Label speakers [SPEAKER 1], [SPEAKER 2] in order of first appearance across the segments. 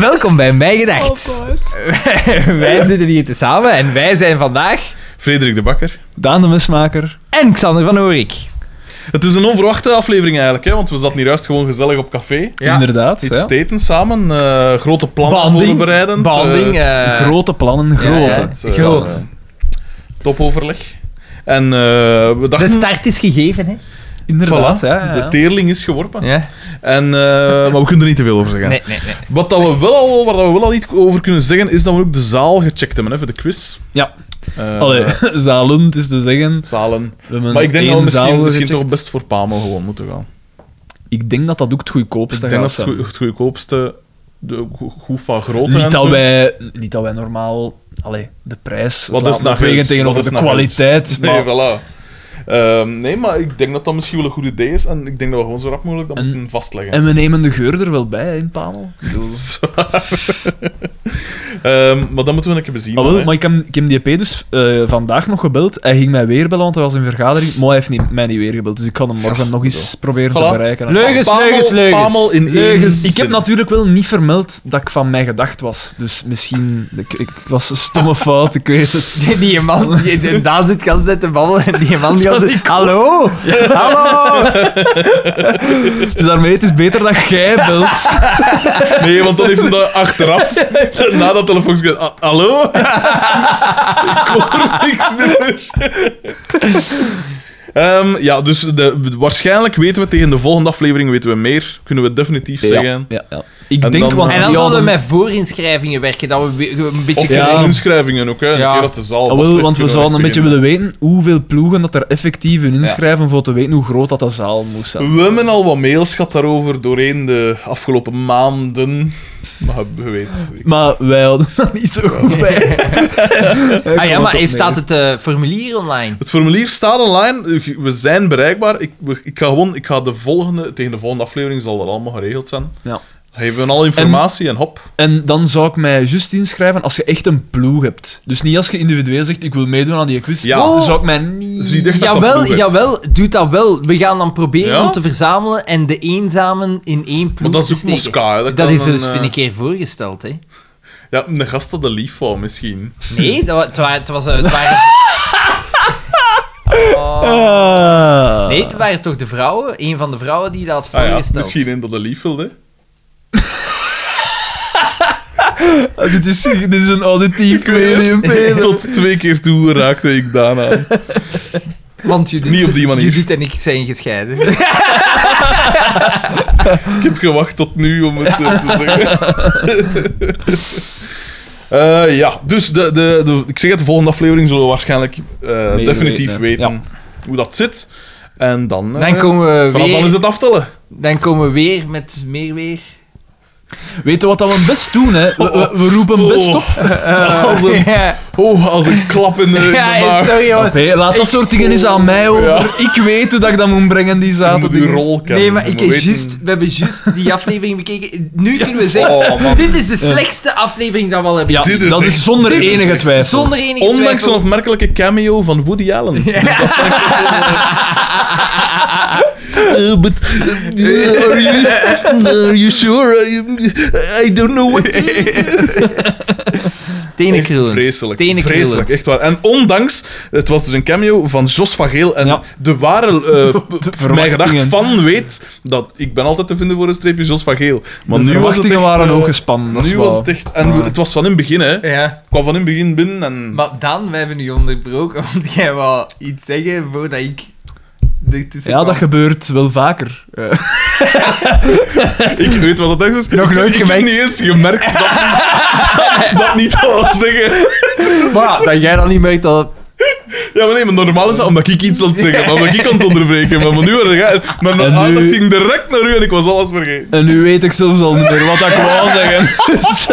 [SPEAKER 1] Welkom bij Mij Gedacht. wij zitten hier te samen en wij zijn vandaag
[SPEAKER 2] Frederik de Bakker.
[SPEAKER 3] Daan de Mesmaker.
[SPEAKER 1] en Xander van Oorik.
[SPEAKER 2] Het is een onverwachte aflevering eigenlijk, hè, want we zaten hier juist gewoon gezellig op café.
[SPEAKER 3] Inderdaad.
[SPEAKER 2] Iets
[SPEAKER 3] ja.
[SPEAKER 2] steten samen, eh, grote plannen
[SPEAKER 1] Banding.
[SPEAKER 2] voorbereidend.
[SPEAKER 1] Banding,
[SPEAKER 2] eh,
[SPEAKER 1] eh,
[SPEAKER 3] grote plannen, grote.
[SPEAKER 1] ja,
[SPEAKER 2] het, eh,
[SPEAKER 1] groot.
[SPEAKER 2] eh, topoverleg. En eh, we
[SPEAKER 1] De
[SPEAKER 2] dachten...
[SPEAKER 1] start is gegeven, hè?
[SPEAKER 3] Inderdaad,
[SPEAKER 2] voilà,
[SPEAKER 3] ja, ja.
[SPEAKER 2] de teerling is geworpen.
[SPEAKER 1] Ja?
[SPEAKER 2] En, eh, maar we kunnen er niet te veel over zeggen.
[SPEAKER 1] Nee, nee, nee.
[SPEAKER 2] Wat dat we wel al, waar dat we wel al iets over kunnen zeggen, is dat we ook de zaal gecheckt hebben hè, voor de quiz.
[SPEAKER 3] Ja.
[SPEAKER 2] Eh,
[SPEAKER 3] Allee, zalend is te zeggen.
[SPEAKER 2] Zalen.
[SPEAKER 3] We hebben
[SPEAKER 2] Maar ik denk
[SPEAKER 3] één
[SPEAKER 2] dat we
[SPEAKER 3] zaal
[SPEAKER 2] misschien, misschien
[SPEAKER 3] gecheckt.
[SPEAKER 2] toch best voor Pamel gewoon moeten gaan.
[SPEAKER 3] Ik denk dat Dus dat ook het goedkoopste
[SPEAKER 2] Ik denk dat
[SPEAKER 3] gaat
[SPEAKER 2] het
[SPEAKER 3] zijn.
[SPEAKER 2] goe- het goedkoopste, de go- goed van grootte en
[SPEAKER 3] Niet dat,
[SPEAKER 2] zo.
[SPEAKER 3] wij, niet dat wij normaal allee, de prijs
[SPEAKER 2] Wat
[SPEAKER 3] laten
[SPEAKER 2] is nou
[SPEAKER 3] wegen
[SPEAKER 2] goed?
[SPEAKER 3] tegenover
[SPEAKER 2] Wat is
[SPEAKER 3] de
[SPEAKER 2] nou goed?
[SPEAKER 3] kwaliteit.
[SPEAKER 2] Nee,
[SPEAKER 3] maar-
[SPEAKER 2] voilà. Ehm, nee, maar ik denk dat dat misschien wel een goed idee is. En ik denk dat we gewoon zo rap mogelijk dat
[SPEAKER 3] En-
[SPEAKER 2] moeten vastleggen.
[SPEAKER 3] En we nemen de geur er wel bij hè, in Pamel.
[SPEAKER 2] Zwaar. Ehm, maar dat moeten we een keer bezien.
[SPEAKER 3] Ah,
[SPEAKER 2] dan,
[SPEAKER 3] wel,
[SPEAKER 2] hè.
[SPEAKER 3] maar ik heb, ik heb die P dus eh, vandaag nog gebeld. Hij ging mij weer bellen, want hij was in vergadering. Maar hij heeft niet, mij niet weer gebeld, dus ik kan hem morgen nog eens proberen
[SPEAKER 2] Voilà.
[SPEAKER 3] te bereiken.
[SPEAKER 1] Leugens,
[SPEAKER 2] Pamel-
[SPEAKER 1] leugens, leugens.
[SPEAKER 2] Pamel in één
[SPEAKER 1] leugens.
[SPEAKER 2] zin.
[SPEAKER 3] Ik heb natuurlijk wel niet vermeld dat ik van mij gedacht was. Dus misschien... Ik, ik was een stomme fout, ik weet het.
[SPEAKER 1] Die, die man, die, die- daar zit gast net te babbelen en die man die altijd, Hallo? Hallo?
[SPEAKER 3] Dus daarmee het is beter dat jij belt.
[SPEAKER 2] Nee, want dan heeft hij dat achteraf, na dat telefoon, "Ah, hallo? ik hoor niks meer. Ehm, ja, dus de, waarschijnlijk weten we tegen de volgende aflevering weten we meer. Kunnen we definitief zeggen.
[SPEAKER 3] Ja, ja. Ik
[SPEAKER 2] En
[SPEAKER 3] denk...
[SPEAKER 2] dan-
[SPEAKER 3] want
[SPEAKER 1] En dan
[SPEAKER 3] die
[SPEAKER 1] zouden we
[SPEAKER 3] hadden-
[SPEAKER 1] met voorinschrijvingen werken, dat we we- we een beetje...
[SPEAKER 2] Of
[SPEAKER 3] Ja.
[SPEAKER 2] gewoon inschrijvingen ook, hè. Een
[SPEAKER 1] Ja.
[SPEAKER 2] keer dat de zaal
[SPEAKER 3] Ah,
[SPEAKER 2] vast
[SPEAKER 3] wel,
[SPEAKER 2] ligt,
[SPEAKER 3] want we
[SPEAKER 2] kunnen
[SPEAKER 3] zouden een
[SPEAKER 2] echt
[SPEAKER 3] beetje
[SPEAKER 2] beginnen.
[SPEAKER 3] willen weten hoeveel ploegen dat er effectief in inschrijven voor te weten hoe groot dat de zaal moest zijn.
[SPEAKER 2] We hebben al wat mails gehad daarover doorheen de afgelopen maanden. Maar je weet... ik-
[SPEAKER 3] Maar wij hadden dat niet zo goed bij.
[SPEAKER 1] Ah ja, maar heeft- staat het eh, formulier online?
[SPEAKER 2] Het formulier staat online. We zijn bereikbaar. Ik, we- ik ga gewoon... Ik ga de volgende... Tegen de volgende aflevering zal dat allemaal geregeld zijn.
[SPEAKER 3] Ja.
[SPEAKER 2] Dan geven we al informatie en, hop.
[SPEAKER 3] En dan zou ik mij juist inschrijven als je echt een ploeg hebt. Dus niet als je individueel zegt, ik wil meedoen aan die quiz.
[SPEAKER 2] Ja.
[SPEAKER 3] Dan zou ik mij niet...
[SPEAKER 2] Dus ik dacht dat dat
[SPEAKER 1] Jawel,
[SPEAKER 2] ploeg is.
[SPEAKER 1] jawel, doet dat wel. We gaan dan proberen
[SPEAKER 2] Ja?
[SPEAKER 1] om te verzamelen en de eenzamen in één
[SPEAKER 2] Maar
[SPEAKER 1] ploeg
[SPEAKER 2] dat is
[SPEAKER 1] te
[SPEAKER 2] ook
[SPEAKER 1] steken.
[SPEAKER 2] Moskou. hè. Dat,
[SPEAKER 1] Dat
[SPEAKER 2] kan
[SPEAKER 1] is dus,
[SPEAKER 2] een, eh,
[SPEAKER 1] vind ik, keer voorgesteld, hè.
[SPEAKER 2] Ja, een gast dat de lief wou, misschien. Ah
[SPEAKER 1] Nee, dat, wa- het, wa- het was... eh, Het waren,
[SPEAKER 3] Ah.
[SPEAKER 1] nee, het waren toch de vrouwen? Een van de vrouwen die dat had
[SPEAKER 2] Ah ja,
[SPEAKER 1] voorgesteld.
[SPEAKER 2] misschien in dat de lief wilde.
[SPEAKER 3] Ah, dit, is, dit is een auditief medium. Peter.
[SPEAKER 2] Tot twee keer toe raakte ik daarna.
[SPEAKER 1] Want Judith,
[SPEAKER 2] Niet op die manier.
[SPEAKER 1] Judith en ik zijn gescheiden.
[SPEAKER 2] Ik heb gewacht tot nu om het eh, te zeggen. Eh, ja, dus de, de, de, ik zeg het, de volgende aflevering zullen we waarschijnlijk eh, definitief
[SPEAKER 3] weten, hè.
[SPEAKER 2] weten hoe dat zit. En dan, eh,
[SPEAKER 1] Dan komen we
[SPEAKER 2] vanaf dan is
[SPEAKER 1] weer,
[SPEAKER 2] het aftellen.
[SPEAKER 1] dan komen we weer met meer weer.
[SPEAKER 3] Weet je wat dat we best doen? Hè? We, we- we roepen
[SPEAKER 2] Oh.
[SPEAKER 3] best op.
[SPEAKER 2] Als een,
[SPEAKER 1] ja,
[SPEAKER 2] oh, als een klap in de, in de
[SPEAKER 1] ja,
[SPEAKER 2] maag.
[SPEAKER 1] sorry hoor.
[SPEAKER 3] Hé, laat dat soort dingen eens aan mij over. Ik weet hoe dat ik dat moet brengen die
[SPEAKER 2] oh. Je moet
[SPEAKER 3] zaterdag.
[SPEAKER 2] uw rol kennen.
[SPEAKER 1] Nee, maar
[SPEAKER 2] Je
[SPEAKER 1] ik
[SPEAKER 2] moet
[SPEAKER 1] heb
[SPEAKER 2] weten-
[SPEAKER 1] juist, we hebben juist die aflevering bekeken. Nu kunnen we zeggen,
[SPEAKER 2] Oh, man.
[SPEAKER 1] dit is de slechtste aflevering dat we al hebben.
[SPEAKER 3] Ja,
[SPEAKER 2] Dit is
[SPEAKER 3] dat
[SPEAKER 2] echt-
[SPEAKER 3] is zonder
[SPEAKER 2] dit is
[SPEAKER 3] enige
[SPEAKER 2] echt
[SPEAKER 3] twijfel.
[SPEAKER 1] Zonder enige
[SPEAKER 2] Ondanks een
[SPEAKER 1] twijfel.
[SPEAKER 2] opmerkelijke cameo van Woody Allen. Dus dat vind ik- Eh, but, eh, are, you, are you sure? I, I don't know what...
[SPEAKER 1] Tenen krullend.
[SPEAKER 2] Vreselijk.
[SPEAKER 1] Tenen
[SPEAKER 2] Vreselijk,
[SPEAKER 1] krullend.
[SPEAKER 2] echt waar. En ondanks, het was dus een cameo van Jos van Geel. En
[SPEAKER 3] Ja.
[SPEAKER 2] de ware, eh,
[SPEAKER 3] De
[SPEAKER 2] p- mijn gedacht
[SPEAKER 3] verwachtingen.
[SPEAKER 2] van weet dat ik ben altijd te vinden voor een streepje Jos van Geel. Maar
[SPEAKER 3] De
[SPEAKER 2] nu was het
[SPEAKER 3] verwachtingen
[SPEAKER 2] echt,
[SPEAKER 3] waren
[SPEAKER 2] eh,
[SPEAKER 3] ook gespannen. Dat is
[SPEAKER 2] Nu
[SPEAKER 3] waar. Ah.
[SPEAKER 2] was het echt... En we- het was van in het begin, hè. Ik
[SPEAKER 1] Ja.
[SPEAKER 2] kwam van in het begin binnen en...
[SPEAKER 1] Maar Dan, we hebben u onderbroken, want jij wou iets zeggen voordat ik ertussen
[SPEAKER 3] Ja, dat
[SPEAKER 1] kwam.
[SPEAKER 3] gebeurt wel vaker. Eh,
[SPEAKER 2] Ik weet wat dat echt is. Nog
[SPEAKER 3] nooit
[SPEAKER 2] ik, Ik heb niet eens gemerkt dat dat, dat niet al zeggen.
[SPEAKER 1] Maar dat jij dan niet merkt dat...
[SPEAKER 2] Ja, maar nee, maar normaal is dat omdat ik iets aan het zeggen, omdat ik aan het onderbreken ben. Maar nu waren jij... Mijn
[SPEAKER 3] En nu-
[SPEAKER 2] aandacht ging direct naar u en ik was alles vergeten.
[SPEAKER 3] En nu weet ik zelfs al niet meer wat ik wou zeggen. Dus,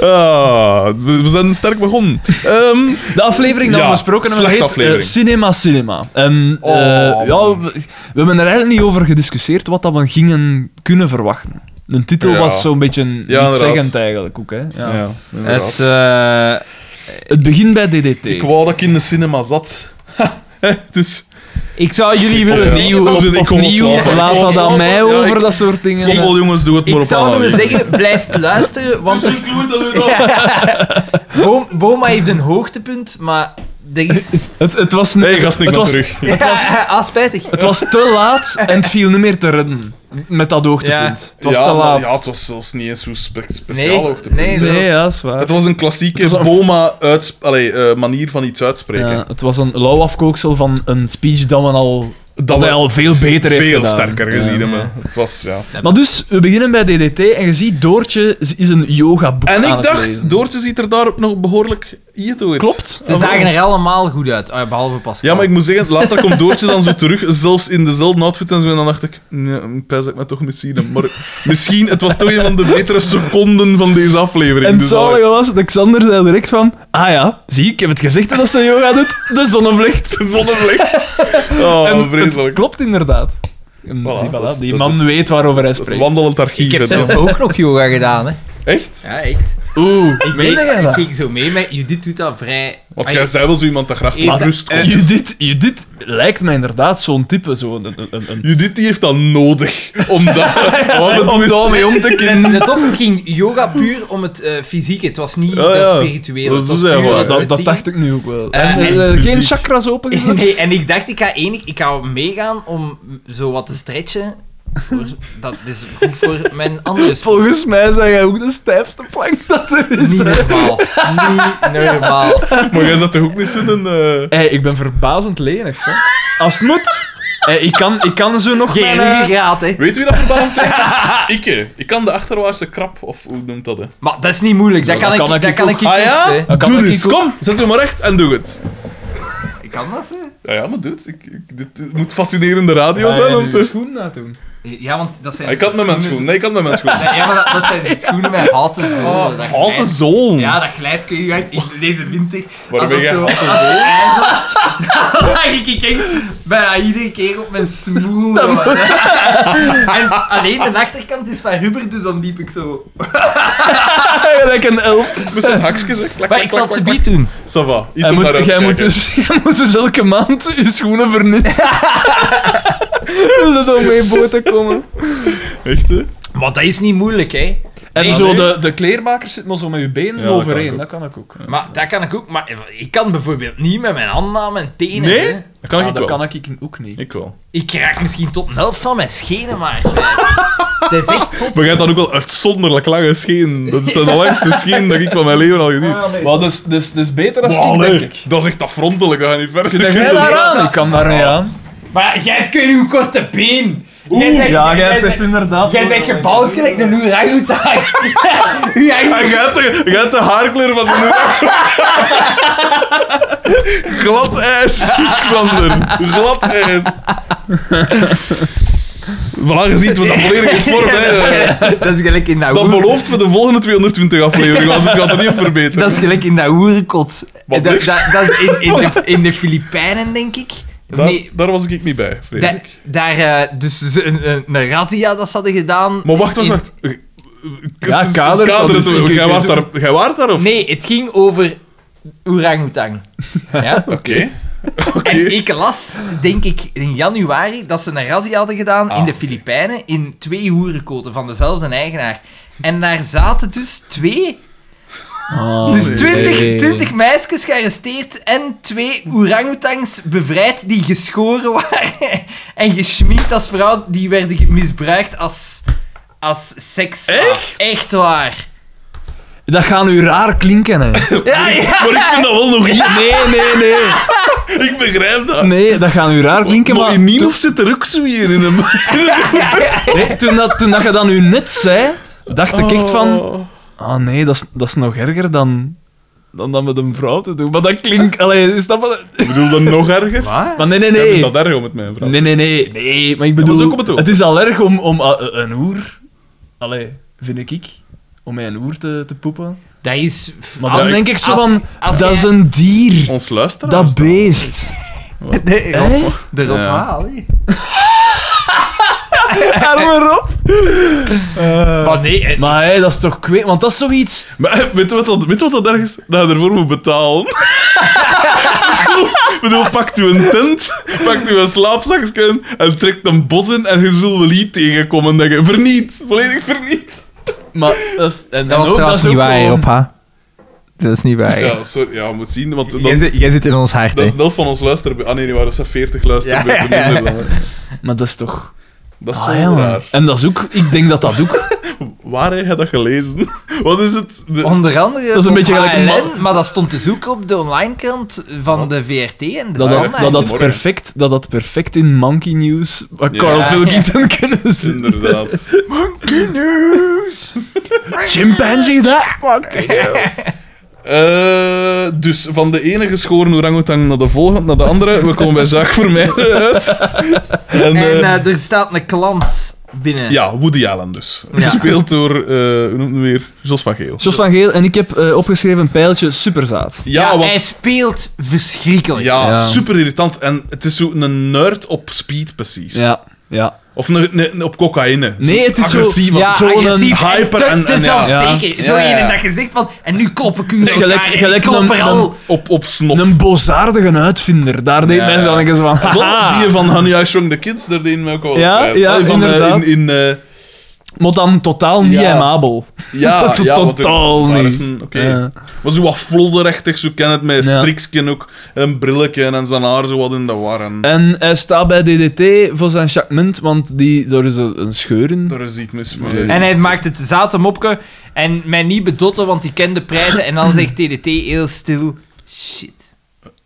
[SPEAKER 2] Ah, we, we zijn sterk begonnen. Ehm,
[SPEAKER 3] De aflevering die
[SPEAKER 2] Ja,
[SPEAKER 3] we besproken hebben
[SPEAKER 2] slechte
[SPEAKER 3] heet
[SPEAKER 2] aflevering.
[SPEAKER 3] eh, Cinema Cinema. En eh,
[SPEAKER 2] Oh,
[SPEAKER 3] ja,
[SPEAKER 2] man.
[SPEAKER 3] we, we hebben er eigenlijk niet over gediscussieerd wat dat we gingen kunnen verwachten. De titel
[SPEAKER 2] Ja.
[SPEAKER 3] was zo'n beetje niet
[SPEAKER 2] inderdaad.
[SPEAKER 3] zeggend eigenlijk ook. Hè? Ja.
[SPEAKER 2] ja, inderdaad.
[SPEAKER 1] Het... eh,
[SPEAKER 3] Het begint bij DDT.
[SPEAKER 2] Ik wou dat ik in de cinema zat. Ha, hè, dus
[SPEAKER 3] Ik zou jullie willen
[SPEAKER 2] Opnieuw,
[SPEAKER 3] opnieuw,
[SPEAKER 2] soms zit ik gewoon
[SPEAKER 3] opnieuw,
[SPEAKER 2] slapen. Ik
[SPEAKER 3] laat
[SPEAKER 2] gewoon
[SPEAKER 3] dat aan
[SPEAKER 2] slapen.
[SPEAKER 3] mij
[SPEAKER 2] Ja,
[SPEAKER 3] over,
[SPEAKER 2] ik-
[SPEAKER 3] dat soort dingen.
[SPEAKER 2] Stoffel, jongens, doe het maar
[SPEAKER 1] Ik
[SPEAKER 2] op
[SPEAKER 1] zou
[SPEAKER 2] alle.
[SPEAKER 1] willen zeggen, blijf luisteren, want
[SPEAKER 2] Dus ik loeit dat nu nog.
[SPEAKER 1] Bo- Boma heeft een hoogtepunt, maar er is...
[SPEAKER 3] Het, het was niet-
[SPEAKER 2] Nee, gast, ik
[SPEAKER 3] het
[SPEAKER 2] ben
[SPEAKER 3] was,
[SPEAKER 2] terug.
[SPEAKER 1] Het was... ah, spijtig.
[SPEAKER 3] Het was te laat en het viel niet meer te redden. Met dat hoogtepunt.
[SPEAKER 1] Ja.
[SPEAKER 3] Het was
[SPEAKER 2] ja,
[SPEAKER 3] te
[SPEAKER 2] maar-
[SPEAKER 3] laat.
[SPEAKER 2] ja, het was zelfs niet eens zo spe- speciaal
[SPEAKER 1] Nee,
[SPEAKER 2] hoogtepunt.
[SPEAKER 1] nee,
[SPEAKER 3] Nee, ja, dat is waar.
[SPEAKER 2] Het was een klassieke
[SPEAKER 3] Het was een-
[SPEAKER 2] Boma uits- allee, eh, manier van iets uitspreken.
[SPEAKER 3] Ja, het was een lauw afkooksel van een speech dat men al, dat
[SPEAKER 2] we
[SPEAKER 3] hij al veel beter heeft
[SPEAKER 2] veel
[SPEAKER 3] gedaan.
[SPEAKER 2] sterker
[SPEAKER 3] Ja.
[SPEAKER 2] gezien hebben. Het was, ja.
[SPEAKER 3] Maar dus, we beginnen bij DDT en je ziet Doortje is is een yogaboek
[SPEAKER 2] En
[SPEAKER 3] aan
[SPEAKER 2] ik
[SPEAKER 3] het lezen.
[SPEAKER 2] dacht, Doortje ziet er daar nog behoorlijk ieto uit.
[SPEAKER 3] Klopt.
[SPEAKER 1] Ze zagen er allemaal goed uit, ah, behalve Pascal.
[SPEAKER 2] Ja, maar ik moet zeggen, later komt Doortje dan zo terug, zelfs in dezelfde outfit en zo. En dan dacht ik, nee, ik pijs dat ik me toch misschien heb. Maar misschien, het was toch een van de betere seconden van deze aflevering.
[SPEAKER 3] En het
[SPEAKER 2] dus al-
[SPEAKER 3] zalige was dat Xander zei direct van... Ah ja, zie, ik heb het gezegd dat ze yoga doet. De zonnevlucht.
[SPEAKER 2] De zonnevlek. Oh,
[SPEAKER 3] en het
[SPEAKER 2] vreselijk.
[SPEAKER 3] klopt inderdaad. En
[SPEAKER 2] Voilà,
[SPEAKER 3] zie, voilà,
[SPEAKER 2] dat is-
[SPEAKER 3] die
[SPEAKER 2] dat
[SPEAKER 3] man
[SPEAKER 2] is-
[SPEAKER 3] weet waarover hij
[SPEAKER 2] Het
[SPEAKER 3] spreekt.
[SPEAKER 2] wandelend archief.
[SPEAKER 1] Ik heb
[SPEAKER 2] hè.
[SPEAKER 1] zelf ook nog yoga gedaan, hè.
[SPEAKER 2] Echt?
[SPEAKER 1] Ja, echt.
[SPEAKER 3] Oeh,
[SPEAKER 1] Ik,
[SPEAKER 3] meen
[SPEAKER 1] deed-
[SPEAKER 3] jij
[SPEAKER 1] ik
[SPEAKER 3] dat?
[SPEAKER 1] ging zo mee met... Judith doet dat vrij...
[SPEAKER 2] Want
[SPEAKER 1] Ah,
[SPEAKER 2] jij
[SPEAKER 1] je-
[SPEAKER 2] zei wel zo iemand dat graag tot
[SPEAKER 1] Heeft-
[SPEAKER 2] rust komt.
[SPEAKER 1] eh,
[SPEAKER 3] Judith, Judith lijkt mij inderdaad zo'n type. Zo een, een, een, een-
[SPEAKER 2] Judith die heeft dat nodig. Om dat... Wat het
[SPEAKER 3] om
[SPEAKER 2] is-
[SPEAKER 3] daarmee om te kunnen.
[SPEAKER 1] Let op, het ging yoga puur om het eh, fysieke. Het was niet
[SPEAKER 2] Ja,
[SPEAKER 1] dat
[SPEAKER 2] ja.
[SPEAKER 1] spirituele.
[SPEAKER 2] Dat
[SPEAKER 1] het
[SPEAKER 2] zo
[SPEAKER 1] was
[SPEAKER 2] zei
[SPEAKER 1] puur
[SPEAKER 2] hij,
[SPEAKER 1] het
[SPEAKER 3] dat, dat
[SPEAKER 1] routine.
[SPEAKER 3] dacht ik nu ook wel.
[SPEAKER 1] Eh, en-
[SPEAKER 3] en, eh, geen
[SPEAKER 2] fysiek.
[SPEAKER 3] chakras opengezet?
[SPEAKER 1] Nee, en ik dacht, ik ga, enig, ik ga meegaan om zo wat te stretchen. Voor, dat is goed voor mijn andere sport.
[SPEAKER 3] Volgens mij zijn jij ook de stijfste plank dat er is.
[SPEAKER 1] Niet
[SPEAKER 3] hè.
[SPEAKER 1] normaal. Niet normaal.
[SPEAKER 2] Maar jij zat toch ook niet zo'n... eh,
[SPEAKER 3] Hey, ik ben verbazend lenig, hè. Als het moet. Hey, ik, kan, ik kan zo nog
[SPEAKER 1] Geen
[SPEAKER 3] mijn... eh,
[SPEAKER 1] ruggengraat, hè.
[SPEAKER 2] Weet je wie dat verbaasd is? Ik, hè. Ik kan de achterwaartse krap, of hoe noemt dat, hè?
[SPEAKER 1] Maar dat is niet moeilijk. Dat
[SPEAKER 3] Ja,
[SPEAKER 1] kan
[SPEAKER 3] dat
[SPEAKER 1] ik
[SPEAKER 3] kan ik
[SPEAKER 1] dat kan
[SPEAKER 3] ook.
[SPEAKER 1] ik
[SPEAKER 2] Ah
[SPEAKER 1] niet, hè.
[SPEAKER 2] ja?
[SPEAKER 3] Dat kan
[SPEAKER 2] Doe
[SPEAKER 3] ik
[SPEAKER 2] eens,
[SPEAKER 3] ook.
[SPEAKER 2] kom! Zet u maar recht en doe het.
[SPEAKER 1] Ik kan dat, hè.
[SPEAKER 2] Ja, ja maar doe het. Ik, ik- dit, dit moet fascinerende radio
[SPEAKER 3] Ah, Ja,
[SPEAKER 2] zijn
[SPEAKER 3] ja,
[SPEAKER 2] om
[SPEAKER 3] nu
[SPEAKER 2] te... Ah,
[SPEAKER 3] schoen nadoen.
[SPEAKER 1] Ja, want dat zijn...
[SPEAKER 2] Ik had met mijn schoen. Nee, ik had met mijn schoen.
[SPEAKER 1] Ja, maar dat, dat zijn die schoenen met houten
[SPEAKER 3] Oh,
[SPEAKER 1] zolen. Dat
[SPEAKER 2] Ah, Halte
[SPEAKER 1] glijdt-
[SPEAKER 2] zoon.
[SPEAKER 1] Ja, dat glijdt kun je uit in deze winter.
[SPEAKER 2] Waar
[SPEAKER 1] als
[SPEAKER 2] ben
[SPEAKER 1] dat
[SPEAKER 2] jij
[SPEAKER 1] zo-
[SPEAKER 2] houten
[SPEAKER 1] als dat ijs was, Dan lag ik ik echt bijna iedere keer op mijn smoel. jongen. En alleen de achterkant is van rubber, dus dan liep ik zo.
[SPEAKER 3] Eigenlijk Ah, een elf.
[SPEAKER 2] Met zijn hakjes, hè. Klak,
[SPEAKER 1] Maar ik zal
[SPEAKER 2] klak, klak,
[SPEAKER 1] het ze
[SPEAKER 2] klak.
[SPEAKER 1] biet doen.
[SPEAKER 2] Ça va. Iets
[SPEAKER 3] Jij
[SPEAKER 2] om naar
[SPEAKER 3] moet,
[SPEAKER 2] uit te
[SPEAKER 3] jij, moet
[SPEAKER 2] kijken.
[SPEAKER 3] dus, jij moet dus elke maand je schoenen vernissen. Wil dat om mee boten komen? dus-
[SPEAKER 2] Echt, hè?
[SPEAKER 1] Maar dat is niet moeilijk, hè.
[SPEAKER 3] En
[SPEAKER 1] Nee,
[SPEAKER 3] zo
[SPEAKER 2] nee.
[SPEAKER 3] de, de kleermaker zit maar zo met je benen
[SPEAKER 2] Ja, dat
[SPEAKER 3] overeen.
[SPEAKER 2] kan
[SPEAKER 3] Dat kan ik ook.
[SPEAKER 1] Maar dat kan ik ook. Maar ik kan bijvoorbeeld niet met mijn handen aan mijn tenen.
[SPEAKER 2] Nee?
[SPEAKER 1] hè.
[SPEAKER 2] Dat kan
[SPEAKER 3] Ah,
[SPEAKER 2] ik
[SPEAKER 3] dat
[SPEAKER 2] wel.
[SPEAKER 3] kan ik ook niet.
[SPEAKER 2] Ik wel.
[SPEAKER 1] Ik raak misschien tot een helft van mijn schenen, maar... eh, Dat is echt zot.
[SPEAKER 2] Maar jij hebt dan ook wel uitzonderlijk lange schenen. Dat zijn de langste schenen dat ik van mijn leven al gezien heb.
[SPEAKER 3] Maar dus, dus, dus beter als
[SPEAKER 2] Wow,
[SPEAKER 3] ik,
[SPEAKER 2] nee.
[SPEAKER 3] denk ik.
[SPEAKER 2] Ah, Dat is echt afrontelijk, dat gaat niet verder.
[SPEAKER 3] Kun jij daar aan? Ik kan daar niet aan.
[SPEAKER 1] Maar jij hebt kun je korte been. Jij zegt-
[SPEAKER 3] ja, jij
[SPEAKER 1] jij
[SPEAKER 3] hebt echt
[SPEAKER 1] zegt-
[SPEAKER 3] inderdaad...
[SPEAKER 1] Jij bent gebouwd gelijk een oerang.
[SPEAKER 2] Ja, jij hebt de, jij hebt de haarkleur van de moeder. Glad ijs, Xander. Glad ijs. Voilà, gezien, het was dat volledig in vorm. hè.
[SPEAKER 1] Dat is gelijk in dat
[SPEAKER 2] Dat
[SPEAKER 1] oer-
[SPEAKER 2] belooft voor de volgende 220 afleveringen, want het gaat er niet op verbeteren.
[SPEAKER 1] Dat is gelijk in dat oerkot. Dat,
[SPEAKER 2] Wat
[SPEAKER 1] dat,
[SPEAKER 2] blieft?
[SPEAKER 1] dat is in, in, de, in de Filipijnen, denk ik. Of
[SPEAKER 2] daar,
[SPEAKER 1] nee,
[SPEAKER 2] daar was ik niet bij, vrees
[SPEAKER 1] da-
[SPEAKER 2] ik.
[SPEAKER 1] daar... eh, dus ze- een, een, een razzia dat ze hadden gedaan.
[SPEAKER 2] Maar wacht, wacht,
[SPEAKER 1] In-
[SPEAKER 2] wacht. Eh, eh,
[SPEAKER 3] Ja,
[SPEAKER 2] eh,
[SPEAKER 3] kader, dat is
[SPEAKER 2] het
[SPEAKER 3] zeker
[SPEAKER 2] ook. Jij
[SPEAKER 3] goed
[SPEAKER 2] waart
[SPEAKER 3] doen.
[SPEAKER 2] daar, jij waart daar of?
[SPEAKER 1] Nee, het ging over oerang-oetang. Ja?
[SPEAKER 2] Oké.
[SPEAKER 1] En ik las, denk ik, in januari dat ze een razzie hadden gedaan
[SPEAKER 2] Ah.
[SPEAKER 1] in de Filipijnen in twee hoerenkoten van dezelfde eigenaar. En daar zaten dus twee, dus twintig, twintig meisjes gearresteerd en twee oerangutangs bevrijd die geschoren waren en geschminkt als vrouw, die werden ge- misbruikt als, als seks. Echt? Echt waar.
[SPEAKER 3] Dat gaan u raar klinken, hè.
[SPEAKER 1] Ja, ja.
[SPEAKER 2] Maar ik vind dat wel nog niet.
[SPEAKER 3] Nee, nee, nee.
[SPEAKER 2] Ik begrijp dat.
[SPEAKER 3] Nee, dat gaan u raar klinken,
[SPEAKER 2] maar
[SPEAKER 3] maar...
[SPEAKER 2] in Nienhof zit er ook zo hier in hem.
[SPEAKER 3] Nee, toen, dat, toen dat je dat nu net zei, dacht ik echt
[SPEAKER 2] Oh.
[SPEAKER 3] van... Ah nee, dat is, dat is nog erger dan, dan dat met een vrouw te doen. Maar dat klinkt... Allee, snap je?
[SPEAKER 2] Ik bedoel, dat nog erger?
[SPEAKER 1] Wat?
[SPEAKER 3] Maar nee, nee,
[SPEAKER 2] Jij vindt
[SPEAKER 3] nee.
[SPEAKER 2] dat erg om met mijn vrouw.
[SPEAKER 3] Nee, nee, nee. Nee, maar ik
[SPEAKER 2] Dat was
[SPEAKER 3] bedoel...
[SPEAKER 2] ook op het oog.
[SPEAKER 3] het is al erg om, om eh, eh, een oer... Allee, vind ik ik. Om met een oer te, te poepen.
[SPEAKER 1] Dat is...
[SPEAKER 3] Maar
[SPEAKER 1] als-
[SPEAKER 3] dan denk ik zo
[SPEAKER 1] als-
[SPEAKER 3] van...
[SPEAKER 1] als
[SPEAKER 3] dat
[SPEAKER 1] jij-
[SPEAKER 3] is een dier.
[SPEAKER 2] Ons luisteren.
[SPEAKER 3] Dat beest.
[SPEAKER 1] De,
[SPEAKER 3] Hè?
[SPEAKER 1] de Rob
[SPEAKER 2] Ja.
[SPEAKER 1] Waal, hè.
[SPEAKER 3] Arme Rob.
[SPEAKER 1] Maar nee, eh,
[SPEAKER 3] Maar hé, dat is toch kweet... Want dat is zoiets...
[SPEAKER 2] Maar eh, weet je wat dat, weet je wat dat erg is? Dat je ervoor moet betalen. Ik bedoel, pakt u een tent, pakt u een slaapzakje en trekt een bos in en je zult wel iets tegenkomen. Dat je verniet, volledig verniet.
[SPEAKER 3] Maar dat is, en,
[SPEAKER 1] Dat was
[SPEAKER 3] en ook,
[SPEAKER 1] trouwens
[SPEAKER 3] is ook
[SPEAKER 1] niet waar,
[SPEAKER 3] gewoon-
[SPEAKER 1] op ha. Dat is niet waar.
[SPEAKER 2] Ja, sorry, ja, moet zien, want dan,
[SPEAKER 1] jij, zit, jij zit in ons hart,
[SPEAKER 2] dat
[SPEAKER 1] hè.
[SPEAKER 2] is de helft van ons luisterbeurt. Ah nee, die waren 40 luisterbeurten
[SPEAKER 1] Ja, ja, ja.
[SPEAKER 2] minder dan. hè.
[SPEAKER 3] Maar dat is toch...
[SPEAKER 2] Dat is
[SPEAKER 3] Ah,
[SPEAKER 2] wel
[SPEAKER 3] ja, man.
[SPEAKER 2] raar.
[SPEAKER 3] En dat is ook... Ik denk dat dat ook...
[SPEAKER 2] Waar heb je dat gelezen? Wat is het? De-
[SPEAKER 1] Onder andere
[SPEAKER 3] is een
[SPEAKER 1] op
[SPEAKER 3] beetje gelijk een
[SPEAKER 1] HLN,
[SPEAKER 3] man.
[SPEAKER 1] maar dat stond te zoeken op de onlinekrant van de VRT en de
[SPEAKER 3] Dat dat,
[SPEAKER 1] Standaard.
[SPEAKER 3] dat, dat,
[SPEAKER 2] Morgen.
[SPEAKER 3] perfect, dat dat perfect in Monkey News van
[SPEAKER 2] Ja.
[SPEAKER 3] Carl Pilkington kunnen zien.
[SPEAKER 2] Inderdaad.
[SPEAKER 3] Chimpanzee, daar!
[SPEAKER 2] Eh, dus van de ene geschoren orangutang naar de volgende, naar de andere. We komen bij Zaak Vermeijden uit. En,
[SPEAKER 1] En
[SPEAKER 2] eh,
[SPEAKER 1] eh, er staat een klant binnen.
[SPEAKER 2] ja, Woody Allen dus.
[SPEAKER 1] Ja.
[SPEAKER 2] Gespeeld door, eh hoe noemt hem weer? Jos van Geel.
[SPEAKER 3] Jos van Geel en ik heb eh, opgeschreven een pijltje superzaad.
[SPEAKER 2] Ja,
[SPEAKER 1] Ja,
[SPEAKER 2] want-
[SPEAKER 1] hij speelt verschrikkelijk.
[SPEAKER 2] ja,
[SPEAKER 3] Ja.
[SPEAKER 2] super irritant. En het is zo een nerd op speed, precies.
[SPEAKER 3] Ja, ja.
[SPEAKER 2] Of een, een- op cocaïne. Zo
[SPEAKER 3] Nee, het is zo-
[SPEAKER 2] agressief,
[SPEAKER 3] ja,
[SPEAKER 2] zo-
[SPEAKER 3] zo'n
[SPEAKER 1] agressief
[SPEAKER 2] hyper
[SPEAKER 1] en
[SPEAKER 2] en-
[SPEAKER 1] te,
[SPEAKER 2] en
[SPEAKER 1] te
[SPEAKER 2] ja.
[SPEAKER 1] zelfzeker.
[SPEAKER 3] Ja.
[SPEAKER 1] Zo
[SPEAKER 3] Ja,
[SPEAKER 1] één
[SPEAKER 3] ja.
[SPEAKER 1] en dat je zegt van, en nu kloppen kun je
[SPEAKER 3] Dus gelijk-
[SPEAKER 1] elkaar,
[SPEAKER 3] gelijk
[SPEAKER 1] en ik klop
[SPEAKER 3] een-
[SPEAKER 1] er al.
[SPEAKER 3] een-
[SPEAKER 2] op, op snot.
[SPEAKER 3] Een bozaardige uitvinder. Daar deed
[SPEAKER 2] Ja.
[SPEAKER 3] mij zo aan denken, zo van...
[SPEAKER 2] Wel,
[SPEAKER 3] haha.
[SPEAKER 2] die van Honey, I Shrunk the Kids, daar deden we ook al
[SPEAKER 3] Ja, ja,
[SPEAKER 2] van, eh,
[SPEAKER 3] inderdaad.
[SPEAKER 2] in, in, eh,
[SPEAKER 3] Maar dan totaal niet
[SPEAKER 2] Ja.
[SPEAKER 3] amabel.
[SPEAKER 2] Ja,
[SPEAKER 3] Tot-
[SPEAKER 2] ja want
[SPEAKER 3] totaal
[SPEAKER 2] er- daar
[SPEAKER 3] niet.
[SPEAKER 2] is een- Oké.
[SPEAKER 3] Ja.
[SPEAKER 2] Maar zo wat vlodderachtig, zo ken het met
[SPEAKER 3] Ja.
[SPEAKER 2] striksken ook. En brilletje en zijn haar zo wat in de war. En
[SPEAKER 3] En hij staat bij DDT voor zijn chakment, want die, daar is een, een scheur in.
[SPEAKER 2] daar is iets mis mee.
[SPEAKER 1] En hij maakt het zaten mopke en mij niet bedotten, want die kent de prijzen. En dan zegt TDT heel stil, shit.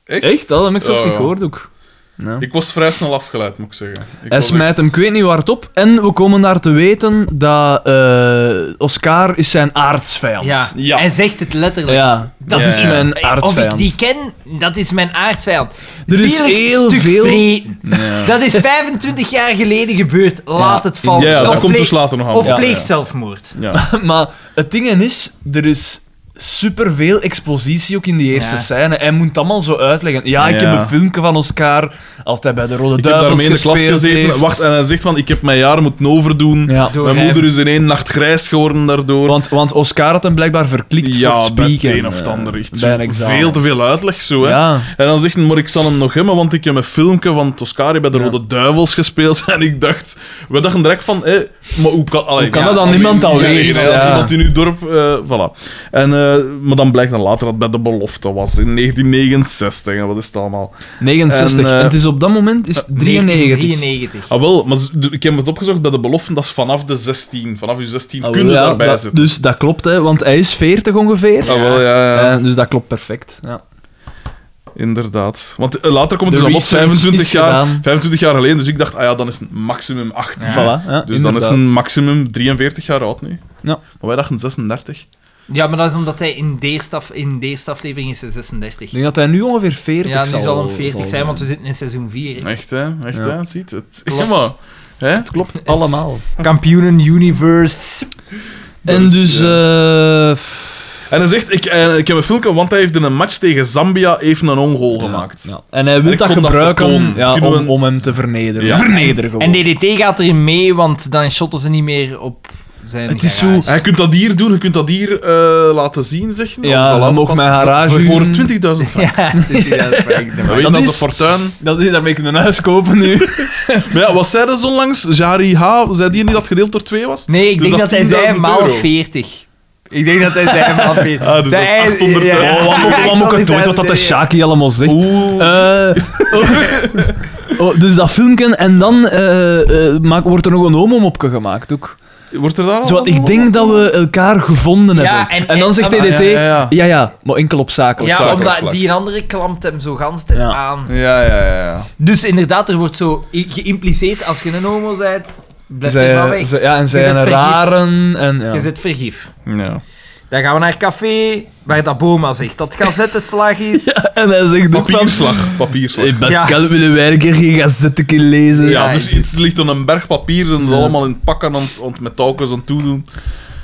[SPEAKER 3] Echt? Dat heb ik zelfs niet
[SPEAKER 2] Ja, Oh, ja.
[SPEAKER 3] gehoord ook. Ja.
[SPEAKER 2] Ik was vrij snel afgeleid, moet ik zeggen. Ik
[SPEAKER 3] Hij
[SPEAKER 2] was
[SPEAKER 3] smijt
[SPEAKER 2] echt-
[SPEAKER 3] hem, ik weet niet waar het op. En we komen daar te weten dat eh, Oscar is zijn aardsvijand.
[SPEAKER 1] Ja.
[SPEAKER 2] Ja.
[SPEAKER 1] Hij zegt het letterlijk.
[SPEAKER 3] Ja, dat
[SPEAKER 2] Ja,
[SPEAKER 3] is
[SPEAKER 2] ja.
[SPEAKER 3] mijn
[SPEAKER 1] Of ik
[SPEAKER 3] aardsvijand.
[SPEAKER 1] die ken, dat is mijn aardsvijand.
[SPEAKER 3] Er is
[SPEAKER 1] Zielig
[SPEAKER 3] heel
[SPEAKER 1] stuk
[SPEAKER 3] veel-
[SPEAKER 1] vreten. Dat is 25 jaar geleden gebeurd. Laat
[SPEAKER 3] Ja.
[SPEAKER 1] het vallen.
[SPEAKER 2] Ja,
[SPEAKER 1] of
[SPEAKER 2] dat komt
[SPEAKER 1] pleeg,
[SPEAKER 2] dus later nog aan.
[SPEAKER 1] of
[SPEAKER 2] bod.
[SPEAKER 1] pleeg
[SPEAKER 3] Ja.
[SPEAKER 1] zelfmoord.
[SPEAKER 2] Ja.
[SPEAKER 3] Maar het ding is, er is superveel expositie ook in die eerste
[SPEAKER 1] Ja.
[SPEAKER 3] scène. Hij moet het allemaal zo uitleggen. Ja, ik
[SPEAKER 2] Ja.
[SPEAKER 3] heb een filmpje van Oscar, als hij bij de Rode
[SPEAKER 2] Ik heb
[SPEAKER 3] Duivels
[SPEAKER 2] daarmee in de
[SPEAKER 3] gespeeld
[SPEAKER 2] klas gezeten.
[SPEAKER 3] heeft.
[SPEAKER 2] Wacht, en hij zegt van, ik heb mijn jaar moeten overdoen.
[SPEAKER 3] Ja.
[SPEAKER 1] Door
[SPEAKER 2] Mijn
[SPEAKER 1] hem.
[SPEAKER 2] moeder is in één nacht grijs geworden daardoor.
[SPEAKER 3] Want, want Oscar had hem blijkbaar verklikt
[SPEAKER 2] ja,
[SPEAKER 3] voor het
[SPEAKER 2] bij het
[SPEAKER 3] spieken,
[SPEAKER 2] een of het
[SPEAKER 3] eh,
[SPEAKER 2] ander. Echt
[SPEAKER 3] bij een
[SPEAKER 2] zo
[SPEAKER 3] examen.
[SPEAKER 2] veel te veel uitleg zo, hè.
[SPEAKER 3] Ja.
[SPEAKER 2] En dan zegt hij, maar ik zal hem nog hebben, want ik heb een filmpje van Toscari bij de
[SPEAKER 3] Ja.
[SPEAKER 2] Rode Duivels gespeeld. En ik dacht, we dachten direct van, hé, maar hoe kan, allee,
[SPEAKER 3] Hoe kan
[SPEAKER 2] ja,
[SPEAKER 3] dat dan
[SPEAKER 2] allee,
[SPEAKER 3] niemand al
[SPEAKER 2] iedereen,
[SPEAKER 3] weten?
[SPEAKER 2] hè, Als
[SPEAKER 3] Ja.
[SPEAKER 2] iemand in uw dorp, eh, voilà. En, eh, maar dan blijkt dan later dat het bij de belofte was, in 1969. En wat is het allemaal?
[SPEAKER 3] 69. En,
[SPEAKER 2] En, eh,
[SPEAKER 3] het is op dat moment is het 93.
[SPEAKER 1] 1993.
[SPEAKER 2] Ah wel, maar z- de- ik heb het opgezocht, bij de belofte, dat is vanaf de 16. Vanaf je 16 kun je
[SPEAKER 3] Oh, Ah, Ja,
[SPEAKER 2] daarbij
[SPEAKER 3] dat-
[SPEAKER 2] zitten.
[SPEAKER 3] Dus dat klopt, hè, want hij is 40 ongeveer.
[SPEAKER 2] Ah wel, ja, ja.
[SPEAKER 3] Eh, dus dat klopt perfect. Ja.
[SPEAKER 2] Inderdaad. Want eh, later komt
[SPEAKER 3] De
[SPEAKER 2] het dus allemaal
[SPEAKER 3] research
[SPEAKER 2] 25
[SPEAKER 3] is
[SPEAKER 2] jaar,
[SPEAKER 3] gedaan.
[SPEAKER 2] 25 jaar geleden, dus ik dacht, ah ja, dan is het maximum 18.
[SPEAKER 1] Ja.
[SPEAKER 3] Voilà, ja,
[SPEAKER 2] Dus
[SPEAKER 3] inderdaad.
[SPEAKER 2] dan is een maximum 43 jaar oud nu.
[SPEAKER 3] Ja.
[SPEAKER 2] Maar wij dachten 36.
[SPEAKER 1] Ja, maar dat is omdat hij in de eerste, af- in de eerste aflevering is hij 36.
[SPEAKER 3] Ik denk dat hij nu ongeveer 40
[SPEAKER 1] Ja, nu
[SPEAKER 3] zal,
[SPEAKER 1] zal hem 40 zijn, want we
[SPEAKER 3] het
[SPEAKER 1] zitten in seizoen 4.
[SPEAKER 2] Echt, hè? Echt,
[SPEAKER 3] Ja.
[SPEAKER 2] hè? Ziet het?
[SPEAKER 1] Klopt.
[SPEAKER 2] Ja, maar. Hè?
[SPEAKER 3] klopt allemaal.
[SPEAKER 1] Kampioenen Universe.
[SPEAKER 3] En
[SPEAKER 2] is,
[SPEAKER 3] dus... eh,
[SPEAKER 2] En hij zegt, ik, eh, ik heb een filmpje, want hij heeft in een match tegen Zambia even een ongoal gemaakt.
[SPEAKER 3] ja. En hij wil
[SPEAKER 2] En ik
[SPEAKER 3] dat
[SPEAKER 2] kon dat
[SPEAKER 3] gebruiken om,
[SPEAKER 2] vertonen.
[SPEAKER 3] ja,
[SPEAKER 2] Kunnen we
[SPEAKER 3] om,
[SPEAKER 2] een-
[SPEAKER 3] om hem te vernederen.
[SPEAKER 2] Ja.
[SPEAKER 3] Vernederen
[SPEAKER 2] Oh.
[SPEAKER 3] gewoon.
[SPEAKER 1] En DDT gaat erin mee, want dan shotten ze niet meer op zijn
[SPEAKER 3] Het is
[SPEAKER 1] garage.
[SPEAKER 3] zo-
[SPEAKER 2] Hij kunt dat hier doen, je kunt dat hier eh, laten zien, zeg je.
[SPEAKER 3] Ja,
[SPEAKER 2] Of zal
[SPEAKER 3] hij
[SPEAKER 2] dat
[SPEAKER 3] mag
[SPEAKER 2] pas-
[SPEAKER 3] mijn garage
[SPEAKER 2] Voor, voor 20.000
[SPEAKER 3] huren.
[SPEAKER 2] frank.
[SPEAKER 1] Ja, het is inderdaad waar ik de
[SPEAKER 2] Dan
[SPEAKER 1] maak.
[SPEAKER 2] weet je,
[SPEAKER 3] dat
[SPEAKER 2] dat is de
[SPEAKER 3] is-
[SPEAKER 2] fortuin.
[SPEAKER 3] dat is daarmee kunnen huis kopen nu.
[SPEAKER 2] Maar ja, wat zei er zo langs? Jari H, zei die niet dat gedeeld door 2 was?
[SPEAKER 1] Nee, ik
[SPEAKER 2] Dus
[SPEAKER 1] denk
[SPEAKER 2] dat
[SPEAKER 1] dat
[SPEAKER 2] is
[SPEAKER 1] hij zei
[SPEAKER 2] 10.000
[SPEAKER 1] maal
[SPEAKER 2] euro.
[SPEAKER 1] 40. Ik denk dat hij zei maal 40.
[SPEAKER 2] Ah, dus dat is
[SPEAKER 1] hij-
[SPEAKER 2] 800
[SPEAKER 1] ja,
[SPEAKER 2] euro.
[SPEAKER 1] ja.
[SPEAKER 3] Oh, wat moet- wat moet ik het ooit wat dat de Shaki allemaal zegt?
[SPEAKER 2] Oeh.
[SPEAKER 3] Eh, oh, dus dat filmpje en dan eh, eh, maak- wordt er nog een homomopje gemaakt ook.
[SPEAKER 2] Eh, Wordt er daar al
[SPEAKER 3] Zo,
[SPEAKER 2] een
[SPEAKER 3] ik denk dat we elkaar gevonden
[SPEAKER 1] Oh, Ja,
[SPEAKER 3] hebben.
[SPEAKER 1] en-
[SPEAKER 3] En, dan
[SPEAKER 1] en-
[SPEAKER 3] zegt
[SPEAKER 1] ah,
[SPEAKER 3] DDT,
[SPEAKER 2] ja, ja, ja.
[SPEAKER 3] ja, ja, maar enkel op zakelijk.
[SPEAKER 1] Ja,
[SPEAKER 2] Zakelijk
[SPEAKER 1] omdat
[SPEAKER 2] vlak.
[SPEAKER 1] die andere klampt hem zo gans tijd
[SPEAKER 3] Ja.
[SPEAKER 1] aan.
[SPEAKER 2] Ja, ja, ja. ja.
[SPEAKER 1] Dus inderdaad, er wordt zo i- geïmpliceerd als je een homo bent, blijf er van
[SPEAKER 3] zij,
[SPEAKER 1] weg.
[SPEAKER 3] zij- ja, en zij
[SPEAKER 1] bent
[SPEAKER 3] zijn
[SPEAKER 1] vergif.
[SPEAKER 3] raren. En, ja.
[SPEAKER 1] Je zit vergif.
[SPEAKER 2] ja.
[SPEAKER 1] Dan gaan we naar café, waar dat Boma zegt dat gazettenslag is.
[SPEAKER 3] en hij zegt ook van...
[SPEAKER 2] Papierslag. Papierslag.
[SPEAKER 3] Hey, Pascal, willen wij een keer geen gazetteke lezen?
[SPEAKER 2] Ja,
[SPEAKER 1] Ja,
[SPEAKER 2] dus
[SPEAKER 1] ik-
[SPEAKER 2] iets ligt op een berg papier, ze
[SPEAKER 3] Ja.
[SPEAKER 2] dat allemaal in pakken aan het, aan het met touwkes aan het toedoen.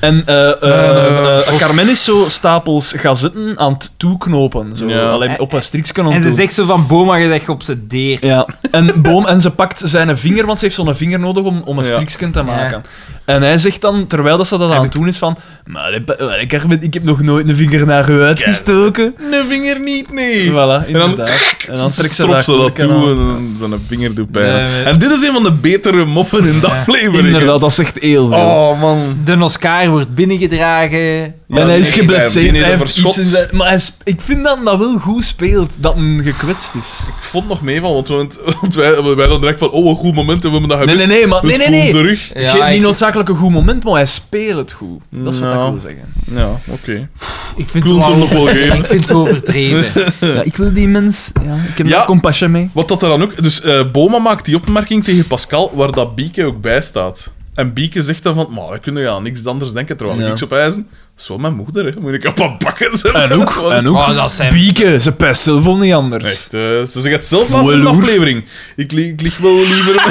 [SPEAKER 3] En eh eh,
[SPEAKER 2] eh,
[SPEAKER 3] eh, Carmen is zo stapels gazetten aan het toeknopen. Zo,
[SPEAKER 2] Ja.
[SPEAKER 3] alleen op een strikje aan
[SPEAKER 1] En
[SPEAKER 3] het
[SPEAKER 1] ze
[SPEAKER 3] doen.
[SPEAKER 1] zegt zo van Boma, je zegt geobsedeerd.
[SPEAKER 3] Ja, en Boom, en ze pakt zijn vinger, want ze heeft zo'n vinger nodig om, om een
[SPEAKER 2] Ja.
[SPEAKER 3] strikje te maken. En hij zegt dan, terwijl dat ze dat aan
[SPEAKER 1] ik-
[SPEAKER 3] het doen is, van... Maar eh, ik, ben- ik heb, ik heb nog nooit een vinger naar u uitgestoken.
[SPEAKER 2] Een vinger niet, nee.
[SPEAKER 3] Voilà, inderdaad. En dan trekt ze
[SPEAKER 2] strop
[SPEAKER 3] dat
[SPEAKER 2] ze dat
[SPEAKER 3] knopje
[SPEAKER 2] toe en
[SPEAKER 3] aan.
[SPEAKER 2] dan- dan een vinger doet pijn.
[SPEAKER 1] Nee,
[SPEAKER 2] en dit is een van de betere moffen in dat aflevering.
[SPEAKER 3] Inderdaad, dat zegt heel veel.
[SPEAKER 2] Oh, man.
[SPEAKER 1] De Oscar wordt binnengedragen.
[SPEAKER 2] Ja,
[SPEAKER 3] en hij is
[SPEAKER 2] nee, die
[SPEAKER 3] geblesseerd.
[SPEAKER 2] nee,
[SPEAKER 3] Hij
[SPEAKER 2] dat
[SPEAKER 3] heeft iets in
[SPEAKER 2] verschot.
[SPEAKER 3] zijn- maar hij is- ik vind dat dat wel goed speelt, dat een gekwetst is.
[SPEAKER 2] Ik vond nog mee van, want, want, want wij, wij dan direct van, oh, een goed moment en we hebben dat
[SPEAKER 3] Nee,
[SPEAKER 2] gemist.
[SPEAKER 3] nee, nee, maar...
[SPEAKER 2] We
[SPEAKER 3] Nee, nee,
[SPEAKER 2] spoelen
[SPEAKER 3] nee.
[SPEAKER 2] terug.
[SPEAKER 1] Ja,
[SPEAKER 3] Geen, niet
[SPEAKER 1] ik-
[SPEAKER 3] noodzakelijk een goed moment, maar hij speelt het goed. Dat is wat
[SPEAKER 2] Nou.
[SPEAKER 3] ik wil zeggen.
[SPEAKER 2] Ja, oké.
[SPEAKER 1] Ik
[SPEAKER 2] Ik
[SPEAKER 1] vind,
[SPEAKER 2] wil
[SPEAKER 1] het
[SPEAKER 2] het
[SPEAKER 1] wel,
[SPEAKER 2] hem nog wel geven.
[SPEAKER 1] ik vind het overdreven.
[SPEAKER 3] Ja, ik wil die mens... Ja, ik heb
[SPEAKER 2] Ja.
[SPEAKER 3] daar compassie mee.
[SPEAKER 2] Wat dat er dan ook... Dus eh, Boma maakt die opmerking tegen Pascal, waar dat Bieke ook bij staat. En Bieke zegt dan van, maar we kunnen ja niks anders denken, terwijl
[SPEAKER 3] Ja.
[SPEAKER 2] ik niks op ijzen. Dat is wel mijn moeder, hè. Moet ik op haar bakken zetten.
[SPEAKER 3] En ook, Eh,
[SPEAKER 2] Want-
[SPEAKER 3] en ook.
[SPEAKER 1] Oh, dat zijn-
[SPEAKER 3] Bieken, ze pest zelf niet anders.
[SPEAKER 2] Echt, eh, ze zegt het zelf al in de
[SPEAKER 3] Voeloer.
[SPEAKER 2] aflevering. Ik, li- ik lig wel liever...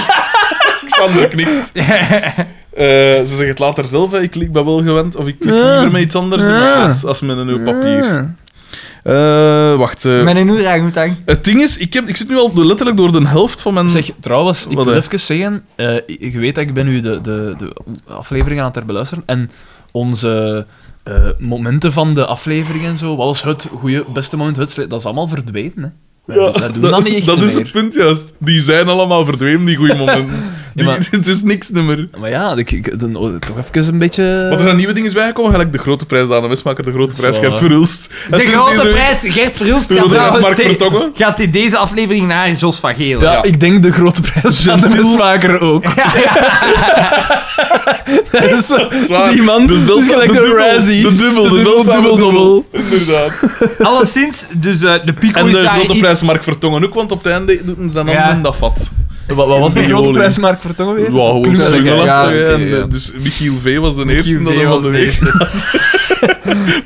[SPEAKER 2] Xander knikt. Eh, ze zegt het later zelf, hè. ik lig- ben wel gewend, of ik lig
[SPEAKER 3] Ja.
[SPEAKER 2] liever met iets anders in mijn
[SPEAKER 3] Ja.
[SPEAKER 2] plaats als met een nieuw papier.
[SPEAKER 3] Ja.
[SPEAKER 2] Eh, wacht. eh,
[SPEAKER 1] Met een oerangutang.
[SPEAKER 2] Het ding is, ik, heb, ik zit nu al letterlijk door de helft van mijn...
[SPEAKER 3] Zeg, trouwens, ik
[SPEAKER 2] Wat,
[SPEAKER 3] wil
[SPEAKER 2] hè?
[SPEAKER 3] even zeggen, eh, je weet dat ik ben nu de, de, de aflevering aan het herbeluisteren en onze eh, momenten van de aflevering en zo, wat was het goede, beste moment, het sle- dat is allemaal verdwenen, hè.
[SPEAKER 2] Ja,
[SPEAKER 3] dat, dat doen we dan niet echt
[SPEAKER 2] dat is
[SPEAKER 3] meer.
[SPEAKER 2] het punt juist. Die zijn allemaal verdwenen, die goede momenten. Die,
[SPEAKER 3] maar-
[SPEAKER 2] Het is niks nummer.
[SPEAKER 3] Maar ja, ik, ik- dan, oh, toch even een beetje...
[SPEAKER 2] Maar er zijn nieuwe dingen bijgekomen, gelijk de grote prijs aan de Westmaker, de grote
[SPEAKER 3] Zo,
[SPEAKER 2] prijs Gert
[SPEAKER 3] hè.
[SPEAKER 2] Verhulst.
[SPEAKER 1] De grote prijs, Gert Verhulst,
[SPEAKER 2] De
[SPEAKER 1] gaat,
[SPEAKER 2] grote prijs Mark
[SPEAKER 1] trouwens de-
[SPEAKER 2] Vertongen.
[SPEAKER 1] gaat in deze aflevering naar Jos van Geel.
[SPEAKER 3] ja,
[SPEAKER 2] ja.
[SPEAKER 3] ik denk de grote prijs aan de
[SPEAKER 2] Gentil.
[SPEAKER 3] mismaker ook. dat is zo,
[SPEAKER 2] Zwaar.
[SPEAKER 3] die man,
[SPEAKER 2] De
[SPEAKER 3] dus
[SPEAKER 2] zeldzame-
[SPEAKER 3] gelijk
[SPEAKER 2] de
[SPEAKER 3] de,
[SPEAKER 2] dubbel,
[SPEAKER 3] Razzies.
[SPEAKER 2] de dubbel, de zeldzame dubbel. Inderdaad.
[SPEAKER 1] Alleszins, dus eh, de pico
[SPEAKER 2] En
[SPEAKER 1] is
[SPEAKER 2] de
[SPEAKER 1] daar
[SPEAKER 2] grote
[SPEAKER 1] iets-
[SPEAKER 2] prijs Mark Vertongen ook, want op het einde doen ze dan
[SPEAKER 1] Ja.
[SPEAKER 2] allemaal dat vat.
[SPEAKER 3] Wat, wat was de
[SPEAKER 2] Die
[SPEAKER 3] grote
[SPEAKER 2] olie.
[SPEAKER 3] prijs, Mark Vertongen
[SPEAKER 2] Ja,
[SPEAKER 3] weer?
[SPEAKER 2] gewoon
[SPEAKER 3] Klungelig, hè?
[SPEAKER 2] Slungeland.
[SPEAKER 1] Ja,
[SPEAKER 3] oké,
[SPEAKER 2] en, eh,
[SPEAKER 3] ja.
[SPEAKER 2] Dus Michiel V was de
[SPEAKER 1] Michiel
[SPEAKER 2] eerste dat
[SPEAKER 1] V
[SPEAKER 2] hem
[SPEAKER 1] was
[SPEAKER 2] van de
[SPEAKER 1] de
[SPEAKER 2] week staat.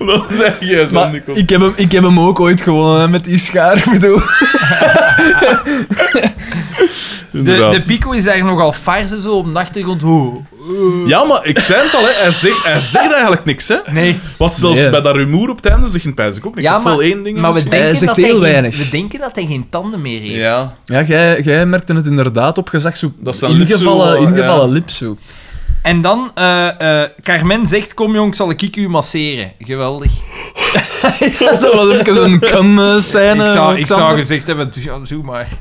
[SPEAKER 2] Dat zei jij zo,
[SPEAKER 3] Maar
[SPEAKER 2] Nico.
[SPEAKER 3] ik heb, hem, ik heb hem ook ooit gewonnen hè, met die schaar. ik bedoel.
[SPEAKER 1] De,
[SPEAKER 2] Inderdaad.
[SPEAKER 1] de pico is daar nogal farse zo op de achtergrond. Ho.
[SPEAKER 2] Ja, maar ik zei het al, hè. Hij, zegt, hij zegt eigenlijk niks. Hè.
[SPEAKER 1] Nee.
[SPEAKER 2] Want zelfs
[SPEAKER 3] Nee.
[SPEAKER 2] bij dat rumoer op het einde zegt hij ook niks.
[SPEAKER 1] Ja,
[SPEAKER 2] Of wel één ding
[SPEAKER 1] Maar we
[SPEAKER 2] misschien.
[SPEAKER 1] denken, dat
[SPEAKER 3] zegt
[SPEAKER 1] hij
[SPEAKER 3] heel
[SPEAKER 1] geen-
[SPEAKER 3] weinig.
[SPEAKER 1] we denken dat hij geen tanden meer heeft.
[SPEAKER 2] Ja.
[SPEAKER 3] Ja, jij, jij merkte het inderdaad op gezag. Zo
[SPEAKER 2] Dat zijn
[SPEAKER 3] ingevallen,
[SPEAKER 2] lipsoe,
[SPEAKER 3] ingevallen
[SPEAKER 2] ja.
[SPEAKER 3] lipsoe.
[SPEAKER 1] En dan, eh, eh, Carmen zegt, kom jong, zal ik u masseren. Geweldig.
[SPEAKER 3] dat was even eh, een cum-scène.
[SPEAKER 1] ik, zou, ik
[SPEAKER 3] Xander.
[SPEAKER 1] zou gezegd hebben, "Doe- ja, doe maar.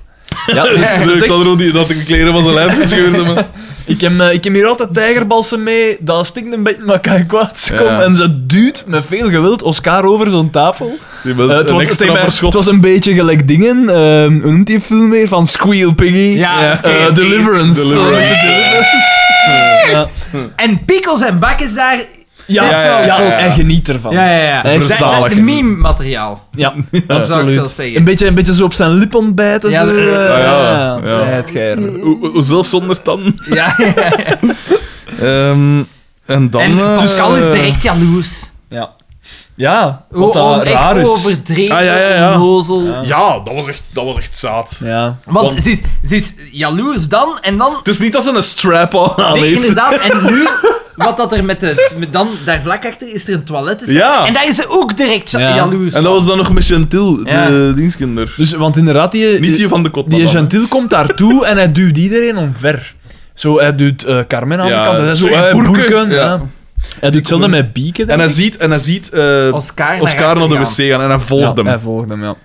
[SPEAKER 3] Ja, dus
[SPEAKER 2] Dus
[SPEAKER 3] ze
[SPEAKER 2] ik
[SPEAKER 3] zegt,
[SPEAKER 2] zal er ook niet dat ik de kleren van zijn lijf gescheurde. Maar...
[SPEAKER 3] ik, heb, eh, ik heb hier altijd tijgerbalsen mee. Dat stinkt een beetje, maar kan kwaad
[SPEAKER 2] Ja.
[SPEAKER 3] komen. En ze duwt met veel geweld Oscar over zo'n tafel.
[SPEAKER 2] Die was
[SPEAKER 3] Eh, het,
[SPEAKER 2] een
[SPEAKER 3] was,
[SPEAKER 2] extra
[SPEAKER 3] zeg maar,
[SPEAKER 2] verschot.
[SPEAKER 3] het was een beetje gelijk dingen. ehm hoe noemt die film weer? Van Squeal Piggy.
[SPEAKER 1] Ja,
[SPEAKER 3] Eh,
[SPEAKER 1] Squeal Piggy.
[SPEAKER 3] Deliverance.
[SPEAKER 2] Deliverance.
[SPEAKER 3] Zo'n beetje Deliverance. Ja.
[SPEAKER 1] En Pickles en Bak is daar...
[SPEAKER 3] Ja,
[SPEAKER 2] Ja, ja, ja, ja.
[SPEAKER 3] en geniet ervan.
[SPEAKER 1] Ja, ja, ja.
[SPEAKER 3] Verzaligd.
[SPEAKER 1] Dat is meme-materiaal.
[SPEAKER 3] Ja,
[SPEAKER 1] Dat zou ik
[SPEAKER 3] absoluut.
[SPEAKER 1] zelfs zeggen.
[SPEAKER 3] Een beetje, een beetje zo op zijn lip ontbijten.
[SPEAKER 1] Ja,
[SPEAKER 3] zo,
[SPEAKER 1] dat-
[SPEAKER 3] eh,
[SPEAKER 1] Ah,
[SPEAKER 2] ja, ja.
[SPEAKER 3] het geir.
[SPEAKER 2] O- o- Zelf zonder tanden.
[SPEAKER 1] Ja, ja, ja.
[SPEAKER 2] Ehm, en dan...
[SPEAKER 1] En
[SPEAKER 2] eh,
[SPEAKER 1] Pascal is direct jaloers.
[SPEAKER 3] Ja. Ja,
[SPEAKER 1] Gewoon
[SPEAKER 3] wat dat
[SPEAKER 1] echt
[SPEAKER 3] raar is.
[SPEAKER 1] overdreven,
[SPEAKER 2] Ah, ja, ja, ja.
[SPEAKER 1] onnozel.
[SPEAKER 2] Ja, Ah, dat was echt, dat was echt zaad.
[SPEAKER 3] Ja.
[SPEAKER 1] Want,
[SPEAKER 2] Want-
[SPEAKER 1] Ze, is, ze is jaloers dan en dan...
[SPEAKER 2] Het is niet dat ze een strap-on aan
[SPEAKER 1] Nee,
[SPEAKER 2] heeft.
[SPEAKER 1] inderdaad. En nu, wat dat er met de... Met dan, daar vlak achter is er een toilet. is-
[SPEAKER 2] Ja.
[SPEAKER 1] En daar is ze ook direct ja-
[SPEAKER 3] Ja.
[SPEAKER 1] jaloers
[SPEAKER 2] En dat was dan nog met Chantil, de
[SPEAKER 1] Ja.
[SPEAKER 2] dienstkinder.
[SPEAKER 3] Dus, want inderdaad, die,
[SPEAKER 2] Niet die van de kot.
[SPEAKER 3] die
[SPEAKER 2] maar dan.
[SPEAKER 3] Gentil komt daartoe en hij duwt iedereen omver. Zo, hij duwt eh, Carmen aan
[SPEAKER 2] Ja,
[SPEAKER 3] de kant. en Hij zo,
[SPEAKER 2] zeg,
[SPEAKER 3] eh,
[SPEAKER 2] boerke.
[SPEAKER 3] boerken,
[SPEAKER 2] Ja.
[SPEAKER 3] ja. Hij doet hetzelfde met Bieken.
[SPEAKER 2] En hij ziet, en hij ziet eh,
[SPEAKER 1] Oscar naar
[SPEAKER 2] Oscar naar de
[SPEAKER 1] achter gaan.
[SPEAKER 2] wc gaan en hij volgt
[SPEAKER 3] ja,
[SPEAKER 2] hem.
[SPEAKER 3] Hij volgt hem, ja.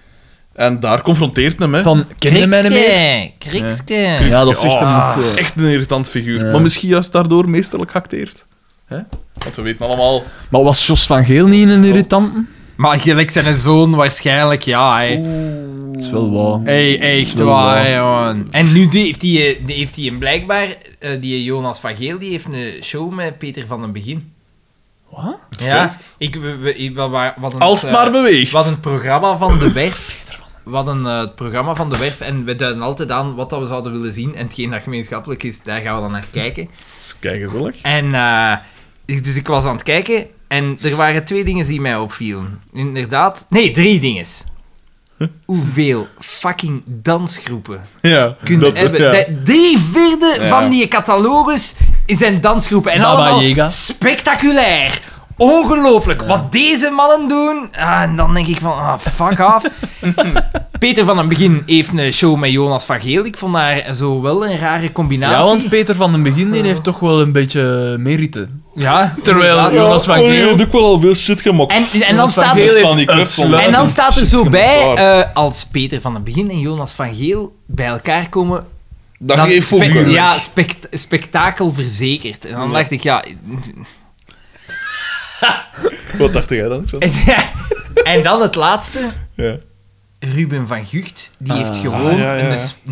[SPEAKER 2] En daar confronteert hem. Hè.
[SPEAKER 3] Van, ken je mij niet meer?
[SPEAKER 1] Krikske, krikske.
[SPEAKER 3] Ja, dat zegt hem
[SPEAKER 2] oh.
[SPEAKER 1] Ah.
[SPEAKER 3] ook. eh.
[SPEAKER 2] Echt een irritant figuur.
[SPEAKER 3] Ja.
[SPEAKER 2] Maar misschien juist daardoor meesterlijk acteert. Hè? Want we weten allemaal...
[SPEAKER 3] Maar was Jos van Geel niet een irritanten?
[SPEAKER 1] Maar gelijk zijn zoon waarschijnlijk, ja. hè.
[SPEAKER 3] Dat is wel waar.
[SPEAKER 1] Hey, echt
[SPEAKER 3] is wel
[SPEAKER 1] waar,
[SPEAKER 3] waar.
[SPEAKER 1] jongen. En nu die- heeft hij heeft die een blijkbaar, eh, die Jonas van Geel, die heeft een show met Peter van den Begin.
[SPEAKER 3] Wat?
[SPEAKER 1] Ja, ik, we, we, ik- wa- wa- wat een,
[SPEAKER 2] Als het
[SPEAKER 1] eh,
[SPEAKER 2] maar beweegt.
[SPEAKER 1] wat een programma van de werf. Wat een eh, het programma van de werf. En we duiden altijd aan wat dat we zouden willen zien. En hetgeen dat gemeenschappelijk is, daar gaan we dan naar kijken.
[SPEAKER 2] Dat is keigezellig.
[SPEAKER 1] En eh, ik- dus ik was aan het kijken en er waren twee dingen die mij opvielen. Inderdaad, nee, drie dingen. Hoeveel fucking dansgroepen
[SPEAKER 2] Ja.
[SPEAKER 1] kun je eh, hebben?
[SPEAKER 2] ja.
[SPEAKER 1] De- drie vierde
[SPEAKER 2] Ja.
[SPEAKER 1] van die catalogus zijn dansgroepen. En
[SPEAKER 3] Baba
[SPEAKER 1] allemaal
[SPEAKER 3] Yaga.
[SPEAKER 1] spectaculair. Ongelooflijk. Wat deze mannen doen. Ah, en dan denk ik van, ah, fuck off. Peter van den Begin heeft een show met Jonas van Geel. Ik vond daar zo wel een rare combinatie.
[SPEAKER 3] Ja, want Peter van den Begin die heeft toch wel een beetje merite.
[SPEAKER 1] Ja,
[SPEAKER 3] Terwijl
[SPEAKER 1] inderdaad.
[SPEAKER 3] Jonas van
[SPEAKER 2] oh, je
[SPEAKER 3] Geel...
[SPEAKER 2] hebt ook wel al veel shit gemaakt.
[SPEAKER 1] En, en, dan
[SPEAKER 3] Jonas van
[SPEAKER 1] staat
[SPEAKER 3] Geel
[SPEAKER 1] er,
[SPEAKER 2] staan die
[SPEAKER 3] heeft
[SPEAKER 2] kluts onder.
[SPEAKER 1] en
[SPEAKER 3] uitsluitend
[SPEAKER 1] dan staat er
[SPEAKER 3] shit
[SPEAKER 1] zo
[SPEAKER 3] gemaakt.
[SPEAKER 1] bij,
[SPEAKER 2] dat is
[SPEAKER 1] eh, als Peter van den Begin en Jonas van Geel bij elkaar komen,
[SPEAKER 2] Dat
[SPEAKER 1] dan
[SPEAKER 2] geeft ook
[SPEAKER 1] spe-
[SPEAKER 2] wel.
[SPEAKER 1] Ja, spect- spektakel verzekerd. En dan dacht ik, ja...
[SPEAKER 2] Wat dacht jij dan? Xander?
[SPEAKER 1] en dan het laatste,
[SPEAKER 2] Ja.
[SPEAKER 1] Ruben van Gucht, die
[SPEAKER 3] Ah.
[SPEAKER 1] heeft gewoon
[SPEAKER 2] Ah, ja, ja, ja.
[SPEAKER 1] een, sp-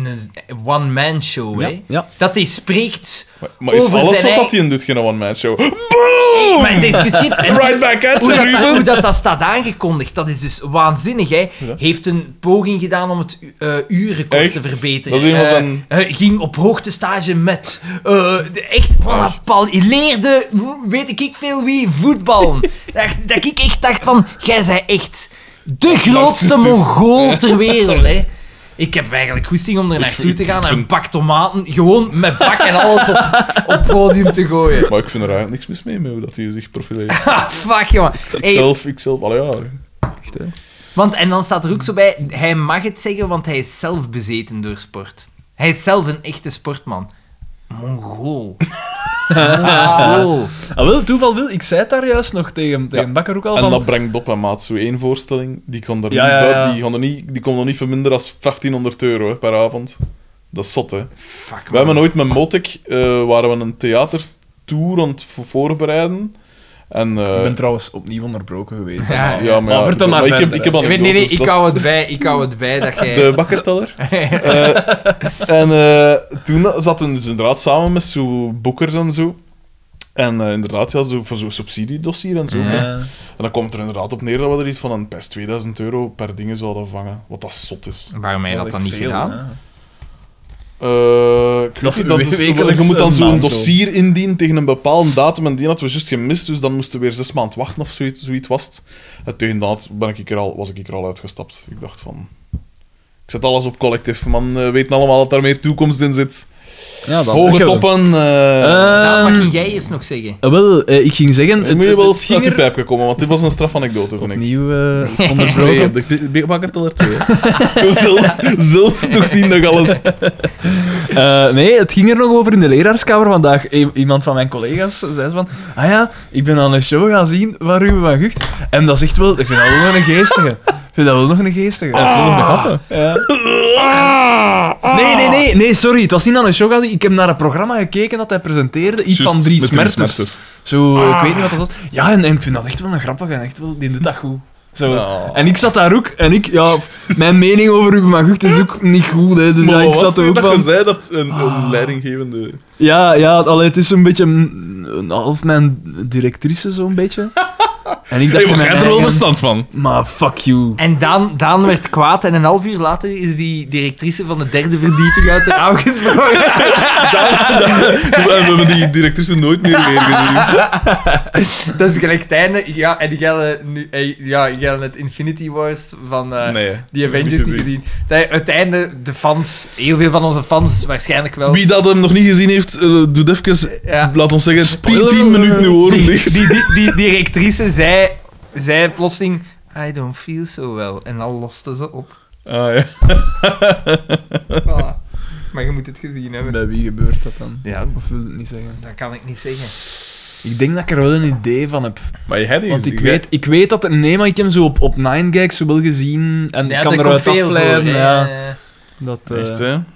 [SPEAKER 1] een one-man show.
[SPEAKER 3] Ja,
[SPEAKER 1] hè.
[SPEAKER 3] ja.
[SPEAKER 1] Dat hij spreekt.
[SPEAKER 2] Maar, maar is
[SPEAKER 1] Over
[SPEAKER 2] alles
[SPEAKER 1] zijn
[SPEAKER 2] wat dat
[SPEAKER 1] eigen-
[SPEAKER 2] hij in doet geen one-man show? Boom!
[SPEAKER 1] Maar het is geschikt. En
[SPEAKER 2] Right back at
[SPEAKER 1] hoe,
[SPEAKER 2] you,
[SPEAKER 1] dat, hoe
[SPEAKER 2] Ruben.
[SPEAKER 1] dat, dat staat aangekondigd, dat is dus waanzinnig. Hè. Heeft een poging gedaan om het u- eh, urenrecord
[SPEAKER 2] Echt?
[SPEAKER 1] te verbeteren.
[SPEAKER 2] Dat is een van
[SPEAKER 1] Eh,
[SPEAKER 2] zijn-
[SPEAKER 1] hij ging op hoogtestage met... eh, de- echt, wat een pal. Hij leerde, hm, weet ik ik veel wie, voetballen. dat, dat ik echt dacht van, jij zij echt de grootste
[SPEAKER 2] Narcistisch.
[SPEAKER 1] mongool ter wereld. Hè. Ik heb eigenlijk goesting om er naartoe
[SPEAKER 2] ik-
[SPEAKER 1] te gaan
[SPEAKER 2] ik
[SPEAKER 1] en
[SPEAKER 2] vind-
[SPEAKER 1] pak tomaten gewoon met bak en alles op, op podium te gooien.
[SPEAKER 2] Maar ik vind er eigenlijk niks mis mee, met hoe dat hij zich profileert.
[SPEAKER 1] Ah, fuck, jongen. Hey,
[SPEAKER 2] Ikzelf, ikzelf, alle jaren.
[SPEAKER 1] Want, en dan staat er ook zo bij, hij mag het zeggen, want hij is zelf bezeten door sport. Hij is zelf een echte sportman. Mongool. Mongool.
[SPEAKER 3] Ah, wel, toeval wil, ik zei het daar juist nog tegen, tegen
[SPEAKER 2] Ja.
[SPEAKER 3] Bakker ook al.
[SPEAKER 2] En
[SPEAKER 3] Van,
[SPEAKER 2] dat brengt op en maat zo één voorstelling. Die kan er
[SPEAKER 3] Ja,
[SPEAKER 2] niet
[SPEAKER 3] ja,
[SPEAKER 2] buiten-
[SPEAKER 3] ja.
[SPEAKER 2] Die, kan er niet, die komt er niet voor minder dan 1500 euro hè, per avond. Dat is zot, hè?
[SPEAKER 1] Fuck,
[SPEAKER 2] We hebben ooit met Motek eh, waren we een theatertour aan het vo- voorbereiden. En, eh,
[SPEAKER 3] Ik ben trouwens opnieuw onderbroken geweest. Ah,
[SPEAKER 1] Ja.
[SPEAKER 3] allemaal.
[SPEAKER 2] ja, maar, ja,
[SPEAKER 3] vertel maar
[SPEAKER 2] ik heb,
[SPEAKER 3] verder,
[SPEAKER 2] ik heb
[SPEAKER 3] hè.
[SPEAKER 1] man. Nee, nee,
[SPEAKER 2] anekdotes,
[SPEAKER 1] nee, ik
[SPEAKER 2] dus dat is-
[SPEAKER 1] hou het bij, ik hou het bij dat jij...
[SPEAKER 2] De bakkerteller. Eh, en eh, toen zaten we dus inderdaad samen met zo boekers en zo. En eh, inderdaad, ja, zo, voor zo'n subsidiedossier en zo. hè. En
[SPEAKER 3] Ja.
[SPEAKER 2] dan komt er inderdaad op neer dat we er iets van een best 2000 euro per ding zouden vangen. Wat dat zot is.
[SPEAKER 1] Waarom heb je dat dan niet
[SPEAKER 3] Veel,
[SPEAKER 1] gedaan?
[SPEAKER 3] hè.
[SPEAKER 2] Eh, ik weet
[SPEAKER 3] Dat
[SPEAKER 2] niet,
[SPEAKER 3] is
[SPEAKER 2] dat is,
[SPEAKER 3] wekelijks
[SPEAKER 2] je moet dan
[SPEAKER 3] een
[SPEAKER 2] zo'n
[SPEAKER 3] maand,
[SPEAKER 2] dossier indienen tegen een bepaalde datum en die hadden we juist gemist, dus dan moesten we weer zes maanden wachten of zoiets, zoiets was het. En tegen dat ben ik er al, was ik er al uitgestapt. Ik dacht van... Ik zet alles op collectief, man. eh, weten allemaal dat daar meer toekomst in zit.
[SPEAKER 3] Ja, dat
[SPEAKER 2] Hoge
[SPEAKER 3] lukken we.
[SPEAKER 2] toppen. eh
[SPEAKER 3] Eh,
[SPEAKER 1] Nou, wat
[SPEAKER 3] Ehm,
[SPEAKER 1] ging jij eerst nog zeggen?
[SPEAKER 3] Ah, wel, eh, ik ging zeggen...
[SPEAKER 2] moet je wel eens uit
[SPEAKER 3] ging
[SPEAKER 2] die
[SPEAKER 3] er
[SPEAKER 2] pijp komen, want dit was een strafanekdote, vind ik.
[SPEAKER 3] opnieuw eh,
[SPEAKER 2] Twee,
[SPEAKER 3] onderbroken.
[SPEAKER 2] heb ik- ik- ik maak er al er twee. hè. zelf, zelf toch zien dat ik alles...
[SPEAKER 3] Eh, nee, het ging er nog over in de leraarskamer vandaag. I- iemand van mijn collega's zei van... Ah ja, ik ben aan een show gaan zien waar Ruben van Gucht... En dat is echt wel... Ik vind dat wel nog een geestige. Ik vind dat wel nog een geestige. Dat is wel nog een gaffe. Ja. Nee, nee, nee, nee, sorry. Het was niet aan een show gaan zien. Ik heb naar een programma gekeken dat hij presenteerde. Iets
[SPEAKER 2] Juist,
[SPEAKER 3] van Drie
[SPEAKER 2] met Dries
[SPEAKER 3] Smertes.
[SPEAKER 2] Smertes.
[SPEAKER 3] Zo, eh, ik weet niet wat dat was. Ja, en, en ik vind dat echt wel een grappige. En echt wel, die doet dat goed. Zo.
[SPEAKER 2] Ja.
[SPEAKER 3] En ik zat daar ook, en ik, ja, mijn mening over Ruben van Gucht is ook niet goed, hè. Dus ja,
[SPEAKER 2] Maar
[SPEAKER 3] ik
[SPEAKER 2] wat was
[SPEAKER 3] zat er
[SPEAKER 2] het
[SPEAKER 3] ook
[SPEAKER 2] dat je
[SPEAKER 3] van... Ah.
[SPEAKER 2] zei dat een, een leidinggevende...
[SPEAKER 3] Ja, ja allee, het is een beetje mm, een half mijn directrice, zo'n beetje. En ik dacht,
[SPEAKER 2] Nee,
[SPEAKER 3] in mijn
[SPEAKER 2] maar jij hebt er wel
[SPEAKER 3] eigen,
[SPEAKER 2] verstand van.
[SPEAKER 3] maar fuck you.
[SPEAKER 1] En Daan, Daan werd kwaad en een half uur later is die directrice van de derde verdieping uit de raam gesprongen.
[SPEAKER 3] Ah,
[SPEAKER 2] We hebben die directrice nooit meer dus- weer gezien.
[SPEAKER 1] dat is gelijk het einde. Ja, en die gelden nu... eh, Ja, die gelden het Infinity Wars van... eh,
[SPEAKER 2] Ah, Nee.
[SPEAKER 1] Die Avengers niet gezien. Dat- Uiteindelijk, de fans, heel veel van onze fans waarschijnlijk wel.
[SPEAKER 2] Wie dat hem nog niet gezien heeft, eh, doet even,
[SPEAKER 1] Ja.
[SPEAKER 2] laat ons zeggen, 10,
[SPEAKER 3] Spoiler.
[SPEAKER 2] 10 minuten uw oren
[SPEAKER 1] Die,
[SPEAKER 2] dicht.
[SPEAKER 1] die, die, die directrice zei, zei plotseling: I don't feel so well. En dan loste ze op.
[SPEAKER 2] Ah, ja.
[SPEAKER 1] Voilà. Maar je moet het gezien hebben.
[SPEAKER 3] Bij wie gebeurt dat dan?
[SPEAKER 1] Ja,
[SPEAKER 3] Of wil ik het niet zeggen?
[SPEAKER 1] dat kan ik niet zeggen.
[SPEAKER 3] Ik denk dat ik er wel een idee van heb.
[SPEAKER 2] Maar jij hebt die
[SPEAKER 3] Want ik
[SPEAKER 2] gezien,
[SPEAKER 3] weet, ik weet dat... Nee, maar ik heb hem zo op, op Nine Gags zo wel gezien. En
[SPEAKER 1] Ja,
[SPEAKER 3] ik kan
[SPEAKER 1] daar
[SPEAKER 3] eruit
[SPEAKER 1] komt veel
[SPEAKER 3] afleiden.
[SPEAKER 1] voor,
[SPEAKER 3] ja,
[SPEAKER 1] hè.
[SPEAKER 3] dat,
[SPEAKER 2] hè?
[SPEAKER 3] eh,
[SPEAKER 2] Echt, hè?
[SPEAKER 3] ja.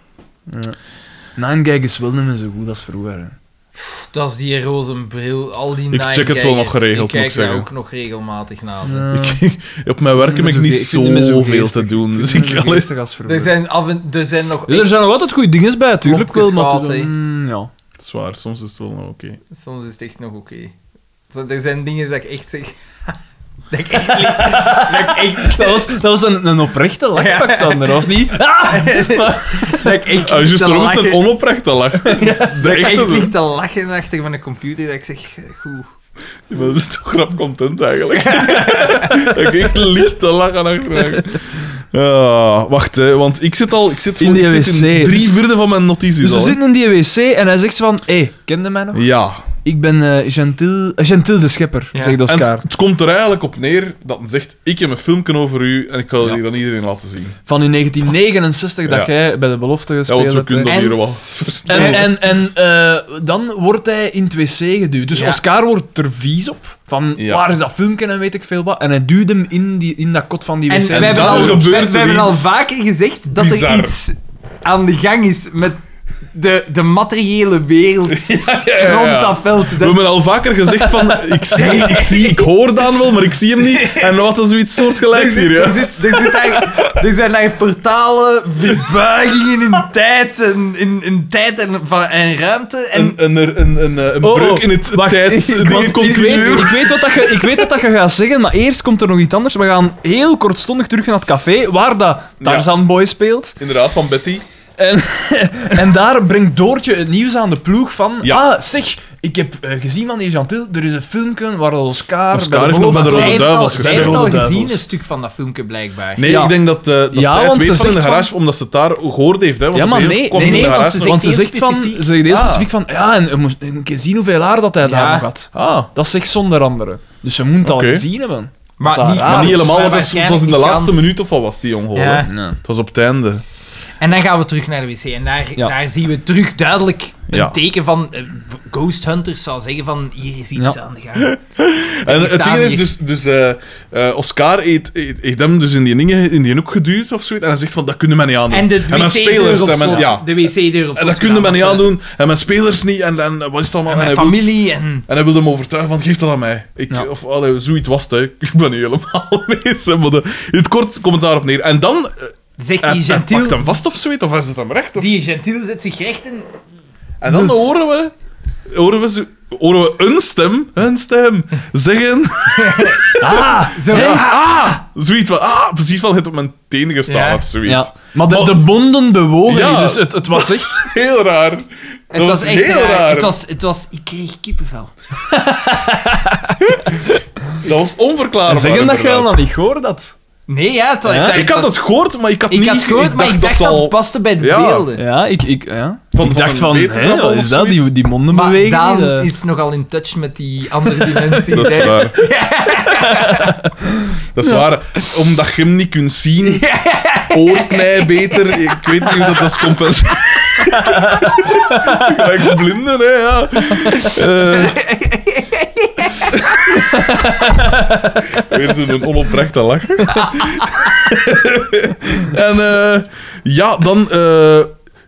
[SPEAKER 3] Nine Gag is wel niet meer zo goed als vroeger. hè.
[SPEAKER 1] Pff, Dat is die roze bril, al die
[SPEAKER 2] Ik check het wel nog geregeld,
[SPEAKER 1] Ik kijk
[SPEAKER 2] moet ik
[SPEAKER 1] daar
[SPEAKER 2] zeggen.
[SPEAKER 1] ook nog regelmatig naar.
[SPEAKER 3] Eh,
[SPEAKER 2] Ik- Op mijn werk
[SPEAKER 3] Ik
[SPEAKER 2] heb
[SPEAKER 3] vind
[SPEAKER 2] ik
[SPEAKER 3] hem
[SPEAKER 2] niet
[SPEAKER 3] zo ge- ik vind hem zo
[SPEAKER 2] zoveel te
[SPEAKER 3] geestig.
[SPEAKER 2] doen,
[SPEAKER 3] Ik
[SPEAKER 2] dus
[SPEAKER 3] vind hem
[SPEAKER 2] ik
[SPEAKER 3] zo
[SPEAKER 2] alleen...
[SPEAKER 3] geestig als vroeger.
[SPEAKER 1] Er zijn, af en, er zijn nog.
[SPEAKER 3] Er zijn nog altijd goede dingen bij, tuurlijk wel, maar... het is
[SPEAKER 1] Mopjes
[SPEAKER 3] dan- mm, ja.
[SPEAKER 2] Zwaar, soms is het wel nog oké.
[SPEAKER 1] Soms is het echt nog oké. Zo, Er zijn dingen dat ik echt zeg. dat ik echt. dat ik echt.
[SPEAKER 3] Dat was, dat was een, een oprechte lach,
[SPEAKER 1] Ja.
[SPEAKER 3] Alexander. Dat was niet... Ah!
[SPEAKER 1] dat ik echt.
[SPEAKER 2] Ah,
[SPEAKER 1] lig
[SPEAKER 2] juist
[SPEAKER 1] te
[SPEAKER 2] daarom is het
[SPEAKER 1] lachen.
[SPEAKER 2] een onoprechte lach. De
[SPEAKER 1] dat ik echt
[SPEAKER 2] echte...
[SPEAKER 1] lig te lachen achter mijn computer. Dat ik zeg. eh, Goed.
[SPEAKER 2] Dat is toch grap content eigenlijk. ik echt licht te lachen achter mij. Ja, wacht, hè, want ik zit al ik zit
[SPEAKER 3] In
[SPEAKER 2] voor-
[SPEAKER 3] die
[SPEAKER 2] ik zit in
[SPEAKER 3] wc.
[SPEAKER 2] drie
[SPEAKER 3] Dus-
[SPEAKER 2] vierde van mijn notities
[SPEAKER 3] Dus
[SPEAKER 2] al.
[SPEAKER 3] ze
[SPEAKER 2] hè.
[SPEAKER 3] zitten in die wc en hij zegt van... Hé, hey, kende mij nog?
[SPEAKER 2] Ja,
[SPEAKER 3] Ik ben eh Gentil, eh, Gentil de Schepper,
[SPEAKER 1] Ja.
[SPEAKER 3] zegt
[SPEAKER 2] En
[SPEAKER 3] Oscar.
[SPEAKER 2] het, het komt er eigenlijk op neer dat hij zegt: Ik heb een filmpje over u en ik ga het
[SPEAKER 3] Ja.
[SPEAKER 2] hier aan iedereen laten zien.
[SPEAKER 3] Van in 1969 dat
[SPEAKER 2] Ja.
[SPEAKER 3] jij bij de belofte
[SPEAKER 2] Ja,
[SPEAKER 3] gespeeld
[SPEAKER 2] want we
[SPEAKER 3] hebt,
[SPEAKER 2] kunnen
[SPEAKER 3] hè.
[SPEAKER 2] dat
[SPEAKER 1] En-
[SPEAKER 2] hier wel verstaan.
[SPEAKER 3] En, en, en eh, dan wordt hij in 2C geduwd. Dus
[SPEAKER 1] Ja.
[SPEAKER 3] Oscar wordt er vies op. Van
[SPEAKER 2] Ja.
[SPEAKER 3] waar is dat filmpje en weet ik veel wat. En hij duwt hem in, die, in dat kot van die
[SPEAKER 1] En
[SPEAKER 3] wc.
[SPEAKER 1] we
[SPEAKER 2] wij-
[SPEAKER 1] hebben,
[SPEAKER 2] daar
[SPEAKER 1] al,
[SPEAKER 2] gebeurt
[SPEAKER 1] we- we
[SPEAKER 2] zoiets
[SPEAKER 1] hebben al vaker gezegd dat
[SPEAKER 2] bizar.
[SPEAKER 1] er iets aan de gang is met de, de materiële wereld
[SPEAKER 2] ja, ja.
[SPEAKER 1] rond dat veld.
[SPEAKER 2] We
[SPEAKER 1] Dat,
[SPEAKER 2] hebben al vaker gezegd: van, ik, zie, ik, zie, ik hoor Daan wel, maar ik zie hem niet. En wat is zoiets soortgelijks hier? Ja?
[SPEAKER 1] er, zit, er, zit daar- er zijn daar portalen, verbuigingen in tijd en, in, in tijd en, van, en ruimte. En,
[SPEAKER 2] Een, een, een, een, een, een
[SPEAKER 3] Oh, oh,
[SPEAKER 2] breuk in het
[SPEAKER 3] wacht,
[SPEAKER 2] tijd.
[SPEAKER 1] ik-
[SPEAKER 2] dingen
[SPEAKER 1] want ik
[SPEAKER 3] ik weet,
[SPEAKER 2] continu.
[SPEAKER 3] ik, weet wat dat je, ik weet wat dat je gaat zeggen, maar eerst komt er nog iets anders. We gaan heel kortstondig terug naar het café waar dat Tarzan Boy speelt.
[SPEAKER 2] Inderdaad, van Betty.
[SPEAKER 3] En, en daar brengt Doortje het nieuws aan de ploeg van...
[SPEAKER 2] Ja.
[SPEAKER 3] Ah, zeg, ik heb eh, gezien van die Gentil, er is een filmpje waar Oscar...
[SPEAKER 2] Oscar
[SPEAKER 3] bij de
[SPEAKER 2] heeft nog
[SPEAKER 3] belofte-
[SPEAKER 2] bij de Rode
[SPEAKER 1] Zij heeft
[SPEAKER 2] Duivels
[SPEAKER 1] al-
[SPEAKER 2] gespeeld.
[SPEAKER 1] Zij heeft al
[SPEAKER 3] Rode
[SPEAKER 1] gezien
[SPEAKER 3] Duivels.
[SPEAKER 1] een stuk van dat filmpje, blijkbaar.
[SPEAKER 2] Nee,
[SPEAKER 3] Ja.
[SPEAKER 2] ik denk dat, eh dat
[SPEAKER 3] Ja,
[SPEAKER 2] zij het
[SPEAKER 3] want ze
[SPEAKER 2] weet van de
[SPEAKER 3] zegt van-
[SPEAKER 2] garage, omdat ze het daar gehoord heeft. Hè, want
[SPEAKER 3] Ja,
[SPEAKER 2] op
[SPEAKER 3] maar
[SPEAKER 2] een gegeven
[SPEAKER 3] nee,
[SPEAKER 2] moment kwam
[SPEAKER 3] nee,
[SPEAKER 2] ze
[SPEAKER 3] nee,
[SPEAKER 2] in de
[SPEAKER 1] want
[SPEAKER 2] garage
[SPEAKER 1] ze
[SPEAKER 2] nog-
[SPEAKER 1] zegt-
[SPEAKER 3] Want
[SPEAKER 1] heel
[SPEAKER 3] ze zegt van,
[SPEAKER 1] specifiek.
[SPEAKER 3] ze zegt heel
[SPEAKER 2] Ah.
[SPEAKER 3] specifiek van, ja, en je moest een keer zien hoeveel haar dat hij daar
[SPEAKER 1] Ja.
[SPEAKER 3] nog had.
[SPEAKER 2] Ah,
[SPEAKER 3] Dat zegt zonder andere. Dus ze moet dat
[SPEAKER 2] Oké.
[SPEAKER 3] al gezien hebben.
[SPEAKER 1] Maar
[SPEAKER 3] Maar
[SPEAKER 1] niet,
[SPEAKER 2] maar niet
[SPEAKER 3] dus-
[SPEAKER 2] helemaal, want
[SPEAKER 1] maar
[SPEAKER 2] dat is- het was
[SPEAKER 1] waarschijnlijk
[SPEAKER 2] in de
[SPEAKER 1] niet
[SPEAKER 2] laatste
[SPEAKER 1] gans.
[SPEAKER 2] minuut of wat was die jongen
[SPEAKER 1] Ja.
[SPEAKER 3] Nee.
[SPEAKER 2] Het was op het einde.
[SPEAKER 1] En dan gaan we terug naar de wc. En daar,
[SPEAKER 3] Ja.
[SPEAKER 1] daar zien we terug duidelijk een
[SPEAKER 2] Ja.
[SPEAKER 1] teken van... eh, Ghost Hunters zal zeggen van... Hier is iets
[SPEAKER 3] Ja.
[SPEAKER 1] aan de gang.
[SPEAKER 2] En het
[SPEAKER 1] staan
[SPEAKER 2] ding is
[SPEAKER 1] hier.
[SPEAKER 2] dus, dus eh, eh, Oscar heeft, heeft- heeft hem dus in die, dingen, in die hoek geduwd of zoiets. En hij zegt van, dat kunnen we niet aandoen.
[SPEAKER 1] En de
[SPEAKER 2] mijn
[SPEAKER 1] wc-deur op
[SPEAKER 2] en mijn-
[SPEAKER 1] slot.
[SPEAKER 2] ja.
[SPEAKER 1] De wc-deur op
[SPEAKER 2] En
[SPEAKER 1] slot
[SPEAKER 2] dat kunnen we
[SPEAKER 1] gedaan, was,
[SPEAKER 2] niet
[SPEAKER 1] eh,
[SPEAKER 2] aandoen. En mijn spelers niet. En, en eh, wat is het allemaal?
[SPEAKER 1] En mijn
[SPEAKER 2] hij wil-
[SPEAKER 1] familie en...
[SPEAKER 2] En hij wilde hem overtuigen van, geef dat aan mij. Ik,
[SPEAKER 3] Ja.
[SPEAKER 2] Of allee, zoiets was het, hè. ik ben niet helemaal mee. zeg Maar de, in het kort komt daarop neer. En dan, eh,
[SPEAKER 1] Zegt
[SPEAKER 2] hij,
[SPEAKER 1] die
[SPEAKER 2] hij pakt
[SPEAKER 1] gentiel...
[SPEAKER 2] hem vast of zoiets, of hij zet hem recht. Of,
[SPEAKER 1] Die gentiel zet zich recht en...
[SPEAKER 2] en dan
[SPEAKER 1] Nut.
[SPEAKER 2] horen we, horen, we, zo- horen we een stem, een stem, zeggen...
[SPEAKER 3] Ah!
[SPEAKER 1] Zo,
[SPEAKER 3] hè?
[SPEAKER 1] ah,
[SPEAKER 2] Ah! Zoiets van, ah, precies van, het op mijn tenen gestaan
[SPEAKER 1] Ja.
[SPEAKER 2] of zoiets.
[SPEAKER 3] Ja. Maar de,
[SPEAKER 2] Maar-
[SPEAKER 3] de bonden bewogen
[SPEAKER 2] Oh. Ja.
[SPEAKER 3] niet, dus het, het was echt...
[SPEAKER 2] Heel raar.
[SPEAKER 1] Het
[SPEAKER 2] dat
[SPEAKER 1] was echt
[SPEAKER 2] heel raar.
[SPEAKER 1] Het was, het was... Ik kreeg kippenvel.
[SPEAKER 2] Dat was onverklaarbaar.
[SPEAKER 3] Zeggen dat je
[SPEAKER 2] inderdaad.
[SPEAKER 3] wel nog niet gehoord dat.
[SPEAKER 1] Nee, ja, het,
[SPEAKER 3] Ja?
[SPEAKER 1] het-
[SPEAKER 2] Ik had het gehoord, maar ik had
[SPEAKER 1] Ik
[SPEAKER 2] niet...
[SPEAKER 1] had het gehoord, maar ik dacht dat
[SPEAKER 2] zal
[SPEAKER 1] het paste bij de
[SPEAKER 2] Ja.
[SPEAKER 1] beelden.
[SPEAKER 3] Ja, ik, ik, ja.
[SPEAKER 2] Van-
[SPEAKER 3] ik
[SPEAKER 2] van
[SPEAKER 3] dacht
[SPEAKER 2] een
[SPEAKER 3] van,
[SPEAKER 2] betere
[SPEAKER 3] hè,
[SPEAKER 2] appel
[SPEAKER 3] wat
[SPEAKER 2] of
[SPEAKER 3] is dat? Die,
[SPEAKER 2] zoiets?
[SPEAKER 3] die monden
[SPEAKER 1] Maar
[SPEAKER 3] bewegen
[SPEAKER 1] Daan
[SPEAKER 3] niet, eh.
[SPEAKER 1] is nogal in touch met die andere dimensie.
[SPEAKER 2] Dat is
[SPEAKER 1] hè.
[SPEAKER 2] waar. Dat is waar. Omdat je hem niet kunt zien, hoort mij beter. Ik weet niet hoe dat, dat is compensatie. Gelijk blinden, hè, ja. Eh. Weer zo'n onoprechte lach. en eh, ja, dan eh,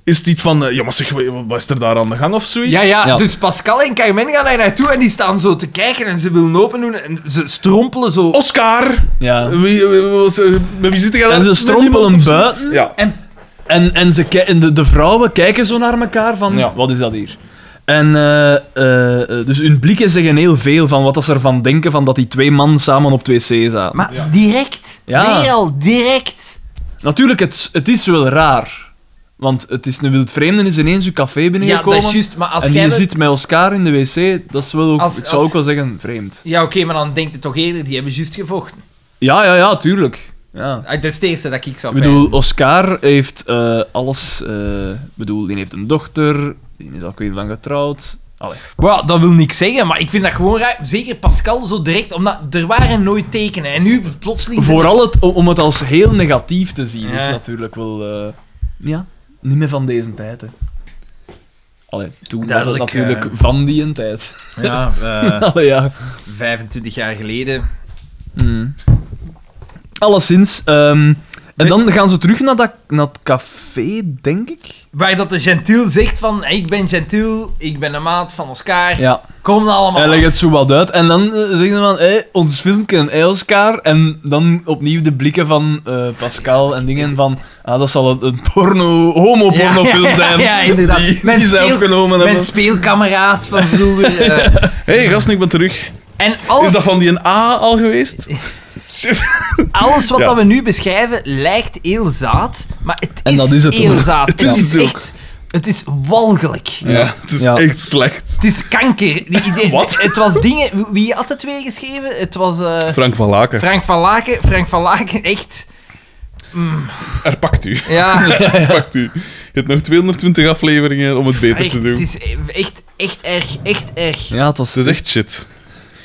[SPEAKER 2] is het iets van... eh, ja, maar zeg, wat wat is er daar aan de gang of zoiets?
[SPEAKER 1] Ja, ja,
[SPEAKER 3] Ja.
[SPEAKER 1] dus Pascal en Carmen gaan daar naartoe en die staan zo te kijken en ze willen open doen en ze strompelen zo.
[SPEAKER 2] Oscar!
[SPEAKER 3] Ja.
[SPEAKER 2] Wie, wie, wie, was- eh, met wie zit jij daar?
[SPEAKER 3] En ze
[SPEAKER 2] Met iemand
[SPEAKER 3] strompelen
[SPEAKER 2] of zoiets?
[SPEAKER 3] buiten.
[SPEAKER 2] Ja.
[SPEAKER 1] En
[SPEAKER 3] En, en ze ki- en de, de vrouwen kijken zo naar elkaar van,
[SPEAKER 2] Ja.
[SPEAKER 3] wat is dat hier? En eh, eh, eh, dus hun blikken zeggen heel veel van wat dat ze ervan denken van dat die twee man samen op 2C zaten.
[SPEAKER 1] maar
[SPEAKER 2] Ja.
[SPEAKER 1] direct.
[SPEAKER 3] Ja.
[SPEAKER 1] Weer al, direct.
[SPEAKER 3] Natuurlijk, het, het is wel raar. Want het is een wild vreemde is ineens uw café
[SPEAKER 1] Ja,
[SPEAKER 3] binnengekomen.
[SPEAKER 1] dat is juist, maar als
[SPEAKER 3] en
[SPEAKER 1] jij...
[SPEAKER 3] je
[SPEAKER 1] dat-
[SPEAKER 3] zit met Oscar in de wc, dat is wel ook,
[SPEAKER 1] Als-
[SPEAKER 3] ik zou
[SPEAKER 1] als-
[SPEAKER 3] ook wel zeggen, vreemd.
[SPEAKER 1] Ja, oké, maar dan denkt het toch eerder, die hebben juist gevochten.
[SPEAKER 3] Ja, ja, ja, tuurlijk. Ja.
[SPEAKER 1] Ah, Dat is het eerste dat ik zou
[SPEAKER 3] Ik bedoel,
[SPEAKER 1] peilen.
[SPEAKER 3] Oscar heeft eh, alles. eh, Ik bedoel, die heeft een dochter, die is al kwijt van getrouwd. Allee.
[SPEAKER 1] Wel, dat wil niks zeggen, maar ik vind dat gewoon raar. Zeker Pascal zo direct, omdat er waren nooit tekenen. En nu plotseling...
[SPEAKER 3] Vooral het, om het als heel negatief te zien, is
[SPEAKER 1] Ja.
[SPEAKER 3] natuurlijk wel. eh, ja, niet meer van deze tijd. Hè. Allee, toen
[SPEAKER 1] Duidelijk,
[SPEAKER 3] was het natuurlijk
[SPEAKER 1] eh,
[SPEAKER 3] van die tijd.
[SPEAKER 1] Ja, eh,
[SPEAKER 3] Allee, ja.
[SPEAKER 1] 25 jaar geleden.
[SPEAKER 3] Mm. Alleszins. ehm, en
[SPEAKER 1] Nee.
[SPEAKER 3] dan gaan ze terug naar, dat, naar het café, denk ik.
[SPEAKER 1] Waar dat de gentiel zegt van, ik ben gentiel, ik ben de maat van Oscar,
[SPEAKER 3] Ja.
[SPEAKER 1] kom allemaal.
[SPEAKER 3] Hij legt het zo wat uit. En dan eh, zeggen ze van, hé, ons filmpje, hé, Oscar. En dan opnieuw de blikken van eh, Pascal en dingen van... Ah, dat zal een, een porno, homo-pornofilm zijn.
[SPEAKER 1] Ja, inderdaad.
[SPEAKER 3] Die,
[SPEAKER 1] Mijn
[SPEAKER 3] die ze
[SPEAKER 1] speel-
[SPEAKER 3] opgenomen
[SPEAKER 1] Mijn
[SPEAKER 3] hebben.
[SPEAKER 1] speelkameraad van vroeger. eh.
[SPEAKER 2] Hé, hey, gast, ik ben terug.
[SPEAKER 1] en alles,
[SPEAKER 2] Is dat van die een A al geweest? Shit.
[SPEAKER 1] alles wat
[SPEAKER 2] Ja.
[SPEAKER 1] dat we nu beschrijven lijkt heel zaad, maar het is,
[SPEAKER 3] En dat is het
[SPEAKER 1] heel
[SPEAKER 3] ook.
[SPEAKER 1] zaad.
[SPEAKER 2] Het is het ook.
[SPEAKER 1] echt... Het is walgelijk.
[SPEAKER 2] Ja, het is
[SPEAKER 3] Ja.
[SPEAKER 2] echt slecht.
[SPEAKER 1] Het is kanker. Die idee-
[SPEAKER 2] Wat?
[SPEAKER 1] Het was dingen... Wie had het twee geschreven? Het was eh,
[SPEAKER 2] Frank van Laken,
[SPEAKER 1] Frank van Laken. Frank van Laken, echt...
[SPEAKER 2] er pakt u.
[SPEAKER 1] Ja,
[SPEAKER 2] Er pakt u. hebt nog 220 afleveringen om het beter
[SPEAKER 1] Echt,
[SPEAKER 2] te
[SPEAKER 1] het
[SPEAKER 2] doen.
[SPEAKER 1] is echt, echt erg, echt erg.
[SPEAKER 3] Ja, het was
[SPEAKER 2] Het is echt shit.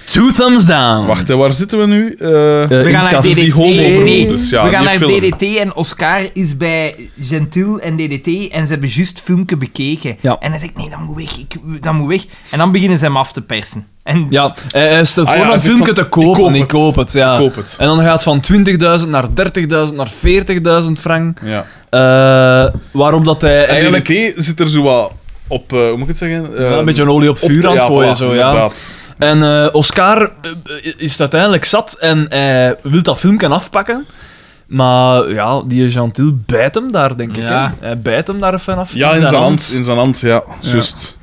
[SPEAKER 3] Two thumbs down.
[SPEAKER 2] Wacht, hè, waar zitten we nu? Eh,
[SPEAKER 3] Eh,
[SPEAKER 1] We
[SPEAKER 3] in
[SPEAKER 1] gaan
[SPEAKER 3] het
[SPEAKER 1] naar
[SPEAKER 3] café.
[SPEAKER 1] DDT.
[SPEAKER 2] die homovermoedens, ja,
[SPEAKER 1] we gaan
[SPEAKER 2] die
[SPEAKER 1] naar
[SPEAKER 2] film.
[SPEAKER 1] DDT en Oscar is bij Gentil en DDT en ze hebben juist het filmpje bekeken.
[SPEAKER 3] Ja.
[SPEAKER 1] En hij zegt, nee, dat moet weg, ik, dat moet weg. En dan beginnen ze hem af te persen. En
[SPEAKER 3] Ja, hij hij stelt
[SPEAKER 2] Ah
[SPEAKER 3] voor
[SPEAKER 2] ja,
[SPEAKER 3] om
[SPEAKER 2] hij
[SPEAKER 3] een
[SPEAKER 2] zegt
[SPEAKER 3] filmpje
[SPEAKER 2] van,
[SPEAKER 3] te kopen.
[SPEAKER 2] ik koop
[SPEAKER 3] en Ik
[SPEAKER 2] het.
[SPEAKER 3] koop het, ja.
[SPEAKER 2] Koop het.
[SPEAKER 3] En dan gaat het van 20.000 naar 30.000 naar 40.000 frank.
[SPEAKER 2] Ja.
[SPEAKER 3] Eh waarop dat hij
[SPEAKER 2] Eigenlijk hé, zit er zo wat op, eh, hoe moet ik het zeggen?
[SPEAKER 3] ja,
[SPEAKER 2] Eh,
[SPEAKER 3] een beetje een olie op
[SPEAKER 2] op
[SPEAKER 3] vuur
[SPEAKER 2] de-
[SPEAKER 3] aan het
[SPEAKER 2] ja,
[SPEAKER 3] gooien.
[SPEAKER 2] voilà,
[SPEAKER 3] zo, ja.
[SPEAKER 2] inderdaad.
[SPEAKER 3] En eh, Oscar eh, eh, is het uiteindelijk zat en hij wil dat filmpje afpakken. Maar ja, die Gentil bijt hem daar, denk ik.
[SPEAKER 1] Ja.
[SPEAKER 3] hè. Hij bijt hem daar even af.
[SPEAKER 2] Ja, in zijn hand. In zijn hand, ja. Juist.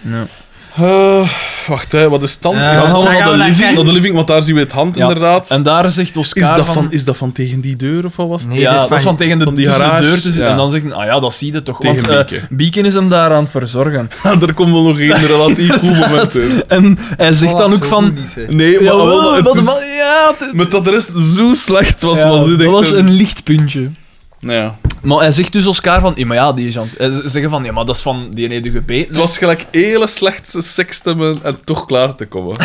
[SPEAKER 3] Ja.
[SPEAKER 2] Eh, wacht, hè, wat is het dan?
[SPEAKER 3] Eh,
[SPEAKER 2] nou, Ja,
[SPEAKER 3] dan
[SPEAKER 2] naar
[SPEAKER 3] gaan we naar de living.
[SPEAKER 2] de living, want daar zien we het hand,
[SPEAKER 3] Ja.
[SPEAKER 2] inderdaad.
[SPEAKER 3] En daar zegt Oscar
[SPEAKER 2] is, dat van, is dat van tegen die deur, of wat was het?
[SPEAKER 1] Nee,
[SPEAKER 3] ja,
[SPEAKER 1] dat is
[SPEAKER 3] dat is
[SPEAKER 1] van-
[SPEAKER 3] van tegen de,
[SPEAKER 2] van die
[SPEAKER 3] tussen de
[SPEAKER 2] garage,
[SPEAKER 3] deur te zitten.
[SPEAKER 2] ja.
[SPEAKER 3] En dan zegt hij, ah ja, dat zie je toch.
[SPEAKER 2] Tegen
[SPEAKER 3] want eh,
[SPEAKER 2] Bieke.
[SPEAKER 3] Bieken is hem daar aan het verzorgen.
[SPEAKER 2] er komt wel nog één relatief cool moment in.
[SPEAKER 3] En hij zegt
[SPEAKER 1] Oh,
[SPEAKER 3] dan ook van...
[SPEAKER 2] Nee, maar
[SPEAKER 3] jawel,
[SPEAKER 2] wel, het
[SPEAKER 3] dat
[SPEAKER 2] is-
[SPEAKER 3] wel- ja, het-
[SPEAKER 2] met dat de rest zo slecht was,
[SPEAKER 3] ja,
[SPEAKER 2] was dit
[SPEAKER 3] dat
[SPEAKER 2] echt
[SPEAKER 3] was
[SPEAKER 2] een-
[SPEAKER 3] een lichtpuntje.
[SPEAKER 2] Nou ja.
[SPEAKER 3] Maar hij zegt dus Oscar van... Ja, maar ja, die is aan het- Hij z- zeggen van... Ja, maar dat is van die ene die gebeten.
[SPEAKER 2] Het was gelijk hele slechte seks te hebben en toch klaar te komen.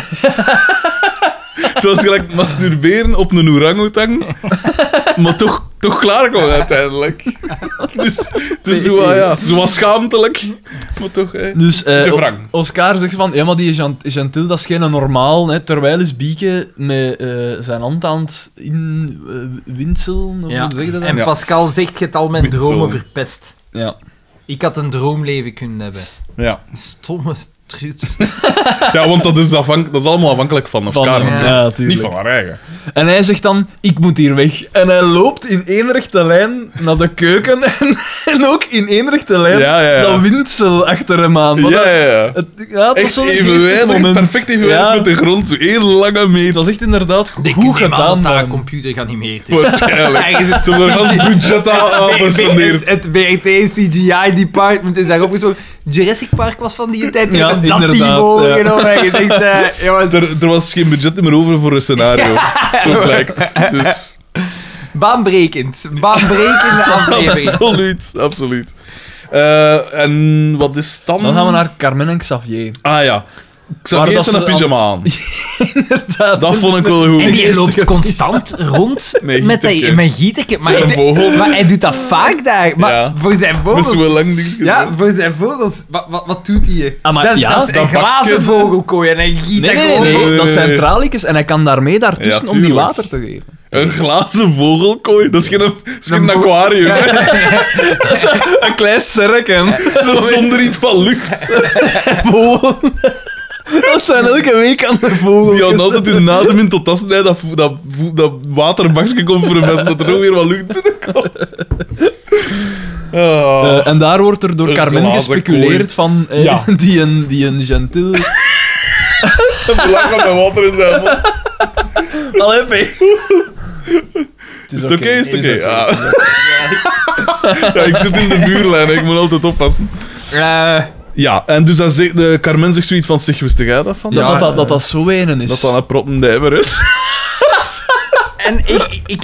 [SPEAKER 2] het was gelijk masturberen op een oerangutang, maar toch, toch klaar komen uiteindelijk. Dus, dus zo, wat, ja, zo wat schaamtelijk, maar toch. Hè.
[SPEAKER 3] Dus eh,
[SPEAKER 2] Te
[SPEAKER 3] O-
[SPEAKER 2] wrang.
[SPEAKER 3] Oscar zegt van... Ja, maar die Jean- Gentil, dat is geen normaal. Hè, terwijl is Bieke met eh, zijn hand aan het inwinselen.
[SPEAKER 1] Ja.
[SPEAKER 3] hoe zeg je dat?
[SPEAKER 1] En
[SPEAKER 2] Ja.
[SPEAKER 1] Pascal zegt, je hebt al mijn
[SPEAKER 2] Goed zo.
[SPEAKER 1] dromen verpest.
[SPEAKER 3] Ja.
[SPEAKER 1] Ik had een droomleven kunnen hebben.
[SPEAKER 2] Ja.
[SPEAKER 1] Stomme truut.
[SPEAKER 2] ja, want dat is, afhank- dat is allemaal afhankelijk van
[SPEAKER 3] Van,
[SPEAKER 2] elkaar.
[SPEAKER 3] ja,
[SPEAKER 2] natuurlijk.
[SPEAKER 3] tuurlijk.
[SPEAKER 2] Niet van haar eigen.
[SPEAKER 3] En hij zegt dan, ik moet hier weg. En hij loopt in één rechte lijn naar de keuken en, en ook in één rechte lijn
[SPEAKER 2] Ja, ja, ja.
[SPEAKER 3] dat windsel achter hem aan. Maar
[SPEAKER 2] Ja,
[SPEAKER 3] dat-
[SPEAKER 2] ja, ja.
[SPEAKER 3] Het, ja, het was
[SPEAKER 2] Echt
[SPEAKER 3] zo'n geestig
[SPEAKER 2] evenwijdig,
[SPEAKER 3] moment.
[SPEAKER 2] perfect evenwijdig
[SPEAKER 3] Ja,
[SPEAKER 2] met de grond. Zo één lange
[SPEAKER 3] Het
[SPEAKER 2] meter.
[SPEAKER 3] was echt inderdaad
[SPEAKER 1] Ik
[SPEAKER 3] goed
[SPEAKER 1] neem aan
[SPEAKER 3] gedaan.
[SPEAKER 1] dat dat
[SPEAKER 3] man.
[SPEAKER 1] computer geanimeerd is.
[SPEAKER 2] Waarschijnlijk.
[SPEAKER 1] Ergens het-
[SPEAKER 2] Ze hebben er gans budget aan- aan gespendeerd.
[SPEAKER 1] Het, het BRT CGI department is daar opgetrokken. Jurassic Park was van die tijd.
[SPEAKER 3] Ja,
[SPEAKER 1] Ja, dat
[SPEAKER 3] inderdaad,
[SPEAKER 1] team overgenomen. En je denkt, eh, jongens,
[SPEAKER 2] Er, er was geen budget meer over voor een scenario. Zo blijkt. Dus,
[SPEAKER 1] baanbrekend. Baanbrekende aflevering.
[SPEAKER 2] absoluut, absoluut. Eh, en wat is dan?
[SPEAKER 3] Dan gaan we naar Carmen en Xavier.
[SPEAKER 2] Ah ja. Xavier
[SPEAKER 3] dat
[SPEAKER 2] zijn een
[SPEAKER 3] ze
[SPEAKER 2] pyjama aan.
[SPEAKER 3] Inderdaad.
[SPEAKER 2] Dat vond ik wel
[SPEAKER 1] En
[SPEAKER 2] goed.
[SPEAKER 1] die loopt constant rond
[SPEAKER 2] Met
[SPEAKER 1] met
[SPEAKER 2] gieterke.
[SPEAKER 1] die, mijn gieterke. Maar,
[SPEAKER 2] Met
[SPEAKER 1] hij
[SPEAKER 2] een
[SPEAKER 1] doet-
[SPEAKER 2] vogel.
[SPEAKER 1] maar hij doet dat vaak daar. Maar
[SPEAKER 2] Ja.
[SPEAKER 1] voor zijn
[SPEAKER 2] Dat is
[SPEAKER 1] vogels...
[SPEAKER 2] wel lang niks gedaan.
[SPEAKER 1] Ja, voor zijn vogels. Wat, wat, wat doet hij? hier?
[SPEAKER 3] Ah, maar
[SPEAKER 1] dat,
[SPEAKER 3] ja,
[SPEAKER 1] dat is een
[SPEAKER 2] dat bakje.
[SPEAKER 1] glazen vogelkooi en hij giet
[SPEAKER 3] Nee,
[SPEAKER 1] dat
[SPEAKER 3] nee, nee,
[SPEAKER 1] gewoon
[SPEAKER 3] nee,
[SPEAKER 1] vol.
[SPEAKER 2] Nee,
[SPEAKER 3] Dat
[SPEAKER 2] nee,
[SPEAKER 3] zijn
[SPEAKER 2] nee.
[SPEAKER 3] traliekjes en hij kan daarmee daartussen
[SPEAKER 2] Ja,
[SPEAKER 3] om die
[SPEAKER 2] tuurlijk.
[SPEAKER 3] water te geven.
[SPEAKER 2] Een glazen vogelkooi. Dat is geen, dat is geen
[SPEAKER 1] Een bo-
[SPEAKER 2] aquarium. hè.
[SPEAKER 3] Een klein serken.
[SPEAKER 2] Dat is Zonder iets van lucht.
[SPEAKER 3] Dat zijn elke week aan de vogels.
[SPEAKER 2] Die hadden altijd hun adem in tot tassen. dat, vo- dat, vo- dat waterbakje komt voor een best dat er ook weer wat lucht binnenkomt. Ah.
[SPEAKER 3] Eh, en daar wordt er door
[SPEAKER 2] Een
[SPEAKER 3] Carmen
[SPEAKER 2] glazen
[SPEAKER 3] gespeculeerd van eh,
[SPEAKER 2] Ja.
[SPEAKER 3] die, een, die een gentil.
[SPEAKER 2] Lachen met water in zijn mond.
[SPEAKER 3] Allee, P. Het
[SPEAKER 2] Is het oké? Is
[SPEAKER 3] is
[SPEAKER 2] het oké?
[SPEAKER 3] oké.
[SPEAKER 2] Ja. Ja, ik zit in de vuurlijn, hè. ik moet altijd oppassen.
[SPEAKER 1] Eh,
[SPEAKER 2] Ja, en dus dan zegt, de Carmen zegt zoiets van, zeg, wist jij dat van?
[SPEAKER 3] Dat,
[SPEAKER 1] Ja,
[SPEAKER 3] dat, dat,
[SPEAKER 1] eh,
[SPEAKER 3] dat dat zo enen is.
[SPEAKER 2] Dat dat een proppendijver is.
[SPEAKER 1] En ik, ik,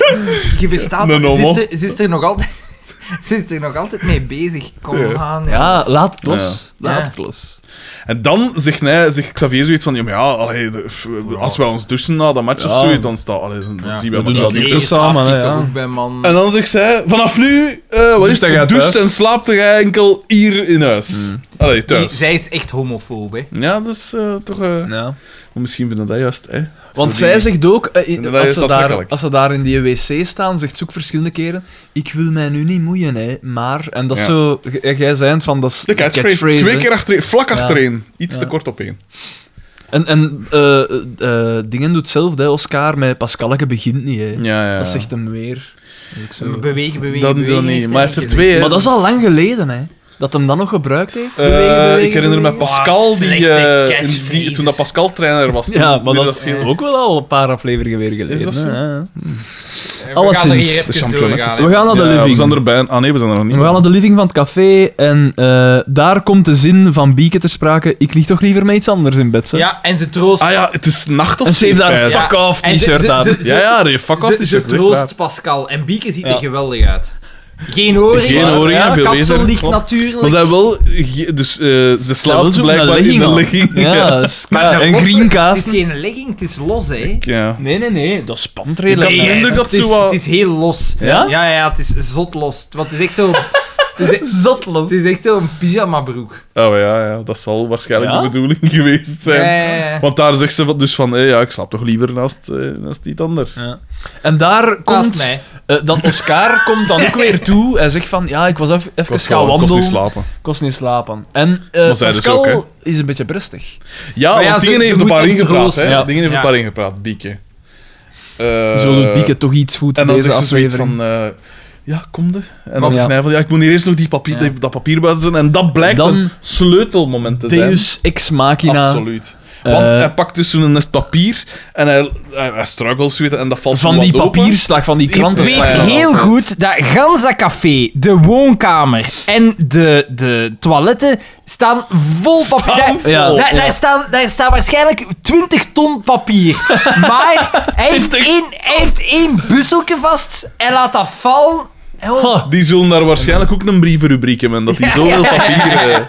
[SPEAKER 1] je verstaat
[SPEAKER 2] Een
[SPEAKER 1] dat. Ze
[SPEAKER 2] homo.
[SPEAKER 1] is, er, ze, is er nog altijd, ze is er nog altijd mee bezig. Kom
[SPEAKER 2] Ja.
[SPEAKER 1] aan.
[SPEAKER 3] Ja,
[SPEAKER 1] jongens.
[SPEAKER 3] laat het los.
[SPEAKER 1] Ja.
[SPEAKER 3] Laat
[SPEAKER 1] Ja.
[SPEAKER 3] het los.
[SPEAKER 2] En dan zegt, hij, zegt Xavier zoiets van, ja, maar ja, allee, de- f- als wij ons douchen na dat match of
[SPEAKER 3] Ja.
[SPEAKER 2] zoiets, dan, staat, allee, dan
[SPEAKER 1] Ja.
[SPEAKER 2] zien we
[SPEAKER 3] doen
[SPEAKER 2] elkaar
[SPEAKER 3] dat
[SPEAKER 2] niet.
[SPEAKER 3] niet.
[SPEAKER 1] Hier
[SPEAKER 3] dus
[SPEAKER 1] slaap
[SPEAKER 3] samen,
[SPEAKER 1] ik
[SPEAKER 3] hè,
[SPEAKER 1] toch
[SPEAKER 3] ja.
[SPEAKER 1] ook bij man.
[SPEAKER 2] En dan zegt zij, vanaf nu, eh wat
[SPEAKER 3] Dus
[SPEAKER 2] is
[SPEAKER 3] dan
[SPEAKER 2] het,
[SPEAKER 3] gaat
[SPEAKER 2] gedoucht
[SPEAKER 3] thuis.
[SPEAKER 2] en slaapt jij enkel hier in huis. Allee, thuis.
[SPEAKER 1] Zij is echt homofoob, hè.
[SPEAKER 2] Ja, dat is eh, toch... eh,
[SPEAKER 3] Ja.
[SPEAKER 2] maar Misschien vinden dat juist, hè.
[SPEAKER 3] Want
[SPEAKER 2] Zo
[SPEAKER 3] zij
[SPEAKER 2] die-
[SPEAKER 3] zegt ook, eh,
[SPEAKER 2] Inderdaad,
[SPEAKER 3] als,
[SPEAKER 2] is
[SPEAKER 3] ze
[SPEAKER 2] dat
[SPEAKER 3] daar,
[SPEAKER 2] makkelijk.
[SPEAKER 3] als ze daar in die wc staan, zegt ze ook verschillende keren: Ik wil mij nu niet moeien, hè, maar. En dat is
[SPEAKER 2] Ja.
[SPEAKER 3] zo, g- eh, jij zei het van dat is
[SPEAKER 2] De catchphrase. Twee
[SPEAKER 3] hè.
[SPEAKER 2] keer achtereen, vlak
[SPEAKER 3] Ja.
[SPEAKER 2] achtereen. Iets
[SPEAKER 3] Ja.
[SPEAKER 2] te kort op één.
[SPEAKER 3] En, en eh, eh, eh, Dingen doet hetzelfde, hè, Oscar, met Pascalke begint niet. Hè.
[SPEAKER 2] Ja, ja.
[SPEAKER 3] Dat zegt hem weer. Dat is ook zo.
[SPEAKER 1] Bewegen, bewegen,
[SPEAKER 2] Dan- dan
[SPEAKER 1] bewegen.
[SPEAKER 2] niet.
[SPEAKER 1] heeft hij
[SPEAKER 2] Maar heeft er
[SPEAKER 1] gezegd.
[SPEAKER 2] twee, hè.
[SPEAKER 3] Maar dat is al lang geleden, hè? Dat hem dat nog gebruikt heeft.
[SPEAKER 2] Eh,
[SPEAKER 3] Bewegen, bewegen,
[SPEAKER 2] ik herinner me
[SPEAKER 3] bewegen.
[SPEAKER 2] Pascal, die,
[SPEAKER 1] Slechte
[SPEAKER 2] eh, in-
[SPEAKER 1] catchphrases.
[SPEAKER 2] die- toen dat Pascal trainer was.
[SPEAKER 3] Ja,
[SPEAKER 2] toen-
[SPEAKER 3] maar
[SPEAKER 2] nu
[SPEAKER 3] dat is eh,
[SPEAKER 2] viel-
[SPEAKER 3] ook wel al een paar afleveringen weer geleden.
[SPEAKER 2] Is dat zo?
[SPEAKER 3] hè, ja.
[SPEAKER 1] We gaan er
[SPEAKER 3] Alleszins,
[SPEAKER 1] hier
[SPEAKER 2] de
[SPEAKER 1] even
[SPEAKER 2] championnat.
[SPEAKER 1] doorgaan, hè.
[SPEAKER 3] We gaan naar de
[SPEAKER 2] Ja,
[SPEAKER 3] living.
[SPEAKER 2] we zijn er bijna. Ah nee, we zijn er nog niet.
[SPEAKER 3] We gaan naar de living van het café en eh, daar komt de zin van Bieke ter sprake. Ik lig toch liever met iets anders in bed, hè?
[SPEAKER 1] Ja, en ze troost...
[SPEAKER 2] Ah ja, het is nacht of
[SPEAKER 3] En ze heeft daar een
[SPEAKER 2] zeepijs.
[SPEAKER 1] Ja.
[SPEAKER 3] fuck off
[SPEAKER 1] En ze-
[SPEAKER 3] t-shirt
[SPEAKER 1] ze-
[SPEAKER 3] aan.
[SPEAKER 1] ze-
[SPEAKER 2] Ja, ja, die fuck off
[SPEAKER 1] Ze,
[SPEAKER 2] die
[SPEAKER 1] ze
[SPEAKER 2] shirt.
[SPEAKER 1] troost Pascal. En Bieke ziet er
[SPEAKER 3] Ja.
[SPEAKER 1] geweldig uit. Geen oren.
[SPEAKER 2] Geen oren,
[SPEAKER 1] ja,
[SPEAKER 2] ja, veel
[SPEAKER 1] kapsel
[SPEAKER 2] beter,
[SPEAKER 1] ligt
[SPEAKER 2] klopt.
[SPEAKER 1] natuurlijk.
[SPEAKER 2] Maar ze hebben wel... ge- Dus eh, ze slaapt
[SPEAKER 3] zoeken
[SPEAKER 2] blijkbaar
[SPEAKER 3] een
[SPEAKER 2] in een
[SPEAKER 3] al.
[SPEAKER 2] legging.
[SPEAKER 3] Ja, dat is-
[SPEAKER 1] Maar
[SPEAKER 3] ja,
[SPEAKER 1] een
[SPEAKER 3] en
[SPEAKER 1] losse-
[SPEAKER 3] green
[SPEAKER 1] Het is geen legging, het is los, hè.
[SPEAKER 2] Ja.
[SPEAKER 3] Nee, nee, nee, dat spant
[SPEAKER 2] Ik
[SPEAKER 3] redelijk.
[SPEAKER 2] had de
[SPEAKER 1] Nee,
[SPEAKER 2] indruk dat
[SPEAKER 1] het,
[SPEAKER 2] ze
[SPEAKER 1] is,
[SPEAKER 2] wat-
[SPEAKER 1] het is heel los.
[SPEAKER 3] Ja?
[SPEAKER 1] Ja, ja, het is zot los. Want het is echt zo... het, is,
[SPEAKER 3] Zot los.
[SPEAKER 1] het is echt zo'n pyjamabroek.
[SPEAKER 2] Oh ja, ja, dat zal waarschijnlijk
[SPEAKER 3] Ja?
[SPEAKER 2] de bedoeling geweest zijn.
[SPEAKER 1] Eh,
[SPEAKER 2] Want daar zegt ze van- dus van, hé, ja, ik slaap toch liever naast, eh, naast iets anders.
[SPEAKER 3] Ja. En daar
[SPEAKER 1] naast
[SPEAKER 3] komt
[SPEAKER 1] mij.
[SPEAKER 3] eh, dat Oscar komt dan ook weer toe en zegt van ja, ik was even, even
[SPEAKER 2] kost
[SPEAKER 3] gaan
[SPEAKER 2] wel- kost
[SPEAKER 3] wandelen.
[SPEAKER 2] niet slapen.
[SPEAKER 3] kost niet slapen. En eh
[SPEAKER 2] Maar zij dus
[SPEAKER 3] Pascal
[SPEAKER 2] ook,
[SPEAKER 3] is een beetje brustig.
[SPEAKER 2] Ja,
[SPEAKER 1] Maar ja,
[SPEAKER 2] want
[SPEAKER 1] ze-
[SPEAKER 2] dingen
[SPEAKER 1] ze
[SPEAKER 2] heeft een
[SPEAKER 1] moet
[SPEAKER 2] paar ingepraat,
[SPEAKER 1] ontroosten.
[SPEAKER 2] hè.
[SPEAKER 3] Ja.
[SPEAKER 2] Dingen heeft
[SPEAKER 1] Ja.
[SPEAKER 2] een paar ingepraat, Bieke.
[SPEAKER 3] Zo doet
[SPEAKER 2] Eh,
[SPEAKER 3] Bieke toch iets goed
[SPEAKER 2] En dan
[SPEAKER 3] deze
[SPEAKER 2] zegt ze zoiets
[SPEAKER 3] aflevering.
[SPEAKER 2] van... eh, ja, kom de. En
[SPEAKER 3] Maar-
[SPEAKER 2] dan zegt hij van, ja, ik moet hier eerst nog die papier,
[SPEAKER 3] Ja.
[SPEAKER 2] die- dat papier buiten zijn. En dat blijkt
[SPEAKER 3] Dan-
[SPEAKER 2] een sleutelmoment te zijn.
[SPEAKER 3] Deus ex machina
[SPEAKER 2] eh, Absoluut. Want
[SPEAKER 3] Eh,
[SPEAKER 2] hij pakt dus zo'n nest papier en hij, hij, hij struggelt zoiets en dat valt zo
[SPEAKER 3] van
[SPEAKER 2] wat
[SPEAKER 3] die
[SPEAKER 2] open.
[SPEAKER 3] papierslag, van die
[SPEAKER 1] Ik
[SPEAKER 3] krantenslag.
[SPEAKER 2] Ja,
[SPEAKER 1] weet
[SPEAKER 2] ja,
[SPEAKER 1] heel
[SPEAKER 2] altijd.
[SPEAKER 1] goed dat gans dat café, de woonkamer en de, de toiletten staan vol papier.
[SPEAKER 2] Staan
[SPEAKER 1] Daar-
[SPEAKER 3] vol,
[SPEAKER 1] daar,
[SPEAKER 3] ja.
[SPEAKER 1] daar, staan, daar staan waarschijnlijk 20 ton papier. Maar hij heeft,
[SPEAKER 2] 20
[SPEAKER 1] één, hij heeft één busselke vast en laat dat vallen. En gewoon-
[SPEAKER 3] Ha.
[SPEAKER 2] Die zullen daar waarschijnlijk ook een brievenrubriek hebben, dat die zoveel papier... eh.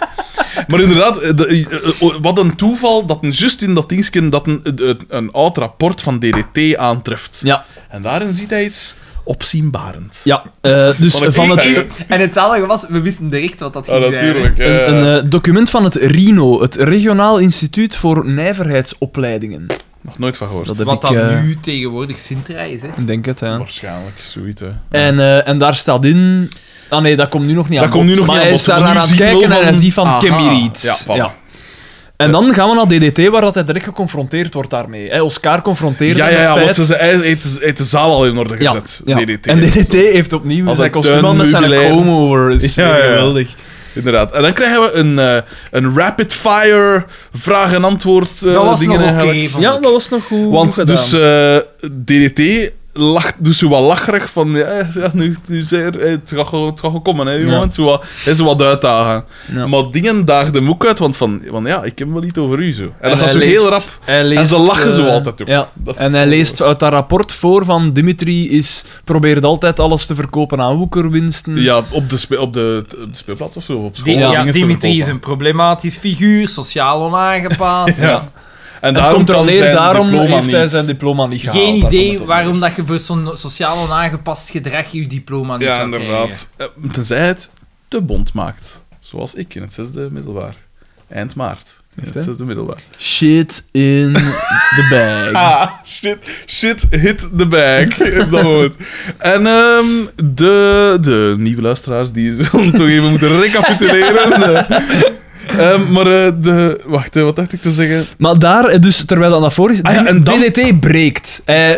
[SPEAKER 2] Maar inderdaad, eh, de- eh, eh, wat een toeval dat een, just in dat dingetje dat een, een, een oud rapport van DDT aantreft.
[SPEAKER 3] Ja,
[SPEAKER 2] En daarin ziet hij iets opzienbarend.
[SPEAKER 3] ja. eh, dus
[SPEAKER 2] Van een
[SPEAKER 3] van het,
[SPEAKER 2] knikker.
[SPEAKER 1] En het zalige was, we wisten direct wat dat
[SPEAKER 2] Ah,
[SPEAKER 1] ging zijn.
[SPEAKER 2] natuurlijk. ja, ja.
[SPEAKER 3] een, een eh, document van het RINO, het Regionaal Instituut voor Nijverheidsopleidingen.
[SPEAKER 2] Nog nooit van gehoord.
[SPEAKER 3] Dat heb
[SPEAKER 1] Wat
[SPEAKER 3] ik,
[SPEAKER 1] dan
[SPEAKER 3] eh,
[SPEAKER 1] nu tegenwoordig Sintra is, hè.
[SPEAKER 3] Ik denk het, ja.
[SPEAKER 2] Waarschijnlijk, zoiets. Hè.
[SPEAKER 3] En, eh, en daar staat in... Ah nee, dat komt nu nog niet
[SPEAKER 2] Dat
[SPEAKER 3] aan bod.
[SPEAKER 2] komt nu nog
[SPEAKER 3] maar
[SPEAKER 2] niet
[SPEAKER 3] hij
[SPEAKER 2] aan bod,
[SPEAKER 3] is daar
[SPEAKER 2] maar
[SPEAKER 3] naar
[SPEAKER 2] nu
[SPEAKER 3] aan het
[SPEAKER 2] zie ik
[SPEAKER 3] kijken en
[SPEAKER 2] wel
[SPEAKER 3] hij
[SPEAKER 2] van-
[SPEAKER 3] ziet van,
[SPEAKER 2] Aha.
[SPEAKER 3] Kimmy Reeds.
[SPEAKER 2] Ja, voilà.
[SPEAKER 3] En dan gaan we naar DDT, waar dat hij direct geconfronteerd wordt daarmee. Hè, Oscar confronteert
[SPEAKER 2] Ja,
[SPEAKER 3] hem
[SPEAKER 2] ja,
[SPEAKER 3] met
[SPEAKER 2] ja,
[SPEAKER 3] het
[SPEAKER 2] want
[SPEAKER 3] feit...
[SPEAKER 2] ze ze- hij heeft, hij heeft de zaal al in orde
[SPEAKER 3] Ja,
[SPEAKER 2] gezet.
[SPEAKER 3] ja.
[SPEAKER 2] DDT.
[SPEAKER 3] En DDT heeft opnieuw
[SPEAKER 2] Als
[SPEAKER 3] zijn
[SPEAKER 2] een
[SPEAKER 3] kostuum aan met zijn
[SPEAKER 2] tuinmeubilair.
[SPEAKER 3] comb-over. is
[SPEAKER 2] Ja, ja.
[SPEAKER 3] geweldig.
[SPEAKER 2] Dus, Inderdaad. En dan krijgen we een, eh, een rapid-fire vraag- en antwoord eh
[SPEAKER 1] Dat was
[SPEAKER 2] dingen
[SPEAKER 1] nog oké,
[SPEAKER 2] eigenlijk.
[SPEAKER 1] vond
[SPEAKER 3] Ja,
[SPEAKER 1] ik.
[SPEAKER 3] dat was nog goed
[SPEAKER 2] Want
[SPEAKER 3] goed
[SPEAKER 2] dus
[SPEAKER 3] gedaan.
[SPEAKER 2] eh, DDT lacht dus zo wat lacherig van ja, ja nu, nu zeer, eh, het gaat gewoon- het gaat gewoon komen hè, jongen.
[SPEAKER 3] Ja.
[SPEAKER 2] Zo wat, hè, zo wat uitdagen.
[SPEAKER 3] Ja.
[SPEAKER 2] Maar dingen daagden hem ook uit, want van, van ja, ik heb wel iets over u zo. En, dat
[SPEAKER 3] hij
[SPEAKER 2] gaat zo heel
[SPEAKER 3] leest-
[SPEAKER 2] rap.
[SPEAKER 3] hij leest,
[SPEAKER 2] en ze lachen
[SPEAKER 3] eh,
[SPEAKER 2] zo altijd ook.
[SPEAKER 3] Ja.
[SPEAKER 2] Dat-
[SPEAKER 3] En hij leest uit dat rapport voor van Dimitri is, probeert altijd alles te verkopen aan woekerwinsten.
[SPEAKER 2] Ja, op de, spe- op de, de speelplaats of zo, op school.
[SPEAKER 1] Die-
[SPEAKER 2] om
[SPEAKER 1] ja,
[SPEAKER 2] dingen te
[SPEAKER 1] Dimitri
[SPEAKER 2] verkopen.
[SPEAKER 1] is een problematisch figuur, sociaal onaangepast.
[SPEAKER 2] Ja. En
[SPEAKER 3] het
[SPEAKER 2] daarom
[SPEAKER 3] komt er
[SPEAKER 2] kan
[SPEAKER 3] neer,
[SPEAKER 2] zijn
[SPEAKER 3] daarom
[SPEAKER 2] diploma
[SPEAKER 3] heeft hij
[SPEAKER 2] niet.
[SPEAKER 3] zijn diploma niet gehaald.
[SPEAKER 1] Geen
[SPEAKER 3] daar komt
[SPEAKER 1] idee
[SPEAKER 3] het op
[SPEAKER 1] waarom
[SPEAKER 3] neer.
[SPEAKER 1] dat je voor zo'n sociaal onaangepast gedrag je diploma niet
[SPEAKER 2] Ja,
[SPEAKER 1] zou
[SPEAKER 2] inderdaad. Eh, Tenzij het te bond maakt. Zoals ik in het zesde middelbaar. Eind maart. In
[SPEAKER 3] Echt,
[SPEAKER 2] het
[SPEAKER 3] hè?
[SPEAKER 2] zesde middelbaar.
[SPEAKER 3] Shit in the bag.
[SPEAKER 2] Ah, shit, shit hit the bag. op dat moment. En ehm, de, de nieuwe luisteraars die zullen toch even moeten recapituleren. Eh, ehm, maar eh, de, wacht, eh, wat dacht ik te zeggen?
[SPEAKER 3] Maar daar, eh, dus terwijl dat naar voren is,
[SPEAKER 2] Ah ja, en dan-
[SPEAKER 3] DDT breekt. Eh,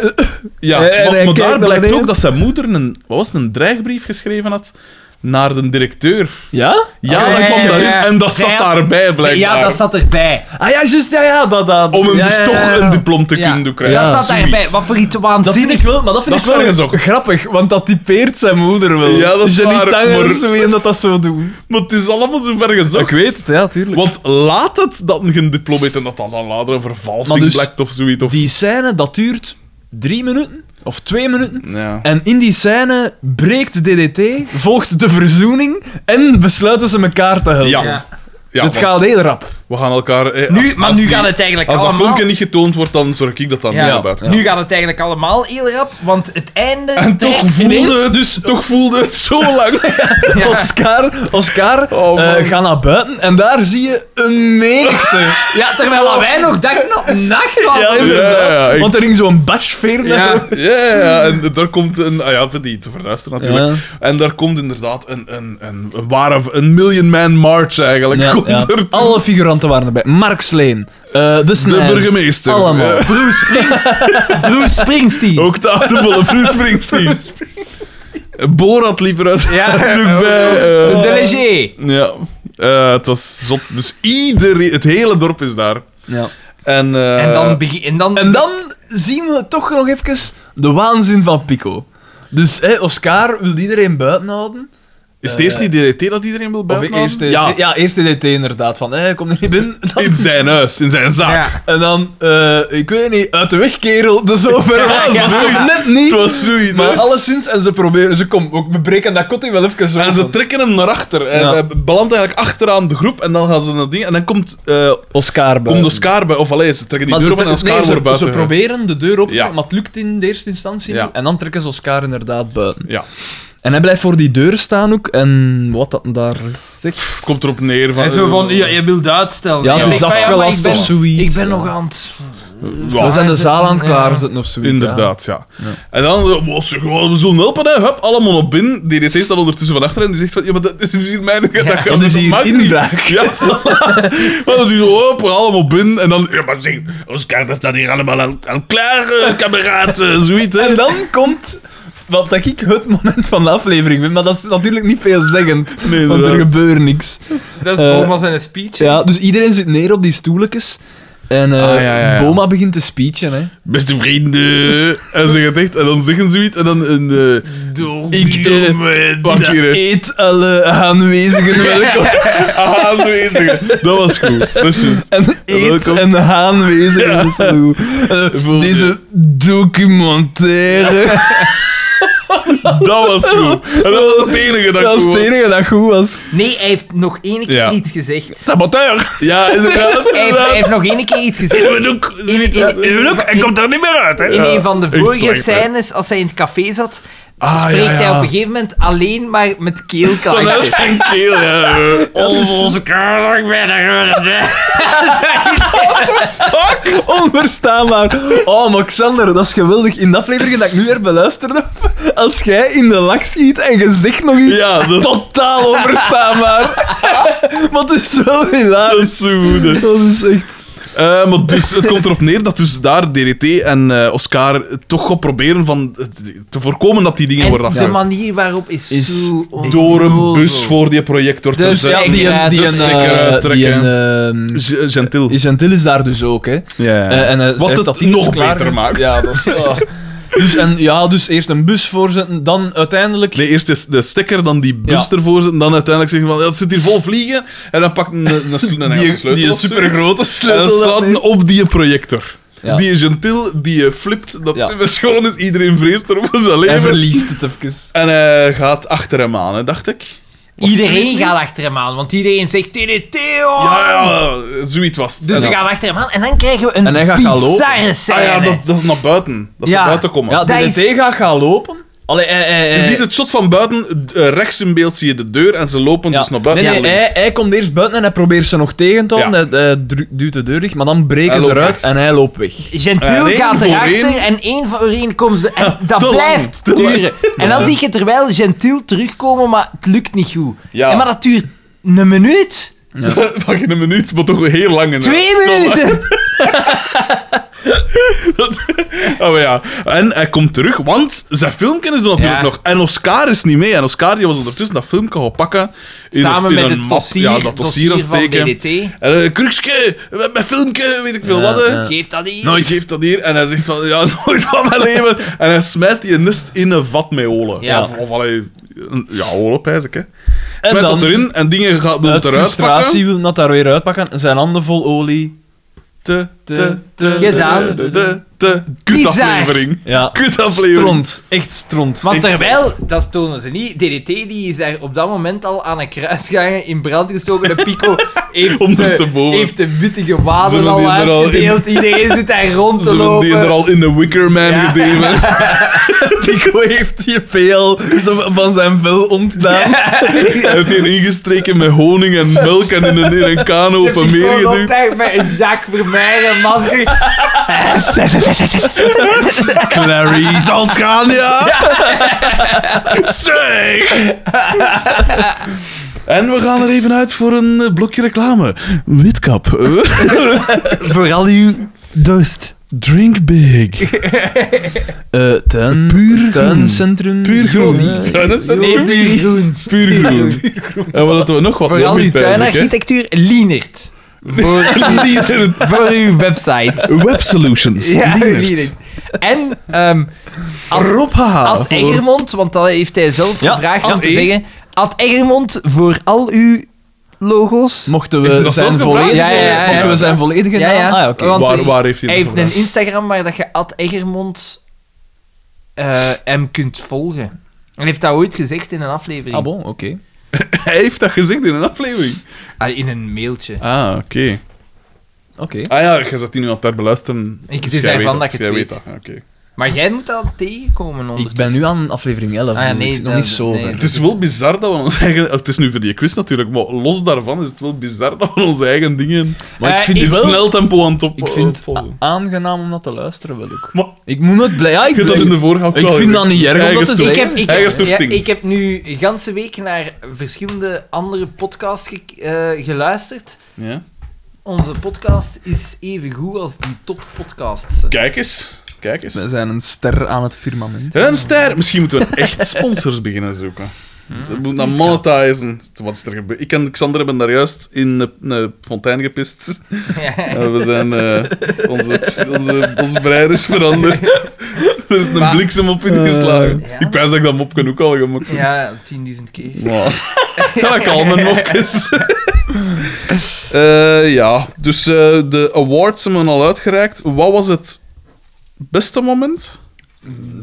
[SPEAKER 2] Ja,
[SPEAKER 3] Eh, en
[SPEAKER 2] want-
[SPEAKER 3] hij
[SPEAKER 2] maar
[SPEAKER 3] kijkt naar
[SPEAKER 2] daar blijkt
[SPEAKER 3] beneden.
[SPEAKER 2] ook dat zijn moeder een, wat was het, een dreigbrief geschreven had naar de directeur.
[SPEAKER 3] ja?
[SPEAKER 2] Ja,
[SPEAKER 1] Ah,
[SPEAKER 2] dat
[SPEAKER 1] ja,
[SPEAKER 2] kwam
[SPEAKER 1] ja,
[SPEAKER 2] daar
[SPEAKER 1] ja.
[SPEAKER 2] eens en dat
[SPEAKER 1] Ja.
[SPEAKER 2] zat daarbij
[SPEAKER 1] krijgen.
[SPEAKER 2] blijkbaar.
[SPEAKER 1] Ja, dat zat erbij.
[SPEAKER 3] Ah ja, juist, ja, ja. Dat, dat,
[SPEAKER 2] Om hem
[SPEAKER 3] ja,
[SPEAKER 2] dus
[SPEAKER 3] ja,
[SPEAKER 2] toch
[SPEAKER 3] ja, ja.
[SPEAKER 2] een diploma te
[SPEAKER 1] Ja.
[SPEAKER 2] kunnen doen krijgen.
[SPEAKER 1] Dat zat
[SPEAKER 2] Zoiets.
[SPEAKER 1] daarbij. Wat voor iets
[SPEAKER 3] Dat vind ik
[SPEAKER 1] waanzinnig.
[SPEAKER 3] wel, maar dat vind
[SPEAKER 2] Dat
[SPEAKER 3] ik
[SPEAKER 2] is
[SPEAKER 3] wel
[SPEAKER 2] ergens ook.
[SPEAKER 3] grappig, want dat typeert zijn moeder wel.
[SPEAKER 2] Ja, dat is
[SPEAKER 3] Jenny
[SPEAKER 2] waar,
[SPEAKER 3] Tanger
[SPEAKER 2] maar-
[SPEAKER 3] is zo een dat dat zo doet.
[SPEAKER 2] Maar het is allemaal zo ver gezocht.
[SPEAKER 3] Ik weet het, ja, tuurlijk.
[SPEAKER 2] Want laat het dat een diploma heeft en dat dat dan later een vervalsing
[SPEAKER 3] Maar dus-
[SPEAKER 2] blijkt of zoiets. Of...
[SPEAKER 3] Die scène, dat duurt drie minuten of twee minuten.
[SPEAKER 2] Ja.
[SPEAKER 3] En in die scène breekt DDT, volgt de verzoening en besluiten ze elkaar te helpen.
[SPEAKER 2] Ja.
[SPEAKER 1] Ja.
[SPEAKER 2] Ja,
[SPEAKER 3] het
[SPEAKER 2] want
[SPEAKER 3] gaat heel rap.
[SPEAKER 2] We gaan elkaar... eh,
[SPEAKER 1] Nu,
[SPEAKER 2] als-
[SPEAKER 1] maar
[SPEAKER 2] als
[SPEAKER 1] nu
[SPEAKER 2] die-
[SPEAKER 1] gaat het eigenlijk
[SPEAKER 2] Als dat
[SPEAKER 1] allemaal...
[SPEAKER 2] filmpje niet getoond wordt, dan zorg ik dat daar
[SPEAKER 1] Ja.
[SPEAKER 2] niet naar buiten komt.
[SPEAKER 1] Nu gaat het eigenlijk allemaal heel rap, want het einde...
[SPEAKER 2] En toch
[SPEAKER 1] trekt
[SPEAKER 2] voelde,
[SPEAKER 1] ineens-
[SPEAKER 2] het, dus, toch voelde het zo lang.
[SPEAKER 1] Ja.
[SPEAKER 3] Oscar, Oscar
[SPEAKER 2] Oh, man.
[SPEAKER 3] eh, gaat naar buiten en daar zie je een menigte.
[SPEAKER 1] Ja, terwijl wij nog dachten dat het nacht was.
[SPEAKER 3] Ja, inderdaad.
[SPEAKER 2] Ja, ja, ik-
[SPEAKER 3] Want er ging zo'n bashveer naar
[SPEAKER 1] Ja.
[SPEAKER 3] boven.
[SPEAKER 2] Ja, ja, ja, en daar komt een... Ah ja, voor die te verluisteren natuurlijk.
[SPEAKER 3] Ja.
[SPEAKER 2] En daar komt inderdaad een, een, een, een ware... Een million man march eigenlijk.
[SPEAKER 3] Ja,
[SPEAKER 2] komt
[SPEAKER 3] ja.
[SPEAKER 2] er toe.
[SPEAKER 3] Alle figuranten waren erbij. Mark Sleen, eh, de
[SPEAKER 2] De
[SPEAKER 3] Snijs,
[SPEAKER 2] burgemeester.
[SPEAKER 3] Allemaal.
[SPEAKER 2] Ja.
[SPEAKER 1] Bruce Springs- Bruce Springsteen.
[SPEAKER 2] Ook de aanvolle Bruce Springsteen. Borat liep eruit.
[SPEAKER 1] Ja.
[SPEAKER 2] natuurlijk bij. eh,
[SPEAKER 1] De Leger.
[SPEAKER 2] Ja, Eh, het was zot. Dus iedereen, het hele dorp is daar.
[SPEAKER 3] Ja.
[SPEAKER 2] En, eh,
[SPEAKER 1] En dan... begin- En dan...
[SPEAKER 3] En dan zien we toch nog even de waanzin van Pico. Dus hè, Oscar wil iedereen buiten houden.
[SPEAKER 2] Is het eerst
[SPEAKER 3] Eh,
[SPEAKER 2] niet DDT dat iedereen wil
[SPEAKER 3] Of
[SPEAKER 2] buiten
[SPEAKER 3] eerst DDT, ja.
[SPEAKER 2] Ja,
[SPEAKER 3] eerst DDT inderdaad. Van, hé, kom er niet binnen. Dan-
[SPEAKER 2] in zijn huis, in zijn zaak.
[SPEAKER 1] Ja.
[SPEAKER 3] en dan, eh, ik weet niet, uit de weg, kerel. De zover was
[SPEAKER 1] ja,
[SPEAKER 3] dat
[SPEAKER 1] ja.
[SPEAKER 3] toch net
[SPEAKER 2] Het
[SPEAKER 3] niet.
[SPEAKER 2] was zoiets.
[SPEAKER 3] Maar
[SPEAKER 2] hè.
[SPEAKER 3] alleszins, en ze proberen, ze kom, ook, we breken dat kotting wel even zo.
[SPEAKER 2] En ze
[SPEAKER 3] van.
[SPEAKER 2] trekken hem naar achter. En
[SPEAKER 3] Ja.
[SPEAKER 2] hij belandt eigenlijk achteraan de groep. En dan gaan ze naar ding. En dan komt, eh
[SPEAKER 3] Oscar
[SPEAKER 2] komt de Oscar bij. Of allee, ze trekken die
[SPEAKER 3] Maar
[SPEAKER 2] deur
[SPEAKER 3] ze,
[SPEAKER 2] op en
[SPEAKER 3] tre-
[SPEAKER 2] Oscar
[SPEAKER 3] nee, ze,
[SPEAKER 2] wordt buiten.
[SPEAKER 3] ze proberen de deur op te
[SPEAKER 2] Ja.
[SPEAKER 3] maar het lukt in de eerste instantie
[SPEAKER 2] Ja.
[SPEAKER 3] niet. En dan trekken ze Oscar inderdaad buiten.
[SPEAKER 2] Ja.
[SPEAKER 3] En hij blijft voor die deur staan ook. En wat dat daar zegt...
[SPEAKER 2] Komt erop neer van... eh,
[SPEAKER 1] En zo van, ja, je wilt uitstellen.
[SPEAKER 3] Ja,
[SPEAKER 1] Ik
[SPEAKER 3] het
[SPEAKER 1] zeg
[SPEAKER 3] is
[SPEAKER 1] van, maar
[SPEAKER 3] afgelast
[SPEAKER 1] ik ben-
[SPEAKER 3] of zoiets.
[SPEAKER 1] Ik ben
[SPEAKER 3] Ja.
[SPEAKER 1] nog aan het...
[SPEAKER 3] We zijn de zaal aan het
[SPEAKER 1] Ja.
[SPEAKER 3] klaarzetten of zoiets.
[SPEAKER 2] Inderdaad, ja.
[SPEAKER 3] Ja.
[SPEAKER 2] En dan, zo, "Oh, zeg, oh, we zullen helpen, hè. Hup, allemaal op binnen. DDT staat ondertussen van achter en die zegt van, ja, maar dat, dit is hier mijn... dat,
[SPEAKER 1] dat
[SPEAKER 3] Dat is
[SPEAKER 2] dat
[SPEAKER 3] hier
[SPEAKER 2] mag niet."
[SPEAKER 3] inbraak.
[SPEAKER 2] Ja, voilà. Maar dan doe je op, allemaal binnen. En dan, ja, maar zeg, Oscar, dat staat hier allemaal al, al klaar, eh, kameraad, eh, zoiets, hè.
[SPEAKER 3] En dan komt wat dat ik het moment van de aflevering vind, maar dat is natuurlijk niet veelzeggend,
[SPEAKER 2] Nee,
[SPEAKER 3] want er
[SPEAKER 2] inderdaad.
[SPEAKER 3] gebeurt niks.
[SPEAKER 1] Dat is
[SPEAKER 3] Eh,
[SPEAKER 1] Boma zijn speech. hè.
[SPEAKER 3] Ja, dus iedereen zit neer op die stoeltjes en eh,
[SPEAKER 2] Ah, ja, ja, ja.
[SPEAKER 3] Boma begint te speechen. Hè.
[SPEAKER 2] Beste vrienden. En ze gaat echt, en dan zeggen ze iets, en dan een... eh,
[SPEAKER 1] Doe-
[SPEAKER 3] Ik,
[SPEAKER 1] doe
[SPEAKER 3] eh,
[SPEAKER 1] me
[SPEAKER 2] wacht hier, hè.
[SPEAKER 3] Eet alle aanwezigen welkom.
[SPEAKER 2] Ah, aanwezigen. Dat was goed. Dat is juist.
[SPEAKER 3] En eet
[SPEAKER 2] Welkom.
[SPEAKER 3] en aanwezigen, dat is zo goed. Eh,
[SPEAKER 2] Voel je.
[SPEAKER 3] deze documentaire,
[SPEAKER 2] Dat was goed. En dat was het enige dat,
[SPEAKER 3] dat
[SPEAKER 2] goed
[SPEAKER 3] was
[SPEAKER 2] was.
[SPEAKER 3] het enige dat goed was.
[SPEAKER 1] Nee, hij heeft nog één keer
[SPEAKER 2] Ja.
[SPEAKER 1] iets gezegd.
[SPEAKER 3] Saboteur!
[SPEAKER 2] Ja, inderdaad.
[SPEAKER 1] Hij heeft, hij
[SPEAKER 2] inderdaad.
[SPEAKER 1] heeft nog één keer iets gezegd.
[SPEAKER 2] In mijn doek.
[SPEAKER 1] In, in, in,
[SPEAKER 4] en komt er niet meer uit, hè?
[SPEAKER 1] in
[SPEAKER 2] Ja,
[SPEAKER 1] een van de
[SPEAKER 2] echt
[SPEAKER 1] vorige
[SPEAKER 2] slecht, hè.
[SPEAKER 1] scènes, als hij in het café zat,
[SPEAKER 2] Ah,
[SPEAKER 1] spreekt
[SPEAKER 2] ja,
[SPEAKER 1] hij
[SPEAKER 2] ja.
[SPEAKER 1] op een gegeven moment alleen maar met
[SPEAKER 2] Vanuit
[SPEAKER 1] keelklanken.
[SPEAKER 2] zijn keel, ja.
[SPEAKER 4] Oscar, ik ben er.
[SPEAKER 3] Onverstaanbaar. Oh, maar Xander, dat is geweldig. In de aflevering dat ik nu weer beluisterd heb, als jij in de lach schiet en je zegt nog iets,
[SPEAKER 2] Ja, dat is,
[SPEAKER 3] totaal onverstaanbaar. Want het is wel
[SPEAKER 2] dat
[SPEAKER 3] hilarisch.
[SPEAKER 2] is zo goed. hè.
[SPEAKER 3] Dat is echt...
[SPEAKER 2] Eh, maar dus, het komt erop neer dat dus daar DDT en eh, Oscar toch gaan proberen van, eh, te voorkomen dat die dingen worden
[SPEAKER 1] En de
[SPEAKER 2] afgehaald.
[SPEAKER 1] manier waarop is,
[SPEAKER 3] Is
[SPEAKER 1] zo
[SPEAKER 2] Door een
[SPEAKER 1] onnozel.
[SPEAKER 2] bus voor die projector te
[SPEAKER 1] Dus
[SPEAKER 2] zetten.
[SPEAKER 1] ja, die- die-
[SPEAKER 2] Dus sticker
[SPEAKER 1] eh,
[SPEAKER 2] uittrekken.
[SPEAKER 3] een, eh,
[SPEAKER 2] G- Gentil.
[SPEAKER 3] Gentil is daar dus ook, hè.
[SPEAKER 2] Ja, ja.
[SPEAKER 3] Eh, en, eh,
[SPEAKER 2] Wat
[SPEAKER 3] heeft
[SPEAKER 2] het
[SPEAKER 3] dat ding
[SPEAKER 2] nog
[SPEAKER 3] dus klaar
[SPEAKER 2] beter
[SPEAKER 3] gezet.
[SPEAKER 2] maakt.
[SPEAKER 3] Ja, dat is... ah. Dus, en, ja, dus eerst een bus voorzetten, dan uiteindelijk...
[SPEAKER 2] Nee, eerst de, de stekker, dan die bus
[SPEAKER 3] Ja.
[SPEAKER 2] ervoor zetten, dan uiteindelijk zeggen van, ja, het zit hier vol vliegen, en dan pak een, een, een, sl- een Engelse sleutel
[SPEAKER 3] die
[SPEAKER 2] of zo.
[SPEAKER 3] supergrote
[SPEAKER 2] En dan
[SPEAKER 3] sleutel. dat
[SPEAKER 2] slaat
[SPEAKER 3] neemt.
[SPEAKER 2] een op die projector.
[SPEAKER 3] Ja.
[SPEAKER 2] Die gentil, die eh, flipt, dat
[SPEAKER 3] Ja.
[SPEAKER 2] het schoon is, iedereen vreest erop van zijn
[SPEAKER 3] Hij
[SPEAKER 2] leven.
[SPEAKER 3] verliest het even.
[SPEAKER 2] En hij gaat achter hem aan, hè, dacht ik. Was het
[SPEAKER 1] Iedereen
[SPEAKER 2] niet?
[SPEAKER 1] gaat achter hem aan, want iedereen zegt TDT, hoor!
[SPEAKER 2] Ja,
[SPEAKER 3] Oh.
[SPEAKER 2] ja, eh, zoiets was het.
[SPEAKER 1] Dus
[SPEAKER 2] En
[SPEAKER 1] ze
[SPEAKER 2] dan-
[SPEAKER 1] gaan achter hem aan en dan krijgen we een
[SPEAKER 3] En hij gaat gaan lopen.
[SPEAKER 1] bizarre scène.
[SPEAKER 2] Ah ja, dat, dat naar buiten. Dat
[SPEAKER 1] Ja.
[SPEAKER 2] ze buiten komen.
[SPEAKER 3] Ja, eh.
[SPEAKER 1] Dat
[SPEAKER 3] DDT
[SPEAKER 1] is-
[SPEAKER 3] gaat gaan lopen. Allee, hij, hij,
[SPEAKER 2] Je
[SPEAKER 3] hij-
[SPEAKER 2] ziet het shot van buiten, eh, rechts in beeld zie je de deur, en ze lopen
[SPEAKER 3] ja.
[SPEAKER 2] dus naar buiten.
[SPEAKER 3] Nee, nee,
[SPEAKER 2] naar links.
[SPEAKER 3] hij, hij komt eerst buiten en hij probeert ze nog tegen te houden.
[SPEAKER 2] Ja.
[SPEAKER 3] Hij, hij dru- duwt de deur dicht, maar dan breken
[SPEAKER 2] Hij
[SPEAKER 3] ze
[SPEAKER 2] loopt
[SPEAKER 3] eruit en hij loopt weg.
[SPEAKER 1] Gentiel
[SPEAKER 2] Eh,
[SPEAKER 1] gaat
[SPEAKER 2] één voor
[SPEAKER 1] erachter
[SPEAKER 2] één.
[SPEAKER 1] en één voor één komt ze. En dat
[SPEAKER 2] te lang,
[SPEAKER 1] blijft
[SPEAKER 2] te lang.
[SPEAKER 1] duren. En dan zie je terwijl Gentiel terugkomen, maar het lukt niet goed.
[SPEAKER 2] Ja.
[SPEAKER 1] En maar dat duurt een minuut,
[SPEAKER 2] Pak je een minuut, maar toch heel lang. inderdaad.
[SPEAKER 1] twee minuten.
[SPEAKER 2] Oh maar ja. En hij komt terug, want zijn filmpje is er natuurlijk
[SPEAKER 1] Ja.
[SPEAKER 2] nog. En Oscar is niet mee. En Oscar die was ondertussen dat filmpje gaan pakken. In
[SPEAKER 1] Samen
[SPEAKER 2] een,
[SPEAKER 1] met
[SPEAKER 2] in een
[SPEAKER 1] het
[SPEAKER 2] map.
[SPEAKER 1] dossier,
[SPEAKER 2] Ja, dat dossier,
[SPEAKER 1] van
[SPEAKER 2] afsteken.
[SPEAKER 1] DDT.
[SPEAKER 2] En eh, Krukske, met mijn filmpje, weet ik veel
[SPEAKER 3] Ja,
[SPEAKER 2] wat. hè.
[SPEAKER 3] ja.
[SPEAKER 1] Geef dat hier.
[SPEAKER 2] Nooit geeft dat hier. En hij zegt van, ja, nooit van mijn leven. En hij smijt die nest in een vat met olen.
[SPEAKER 1] Ja.
[SPEAKER 2] Of, of allee, een- ja, olen, pijs ik, hè.
[SPEAKER 3] En
[SPEAKER 2] Smijt
[SPEAKER 3] dan,
[SPEAKER 2] dat erin en dingen gaat wil
[SPEAKER 3] uit
[SPEAKER 2] het eruit pakken.
[SPEAKER 3] frustratie wil dat daar weer uitpakken. Zijn handen vol olie.
[SPEAKER 2] Te, te, te,
[SPEAKER 1] Gedaan.
[SPEAKER 2] te, te, te. Kutaflevering.
[SPEAKER 3] Ja.
[SPEAKER 2] Kutaflevering.
[SPEAKER 3] Stront. Echt stront.
[SPEAKER 1] Want
[SPEAKER 2] Ik-
[SPEAKER 1] terwijl, dat tonen ze niet, DDT die is daar op dat moment al aan een kruisgangen in brand gestoken. De Pico heeft, de,
[SPEAKER 2] Ondersteboven.
[SPEAKER 1] heeft de witte
[SPEAKER 2] Zullen
[SPEAKER 1] gewaden
[SPEAKER 2] die
[SPEAKER 1] al
[SPEAKER 2] er al in-
[SPEAKER 1] uitgedeeld. Iedereen zit daar rond te
[SPEAKER 2] Ze hebben
[SPEAKER 1] lopen.
[SPEAKER 2] die er al in de Wicker Man gedeven.
[SPEAKER 3] Pico heeft die peel zo van zijn vel ontdaan.
[SPEAKER 2] Hij heeft die ingestreken met honing en melk en in een, in een kano op een meer
[SPEAKER 1] Ik
[SPEAKER 2] geduwd.
[SPEAKER 1] loopt daar met een Jacques Vermeijden masker.
[SPEAKER 3] Clarice.
[SPEAKER 1] Ah.
[SPEAKER 2] Zal het gaan, ja? Zeg! En we gaan er even uit voor een eh, blokje reclame. Witkap. eh,
[SPEAKER 1] Vooral uw dorst.
[SPEAKER 2] Drink big.
[SPEAKER 3] Eh, tuin,
[SPEAKER 2] Puur
[SPEAKER 3] tuincentrum.
[SPEAKER 2] Puur groen.
[SPEAKER 3] Eh,
[SPEAKER 2] Tuin is er
[SPEAKER 1] Nee,
[SPEAKER 2] groen.
[SPEAKER 1] puur groen.
[SPEAKER 2] Puur groen. En wat hadden we nog? Wat
[SPEAKER 1] Vooral uw
[SPEAKER 2] nog meer pijs ik,
[SPEAKER 1] tuinarchitectuur, Lienert. Voor,
[SPEAKER 2] hè? Liederen.
[SPEAKER 1] voor uw website.
[SPEAKER 2] Web Solutions.
[SPEAKER 1] Ja,
[SPEAKER 2] Liederen.
[SPEAKER 1] Lienert. En ehm Ad,
[SPEAKER 2] Rob Haha.
[SPEAKER 1] Ad Egermond, want dat heeft hij zelf
[SPEAKER 3] Ja,
[SPEAKER 1] gevraagd om
[SPEAKER 2] Ad
[SPEAKER 1] te
[SPEAKER 2] E.
[SPEAKER 1] zeggen. Ad Eggermond voor al uw logo's.
[SPEAKER 3] Mochten
[SPEAKER 2] Heeft hij
[SPEAKER 3] we
[SPEAKER 2] dat zelf
[SPEAKER 3] zijn
[SPEAKER 2] gevraagd?
[SPEAKER 3] volledige,
[SPEAKER 1] Ja, ja, ja, ja.
[SPEAKER 3] Mochten we zijn volledige
[SPEAKER 1] Ja, ja.
[SPEAKER 3] naam? Ah, ja, oké.
[SPEAKER 1] Want-
[SPEAKER 2] waar, waar heeft hij
[SPEAKER 1] Hij
[SPEAKER 2] dat
[SPEAKER 1] heeft een
[SPEAKER 2] gevraagd?
[SPEAKER 1] Instagram waar dat je Ad Eggermond eh, hem kunt volgen. Hij heeft dat ooit gezegd in een aflevering.
[SPEAKER 3] Ah, bon, oké.
[SPEAKER 2] Hij heeft dat gezegd in een aflevering.
[SPEAKER 1] Ah, in een mailtje.
[SPEAKER 2] Ah, oké.
[SPEAKER 3] Oké.
[SPEAKER 2] Ah ja, jij zat die nu aan het daar beluisteren.
[SPEAKER 1] Ik- het
[SPEAKER 2] Dus
[SPEAKER 1] is
[SPEAKER 2] jij
[SPEAKER 1] ervan dat
[SPEAKER 2] weet
[SPEAKER 1] ik
[SPEAKER 2] jij
[SPEAKER 1] het
[SPEAKER 2] weet.
[SPEAKER 1] weet.
[SPEAKER 2] dat, ja, oké.
[SPEAKER 1] Maar jij moet dat tegenkomen
[SPEAKER 3] Ik
[SPEAKER 1] ondertussen.
[SPEAKER 3] ben nu aan aflevering 11,
[SPEAKER 1] Ah, ja,
[SPEAKER 3] dus
[SPEAKER 1] nee,
[SPEAKER 3] ik zit nog
[SPEAKER 1] dat-
[SPEAKER 3] niet zo
[SPEAKER 1] nee. Dus-
[SPEAKER 3] ver.
[SPEAKER 2] Het is wel bizar dat we ons eigen... Het is nu voor die quiz natuurlijk, maar los daarvan is het wel bizar dat we onze eigen dingen
[SPEAKER 3] Maar ik
[SPEAKER 1] Eh,
[SPEAKER 3] vind
[SPEAKER 1] ik
[SPEAKER 2] in
[SPEAKER 3] het wel...
[SPEAKER 2] snel tempo aan het op...
[SPEAKER 3] Ik vind het
[SPEAKER 2] opvolgen.
[SPEAKER 3] a- aangenaam om dat te luisteren, wel ook.
[SPEAKER 2] Maar
[SPEAKER 3] Ik moet het blij... Ja,
[SPEAKER 2] je
[SPEAKER 3] ik,
[SPEAKER 2] hebt dat
[SPEAKER 3] blij-
[SPEAKER 2] in de vorige ook
[SPEAKER 3] ik
[SPEAKER 2] wel
[SPEAKER 3] vind
[SPEAKER 2] gezegd.
[SPEAKER 3] dat niet erg om
[SPEAKER 2] Eigen
[SPEAKER 3] dat te
[SPEAKER 2] stof.
[SPEAKER 1] Ik
[SPEAKER 3] zeggen.
[SPEAKER 1] heb, ik,
[SPEAKER 2] Eigen
[SPEAKER 1] heb,
[SPEAKER 2] stof
[SPEAKER 1] ja,
[SPEAKER 2] stinkt.
[SPEAKER 1] ik heb nu de ganse week naar verschillende andere podcasts gek- eh, geluisterd.
[SPEAKER 2] Ja.
[SPEAKER 1] Onze podcast is even goed als die toppodcasts.
[SPEAKER 2] Kijk eens. Kijk eens.
[SPEAKER 3] We zijn een ster aan het firmament.
[SPEAKER 2] Een ster. Misschien moeten we echt sponsors beginnen zoeken.
[SPEAKER 3] Hmm?
[SPEAKER 2] We moeten dat monetizen. Wat is er gebeurd? Ik en Xander hebben daar juist in een, een fontein gepist.
[SPEAKER 1] Ja.
[SPEAKER 2] Eh, we zijn... eh, onze, onze, onze breier is veranderd. er is een
[SPEAKER 1] Maar-
[SPEAKER 2] bliksem op ingeslagen.
[SPEAKER 1] Eh, ja.
[SPEAKER 2] Ik pijs dat ik dat mopje ook al gemaakt heb.
[SPEAKER 1] Ja, 10.000 keer.
[SPEAKER 2] Maar- Ja, dat kan een mopjes. Eh, ja, dus eh, de awards hebben we al uitgereikt. Wat was het beste moment?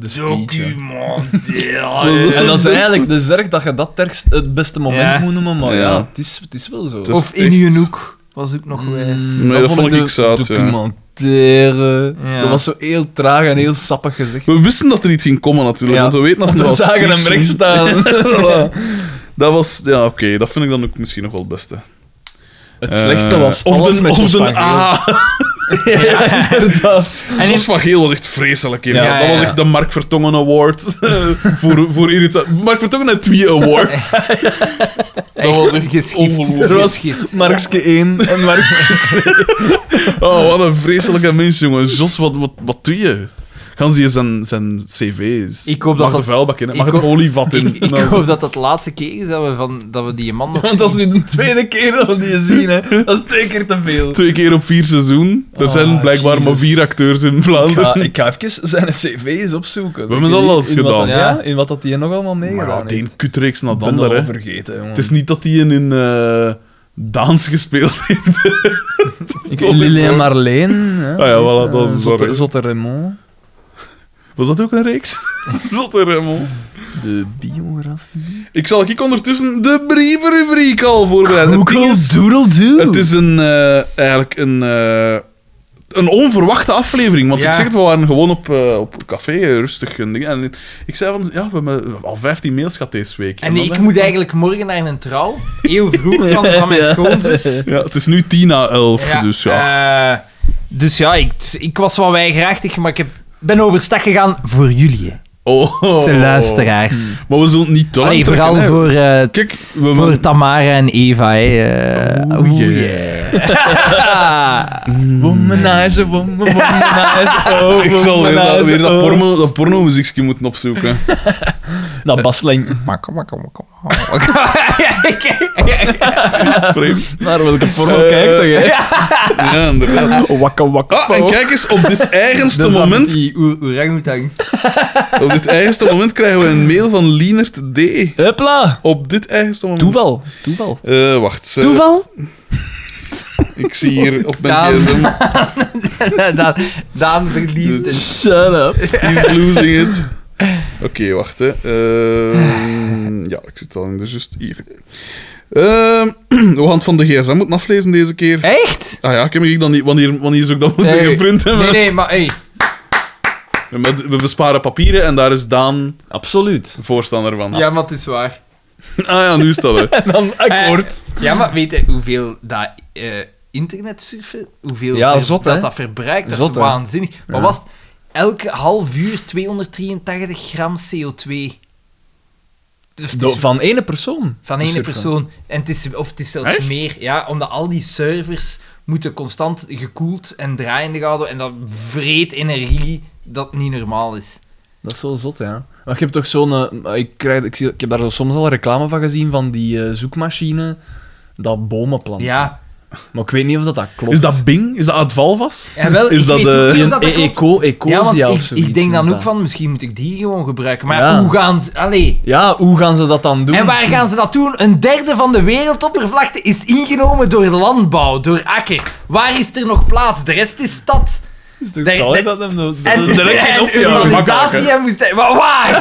[SPEAKER 3] De speech, ja.
[SPEAKER 1] Documenteel.
[SPEAKER 3] En Ah, dat is eigenlijk de zorg dat je dat tergst het beste moment
[SPEAKER 1] Ja.
[SPEAKER 3] moet noemen, maar ja,
[SPEAKER 2] Ja.
[SPEAKER 3] het, is, het is wel zo.
[SPEAKER 2] Het is
[SPEAKER 1] Of in
[SPEAKER 2] echt-
[SPEAKER 1] uw hoek was ook nog wijs.
[SPEAKER 3] Mm,
[SPEAKER 2] Nee, dat vond ik
[SPEAKER 3] de
[SPEAKER 2] zout, ja.
[SPEAKER 3] Documentaire.
[SPEAKER 1] Ja.
[SPEAKER 3] Dat was zo heel traag en heel sappig gezegd.
[SPEAKER 2] We wisten dat er iets ging komen natuurlijk,
[SPEAKER 3] Ja.
[SPEAKER 2] want we weten als
[SPEAKER 3] Want
[SPEAKER 2] er
[SPEAKER 3] we
[SPEAKER 2] wel
[SPEAKER 3] zagen hem
[SPEAKER 2] speech-
[SPEAKER 3] recht staan.
[SPEAKER 2] Dat was, ja, oké, dat vind ik dan ook misschien nog wel het beste.
[SPEAKER 3] Het slechtste
[SPEAKER 2] Eh,
[SPEAKER 3] was
[SPEAKER 2] of
[SPEAKER 3] alles
[SPEAKER 2] de,
[SPEAKER 3] met
[SPEAKER 2] of
[SPEAKER 3] Jos
[SPEAKER 2] de
[SPEAKER 3] van Geel.
[SPEAKER 2] ah,
[SPEAKER 3] Ja, inderdaad.
[SPEAKER 1] En
[SPEAKER 2] Jos
[SPEAKER 1] in-
[SPEAKER 2] van Geel was echt vreselijk. hier.
[SPEAKER 3] Ja,
[SPEAKER 2] dat
[SPEAKER 1] ja,
[SPEAKER 2] was
[SPEAKER 1] ja.
[SPEAKER 2] echt de Mark Vertongen Award. voor voor irritatie. Mark Vertongen had twee awards.
[SPEAKER 1] Echt
[SPEAKER 2] was echt
[SPEAKER 1] geschift.
[SPEAKER 2] ongelooflijk.
[SPEAKER 3] Er was
[SPEAKER 1] Geschift.
[SPEAKER 3] Markske 1 en Markske 2.
[SPEAKER 2] Oh, wat een vreselijke mens, jongen. Jos, wat, wat, wat doe je? Gaan ze je zijn, zijn cv's?
[SPEAKER 1] Ik hoop dat
[SPEAKER 2] Mag
[SPEAKER 1] dat-
[SPEAKER 2] de vuilbak in, hè?
[SPEAKER 1] ik
[SPEAKER 2] mag het
[SPEAKER 1] hoop-
[SPEAKER 2] olievat in.
[SPEAKER 1] Ik, ik
[SPEAKER 2] Nou,
[SPEAKER 1] hoop dat dat de laatste keer is dat we, van, dat we die man nog
[SPEAKER 3] Want dat is
[SPEAKER 1] zien.
[SPEAKER 3] nu de tweede keer dat we die zien, hè. Dat is twee keer te veel.
[SPEAKER 2] Twee keer op vier seizoen. Er
[SPEAKER 1] Oh,
[SPEAKER 3] Ah,
[SPEAKER 2] zijn blijkbaar maar
[SPEAKER 3] Jesus.
[SPEAKER 2] vier acteurs in
[SPEAKER 3] Ik
[SPEAKER 2] Vlaanderen.
[SPEAKER 3] ga, ik ga even zijn cv eens opzoeken.
[SPEAKER 2] We hebben
[SPEAKER 3] Ik
[SPEAKER 2] dat
[SPEAKER 3] weet
[SPEAKER 2] al
[SPEAKER 3] niet
[SPEAKER 2] eens
[SPEAKER 3] in wat
[SPEAKER 2] gedaan.
[SPEAKER 3] dat- ja, in wat dat die nog allemaal
[SPEAKER 2] Maar
[SPEAKER 3] meegedaan
[SPEAKER 2] ja, de
[SPEAKER 3] heeft.
[SPEAKER 2] een kutreeks na
[SPEAKER 3] Ik
[SPEAKER 2] de
[SPEAKER 3] ben dat
[SPEAKER 2] ander.
[SPEAKER 3] al
[SPEAKER 2] hè.
[SPEAKER 3] vergeten, jongen.
[SPEAKER 2] Het is niet dat hij een in eh, Daans gespeeld heeft.
[SPEAKER 3] Ik, Lili en Marleen. hè.
[SPEAKER 2] Ah ja, voilà, dat is
[SPEAKER 3] Eh,
[SPEAKER 2] waar, hè.
[SPEAKER 3] Zotte, Zotte Raymond.
[SPEAKER 2] Was dat ook een reeks? Zotte Remmel.
[SPEAKER 3] De biografie.
[SPEAKER 2] Ik zal ik ondertussen de brievenrubriek al voorbereiden. Het ding is-
[SPEAKER 3] doodle
[SPEAKER 2] Het is een, eh, eigenlijk een, eh, een onverwachte aflevering. Want
[SPEAKER 1] Ja.
[SPEAKER 2] ik zeg het, we waren gewoon op, eh, op een café, eh, rustig. En, dingen. en ik zei van, ja, we hebben al 15 mails gehad deze week.
[SPEAKER 1] En
[SPEAKER 2] dan
[SPEAKER 1] ik
[SPEAKER 2] dacht
[SPEAKER 1] moet eigenlijk morgen naar een trouw. Heel vroeg van, van mijn schoonzus.
[SPEAKER 2] Ja, het is nu 10 na 11, dus ja.
[SPEAKER 1] eh, dus ja, ik, ik was wel weigerachtig, maar ik heb, ben overstag gegaan voor jullie,
[SPEAKER 2] oh.
[SPEAKER 1] de luisteraars.
[SPEAKER 2] Maar we zullen het niet te lang
[SPEAKER 1] Allee,
[SPEAKER 2] trekken,
[SPEAKER 1] vooral
[SPEAKER 2] hè.
[SPEAKER 1] voor, eh,
[SPEAKER 2] Kijk, we
[SPEAKER 1] voor Tamara en Eva. Hè. eh.
[SPEAKER 2] Oh,
[SPEAKER 1] Oeh,
[SPEAKER 2] yeah.
[SPEAKER 1] yeah.
[SPEAKER 3] Womanizer, woman, womanizer, oh,
[SPEAKER 2] Ik zal weer dat, weer dat,
[SPEAKER 3] womanizer, oh.
[SPEAKER 2] porno, dat pornomuziekje moeten opzoeken.
[SPEAKER 3] Dat baslijn.
[SPEAKER 1] Maar kom maar, kom maar, kom maar.
[SPEAKER 2] Vreemd.
[SPEAKER 3] Naar welke porno
[SPEAKER 2] Eh,
[SPEAKER 3] kijkt dat, hè?
[SPEAKER 2] Ja, inderdaad.
[SPEAKER 3] Wakka, wakka,
[SPEAKER 2] Ah, en kijk eens, op dit eigenste
[SPEAKER 1] Dat is dan
[SPEAKER 2] moment
[SPEAKER 1] met Die oer- orangutang.
[SPEAKER 2] Op dit eigenste moment krijgen we een mail van Lienert D.
[SPEAKER 3] Hupla.
[SPEAKER 2] Op dit eigenste moment.
[SPEAKER 3] Toeval. Toeval.
[SPEAKER 2] Eh, wacht. eh,
[SPEAKER 3] Toeval?
[SPEAKER 2] ik zie hier op mijn
[SPEAKER 1] Daan.
[SPEAKER 2] gsm.
[SPEAKER 1] Daan, Daan verliest het.
[SPEAKER 3] Shut up.
[SPEAKER 2] He's losing it. Oké, wacht. Hè.
[SPEAKER 1] Ah.
[SPEAKER 2] Ehm, ja, ik zit al in de just hier. Ehm we gaan het van de gsm moeten aflezen deze keer.
[SPEAKER 1] Echt? Eh,
[SPEAKER 2] Ah ja, ik heb ik dan niet... Wanneer, wanneer zou ik dat moeten geprint hebben?
[SPEAKER 1] Nee, nee, maar hey.
[SPEAKER 2] Maar We besparen papieren en daar is Daan
[SPEAKER 3] Absoluut.
[SPEAKER 2] voorstander van.
[SPEAKER 1] Ja, maar het is waar.
[SPEAKER 2] Ah ja, nu is dat hè.
[SPEAKER 3] En dan akkoord.
[SPEAKER 1] Eh, ja, maar weet je hoeveel dat eh, internet surfen, hoeveel
[SPEAKER 3] Ja,
[SPEAKER 1] ver-
[SPEAKER 3] zot,
[SPEAKER 1] dat,
[SPEAKER 3] hè?
[SPEAKER 1] dat verbruikt? Dat
[SPEAKER 3] Zot,
[SPEAKER 1] is
[SPEAKER 3] hè?
[SPEAKER 1] waanzinnig. Maar
[SPEAKER 3] Ja.
[SPEAKER 1] was het elke half uur 283 gram CO2? Dus het
[SPEAKER 3] Eh, Do-
[SPEAKER 1] is
[SPEAKER 3] Van ene persoon.
[SPEAKER 1] van
[SPEAKER 3] Dus
[SPEAKER 1] ene
[SPEAKER 3] ervan.
[SPEAKER 1] persoon. En het is, of het is zelfs
[SPEAKER 2] Echt?
[SPEAKER 1] meer. Ja, omdat al die servers moeten constant gekoeld en draaiende gehouden En dat vreet energie dat niet normaal is.
[SPEAKER 3] Dat is wel zot, ja. Maar je hebt toch zo'n... eh, Ik, krijg, ik, zie, ik heb daar zo soms al reclame van gezien, van die eh, zoekmachine dat bomen plant.
[SPEAKER 1] Ja,
[SPEAKER 3] Maar ik weet niet of dat, dat klopt.
[SPEAKER 2] Is dat Bing? Is dat Advalvas?
[SPEAKER 1] Ja, wel,
[SPEAKER 2] Is
[SPEAKER 1] ik
[SPEAKER 2] dat
[SPEAKER 1] weet
[SPEAKER 2] de-
[SPEAKER 1] ook niet
[SPEAKER 3] Een
[SPEAKER 1] of dat dat
[SPEAKER 3] e-
[SPEAKER 1] klopt.
[SPEAKER 3] eco,
[SPEAKER 1] Ja, want
[SPEAKER 3] ecosia of
[SPEAKER 1] ik,
[SPEAKER 3] zoiets.
[SPEAKER 1] ik denk dan ook
[SPEAKER 3] inderdaad.
[SPEAKER 1] van, misschien moet ik die gewoon gebruiken. Maar
[SPEAKER 3] Ja.
[SPEAKER 1] hoe gaan ze... Allee.
[SPEAKER 3] Ja, hoe gaan ze dat dan doen?
[SPEAKER 1] En waar gaan ze dat doen? Een derde van de wereldoppervlakte is ingenomen door landbouw, door akker. Waar is er nog plaats? De rest is stad.
[SPEAKER 3] Is toch
[SPEAKER 1] Daar-
[SPEAKER 3] zalig
[SPEAKER 1] daar-
[SPEAKER 3] dat hem dat-
[SPEAKER 1] En,
[SPEAKER 3] dat- direct in
[SPEAKER 1] en
[SPEAKER 3] optie-
[SPEAKER 2] ja,
[SPEAKER 1] urbanisatie
[SPEAKER 2] makkelijk, hè.
[SPEAKER 1] en woestijn. Maar waar?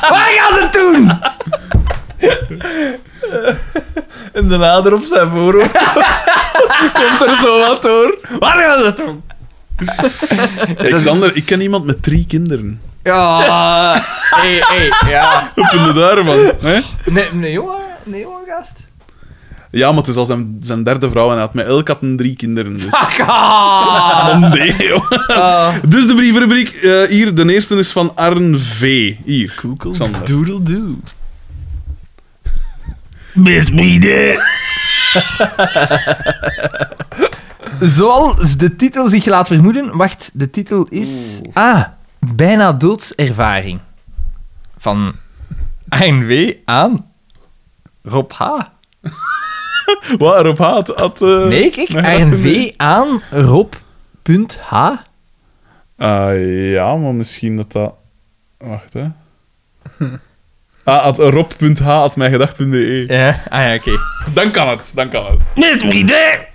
[SPEAKER 1] waar gaan ze het doen?
[SPEAKER 3] En de nader op zijn voorhoofd. Komt er zo wat door. Waar gaan ze dat doen?
[SPEAKER 2] Alexander, ik ken iemand met drie kinderen.
[SPEAKER 1] Ja, hey, hey, ja.
[SPEAKER 2] Wat vind je daarvan? hè?
[SPEAKER 1] Nee, nee, jongen, nee, jongen, gast.
[SPEAKER 2] Ja, maar het is al zijn, zijn derde vrouw en hij had met elk had een drie kinderen. Dus.
[SPEAKER 1] Akka!
[SPEAKER 2] Man, nee, joh. Dus de brievenrubriek. eh, hier, de eerste is van Arn V. Hier.
[SPEAKER 3] Google
[SPEAKER 2] Xander.
[SPEAKER 3] doodle doo.
[SPEAKER 1] Zoals de titel zich laat vermoeden, wacht, de titel is. Ah, bijna doodservaring. Van ANW aan Rob H.
[SPEAKER 2] Wat, Rob Haat had... eh,
[SPEAKER 1] Nee, kijk,
[SPEAKER 2] mijn gedachten
[SPEAKER 1] ANW
[SPEAKER 2] mee.
[SPEAKER 1] aan Rob.h.
[SPEAKER 2] Ah, ja, maar misschien dat dat... Wacht, hè. Ah, at rob.h had mij gedacht.de.
[SPEAKER 1] Ja, ah ja, oké.
[SPEAKER 2] Dan kan het, dan kan het.
[SPEAKER 4] Mist me there.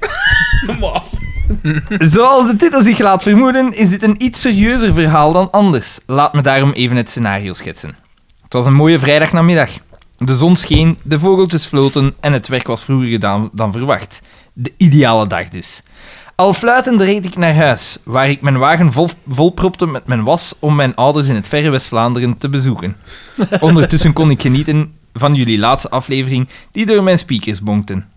[SPEAKER 2] Maar-
[SPEAKER 1] Zoals de titel zich laat vermoeden, is dit een iets serieuzer verhaal dan anders. Laat me daarom even het scenario schetsen. Het was een mooie vrijdagnamiddag. De zon scheen, de vogeltjes floten en het werk was vroeger gedaan dan verwacht. De ideale dag dus. Al fluitend reed ik naar huis, waar ik mijn wagen vol, volpropte met mijn was om mijn ouders in het verre West-Vlaanderen te bezoeken. Ondertussen kon ik genieten van jullie laatste aflevering, die door mijn speakers bonkten.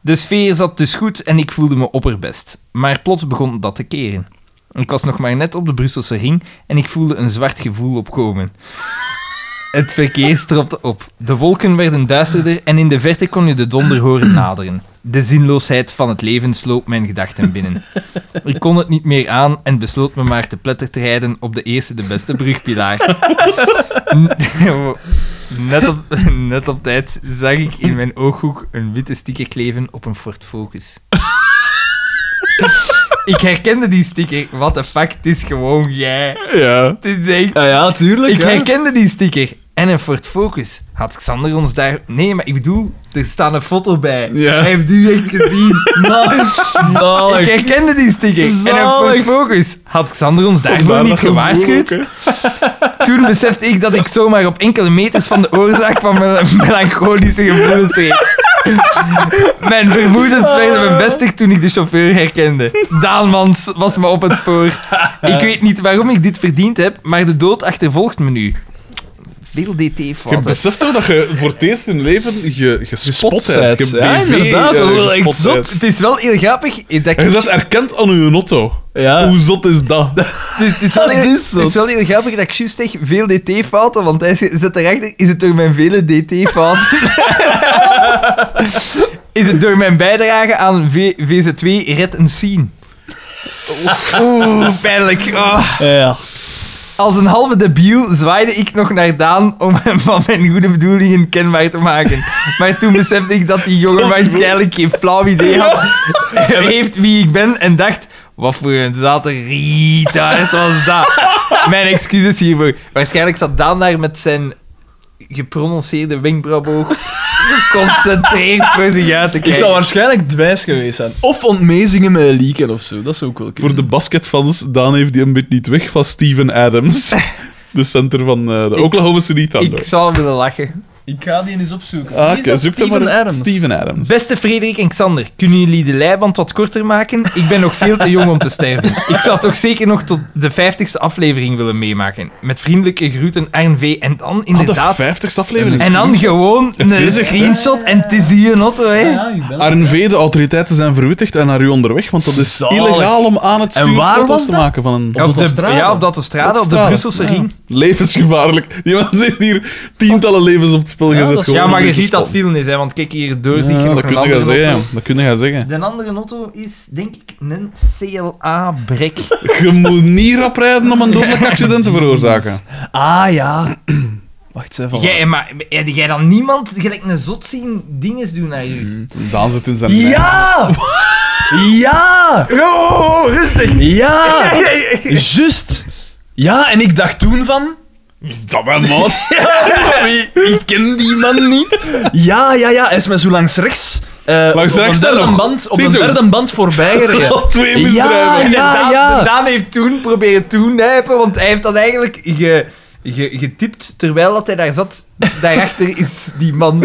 [SPEAKER 1] De sfeer zat dus goed en ik voelde me opperbest. Maar plots begon dat te keren. Ik was nog maar net op de Brusselse ring en ik voelde een zwart gevoel opkomen. Het verkeer stropte op. De wolken werden duisterder en in de verte kon je de donder horen naderen. De zinloosheid van het leven sloop mijn gedachten binnen. Ik kon het niet meer aan en besloot me maar te pletter te rijden op de eerste de beste brugpilaar. Net op, net op tijd zag ik in mijn ooghoek een witte sticker kleven op een Ford Focus. ik herkende die sticker. What the fuck, het is gewoon jij.
[SPEAKER 2] Ja.
[SPEAKER 1] Het is echt
[SPEAKER 3] Ja, ja, tuurlijk.
[SPEAKER 1] ik herkende die sticker. En een Ford Focus. Had Xander ons daar... Nee, maar ik bedoel, er staat een foto bij.
[SPEAKER 2] Ja.
[SPEAKER 1] Hij heeft u echt gezien. Maar ik herkende die sticker. En een
[SPEAKER 3] Zalig.
[SPEAKER 1] Ford Focus. Had Xander ons daarvoor
[SPEAKER 2] Vandaar
[SPEAKER 1] niet
[SPEAKER 2] dat gevoel
[SPEAKER 1] gewaarschuwd?
[SPEAKER 2] ook, hè.
[SPEAKER 1] Toen besefte ik dat ik zomaar op enkele meters van de oorzaak van mijn melancholische gevoelens reed. Mijn vermoedens werden bevestigd toen ik de chauffeur herkende. Daalmans was me op het spoor. Ik weet niet waarom ik dit verdiend heb, maar de dood achtervolgt me nu. Veel
[SPEAKER 2] Je
[SPEAKER 1] DT-fouten.
[SPEAKER 2] beseft toch dat je voor het eerst in leven je, gespot
[SPEAKER 3] Gespot
[SPEAKER 2] bent.
[SPEAKER 3] bent.
[SPEAKER 2] Je
[SPEAKER 3] Ja,
[SPEAKER 2] BV,
[SPEAKER 3] inderdaad,
[SPEAKER 2] eh,
[SPEAKER 3] dat is wel echt
[SPEAKER 2] gespot
[SPEAKER 3] zot.
[SPEAKER 2] bent.
[SPEAKER 1] Het is wel heel grappig. eh, Dat ik,
[SPEAKER 2] En Je bent erkend aan je auto.
[SPEAKER 3] Ja.
[SPEAKER 2] Hoe zot is dat?
[SPEAKER 1] het, is- het is wel
[SPEAKER 3] dat
[SPEAKER 1] heel,
[SPEAKER 3] is zot.
[SPEAKER 1] het is wel heel grappig dat ik juist zeg veel DT-fouten, want hij zit erachter. Is het door mijn vele DT-fouten? is het door mijn bijdrage aan v VZ2 Red een Scene? Oeh, pijnlijk. Oh.
[SPEAKER 3] Ja.
[SPEAKER 1] Als een halve debiel zwaaide ik nog naar Daan om hem van mijn goede bedoelingen kenbaar te maken. Maar toen besefte ik dat die jongen waarschijnlijk geen flauw idee had. Heeft wie ik ben en dacht... Wat voor een zate retard was dat? Mijn excuses hiervoor. Waarschijnlijk zat Daan daar met zijn geprononceerde wenkbrauwboog geconcentreerd voor zich uit te kijken.
[SPEAKER 3] Ik zou waarschijnlijk dwijs geweest zijn. Of ontmezingen met Lieken of zo. Dat is ook wel
[SPEAKER 2] Voor de basketfans, Daan heeft die een beetje niet weg van Steven Adams. De center van eh, de
[SPEAKER 1] Ik-
[SPEAKER 2] Oklahoma City Thunder.
[SPEAKER 1] Ik zou willen lachen.
[SPEAKER 3] Ik ga die eens opzoeken.
[SPEAKER 2] Ah,
[SPEAKER 3] Wie
[SPEAKER 2] Oké,
[SPEAKER 3] is dat?
[SPEAKER 2] zoek dat
[SPEAKER 3] Steven
[SPEAKER 2] maar op.
[SPEAKER 3] Adams.
[SPEAKER 2] Steven Adams.
[SPEAKER 1] Beste Frederik en Xander, kunnen jullie de leiband wat korter maken? Ik ben nog veel te jong om te sterven. Ik zou toch zeker nog tot de 50ste aflevering willen meemaken. Met vriendelijke groeten, RNV. En dan
[SPEAKER 2] Ah,
[SPEAKER 1] inderdaad...
[SPEAKER 2] de 50ste aflevering.
[SPEAKER 1] en dan gewoon een
[SPEAKER 2] is echt, hè?
[SPEAKER 1] screenshot en het is hier een auto, hè.
[SPEAKER 3] Ja, ik ben
[SPEAKER 2] RNV, de autoriteiten zijn verwittigd en naar u onderweg, want dat is
[SPEAKER 3] Zalig.
[SPEAKER 2] illegaal om aan het
[SPEAKER 3] En
[SPEAKER 2] stuur
[SPEAKER 3] waar
[SPEAKER 2] foto's
[SPEAKER 3] was
[SPEAKER 2] te
[SPEAKER 3] dat?
[SPEAKER 2] maken van een...
[SPEAKER 1] Ja, op de,
[SPEAKER 3] autostrade.
[SPEAKER 1] ja, op de autostrade, op de
[SPEAKER 2] Autostrade.
[SPEAKER 1] Brusselse
[SPEAKER 2] Ja.
[SPEAKER 1] ring.
[SPEAKER 2] Levensgevaarlijk. Die man heeft hier tientallen levens op het spel
[SPEAKER 3] Ja,
[SPEAKER 2] gezet.
[SPEAKER 3] dat is-
[SPEAKER 2] gewoon
[SPEAKER 1] Ja, maar
[SPEAKER 2] om
[SPEAKER 1] je
[SPEAKER 2] u te
[SPEAKER 1] ziet dat
[SPEAKER 2] spotten.
[SPEAKER 1] veel is, hè, want kijk hier door zich
[SPEAKER 2] Ja,
[SPEAKER 1] nog
[SPEAKER 2] dat kun
[SPEAKER 1] een
[SPEAKER 2] je gaan
[SPEAKER 1] andere
[SPEAKER 2] zeggen.
[SPEAKER 1] auto.
[SPEAKER 2] ja. Dat kun je gaan zeggen.
[SPEAKER 1] De andere auto is, denk ik, een CLA-brek.
[SPEAKER 2] Je moet niet rap rijden om een dodelijk accident te veroorzaken.
[SPEAKER 3] Ah ja. Wacht, zei van...
[SPEAKER 1] Jij, maar heb jij dan niemand gelijk een zot zien dinges doen naar u?
[SPEAKER 2] Mhm. Daan zit in zijn
[SPEAKER 3] Ja! Ja!
[SPEAKER 1] Oh, rustig!
[SPEAKER 3] Ja! Just! Ja, en ik dacht toen van...
[SPEAKER 2] Is dat wel maat?
[SPEAKER 3] Ik, ik ken die man niet. Ja, ja, ja. Hij is me zo langs rechts... eh,
[SPEAKER 2] Langs
[SPEAKER 3] op
[SPEAKER 2] rechts
[SPEAKER 3] een derde
[SPEAKER 2] dan nog.
[SPEAKER 3] band, op
[SPEAKER 2] Zie
[SPEAKER 3] een
[SPEAKER 2] toch?
[SPEAKER 3] derde band voorbij gereden.
[SPEAKER 2] Al twee
[SPEAKER 3] Ja,
[SPEAKER 2] misdrijven.
[SPEAKER 3] ja, ja.
[SPEAKER 1] Daan heeft toen proberen toenijpen, want hij heeft dan eigenlijk ge, ge- getipt terwijl dat hij daar zat. Daarachter is die man.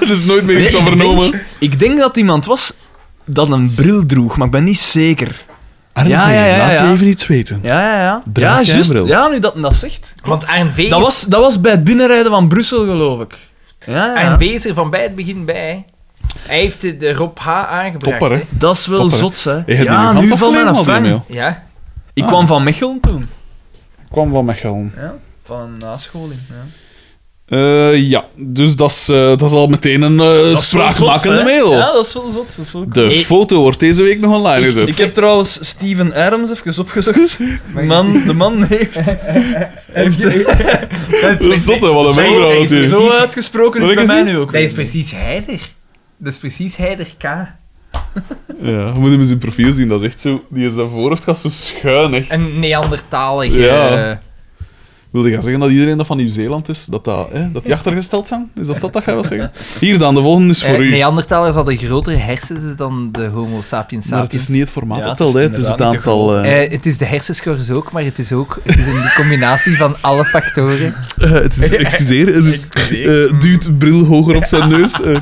[SPEAKER 2] Er is nooit meer
[SPEAKER 3] Nee,
[SPEAKER 2] iets van
[SPEAKER 3] ik denk-
[SPEAKER 2] vernomen.
[SPEAKER 3] Ik denk dat iemand was dat een bril droeg, maar ik ben niet zeker. Ja, ja, ja,
[SPEAKER 2] laat
[SPEAKER 3] ja.
[SPEAKER 2] je even iets weten.
[SPEAKER 3] Ja, ja, ja.
[SPEAKER 2] Draag
[SPEAKER 3] ja,
[SPEAKER 2] jij een
[SPEAKER 3] juist.
[SPEAKER 2] bril?
[SPEAKER 3] Ja, nu dat dat zegt.
[SPEAKER 1] Want RNV
[SPEAKER 3] Dat was, dat was bij het binnenrijden van Brussel, geloof ik. Ja, ja.
[SPEAKER 1] RNV is er van bij het begin bij. Hij heeft de, de Rob H. aangebracht.
[SPEAKER 2] Topper, hè?
[SPEAKER 1] hè.
[SPEAKER 3] Dat is wel
[SPEAKER 2] Topper, hè?
[SPEAKER 3] zot, hè.
[SPEAKER 2] Je hebt die
[SPEAKER 3] ja,
[SPEAKER 2] nu
[SPEAKER 3] nu van mijn afvang.
[SPEAKER 2] afvang.
[SPEAKER 1] Ja.
[SPEAKER 3] Ik
[SPEAKER 2] Ah.
[SPEAKER 3] kwam van Mechelen toen.
[SPEAKER 2] Ik kwam van Mechelen.
[SPEAKER 3] Ja, van een nascholing. Ja.
[SPEAKER 2] Eh ja, dus dat is, eh, dat is al meteen een eh
[SPEAKER 3] Dat is wel
[SPEAKER 2] spraakmakende
[SPEAKER 3] zot, hè.
[SPEAKER 2] mail.
[SPEAKER 3] Ja, dat is wel zot. Dat is wel
[SPEAKER 2] De
[SPEAKER 1] Ik-
[SPEAKER 2] foto wordt deze week nog online gezet.
[SPEAKER 3] Ik heb trouwens Steven Adams even opgezocht. Man, de man heeft, heeft
[SPEAKER 2] Dat is zot, hè, wat een
[SPEAKER 1] Zo- dat is
[SPEAKER 2] mail trouwens is.
[SPEAKER 1] precies-
[SPEAKER 3] zo uitgesproken is
[SPEAKER 2] Wil
[SPEAKER 3] bij
[SPEAKER 2] ik eens
[SPEAKER 3] mij
[SPEAKER 2] zien?
[SPEAKER 3] nu ook.
[SPEAKER 1] Dat is precies Heider. Dat is precies Heider K.
[SPEAKER 2] Ja, je moet hem eens in profiel zien, dat is echt zo... Die is zijn voorhoofd gaat zo schuin, echt.
[SPEAKER 1] Een Neandertalige.
[SPEAKER 2] Ja.
[SPEAKER 1] eh,
[SPEAKER 2] Wilde gaan zeggen dat iedereen dat van Nieuw-Zeeland is, dat, dat, hè, dat die achtergesteld zijn? Is dat dat dat jij wil zeggen? Hier dan, de volgende is voor
[SPEAKER 1] eh,
[SPEAKER 2] u.
[SPEAKER 1] Neandertalers hadden grotere hersens dan de Homo sapiens
[SPEAKER 2] maar het
[SPEAKER 1] sapiens.
[SPEAKER 2] is niet het formaat
[SPEAKER 3] Ja,
[SPEAKER 2] dat
[SPEAKER 3] het is
[SPEAKER 2] telt, hè. Het is het
[SPEAKER 3] inderdaad niet te
[SPEAKER 2] aantal... eh,
[SPEAKER 1] Eh, het is de hersenschors ook, maar het is ook het is een combinatie van alle factoren.
[SPEAKER 2] eh, het is... Excuseer. eh, eh, duwt bril hoger op zijn neus. eh.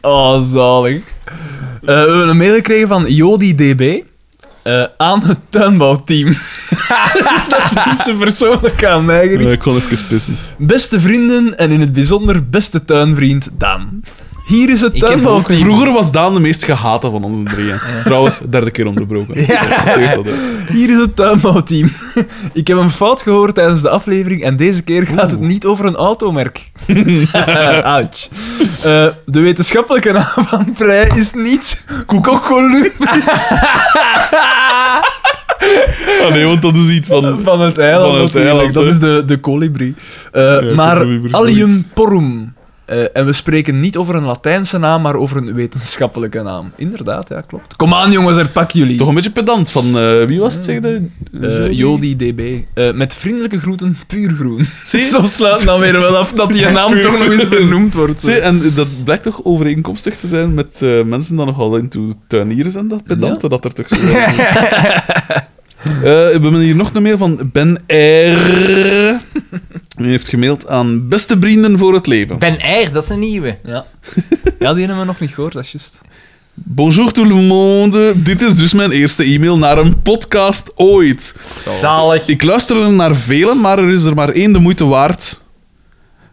[SPEAKER 3] Oh, zalig. Eh, we hebben een mail gekregen van Jody DB eh, aan het tuinbouwteam. dus dat is ze persoonlijk aan mij gericht.
[SPEAKER 2] Eh, ik kon even pissen.
[SPEAKER 3] Beste vrienden en in het bijzonder beste tuinvriend Daan. Hier is het
[SPEAKER 1] Ik heb
[SPEAKER 3] tuinbouwteam.
[SPEAKER 2] Vroeger was Daan de meest gehate van onze drieën. Trouwens, derde keer onderbroken. Dat heeft dat, hè.
[SPEAKER 3] Hier is het tuinbouwteam. Ik heb een fout gehoord tijdens de aflevering en deze keer gaat het
[SPEAKER 2] Oeh.
[SPEAKER 3] niet over een automerk. Ouch. Eh, de wetenschappelijke naam van prei is niet Columbus
[SPEAKER 2] Ah, nee, want dat is iets van...
[SPEAKER 3] van het eiland.
[SPEAKER 2] Van het
[SPEAKER 3] natuurlijk.
[SPEAKER 2] eiland,
[SPEAKER 3] dat
[SPEAKER 2] hè.
[SPEAKER 3] is de, de colibri. Eh,
[SPEAKER 2] colibri
[SPEAKER 3] maar
[SPEAKER 2] is nog
[SPEAKER 3] Allium Porum. Eh, en we spreken niet over een Latijnse naam, maar over een wetenschappelijke naam. Inderdaad, ja, klopt. Kom aan, jongens, er pak jullie.
[SPEAKER 2] Toch een beetje pedant van... eh, wie was het, zeg je?
[SPEAKER 3] Eh, Jody DB. Eh, met vriendelijke groeten, puur groen.
[SPEAKER 2] Zie je?
[SPEAKER 3] Zo sluit dan weer wel af dat die naam
[SPEAKER 2] Puur
[SPEAKER 3] toch nog eens
[SPEAKER 2] groen.
[SPEAKER 3] vernoemd wordt.
[SPEAKER 2] Zie, en dat blijkt toch overeenkomstig te zijn met eh, mensen die nogal into tuinieren zijn, dat pedante dat er toch zo wel is. Eh, we hebben hier nog een mail van Ben R. Die heeft gemaild aan beste vrienden voor het leven.
[SPEAKER 1] Ben Eyre, dat is een nieuwe.
[SPEAKER 3] Ja. ja, die hebben we nog niet gehoord, dat is juist.
[SPEAKER 2] Bonjour tout le monde. Dit is dus mijn eerste e-mail naar een podcast ooit.
[SPEAKER 1] Zalig.
[SPEAKER 2] Ik luister er naar velen, maar er is er maar één de moeite waard.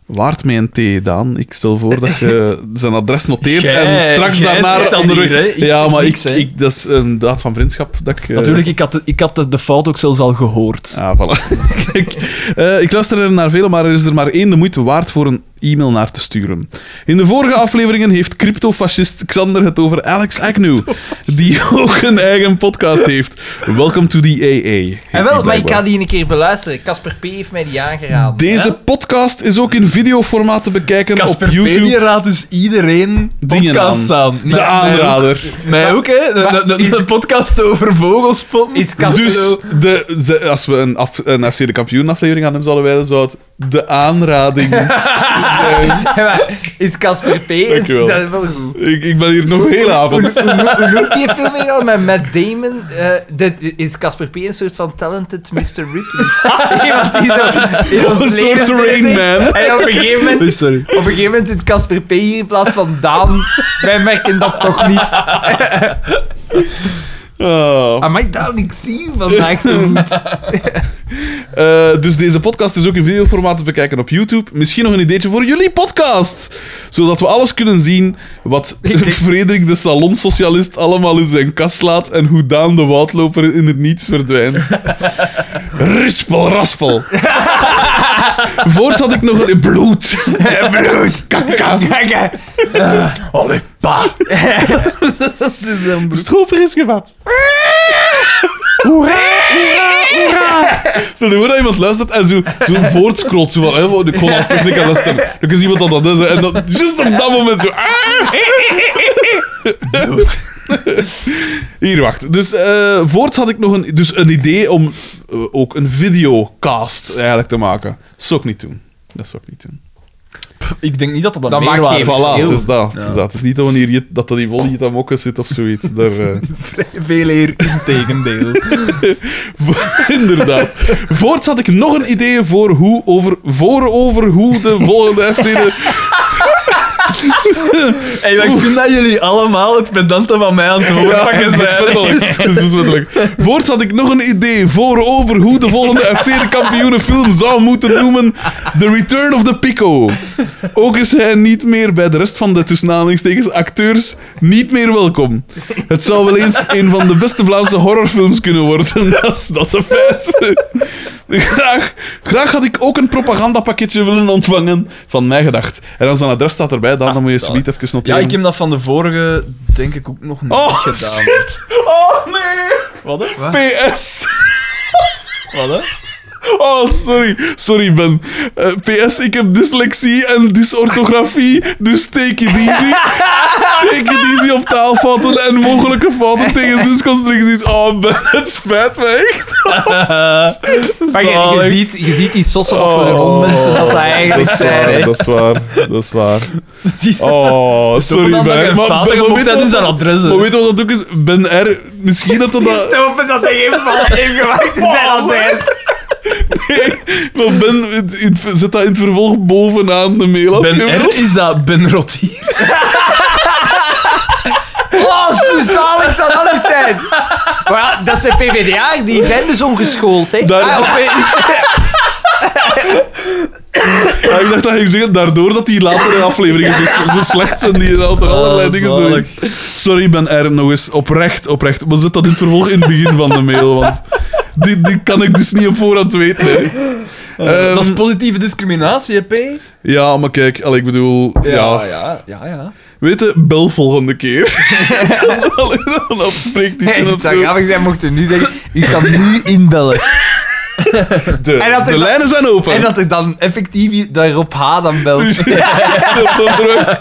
[SPEAKER 2] Waard mij een T, Daan. Ik stel voor dat je zijn adres noteert
[SPEAKER 3] Jij-
[SPEAKER 2] en straks
[SPEAKER 3] jij
[SPEAKER 2] daarna...
[SPEAKER 3] zegt dat
[SPEAKER 2] andere-
[SPEAKER 3] hier, hè? Ik
[SPEAKER 2] ja,
[SPEAKER 3] zeg
[SPEAKER 2] maar
[SPEAKER 3] niks,
[SPEAKER 2] ik,
[SPEAKER 3] hè.
[SPEAKER 2] ik, dat is een daad van vriendschap dat ik... eh,
[SPEAKER 3] Natuurlijk, ik had, de, ik had de, de fout ook zelfs al gehoord.
[SPEAKER 2] Ah, voilà. Kijk, eh, ik luister er naar velen, maar er is er maar één de moeite waard voor een e-mail naar te sturen. In de vorige afleveringen heeft cryptofascist Xander het over Alex Agnew, die ook een eigen podcast heeft. Welcome to the AA.
[SPEAKER 1] En wel, maar ik
[SPEAKER 2] kan.
[SPEAKER 1] ga die een keer beluisteren. Casper P. heeft mij die aangeraden.
[SPEAKER 2] Deze
[SPEAKER 1] Ja?
[SPEAKER 2] podcast is ook in videoformaat te bekijken
[SPEAKER 3] Casper
[SPEAKER 2] op
[SPEAKER 3] P.
[SPEAKER 2] YouTube.
[SPEAKER 3] die raadt dus iedereen
[SPEAKER 2] Dingen
[SPEAKER 3] podcasts aan. Mij-
[SPEAKER 2] De
[SPEAKER 3] mij
[SPEAKER 2] aanrader.
[SPEAKER 3] ook- Mij ook, hè. De, de, de- de podcast over vogelspot.
[SPEAKER 1] Is Casper
[SPEAKER 2] Dus de, ze- als we een, af, een FC de Kampioen aflevering aan hem zouden wijden, zou het de aanrading zijn.
[SPEAKER 1] Ja, maar Is Casper P. Is,
[SPEAKER 2] Dankjewel.
[SPEAKER 1] dat is wel goed.
[SPEAKER 2] Ik, ik ben hier nog heel avond.
[SPEAKER 1] Hoe noemt die film weer al met Matt Damon? eh, dit, is Casper P. een soort van talented Mr. Ripley? Iemand die zo... in
[SPEAKER 2] Of een
[SPEAKER 1] ons
[SPEAKER 2] soort
[SPEAKER 1] leven-
[SPEAKER 2] Rain Man.
[SPEAKER 1] En op een gegeven moment
[SPEAKER 3] Oh, sorry.
[SPEAKER 1] Op een gegeven moment zit Casper P. hier in plaats van Daan. Wij merken dat toch niet.
[SPEAKER 2] Ah.
[SPEAKER 1] Amai, Daan, ik zie je vandaag zo goed.
[SPEAKER 2] Eh, dus deze podcast is ook in videoformaat te bekijken op YouTube. Misschien nog een ideetje voor jullie podcast. Zodat we alles kunnen zien wat Frederik de Salonsocialist allemaal in zijn kast slaat en hoe Daan de Woudloper in het niets verdwijnt. Rispel, raspel. Voorts had ik nog een... Bloed. Bloed. Kaka.
[SPEAKER 3] Allee, pa.
[SPEAKER 1] Dat is een
[SPEAKER 2] Stroper is gevat.
[SPEAKER 3] Hoera! Hoera! Hoera!
[SPEAKER 2] Stel je voor dat iemand luistert en zo, zo voortscrollt, zo van, hè, wat- ik kon al ik kan luisteren. Dan is iemand dat dat is, hè, en dat, just op dat moment zo... ah. Hier, wacht. Dus eh, voorts had ik nog een, dus een idee om eh, ook een videocast eigenlijk te maken. Dat zou ik niet doen. Dat zou ik niet doen.
[SPEAKER 3] Ik denk niet dat dat een
[SPEAKER 1] Dat maakt
[SPEAKER 3] meerwaarde
[SPEAKER 1] geen
[SPEAKER 2] Voilà,
[SPEAKER 1] verschil.
[SPEAKER 2] het is dat. Het
[SPEAKER 3] Ja.
[SPEAKER 2] is, dat. Het is niet dat, wanneer je, dat dat die volley aan mokken zit of zoiets. Daar, eh,
[SPEAKER 3] Veel eer in tegendeel.
[SPEAKER 2] Inderdaad. Voorts had ik nog een idee voor hoe over, voor over hoe de volgende FC de...
[SPEAKER 3] Hey, maar ik vind dat jullie allemaal het pedante van mij aan het horen
[SPEAKER 2] het
[SPEAKER 3] pakken
[SPEAKER 2] is
[SPEAKER 3] zijn.
[SPEAKER 2] besmettelijk. Het is besmettelijk. Voorts had ik nog een idee voor over hoe de volgende FC de kampioenenfilm zou moeten noemen The Return of the Pico. Ook is hij niet meer bij de rest van de tussen aanhalingstekens acteurs niet meer welkom. Het zou wel eens een van de beste Vlaamse horrorfilms kunnen worden. Dat is, dat is een feit. Graag, graag had ik ook een propagandapakketje willen ontvangen van mij gedacht. En als een adres staat erbij, dan, dan moet je
[SPEAKER 3] dat-
[SPEAKER 2] subiet even
[SPEAKER 3] Ah, Ja,
[SPEAKER 2] noteren.
[SPEAKER 3] ik heb dat van de vorige denk ik ook nog niet
[SPEAKER 2] Ehm, Oh,
[SPEAKER 3] gedaan.
[SPEAKER 2] shit! Oh, nee!
[SPEAKER 3] Wat hè?
[SPEAKER 2] PS!
[SPEAKER 3] Wat hè?
[SPEAKER 2] Oh, sorry. Sorry, Ben. Eh, PS, ik heb dyslexie en dysorthografie, dus take it easy. take it easy op taalfouten en mogelijke fouten tegen zinsconstructies. Oh, Ben, het spijt me echt.
[SPEAKER 1] Maar je, je,
[SPEAKER 3] Zalig.
[SPEAKER 1] ziet, je ziet die sossen wat voor een mensen dat dat eigenlijk
[SPEAKER 2] dat is
[SPEAKER 1] zijn.
[SPEAKER 2] waar,
[SPEAKER 1] hè.
[SPEAKER 2] dat is waar, dat is waar.
[SPEAKER 3] Zie-
[SPEAKER 2] Oh, sorry, Ben.
[SPEAKER 3] Totdat je een
[SPEAKER 2] Maar,
[SPEAKER 3] vader
[SPEAKER 2] ben, maar
[SPEAKER 3] gemocht
[SPEAKER 2] weet
[SPEAKER 3] hebt in
[SPEAKER 2] je
[SPEAKER 3] zijn
[SPEAKER 2] wat-
[SPEAKER 3] adres. hè.
[SPEAKER 2] maar weet je wat dat ook is? Ben R, misschien dat dat... dat-
[SPEAKER 1] Ik hoop dat hij geen val heeft gemaakt in zijn altijd.
[SPEAKER 2] Maar Ben, in- in- zet dat in het vervolg bovenaan de mail als je
[SPEAKER 3] Ben
[SPEAKER 2] wilt.
[SPEAKER 3] R is dat Ben Rotier.
[SPEAKER 1] Oh, hoe zalig zou dat niet zijn? Maar ja, dat zijn PvdA, die zijn dus ongeschoold, hè.
[SPEAKER 2] Daar-
[SPEAKER 1] Ah, oké.
[SPEAKER 2] Ja, Ah, ik dacht dat ik zeggen, daardoor dat die latere afleveringen zo, zo slecht zijn, die altijd allerlei
[SPEAKER 3] Oh,
[SPEAKER 2] dingen zo...
[SPEAKER 3] zalig.
[SPEAKER 2] Sorry, Ben R, nog eens. Oprecht, oprecht. Maar zet dat in het vervolg in het begin van de mail, want die, die kan ik dus niet op voorhand weten. hè. Ehm,
[SPEAKER 3] Eh, dat is positieve discriminatie, hè, P?
[SPEAKER 2] Ja, maar kijk, allee, ik bedoel... Ja,
[SPEAKER 3] ja, ja. ja.
[SPEAKER 2] Weet je, bel volgende keer. Allee, dan afspreekt die
[SPEAKER 1] Nee,
[SPEAKER 2] toen
[SPEAKER 1] dat
[SPEAKER 2] of
[SPEAKER 1] zou
[SPEAKER 2] zo.
[SPEAKER 1] grappig zijn mocht hij nu zeggen, u kan nu inbellen.
[SPEAKER 2] De,
[SPEAKER 1] En dat
[SPEAKER 2] de
[SPEAKER 1] ik-
[SPEAKER 2] lijnen zijn open.
[SPEAKER 1] En dat er dan effectief daarop H dan belt.
[SPEAKER 2] Dat was er ook.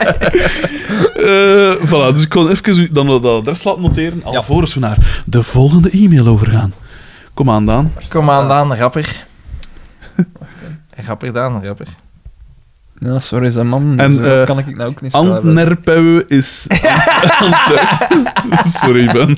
[SPEAKER 2] Eh, voilà, dus ik kon even u- dan dat adres laten noteren.
[SPEAKER 3] Ja.
[SPEAKER 2] Alvorens we naar de volgende e-mail overgaan. Kom aan, Daan.
[SPEAKER 1] Kom aan, Daan, rapper. Rapper, Daan, rapper.
[SPEAKER 3] Ja, sorry, zijn man.
[SPEAKER 2] En,
[SPEAKER 3] zo
[SPEAKER 2] eh,
[SPEAKER 3] kan ik nou ook niet schrijven.
[SPEAKER 2] Antwerpen is. Antwerpen. Sorry, Ben.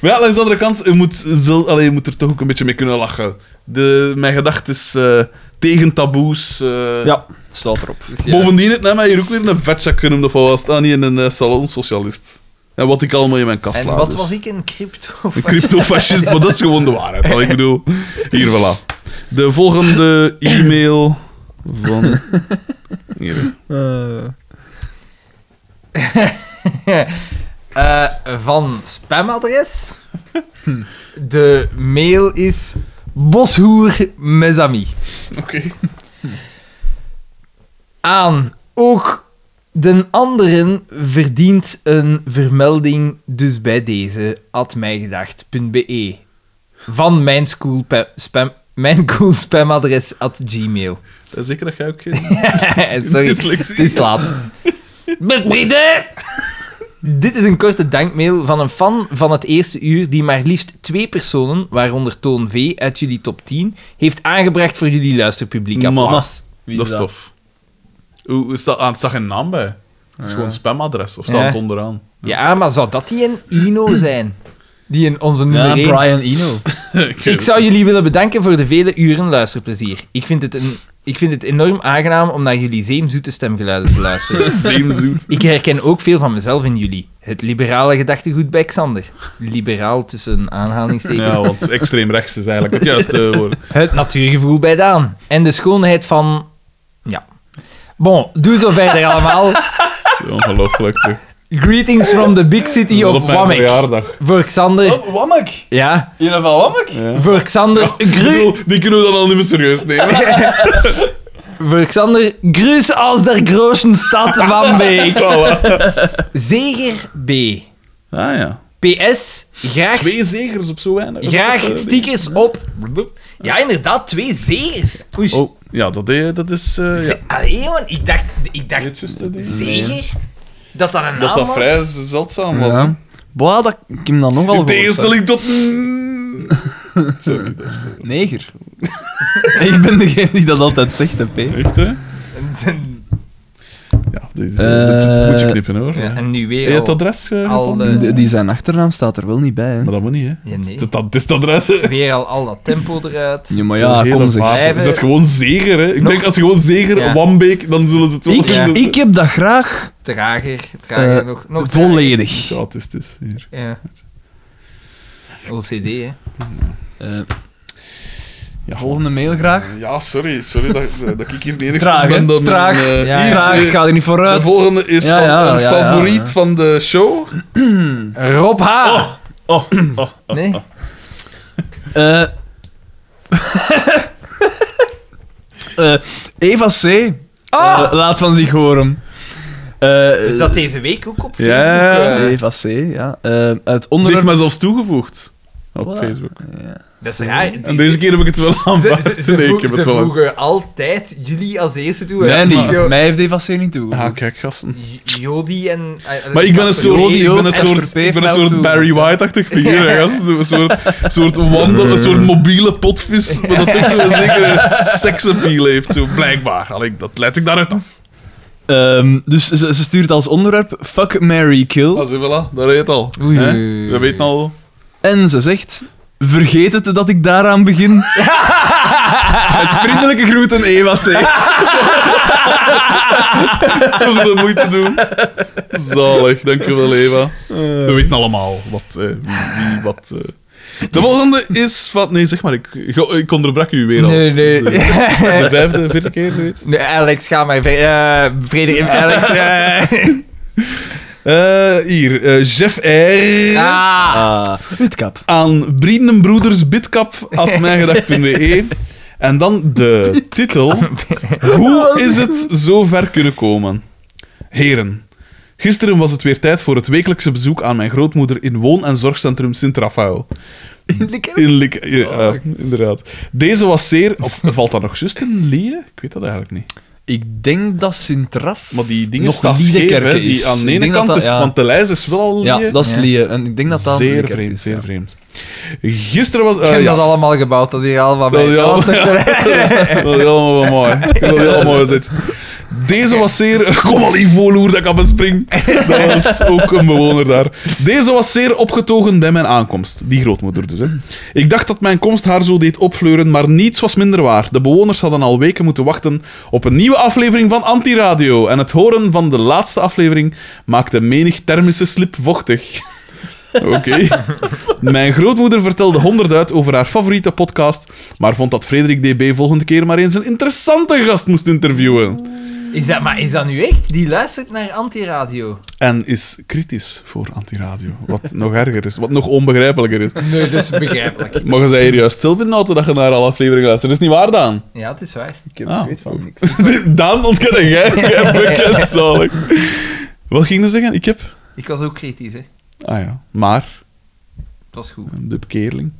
[SPEAKER 2] Maar ja, langs de andere kant, je moet, zel- allee, je moet er toch ook een beetje mee kunnen lachen. De, mijn gedachte is eh, tegen taboes. eh,
[SPEAKER 3] Ja, staat erop.
[SPEAKER 1] Dus
[SPEAKER 2] Bovendien, het nam mij hier ook weer een vetzak genoemd of wat was het? Ah, niet in een eh, salonsocialist. En wat ik allemaal in mijn kast
[SPEAKER 1] En
[SPEAKER 2] sla.
[SPEAKER 1] wat
[SPEAKER 2] dus.
[SPEAKER 1] was ik, een crypto?
[SPEAKER 2] Een cryptofascist, maar dat is gewoon de waarheid. wat Ik bedoel, hier, voilà. De volgende e-mail van... Hier.
[SPEAKER 3] Eh,
[SPEAKER 1] Eh, van spamadres. De mail is boshoer mes amis.
[SPEAKER 2] Oké.
[SPEAKER 1] Aan ook den anderen verdient een vermelding, dus bij deze atmijgedacht.be van mijn school pa- spam mijn cool spamadres at gmail.
[SPEAKER 2] Zijn zeker dat jij ook geen
[SPEAKER 1] Sorry,
[SPEAKER 2] dyslexie
[SPEAKER 1] het is laat. Met Bride! Dit is een korte dankmail van een fan van het eerste uur die maar liefst twee personen, waaronder Toon V uit jullie top 10, heeft aangebracht voor jullie luisterpubliek.
[SPEAKER 2] Mama.
[SPEAKER 1] Applaus.
[SPEAKER 3] wie
[SPEAKER 2] Dat is tof. Hoe, is dat, ah, het zag een naam bij. Het is gewoon een spamadres. Of staat
[SPEAKER 1] Ja.
[SPEAKER 2] het onderaan?
[SPEAKER 1] Ja, maar zou dat die een Ino zijn? Die in onze nummer
[SPEAKER 3] Ja,
[SPEAKER 1] één.
[SPEAKER 3] Brian Eno.
[SPEAKER 1] Ik zou jullie willen bedanken voor de vele uren luisterplezier. Ik vind het, een, ik vind het enorm aangenaam om naar jullie zeemzoete stemgeluiden te luisteren.
[SPEAKER 2] Zeemzoet.
[SPEAKER 1] Ik herken ook veel van mezelf in jullie. Het liberale gedachtegoed bij Xander. Liberaal tussen aanhalingstekens.
[SPEAKER 2] Ja, want extreem rechts is eigenlijk het juiste woord.
[SPEAKER 1] Het natuurgevoel bij Daan. En de schoonheid van... Ja. Bon, doe zo verder allemaal.
[SPEAKER 2] Ongelooflijk, toch?
[SPEAKER 1] Greetings from the big city
[SPEAKER 2] Tot
[SPEAKER 1] of
[SPEAKER 2] op mijn
[SPEAKER 1] Wamek.
[SPEAKER 2] verjaardag. Oh.
[SPEAKER 1] Voor Xander...
[SPEAKER 3] Wammek.
[SPEAKER 1] Ja,
[SPEAKER 3] In ieder geval Wammek.
[SPEAKER 1] voor Xander...
[SPEAKER 2] Ik
[SPEAKER 1] Gru...
[SPEAKER 2] bedoel, Die kunnen we dan al niet meer serieus nemen.
[SPEAKER 1] Voor Xander... Gruus als der grootste stad van Beek.
[SPEAKER 2] Voilà.
[SPEAKER 1] Zeger B.
[SPEAKER 2] Ah ja.
[SPEAKER 1] PS, graag,
[SPEAKER 2] Twee zegers op zo weinig.
[SPEAKER 1] graag
[SPEAKER 2] Dat, eh,
[SPEAKER 1] stickers op. Ja, inderdaad, twee zegers. Oei,
[SPEAKER 2] ding. Oh, ja, dat, eh, dat is... eh, ja.
[SPEAKER 1] ze- Allee, jongen, ik dacht, ik
[SPEAKER 2] Weet
[SPEAKER 1] dacht
[SPEAKER 2] je, dat is-
[SPEAKER 1] zeger dat dat een naam
[SPEAKER 2] Dat dat
[SPEAKER 1] was.
[SPEAKER 2] vrij zeldzaam was. hè.
[SPEAKER 3] Ja. Boah, dat ik hem dan nogal
[SPEAKER 2] In
[SPEAKER 3] gehoord heb.
[SPEAKER 2] tegenstelling tot... Mm. Sorry, dat is... eh,
[SPEAKER 3] Neger. ik ben degene die dat altijd zegt, hè, P.
[SPEAKER 2] Echt, hè? Ja, dit, dit-
[SPEAKER 3] Eh,
[SPEAKER 2] dit moet je knippen, hoor.
[SPEAKER 1] Ja, en nu
[SPEAKER 2] Heb je
[SPEAKER 1] weer
[SPEAKER 2] het
[SPEAKER 1] al,
[SPEAKER 2] adres eh,
[SPEAKER 1] al
[SPEAKER 2] gevonden?
[SPEAKER 1] de-
[SPEAKER 3] Die- die zijn achternaam staat er wel niet bij, hè.
[SPEAKER 2] Maar dat moet niet, hè.
[SPEAKER 1] Ja, nee.
[SPEAKER 2] Dat, dat is het adres, hè.
[SPEAKER 1] weer al, al dat tempo eruit.
[SPEAKER 3] Ja, maar
[SPEAKER 2] Zo'n
[SPEAKER 3] ja,
[SPEAKER 2] hele
[SPEAKER 3] kom
[SPEAKER 2] vaart.
[SPEAKER 3] zeg.
[SPEAKER 1] Blijven-
[SPEAKER 2] Is dat gewoon zeger, hè? Ik
[SPEAKER 1] Nog-
[SPEAKER 2] denk als je gewoon zeger,
[SPEAKER 1] Ja.
[SPEAKER 2] Wambeek, dan zullen ze het wel
[SPEAKER 3] Ik,
[SPEAKER 2] vinden.
[SPEAKER 3] ik heb dat graag
[SPEAKER 1] Trager, trager
[SPEAKER 3] Eh,
[SPEAKER 1] nog. nog
[SPEAKER 3] volledig.
[SPEAKER 2] Ja, het is, het is. Hier.
[SPEAKER 1] trager. Ja. OCD, hè.
[SPEAKER 3] Eh,
[SPEAKER 2] Ja,
[SPEAKER 3] volgende mail graag.
[SPEAKER 2] Ja, sorry, sorry dat, eh, dat ik hier de enige
[SPEAKER 3] Traag, hè?
[SPEAKER 2] ben dat mijn,
[SPEAKER 3] traag.
[SPEAKER 2] eh,
[SPEAKER 1] ja,
[SPEAKER 2] hier,
[SPEAKER 3] traag,
[SPEAKER 2] eh,
[SPEAKER 3] het gaat er niet vooruit.
[SPEAKER 2] De volgende is
[SPEAKER 3] Ja,
[SPEAKER 2] van
[SPEAKER 3] ja, ja,
[SPEAKER 2] een
[SPEAKER 3] ja,
[SPEAKER 2] favoriet
[SPEAKER 3] ja.
[SPEAKER 2] van de show.
[SPEAKER 1] Rob H.
[SPEAKER 3] Oh,
[SPEAKER 1] nee?
[SPEAKER 3] Eh. Eh, Eva C. eh, laat van zich horen. Eh,
[SPEAKER 1] Is dat deze week ook op Facebook?
[SPEAKER 2] Ja,
[SPEAKER 1] eh?
[SPEAKER 3] eh, Eva C, ja. Eh, het
[SPEAKER 2] Ze heeft
[SPEAKER 3] onderwerp...
[SPEAKER 2] mij zelfs toegevoegd. Op
[SPEAKER 3] Voilà.
[SPEAKER 2] Facebook.
[SPEAKER 1] dat is raar.
[SPEAKER 2] En
[SPEAKER 1] Die-
[SPEAKER 2] deze keer heb ik het wel
[SPEAKER 1] ze,
[SPEAKER 2] aanvaard.
[SPEAKER 1] ze, ze,
[SPEAKER 2] nee, ik
[SPEAKER 1] vroeg-
[SPEAKER 2] heb
[SPEAKER 1] ze
[SPEAKER 2] het wel eens.
[SPEAKER 1] vroegen altijd jullie als eerste toe.
[SPEAKER 3] Mij
[SPEAKER 1] hè.
[SPEAKER 3] niet.
[SPEAKER 1] Jo-
[SPEAKER 3] Mij heeft Eva C niet toegevoegd.
[SPEAKER 2] Ah, kijk, gasten.
[SPEAKER 1] J- Jodi en... eh,
[SPEAKER 2] Maar ik ben een
[SPEAKER 1] Casper
[SPEAKER 2] soort,
[SPEAKER 1] Jodi.
[SPEAKER 2] ik ben een
[SPEAKER 3] Casper
[SPEAKER 2] soort,
[SPEAKER 3] P.
[SPEAKER 2] ik ben een
[SPEAKER 3] heeft
[SPEAKER 2] soort
[SPEAKER 3] mij
[SPEAKER 2] Barry
[SPEAKER 3] toegevoegd,
[SPEAKER 2] White-achtig figuur. hè, gasten. Een soort, soort, wandel, een soort mobiele potvis. Maar dat toch zo'n zekere seksappeal heeft. Zo, blijkbaar. Allee, dat let ik daaruit af.
[SPEAKER 3] Ehm, dus ze, ze stuurt als onderwerp Fuck, Mary Kill.
[SPEAKER 2] Ah, zie, voilà, daar heet het al.
[SPEAKER 1] Oei.
[SPEAKER 2] Hè? We weten al.
[SPEAKER 3] En ze zegt... Vergeet het dat ik daaraan begin. Met vriendelijke groeten, Eva C.
[SPEAKER 2] toch de moeite doen. Zalig, dankjewel Eva.
[SPEAKER 1] Eh.
[SPEAKER 2] We weten allemaal wat, eh, wie, wie wat... eh. De volgende is van... Nee, zeg maar, ik, ik- ik onderbrak u weer al. Dus, eh,
[SPEAKER 1] Nee, nee.
[SPEAKER 2] De vijfde, vierde keer, zoiets.
[SPEAKER 1] Nee, Alex, ga maar. Ve- eh, Frederik, Alex. eh.
[SPEAKER 2] Eh, hier, eh, Jeff R.
[SPEAKER 1] Ah.
[SPEAKER 3] Ah, witkap.
[SPEAKER 2] Aan vriendenbroedersbitkap.mijgedacht.be E. En dan de titel. Hoe is het zo ver kunnen komen? Heren, gisteren was het weer tijd voor het wekelijkse bezoek aan mijn grootmoeder in woon- en zorgcentrum Sint-Rafael. In Lik- ja, ja, inderdaad. Deze was zeer... Of valt dat nog juist in Lieën? Ik weet dat eigenlijk niet.
[SPEAKER 3] Ik denk dat Sint-Raf
[SPEAKER 2] Maar die dingen
[SPEAKER 3] nog
[SPEAKER 2] staan scheef,
[SPEAKER 3] Liedekerke
[SPEAKER 2] hè, die
[SPEAKER 3] is.
[SPEAKER 2] aan de
[SPEAKER 3] Ik
[SPEAKER 2] ene
[SPEAKER 3] denk
[SPEAKER 2] kant
[SPEAKER 3] dat
[SPEAKER 2] is...
[SPEAKER 3] dat- ja.
[SPEAKER 2] Want de lijst is wel al
[SPEAKER 3] Ja,
[SPEAKER 2] Lieën.
[SPEAKER 3] dat is
[SPEAKER 1] Ja.
[SPEAKER 3] Lieën. En ik denk dat dat
[SPEAKER 2] zeer
[SPEAKER 3] Liedekerke
[SPEAKER 2] vreemd,
[SPEAKER 3] is,
[SPEAKER 2] zeer
[SPEAKER 3] ja.
[SPEAKER 2] vreemd. Gisteren was...
[SPEAKER 1] Ik
[SPEAKER 2] eh,
[SPEAKER 1] heb
[SPEAKER 2] ja.
[SPEAKER 1] dat allemaal gebouwd, dat is hier allemaal bij.
[SPEAKER 2] ja.
[SPEAKER 1] Dat was toch de-
[SPEAKER 2] Dat is allemaal wel mooi. Ik vind Dat is allemaal mooi zit. Deze was zeer... Kom al, Ivoloer, dat kan bespringen. Dat was ook een bewoner daar. Deze was zeer opgetogen bij mijn aankomst. Die grootmoeder dus, hè. Ik dacht dat mijn komst haar zo deed opfleuren, maar niets was minder waar. De bewoners hadden al weken moeten wachten op een nieuwe aflevering van Antiradio. En het horen van de laatste aflevering maakte menig thermische slip vochtig. Oké. Mijn grootmoeder vertelde honderd over haar favoriete podcast, maar vond dat Frederik DB volgende keer maar eens een interessante gast moest interviewen.
[SPEAKER 1] Is dat, maar is dat nu echt? Die luistert naar Antiradio.
[SPEAKER 2] En is kritisch voor Antiradio, wat nog erger is, wat nog onbegrijpelijker is.
[SPEAKER 1] Nee, dat is begrijpelijk.
[SPEAKER 2] Maar je zei hier juist zelf in de auto dat je naar alle afleveringen luistert. Dat is niet waar, Daan.
[SPEAKER 1] Ja, het is waar.
[SPEAKER 3] Ik heb-
[SPEAKER 2] Ah.
[SPEAKER 3] ik weet van niks.
[SPEAKER 2] Daan ontkennen jij, jij bekend, zalig. Wat ging je zeggen? Ik heb...
[SPEAKER 1] Ik was ook kritisch, hè.
[SPEAKER 2] Ah ja, maar...
[SPEAKER 1] Het was goed.
[SPEAKER 2] De bekeerling.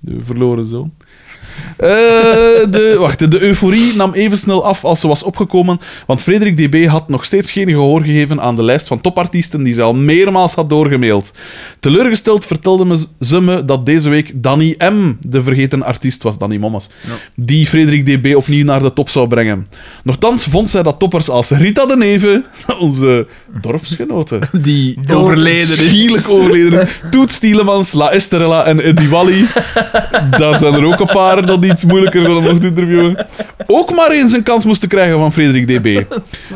[SPEAKER 2] De verloren zoon. Eh, de, wacht, de euforie nam even snel af als ze was opgekomen, want Frederik DB had nog steeds geen gehoor gegeven aan de lijst van topartiesten die ze al meermaals had doorgemaild. Teleurgesteld vertelde me, ze me dat deze week Danny M., de vergeten artiest was, Danny Mommas, die Frederik DB opnieuw naar de top zou brengen. Nochtans vond zij dat toppers als Rita de Neve, onze dorpsgenote,
[SPEAKER 3] Die
[SPEAKER 1] Door-
[SPEAKER 3] overleden
[SPEAKER 2] Schielijk
[SPEAKER 3] is.
[SPEAKER 2] overleden. Toet Stielemans, La Esterella en Eddie Wally. Daar zijn er ook een paar dat iets moeilijker zijn om nog te interviewen. Ook maar eens een kans moesten krijgen van Frederik DB.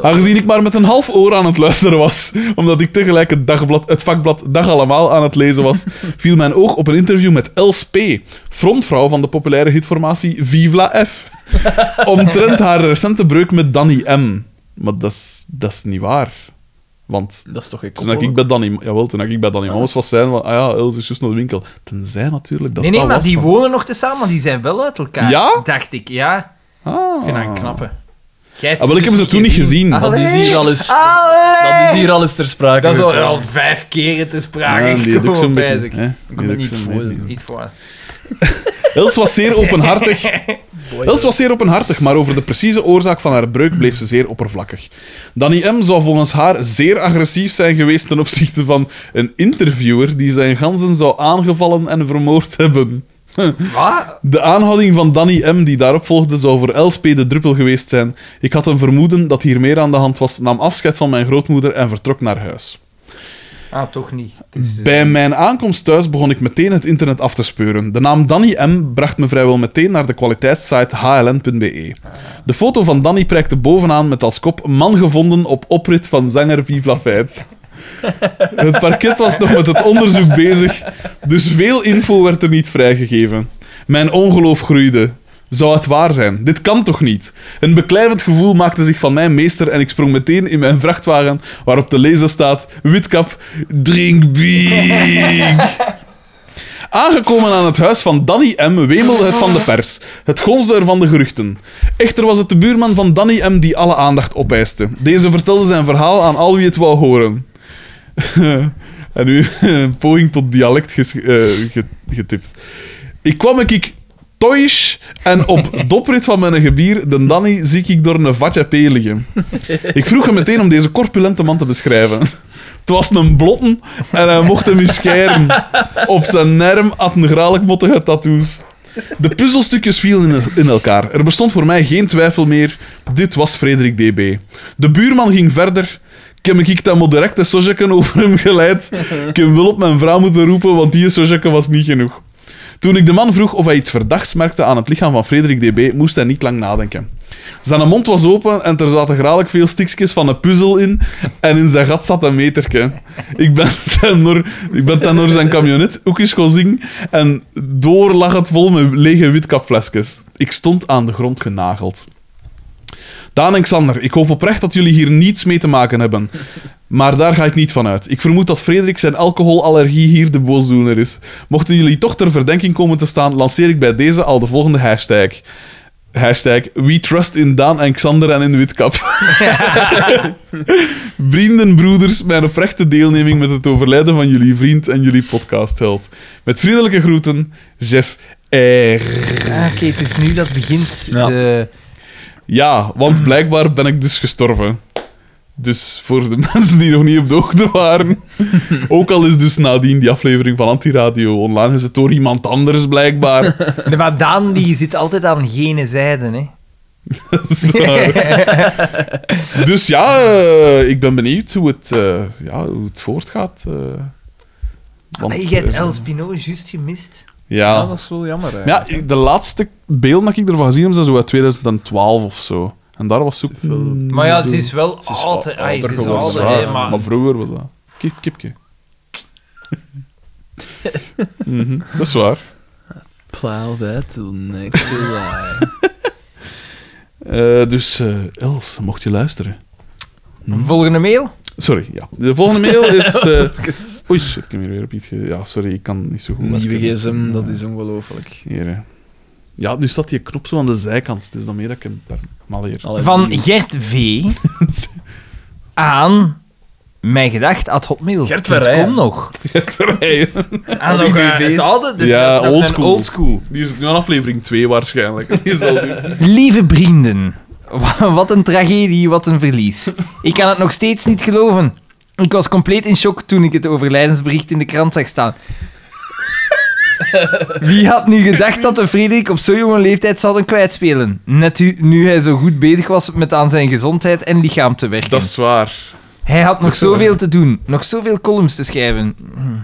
[SPEAKER 2] Aangezien ik maar met een half oor aan het luisteren was, omdat ik tegelijk het, dagblad, het vakblad Dag Allemaal aan het lezen was, viel mijn oog op een interview met Els P., frontvrouw van de populaire hitformatie Vive la F. Omtrent haar recente breuk met Danny M. Maar dat is- dat is niet waar. Want
[SPEAKER 3] Dat is toch een
[SPEAKER 2] toen ik bij Danny, jawel, toen ik bij Danny Mamas was, zijn van, ah ja, Els is juist naar de winkel. Tenzij natuurlijk dat
[SPEAKER 1] nee, nee,
[SPEAKER 2] dat
[SPEAKER 1] maar
[SPEAKER 2] was
[SPEAKER 1] die
[SPEAKER 2] van-
[SPEAKER 1] wonen nog te samen, maar die zijn wel uit elkaar.
[SPEAKER 2] Ja?
[SPEAKER 1] Dacht ik, ja.
[SPEAKER 2] Ah.
[SPEAKER 1] Ik vind dat een knappe. Jij hebt
[SPEAKER 2] Ah, wel, ik heb ze
[SPEAKER 1] dus
[SPEAKER 2] toen niet gezien. Ah,
[SPEAKER 3] Dat is hier al eens,
[SPEAKER 1] Allee!
[SPEAKER 3] dat is hier al eens ter sprake.
[SPEAKER 1] Dat is al,
[SPEAKER 3] gekomen.
[SPEAKER 1] al vijf keren te sprake
[SPEAKER 2] Ja, die doe ik
[SPEAKER 1] gekomen,
[SPEAKER 2] zo'n beetje,
[SPEAKER 1] bijzonder.
[SPEAKER 2] hè. Die
[SPEAKER 3] ben
[SPEAKER 2] doe ik
[SPEAKER 3] niet
[SPEAKER 2] zo'n
[SPEAKER 3] voor,
[SPEAKER 2] beetje.
[SPEAKER 1] Niet voor.
[SPEAKER 2] Els was zeer openhartig. Els was zeer openhartig, maar over de precieze oorzaak van haar breuk bleef ze zeer oppervlakkig. Danny M. zou volgens haar zeer agressief zijn geweest ten opzichte van een interviewer die zijn ganzen zou aangevallen en vermoord hebben.
[SPEAKER 1] Wat?
[SPEAKER 2] De aanhouding van Danny M. die daarop volgde zou voor Els P. de druppel geweest zijn. Ik had een vermoeden dat hier meer aan de hand was, nam afscheid van mijn grootmoeder en vertrok naar huis.
[SPEAKER 1] Ah, toch niet. Het is-
[SPEAKER 2] Bij mijn aankomst thuis begon ik meteen het internet af te speuren. De naam Danny M. bracht me vrijwel meteen naar de kwaliteitssite hln.be. E. De foto van Danny prijkte bovenaan met als kop man gevonden op oprit van zanger Viva Feit. Het parket was nog met het onderzoek bezig, dus veel info werd er niet vrijgegeven. Mijn ongeloof groeide. Zou het waar zijn? Dit kan toch niet? Een beklijvend gevoel maakte zich van mij meester en ik sprong meteen in mijn vrachtwagen waarop te lezen staat: Witkap, drink bier. Aangekomen aan het huis van Danny M. wemelde het van de pers. Het gonsde ervan de geruchten. Echter was het de buurman van Danny M. die alle aandacht opeiste. Deze vertelde zijn verhaal aan al wie het wou horen. en nu een poging tot dialect ges- eh, ge- getipt. Ik kwam ik thuis en op doprit van mijn gebier, de Danny, zie ik door een vatje P liggen. Ik vroeg hem meteen om deze corpulente man te beschrijven. Het was een blotten en hij mocht hem eens scheren. Op zijn nerm had een graalijk mottige tattoos. De puzzelstukjes vielen in, in elkaar. Er bestond voor mij geen twijfel meer. Dit was Frederik DB. De buurman ging verder. Ik heb ik dan maar direct de sojakken over hem geleid. Ik heb wel op mijn vrouw moeten roepen, want die sojakken was niet genoeg. Toen ik de man vroeg of hij iets verdachts merkte aan het lichaam van Frederik DB, moest hij niet lang nadenken. Zijn mond was open en er zaten graag veel stikjes van een puzzel in. En in zijn gat zat een meterke. Ik ben ten door, ik ben ten door zijn camionet ook eens gaan zingen. En door lag het vol met lege witkapflesjes. Ik stond aan de grond genageld. Daan en Xander, ik hoop oprecht dat jullie hier niets mee te maken hebben. Maar daar ga ik niet van uit. Ik vermoed dat Frederik zijn alcoholallergie hier de boosdoener is. Mochten jullie toch ter verdenking komen te staan, lanceer ik bij deze al de volgende hashtag. Hashtag We trust in Daan en Xander en in Witkap. Vrienden, broeders, mijn oprechte deelneming met het overlijden van jullie vriend en jullie podcastheld. Met vriendelijke groeten, Jeff R.
[SPEAKER 1] Ah, oké, het is nu dat begint.
[SPEAKER 3] Ja.
[SPEAKER 1] De...
[SPEAKER 2] Ja,
[SPEAKER 3] Mm.
[SPEAKER 2] want blijkbaar ben ik dus gestorven. Dus voor de mensen die nog niet op de hoogte waren. Ook al is dus nadien die aflevering van Antiradio online gezet door iemand anders blijkbaar.
[SPEAKER 1] Nee, maar Daan die zit altijd aan gene zijde, hè.
[SPEAKER 2] Dat is waar. dus ja, eh, ik ben benieuwd hoe het, eh, ja, hoe het voortgaat. eh. Want,
[SPEAKER 3] Ah,
[SPEAKER 1] Nee, jij hebt
[SPEAKER 2] eh,
[SPEAKER 1] El Spino juist gemist.
[SPEAKER 3] Ja,
[SPEAKER 2] Ja.
[SPEAKER 3] dat is wel jammer.
[SPEAKER 2] ja,
[SPEAKER 3] eigenlijk.
[SPEAKER 2] de laatste beelden dat ik ervan gezien heb, zijn zo uit 2012 of zo. En daar was ze ook...
[SPEAKER 3] veel-
[SPEAKER 2] mm,
[SPEAKER 1] Maar ja,
[SPEAKER 2] zo-
[SPEAKER 1] ze is wel
[SPEAKER 2] Ze is
[SPEAKER 1] ouder.
[SPEAKER 2] al-
[SPEAKER 1] Ai, Ze is
[SPEAKER 2] geworden,
[SPEAKER 1] ouder,
[SPEAKER 2] zwaar.
[SPEAKER 1] hè, maar...
[SPEAKER 2] vroeger was dat. Kip, kipje. Mhm, Dat is waar.
[SPEAKER 3] Plow that till next July.
[SPEAKER 2] Eh, dus eh, Els, mocht je luisteren.
[SPEAKER 1] Hm. Volgende mail?
[SPEAKER 2] Sorry, ja. De volgende mail is. eh Oei, shit, ik heb hier weer op iets. ge- Ja, sorry, ik kan niet zo goed.
[SPEAKER 3] Nieuwe
[SPEAKER 2] werken.
[SPEAKER 3] gsm, dat
[SPEAKER 2] Ja.
[SPEAKER 3] is ongelooflijk.
[SPEAKER 2] Hier, hè. Ja, nu staat die knop zo aan de zijkant. Het is dan meer dat ik hem per mal hier.
[SPEAKER 3] Allee,
[SPEAKER 1] Van
[SPEAKER 3] die-
[SPEAKER 1] Gert V. aan... Mijn gedacht at hotmail.
[SPEAKER 3] Gert Verheyen.
[SPEAKER 1] Kom nog.
[SPEAKER 2] Het verrijs.
[SPEAKER 1] Aan nog eh, het oude. Dus
[SPEAKER 2] Ja,
[SPEAKER 1] dat is nog
[SPEAKER 2] old
[SPEAKER 1] een
[SPEAKER 2] school.
[SPEAKER 1] old school.
[SPEAKER 2] Die is nu aan aflevering 2 waarschijnlijk. Die is al nu.
[SPEAKER 1] Lieve vrienden, wa- wat een tragedie, wat een verlies. Ik kan het nog steeds niet geloven. Ik was compleet in shock toen ik het overlijdensbericht in de krant zag staan. Wie had nu gedacht dat een Frederik op zo'n jonge leeftijd zou kwijtspelen? Net u- nu hij zo goed bezig was met aan zijn gezondheid en lichaam te werken.
[SPEAKER 2] Dat is waar.
[SPEAKER 1] Hij had nog zoveel te doen, nog zoveel columns te schrijven,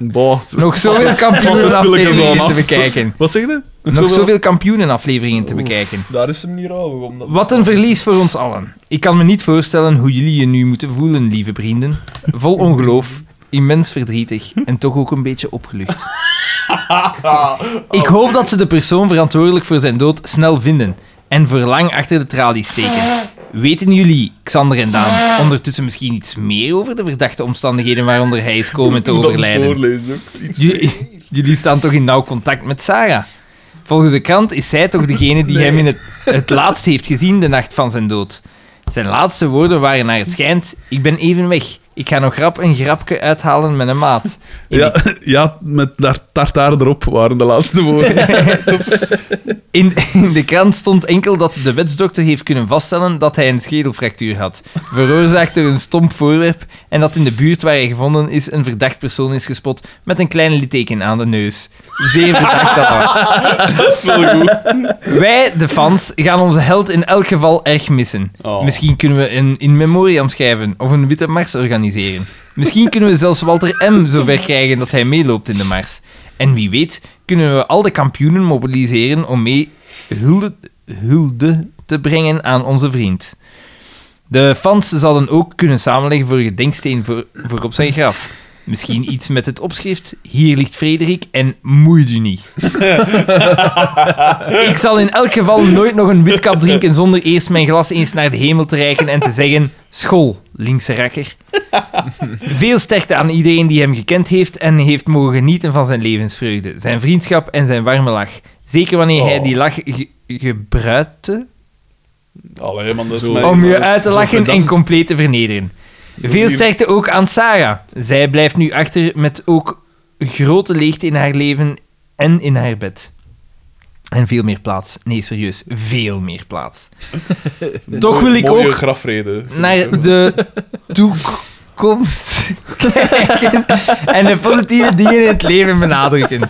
[SPEAKER 2] Boah, het is-
[SPEAKER 1] nog zoveel
[SPEAKER 2] stilletjes
[SPEAKER 1] kampioenenafleveringen
[SPEAKER 2] aan
[SPEAKER 1] te
[SPEAKER 2] af.
[SPEAKER 1] bekijken.
[SPEAKER 2] Wat zeg je?
[SPEAKER 1] Nog zoveel kampioenenafleveringen te bekijken.
[SPEAKER 3] Daar is hem niet rouwig om. dat-
[SPEAKER 1] Wat een verlies voor ons allen. Ik kan me niet voorstellen hoe jullie je nu moeten voelen, lieve vrienden. Vol ongeloof, immens verdrietig en toch ook een beetje opgelucht. Ik hoop dat ze de persoon verantwoordelijk voor zijn dood snel vinden en voor lang achter de tralies steken. Weten jullie, Xander en Daan, ondertussen misschien iets meer over de verdachte omstandigheden waaronder hij is komen te
[SPEAKER 2] Doe dat
[SPEAKER 1] overlijden?
[SPEAKER 2] voorlezen ook. Iets
[SPEAKER 1] Jullie, jullie staan toch in nauw contact met Sarah? Volgens de krant is zij toch degene die hem in het, het laatst heeft gezien de nacht van zijn dood. Zijn laatste woorden waren naar het schijnt: Ik ben even weg. Ik ga nog rap een grapje uithalen met een maat. In,
[SPEAKER 2] Ja, ja, met daar, tartaar erop waren de laatste woorden.
[SPEAKER 1] in, in de krant stond enkel dat de wetsdokter heeft kunnen vaststellen dat hij een schedelfractuur had, veroorzaakt door een stomp voorwerp, en dat in de buurt waar hij gevonden is een verdacht persoon is gespot met een klein litteken aan de neus. Zeer verdacht dat was.
[SPEAKER 5] Dat is wel goed.
[SPEAKER 1] Wij, de fans, gaan onze held in elk geval erg missen.
[SPEAKER 5] Oh.
[SPEAKER 1] Misschien kunnen we een in memoriam schrijven of een witte mars organiseren. Misschien kunnen we zelfs Walter M. zover krijgen dat hij meeloopt in de mars. En wie weet kunnen we al de kampioenen mobiliseren om mee hulde, hulde te brengen aan onze vriend. De fans zouden ook kunnen samenleggen voor een gedenksteen voor, voor op zijn graf. Misschien iets met het opschrift Hier ligt Frederik en moeit u niet. Ik zal in elk geval nooit nog een witkap drinken zonder eerst mijn glas eens naar de hemel te reiken en te zeggen: School, linkse rakker. Veel sterkte aan iedereen die hem gekend heeft en heeft mogen genieten van zijn levensvreugde, zijn vriendschap en zijn warme lach. Zeker wanneer hij die lach ge- gebruikte
[SPEAKER 5] Allee, man, dat is
[SPEAKER 2] Zo.
[SPEAKER 5] mijn...
[SPEAKER 1] om je uit te
[SPEAKER 2] zo
[SPEAKER 1] lachen en
[SPEAKER 2] pedant.
[SPEAKER 1] compleet te vernederen. Veel sterkte ook aan Sarah. Zij blijft nu achter met ook grote leegte in haar leven en in haar bed. En veel meer plaats. Nee, serieus, veel meer plaats. Toch wil ik
[SPEAKER 5] Mooie
[SPEAKER 1] ook
[SPEAKER 5] grafreden.
[SPEAKER 1] naar de toekomst kijken en de positieve dingen in het leven benadrukken.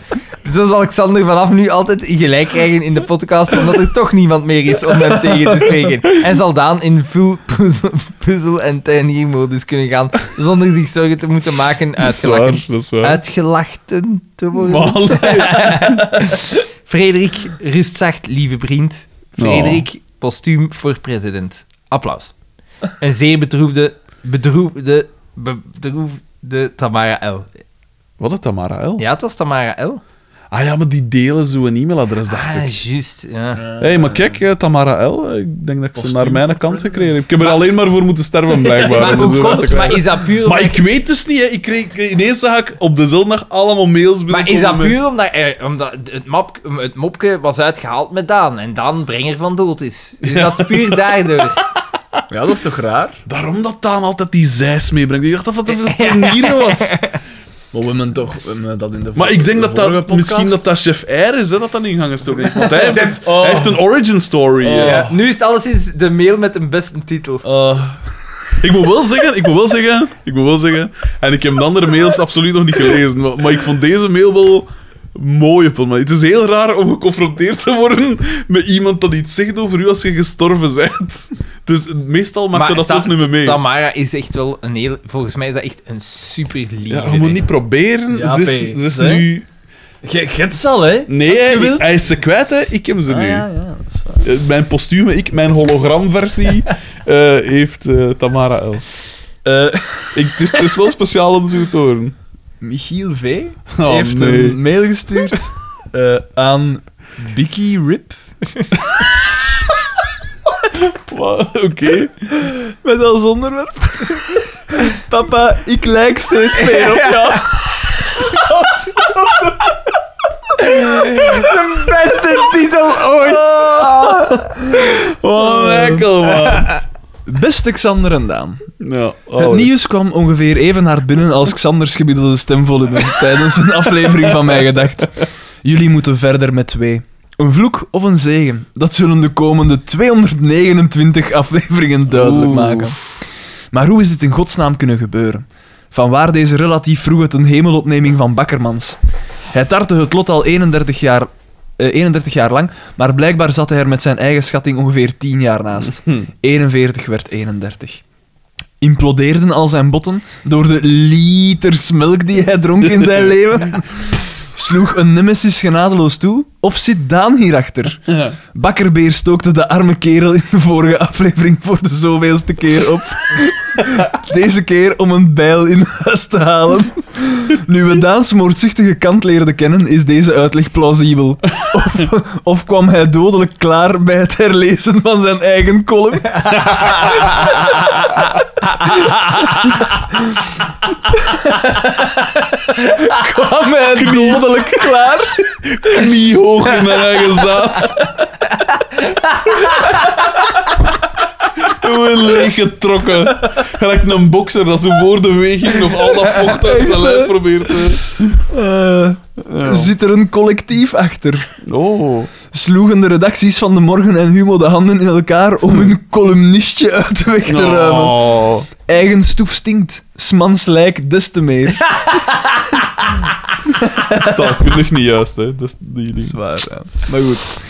[SPEAKER 1] Zo zal Xander vanaf nu altijd gelijk krijgen in de podcast, omdat er toch niemand meer is om hem tegen te spreken. En zal Daan in full puzzel, puzzel- en tuiniermodus kunnen gaan, zonder zich zorgen te moeten maken
[SPEAKER 2] Dat is waar,
[SPEAKER 1] uitgelachen,
[SPEAKER 2] dat is waar.
[SPEAKER 1] uitgelachten te worden.
[SPEAKER 2] Maar
[SPEAKER 1] Frederik, rust zacht, lieve vriend.
[SPEAKER 2] Oh.
[SPEAKER 1] Frederik, postuum voor president. Applaus. Een zeer bedroefde, bedroefde, bedroefde Tamara L.
[SPEAKER 2] Wat is Tamara L?
[SPEAKER 1] Ja, het was Tamara L.
[SPEAKER 2] Ah ja, maar die delen zo'n e-mailadres, dacht ik.
[SPEAKER 1] Ah, juist. Ja.
[SPEAKER 2] Hé, hey, maar kijk, eh, Tamara L. eh, Ik denk dat ik ze
[SPEAKER 3] Postuum
[SPEAKER 2] naar mijn
[SPEAKER 3] voor
[SPEAKER 2] kant
[SPEAKER 3] president.
[SPEAKER 2] gekregen heb. Ik heb er alleen maar voor moeten sterven, blijkbaar.
[SPEAKER 1] Maar,
[SPEAKER 2] om
[SPEAKER 1] hoe
[SPEAKER 2] zo uit te
[SPEAKER 1] komt, maar
[SPEAKER 2] krijgen.
[SPEAKER 1] is dat puur
[SPEAKER 2] Maar
[SPEAKER 1] omdat,
[SPEAKER 2] ik weet dus niet, hè. Ik kreeg, kreeg- ineens zag ik op de zondag allemaal mails
[SPEAKER 1] maar is
[SPEAKER 2] binnenkomen
[SPEAKER 1] dat
[SPEAKER 2] met-
[SPEAKER 1] puur omdat, eh, omdat het, map, het mopke was uitgehaald met Daan en Daan brenger van dood is? Is dat puur daardoor?
[SPEAKER 3] Ja, dat is toch raar?
[SPEAKER 2] Daarom dat Daan altijd die zeis meebrengt. Ik dacht dat dat een turnier was.
[SPEAKER 3] Maar we hebben toch we hebben dat in de
[SPEAKER 2] Maar ik denk
[SPEAKER 3] de
[SPEAKER 2] dat dat...
[SPEAKER 3] vorige podcast-
[SPEAKER 2] Misschien dat dat Chef Air is, hè, dat dat ingang gestoken heeft. Want hij heeft, het-
[SPEAKER 3] Oh.
[SPEAKER 2] hij heeft een origin story. eh.
[SPEAKER 1] Ja, nu is het alleszins de mail met een beste titel.
[SPEAKER 3] Oh.
[SPEAKER 2] Eh, ik moet wel zeggen, ik moet wel zeggen, ik moet wel zeggen. En ik heb de andere mails absoluut nog niet gelezen, maar, maar ik vond deze mail wel mooi op een manier. Het is heel raar om geconfronteerd te worden met iemand dat iets zegt over u als je gestorven bent. Dus meestal maakt je dat zelf niet meer mee.
[SPEAKER 1] Tamara is echt wel een heel... Volgens mij is dat echt een super lieve.
[SPEAKER 2] Ja, je moet niet proberen.
[SPEAKER 3] Ja,
[SPEAKER 2] ze is,
[SPEAKER 3] P,
[SPEAKER 2] ze is
[SPEAKER 3] hè?
[SPEAKER 2] nu...
[SPEAKER 3] Je je hebt ze al, hè?
[SPEAKER 2] Nee,
[SPEAKER 3] Als je
[SPEAKER 2] hij-
[SPEAKER 3] wilt.
[SPEAKER 2] hij is ze kwijt, hè. Ik heb ze
[SPEAKER 3] Ah,
[SPEAKER 2] nu.
[SPEAKER 3] ja, ja, dat is waar.
[SPEAKER 2] Eh, Mijn postume, ik, mijn hologramversie, eh, heeft eh, Tamara L.
[SPEAKER 3] Eh,
[SPEAKER 2] Ik, het, is, het is wel speciaal om zo te horen.
[SPEAKER 3] Michiel V.
[SPEAKER 2] Oh,
[SPEAKER 3] heeft
[SPEAKER 2] nee.
[SPEAKER 3] een mail gestuurd eh, aan Bicky Rip.
[SPEAKER 2] Wa- Oké.
[SPEAKER 3] Met als onderwerp. Papa, ik lijk steeds meer op jou.
[SPEAKER 1] De beste titel ooit!
[SPEAKER 2] Oh,
[SPEAKER 3] Eh.
[SPEAKER 2] Michael, man.
[SPEAKER 3] Beste Xander en Daan.
[SPEAKER 2] Ja, oh,
[SPEAKER 3] Het
[SPEAKER 2] allee.
[SPEAKER 3] nieuws kwam ongeveer even hard binnen als Xanders gemiddelde stemvolume tijdens een aflevering van Mij Gedacht. Jullie moeten verder met twee. Een vloek of een zegen, dat zullen de komende 229 afleveringen duidelijk
[SPEAKER 2] Oeh.
[SPEAKER 3] maken. Maar hoe is dit in godsnaam kunnen gebeuren? Vanwaar deze relatief vroege ten hemelopneming van Bakkermans? Hij tartte het lot al 31 jaar, eh, 31 jaar lang, maar blijkbaar zat hij er met zijn eigen schatting ongeveer 10 jaar naast. 41 werd 31. Implodeerden al zijn botten door de liters melk die hij dronk in zijn leven? Sloeg een nemesis genadeloos toe? Of zit Daan hierachter?
[SPEAKER 2] Hm.
[SPEAKER 3] Bakkerbeer stookte de arme kerel in de vorige aflevering voor de zoveelste keer op. Deze keer om een bijl in huis te halen. Nu we Daans moordzuchtige kant leerden kennen, is deze uitleg plausibel. Of, of kwam hij dodelijk klaar bij het herlezen van zijn eigen column? kwam hij dodelijk klaar?
[SPEAKER 2] kniehoog in mijn eigen zaad. Hoe tanden leeggetrokken. Gelijk een bokser dat zo voor de weging nog al dat vocht uit zijn lijf probeert te...
[SPEAKER 3] Eh. Zit er een collectief achter?
[SPEAKER 2] Oh.
[SPEAKER 3] Sloegen de redacties van De Morgen en Humo de handen in elkaar om hun columnistje uit de weg te ruimen.
[SPEAKER 2] Oh.
[SPEAKER 3] Eigen stoef stinkt, smans lijk des te meer.
[SPEAKER 2] Taalkundig niet juist, hè. Dat is die ding.
[SPEAKER 3] Zwaar, ja. Maar goed.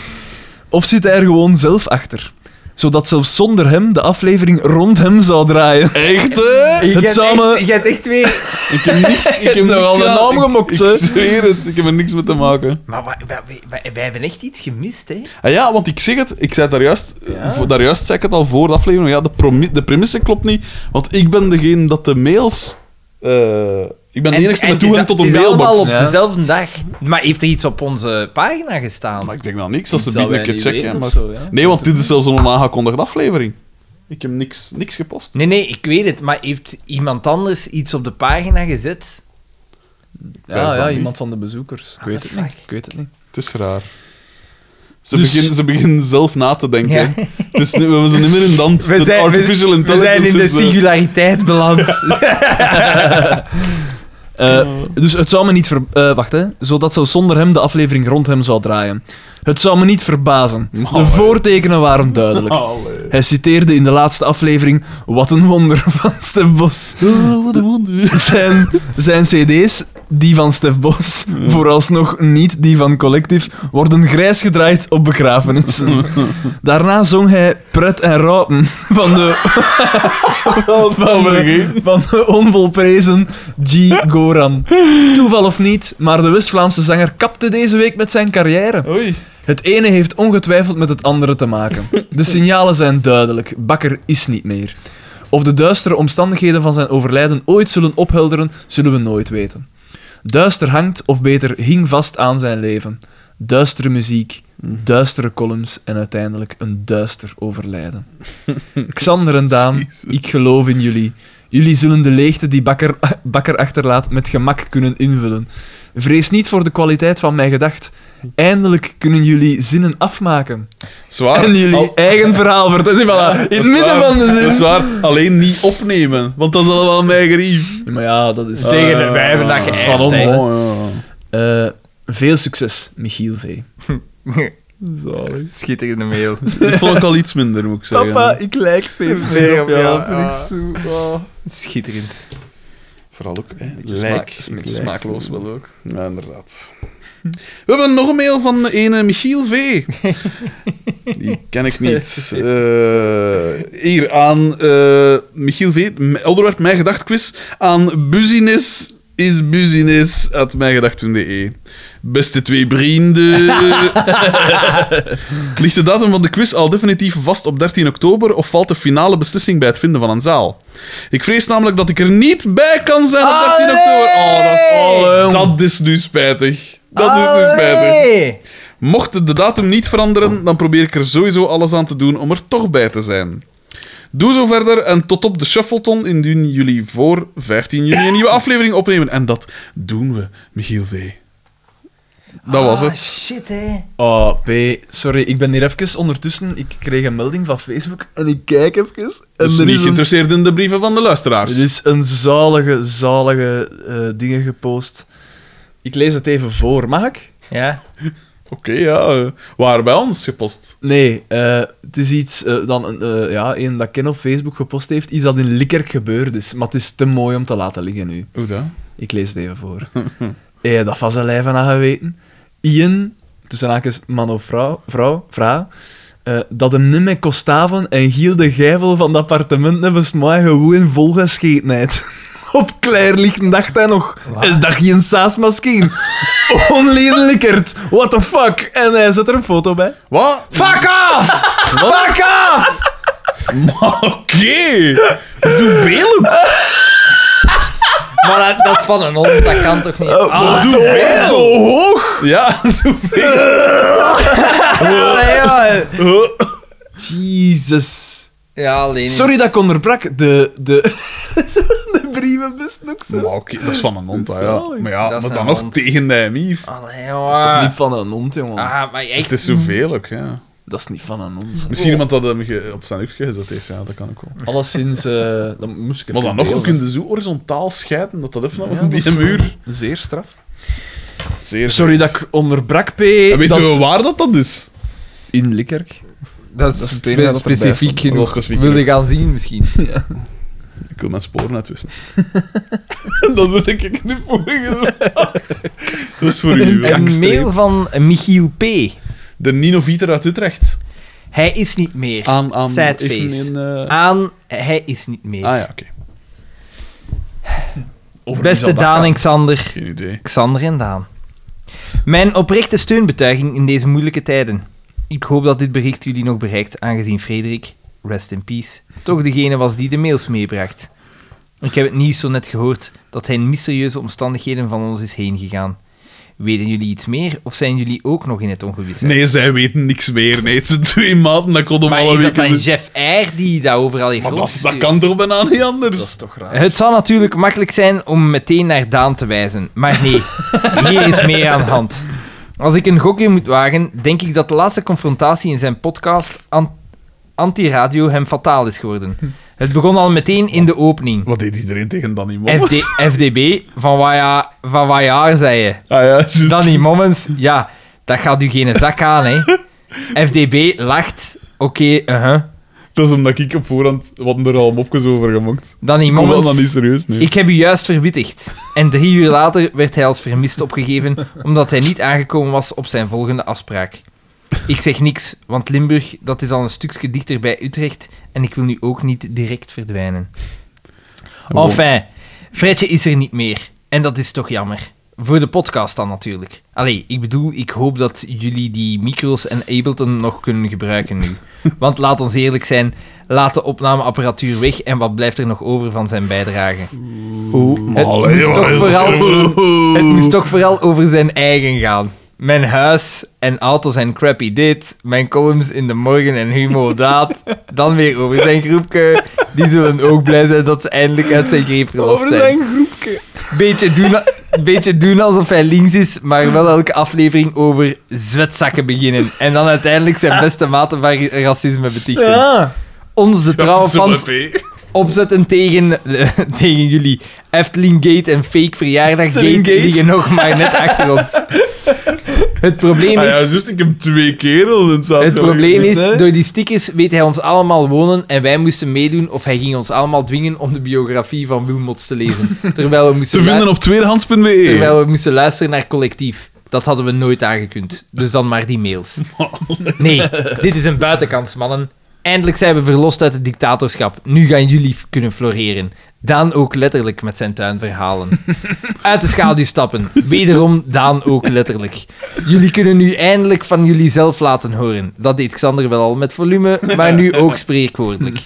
[SPEAKER 3] Of zit hij er gewoon zelf achter? Zodat zelfs zonder hem de aflevering rond hem zou draaien.
[SPEAKER 2] Echt, hè?
[SPEAKER 1] Je
[SPEAKER 3] Het
[SPEAKER 1] hebt
[SPEAKER 3] samen-
[SPEAKER 1] echt, je hebt echt weer...
[SPEAKER 2] Ik heb niks... Ik heb
[SPEAKER 3] hebt nogal
[SPEAKER 2] niks-
[SPEAKER 3] de naam
[SPEAKER 2] ik-
[SPEAKER 3] gemokt,
[SPEAKER 2] Ik
[SPEAKER 3] hè?
[SPEAKER 2] zweer het. Ik heb er niks mee te maken.
[SPEAKER 1] Maar wa- wa- wij, wij- wij hebben echt iets gemist, hè.
[SPEAKER 2] Ah ja, want ik zeg het, ik zei het daar juist, eh, voor, daar juist zei ik het al voor de aflevering, ja, de, promi- de premisse klopt niet, want ik ben degene dat de mails... eh, ik ben de enige met
[SPEAKER 1] het is
[SPEAKER 2] toegang
[SPEAKER 1] al-
[SPEAKER 2] tot een
[SPEAKER 1] Het is allemaal op
[SPEAKER 2] mailbox.
[SPEAKER 3] Ja.
[SPEAKER 1] dezelfde dag. Maar heeft er iets op onze pagina gestaan?
[SPEAKER 2] Maar ik denk wel niks, als ze
[SPEAKER 3] Iets dat
[SPEAKER 2] bieden een
[SPEAKER 3] wij
[SPEAKER 2] keer
[SPEAKER 3] niet
[SPEAKER 2] checken.
[SPEAKER 3] weten
[SPEAKER 2] maar-
[SPEAKER 3] of zo, ja.
[SPEAKER 2] Nee, want dit is zelfs een onaangekondigde aflevering. Ik heb niks, niks gepost.
[SPEAKER 1] Nee, nee, ik weet het. Maar heeft iemand anders iets op de pagina gezet?
[SPEAKER 2] Wij
[SPEAKER 3] Ja,
[SPEAKER 2] zijn
[SPEAKER 3] ja
[SPEAKER 2] niet.
[SPEAKER 3] iemand van de bezoekers. Ik
[SPEAKER 1] What
[SPEAKER 3] weet
[SPEAKER 1] the
[SPEAKER 3] het niet.
[SPEAKER 1] fuck?
[SPEAKER 3] Ik weet het niet.
[SPEAKER 2] Het is raar. Ze,
[SPEAKER 3] Dus-
[SPEAKER 2] beginnen, ze beginnen zelf na te denken.
[SPEAKER 1] Ja.
[SPEAKER 2] Het is, niet- we zijn niet meer in dans.
[SPEAKER 1] We
[SPEAKER 2] Het
[SPEAKER 1] zijn,
[SPEAKER 2] artificial
[SPEAKER 1] we, we
[SPEAKER 2] intelligence
[SPEAKER 1] zijn in de
[SPEAKER 2] is, eh,
[SPEAKER 1] singulariteit beland.
[SPEAKER 3] Eh, dus het zou me niet ver... eh, wacht, hè. Zodat zelfs zonder hem de aflevering rond hem zou draaien. Het zou me niet verbazen.
[SPEAKER 2] Nou,
[SPEAKER 3] De
[SPEAKER 2] hè.
[SPEAKER 3] voortekenen waren duidelijk.
[SPEAKER 2] Allee.
[SPEAKER 3] Hij citeerde in de laatste aflevering Wat een wonder van Stef Bos.
[SPEAKER 2] Ah, wat een wonder.
[SPEAKER 3] Zijn, zijn cd's, die van Stef Bos, vooralsnog niet die van Collective, worden grijs gedraaid op begrafenissen. Daarna zong hij Pret en Raupen van de, van de, van de onvolprezen G. Goran. Toeval of niet, maar de West-Vlaamse zanger kapte deze week met zijn carrière.
[SPEAKER 2] Oei.
[SPEAKER 3] Het ene heeft ongetwijfeld met het andere te maken. De signalen zijn duidelijk. Bakker is niet meer. Of de duistere omstandigheden van zijn overlijden ooit zullen ophelderen, zullen we nooit weten. Duister hangt, of beter hing vast aan zijn leven. Duistere muziek,
[SPEAKER 2] Mhm.
[SPEAKER 3] duistere columns en uiteindelijk een duister overlijden. Xander en Daan, ik geloof in jullie. Jullie zullen de leegte die Bakker, Bakker achterlaat met gemak kunnen invullen. Vrees niet voor de kwaliteit van mijn gedacht. Eindelijk kunnen jullie zinnen afmaken.
[SPEAKER 2] Zwaar.
[SPEAKER 3] en jullie
[SPEAKER 2] Al-
[SPEAKER 3] eigen verhaal vertellen. Zie, voilà, in het
[SPEAKER 2] Ah, oh. Dat is
[SPEAKER 3] midden
[SPEAKER 2] waar.
[SPEAKER 3] van de
[SPEAKER 2] Dat
[SPEAKER 3] zin.
[SPEAKER 2] is waar. Alleen niet opnemen, want dat is allemaal mijn gerief.
[SPEAKER 3] Ja, Maar ja, dat is...
[SPEAKER 1] Tegen
[SPEAKER 3] Eh,
[SPEAKER 1] wij
[SPEAKER 2] Ah,
[SPEAKER 1] hebben dat
[SPEAKER 3] is
[SPEAKER 1] geërfd,
[SPEAKER 3] van ons,
[SPEAKER 1] hè.
[SPEAKER 3] hè.
[SPEAKER 2] Oh,
[SPEAKER 3] Eh, veel succes, Michiel V.
[SPEAKER 2] ja. Zalig.
[SPEAKER 1] Schitterende mail.
[SPEAKER 2] Dat vond ik al iets minder, moet ik zeggen.
[SPEAKER 3] ik lijk steeds
[SPEAKER 1] meer op jou, dat vind ik
[SPEAKER 3] zo...
[SPEAKER 1] Schitterend.
[SPEAKER 2] Vooral ook, hè.
[SPEAKER 3] smaak, smaakloos wel ook.
[SPEAKER 2] Ja, inderdaad. We hebben nog een mail van een eh, Michiel V. Die ken ik niet. Eh, hier aan eh, Michiel V. M- Onderwerp Mijn Gedacht quiz aan business is business at mijngedacht.be. e. Beste twee vrienden. Ligt de datum van de quiz al definitief vast op 13 oktober of valt de finale beslissing bij het vinden van een zaal? Ik vrees namelijk dat ik er niet bij kan zijn op 13 oktober. Oh, dat is, oh,
[SPEAKER 3] Allee.
[SPEAKER 2] dat is nu spijtig. Dat is nu spijtig. Mocht de datum niet veranderen, dan probeer ik er sowieso alles aan te doen om er toch bij te zijn. Doe zo verder en tot op de Shuffleton indien jullie voor 15 juni een nieuwe aflevering opnemen. En dat doen we, Michiel V. Dat was het.
[SPEAKER 1] shit, hè.
[SPEAKER 3] Oh, P, sorry, ik ben hier even ondertussen. Ik kreeg een melding van Facebook en ik kijk even. En
[SPEAKER 2] Dus
[SPEAKER 3] er
[SPEAKER 2] niet
[SPEAKER 3] is een,
[SPEAKER 2] geïnteresseerd in de brieven van de
[SPEAKER 3] er
[SPEAKER 2] luisteraars.
[SPEAKER 3] is een zalige, zalige eh, dingen gepost. Ik lees het even voor, mag ik?
[SPEAKER 1] Ja.
[SPEAKER 2] Oké, ja. eh, Waar bij ons gepost.
[SPEAKER 3] Nee, eh, het is iets eh, dan een, eh, ja, een dat Ken op Facebook gepost heeft, iets dat in Likkerk gebeurd is. Maar het is te mooi om te laten liggen nu.
[SPEAKER 2] Hoe dan?
[SPEAKER 3] Ik lees het even voor. Hij dat van zijn lijf aan geweten. Ian, tussen haakjes man of vrouw, vrouw, vrouw eh, dat hem niet met Kostaven en Giel de Gijvel van het appartement hebben smaai gewoon volgeschetenheid. Op klaarlichten dacht hij nog, is dat geen saasmaskeen? Onlederlijkert, what the fuck? En hij zet er een foto bij.
[SPEAKER 2] Wat?
[SPEAKER 3] Fuck off! Fuck off!
[SPEAKER 2] Oké. Zoveel ook.
[SPEAKER 1] Maar dat, dat is van een hond, dat kan toch niet?
[SPEAKER 2] Ah, zoveel. Zo hoog. Ja, zoveel.
[SPEAKER 1] Allee, ja.
[SPEAKER 3] Jesus.
[SPEAKER 1] Ja, alleen...
[SPEAKER 3] Sorry dat ik onderbrak. De, de, de brievenbus nog zo.
[SPEAKER 2] Maar oké, dat is van een hond, hè, ja.
[SPEAKER 3] Zalig.
[SPEAKER 2] Maar ja,
[SPEAKER 1] Dat is
[SPEAKER 2] maar
[SPEAKER 1] een
[SPEAKER 2] dan nog
[SPEAKER 1] hond.
[SPEAKER 2] tegen de mier.
[SPEAKER 1] Allee,
[SPEAKER 3] Dat is toch
[SPEAKER 1] jongen.
[SPEAKER 3] niet van een hond, jongen.
[SPEAKER 2] Hmm.
[SPEAKER 1] Ah, maar echt...
[SPEAKER 2] Het is zoveel ook, ja.
[SPEAKER 3] Dat is niet van aan ons.
[SPEAKER 2] Misschien iemand dat hem ge- op zijn hoekje gezet heeft, ja, dat kan ook wel.
[SPEAKER 3] Alleszins, eh dan moest ik
[SPEAKER 2] Maar
[SPEAKER 3] even
[SPEAKER 2] dan nog, we
[SPEAKER 3] delen.
[SPEAKER 2] kunnen zo horizontaal scheiden dat dat even
[SPEAKER 3] Ja,
[SPEAKER 2] op
[SPEAKER 3] dat
[SPEAKER 2] die
[SPEAKER 3] is-
[SPEAKER 2] muur...
[SPEAKER 3] Zeer straf.
[SPEAKER 2] Zeer
[SPEAKER 3] Sorry dat ik onderbrak, P.
[SPEAKER 2] En weet
[SPEAKER 3] dat...
[SPEAKER 2] je waar dat, dat is?
[SPEAKER 3] In Likkerk.
[SPEAKER 1] Dat
[SPEAKER 3] Dat
[SPEAKER 1] is
[SPEAKER 3] is het enige dat erbij
[SPEAKER 1] specifiek
[SPEAKER 3] staat.
[SPEAKER 2] Wel
[SPEAKER 1] genoeg.
[SPEAKER 2] specifiek
[SPEAKER 1] Wil je gaan zien misschien?
[SPEAKER 2] Ik wil mijn sporen uitwissen. dat is denk ik niet voor Dat is voor u.
[SPEAKER 1] Een
[SPEAKER 2] kakstreep.
[SPEAKER 1] mail van Michiel P.
[SPEAKER 2] De Nino Vieter uit Utrecht.
[SPEAKER 1] Hij is niet meer.
[SPEAKER 2] Aan, aan
[SPEAKER 1] Sad
[SPEAKER 2] even
[SPEAKER 1] face.
[SPEAKER 2] in, eh,
[SPEAKER 1] Aan, hij is niet meer.
[SPEAKER 2] Ah ja, oké.
[SPEAKER 3] Over
[SPEAKER 1] Beste
[SPEAKER 3] wie zal dat
[SPEAKER 1] Daan
[SPEAKER 3] gaan?
[SPEAKER 1] en Xander.
[SPEAKER 2] Geen idee.
[SPEAKER 1] Xander en Daan. Mijn oprechte steunbetuiging in deze moeilijke tijden. Ik hoop dat dit bericht jullie nog bereikt, aangezien Frederik, rest in peace, toch degene was die de mails meebracht. Ik heb het nieuws zo net gehoord dat hij in mysterieuze omstandigheden van ons is heen gegaan. Weten jullie iets meer of zijn jullie ook nog in het ongewisse?
[SPEAKER 2] Nee, zij weten niks meer. Nee, het zijn twee maanden, dat kon om
[SPEAKER 1] Maar
[SPEAKER 2] alle
[SPEAKER 1] is dat
[SPEAKER 2] weken...
[SPEAKER 1] dan Jeff Eyre die dat overal heeft
[SPEAKER 2] Maar dat, dat
[SPEAKER 1] rondgestuurd?
[SPEAKER 2] kan toch bijna niet anders?
[SPEAKER 3] Dat is toch raar.
[SPEAKER 1] Het zal natuurlijk makkelijk zijn om meteen naar Daan te wijzen, maar nee, hier is meer aan de hand. Als ik een gokje moet wagen, denk ik dat de laatste confrontatie in zijn podcast An- Anti-Radio hem fataal is geworden. Het begon al meteen in de opening.
[SPEAKER 2] Wat deed iedereen tegen Danny Mommers?
[SPEAKER 1] FD, FDB, van waar ja- van waar jaar zei je?
[SPEAKER 2] Ah ja, juist.
[SPEAKER 1] Danny Mommens, ja, dat gaat u geen zak aan, hè. FDB lacht, oké, uh-huh.
[SPEAKER 2] Dat is omdat ik op voorhand wat er al mopjes over gemaakt.
[SPEAKER 1] Danny
[SPEAKER 2] Kom wel
[SPEAKER 1] Mommens...
[SPEAKER 2] dan niet serieus nu.
[SPEAKER 1] Ik heb u juist verwittigd. En drie uur later werd hij als vermist opgegeven omdat hij niet aangekomen was op zijn volgende afspraak. Ik zeg niks, want Limburg dat is al een stukje dichter bij Utrecht en ik wil nu ook niet direct verdwijnen. Enfin, Fredje is er niet meer. En dat is toch jammer. Voor de podcast dan natuurlijk. Allee, ik bedoel, ik hoop dat jullie die micro's en Ableton nog kunnen gebruiken nu. Want laat ons eerlijk zijn, laat de opnameapparatuur weg en wat blijft er nog over van zijn bijdrage? Het moest, toch vooral, het moest toch vooral over zijn eigen gaan. Mijn huis en auto's en crappy dit, mijn columns in de morgen en humor dat, dan weer over zijn groepje. Die zullen ook blij zijn dat ze eindelijk uit zijn greep verlost zijn. Beetje doen, beetje doen alsof hij links is, maar wel elke aflevering over zwetzakken beginnen. En dan uiteindelijk zijn beste mate van ra- racisme betichten.
[SPEAKER 3] Ja.
[SPEAKER 1] Ons de trouwe fans
[SPEAKER 2] P.
[SPEAKER 1] opzetten tegen, eh, tegen jullie. Eftelinggate en fake verjaardaggate
[SPEAKER 3] Eftelinggate.
[SPEAKER 1] liggen nog maar net achter ons. Het probleem
[SPEAKER 2] Ah ja,
[SPEAKER 1] is...
[SPEAKER 2] juist, ik heb twee keer al in zaal
[SPEAKER 1] Het probleem
[SPEAKER 2] gelegd.
[SPEAKER 1] is, door die stickers weet hij ons allemaal wonen en wij moesten meedoen of hij ging ons allemaal dwingen om de biografie van Wilmots te lezen. Terwijl we moesten,
[SPEAKER 2] Te vinden
[SPEAKER 1] lu-
[SPEAKER 2] op tweedehands.be.
[SPEAKER 1] terwijl we moesten luisteren naar collectief. Dat hadden we nooit aangekund. Dus dan maar die mails. Nee, dit is een buitenkans, mannen. Eindelijk zijn we verlost uit het dictatorschap. Nu gaan jullie f- kunnen floreren. Daan ook letterlijk met zijn tuinverhalen. Uit de schaduw stappen. Wederom Daan ook letterlijk. Jullie kunnen nu eindelijk van jullie zelf laten horen. Dat deed Xander wel al met volume, maar nu ook spreekwoordelijk.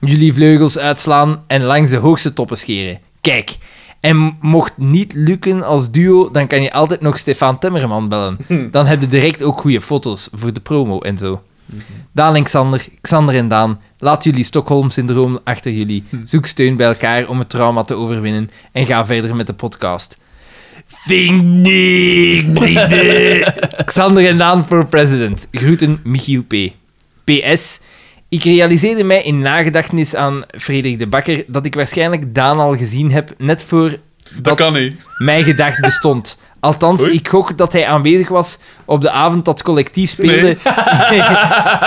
[SPEAKER 1] Jullie vleugels uitslaan en langs de hoogste toppen scheren. Kijk. En mocht niet lukken als duo, dan kan je altijd nog Stefan Temmerman bellen. Dan heb je direct ook goede foto's voor de promo en zo. Daan en Xander, Xander en Daan, laat jullie Stockholm-syndroom achter jullie. Zoek steun bij elkaar om het trauma te overwinnen en ga verder met de podcast. Think big, vrienden. Xander en Daan voor president. Groeten, Michiel P. PS. Ik realiseerde mij in nagedachtenis aan Frederik de Bakker dat ik waarschijnlijk Daan al gezien heb net voor
[SPEAKER 2] Dat kan niet.
[SPEAKER 1] mijn gedacht bestond. Althans,
[SPEAKER 2] Oei.
[SPEAKER 1] ik gok dat hij aanwezig was op de avond dat collectief speelde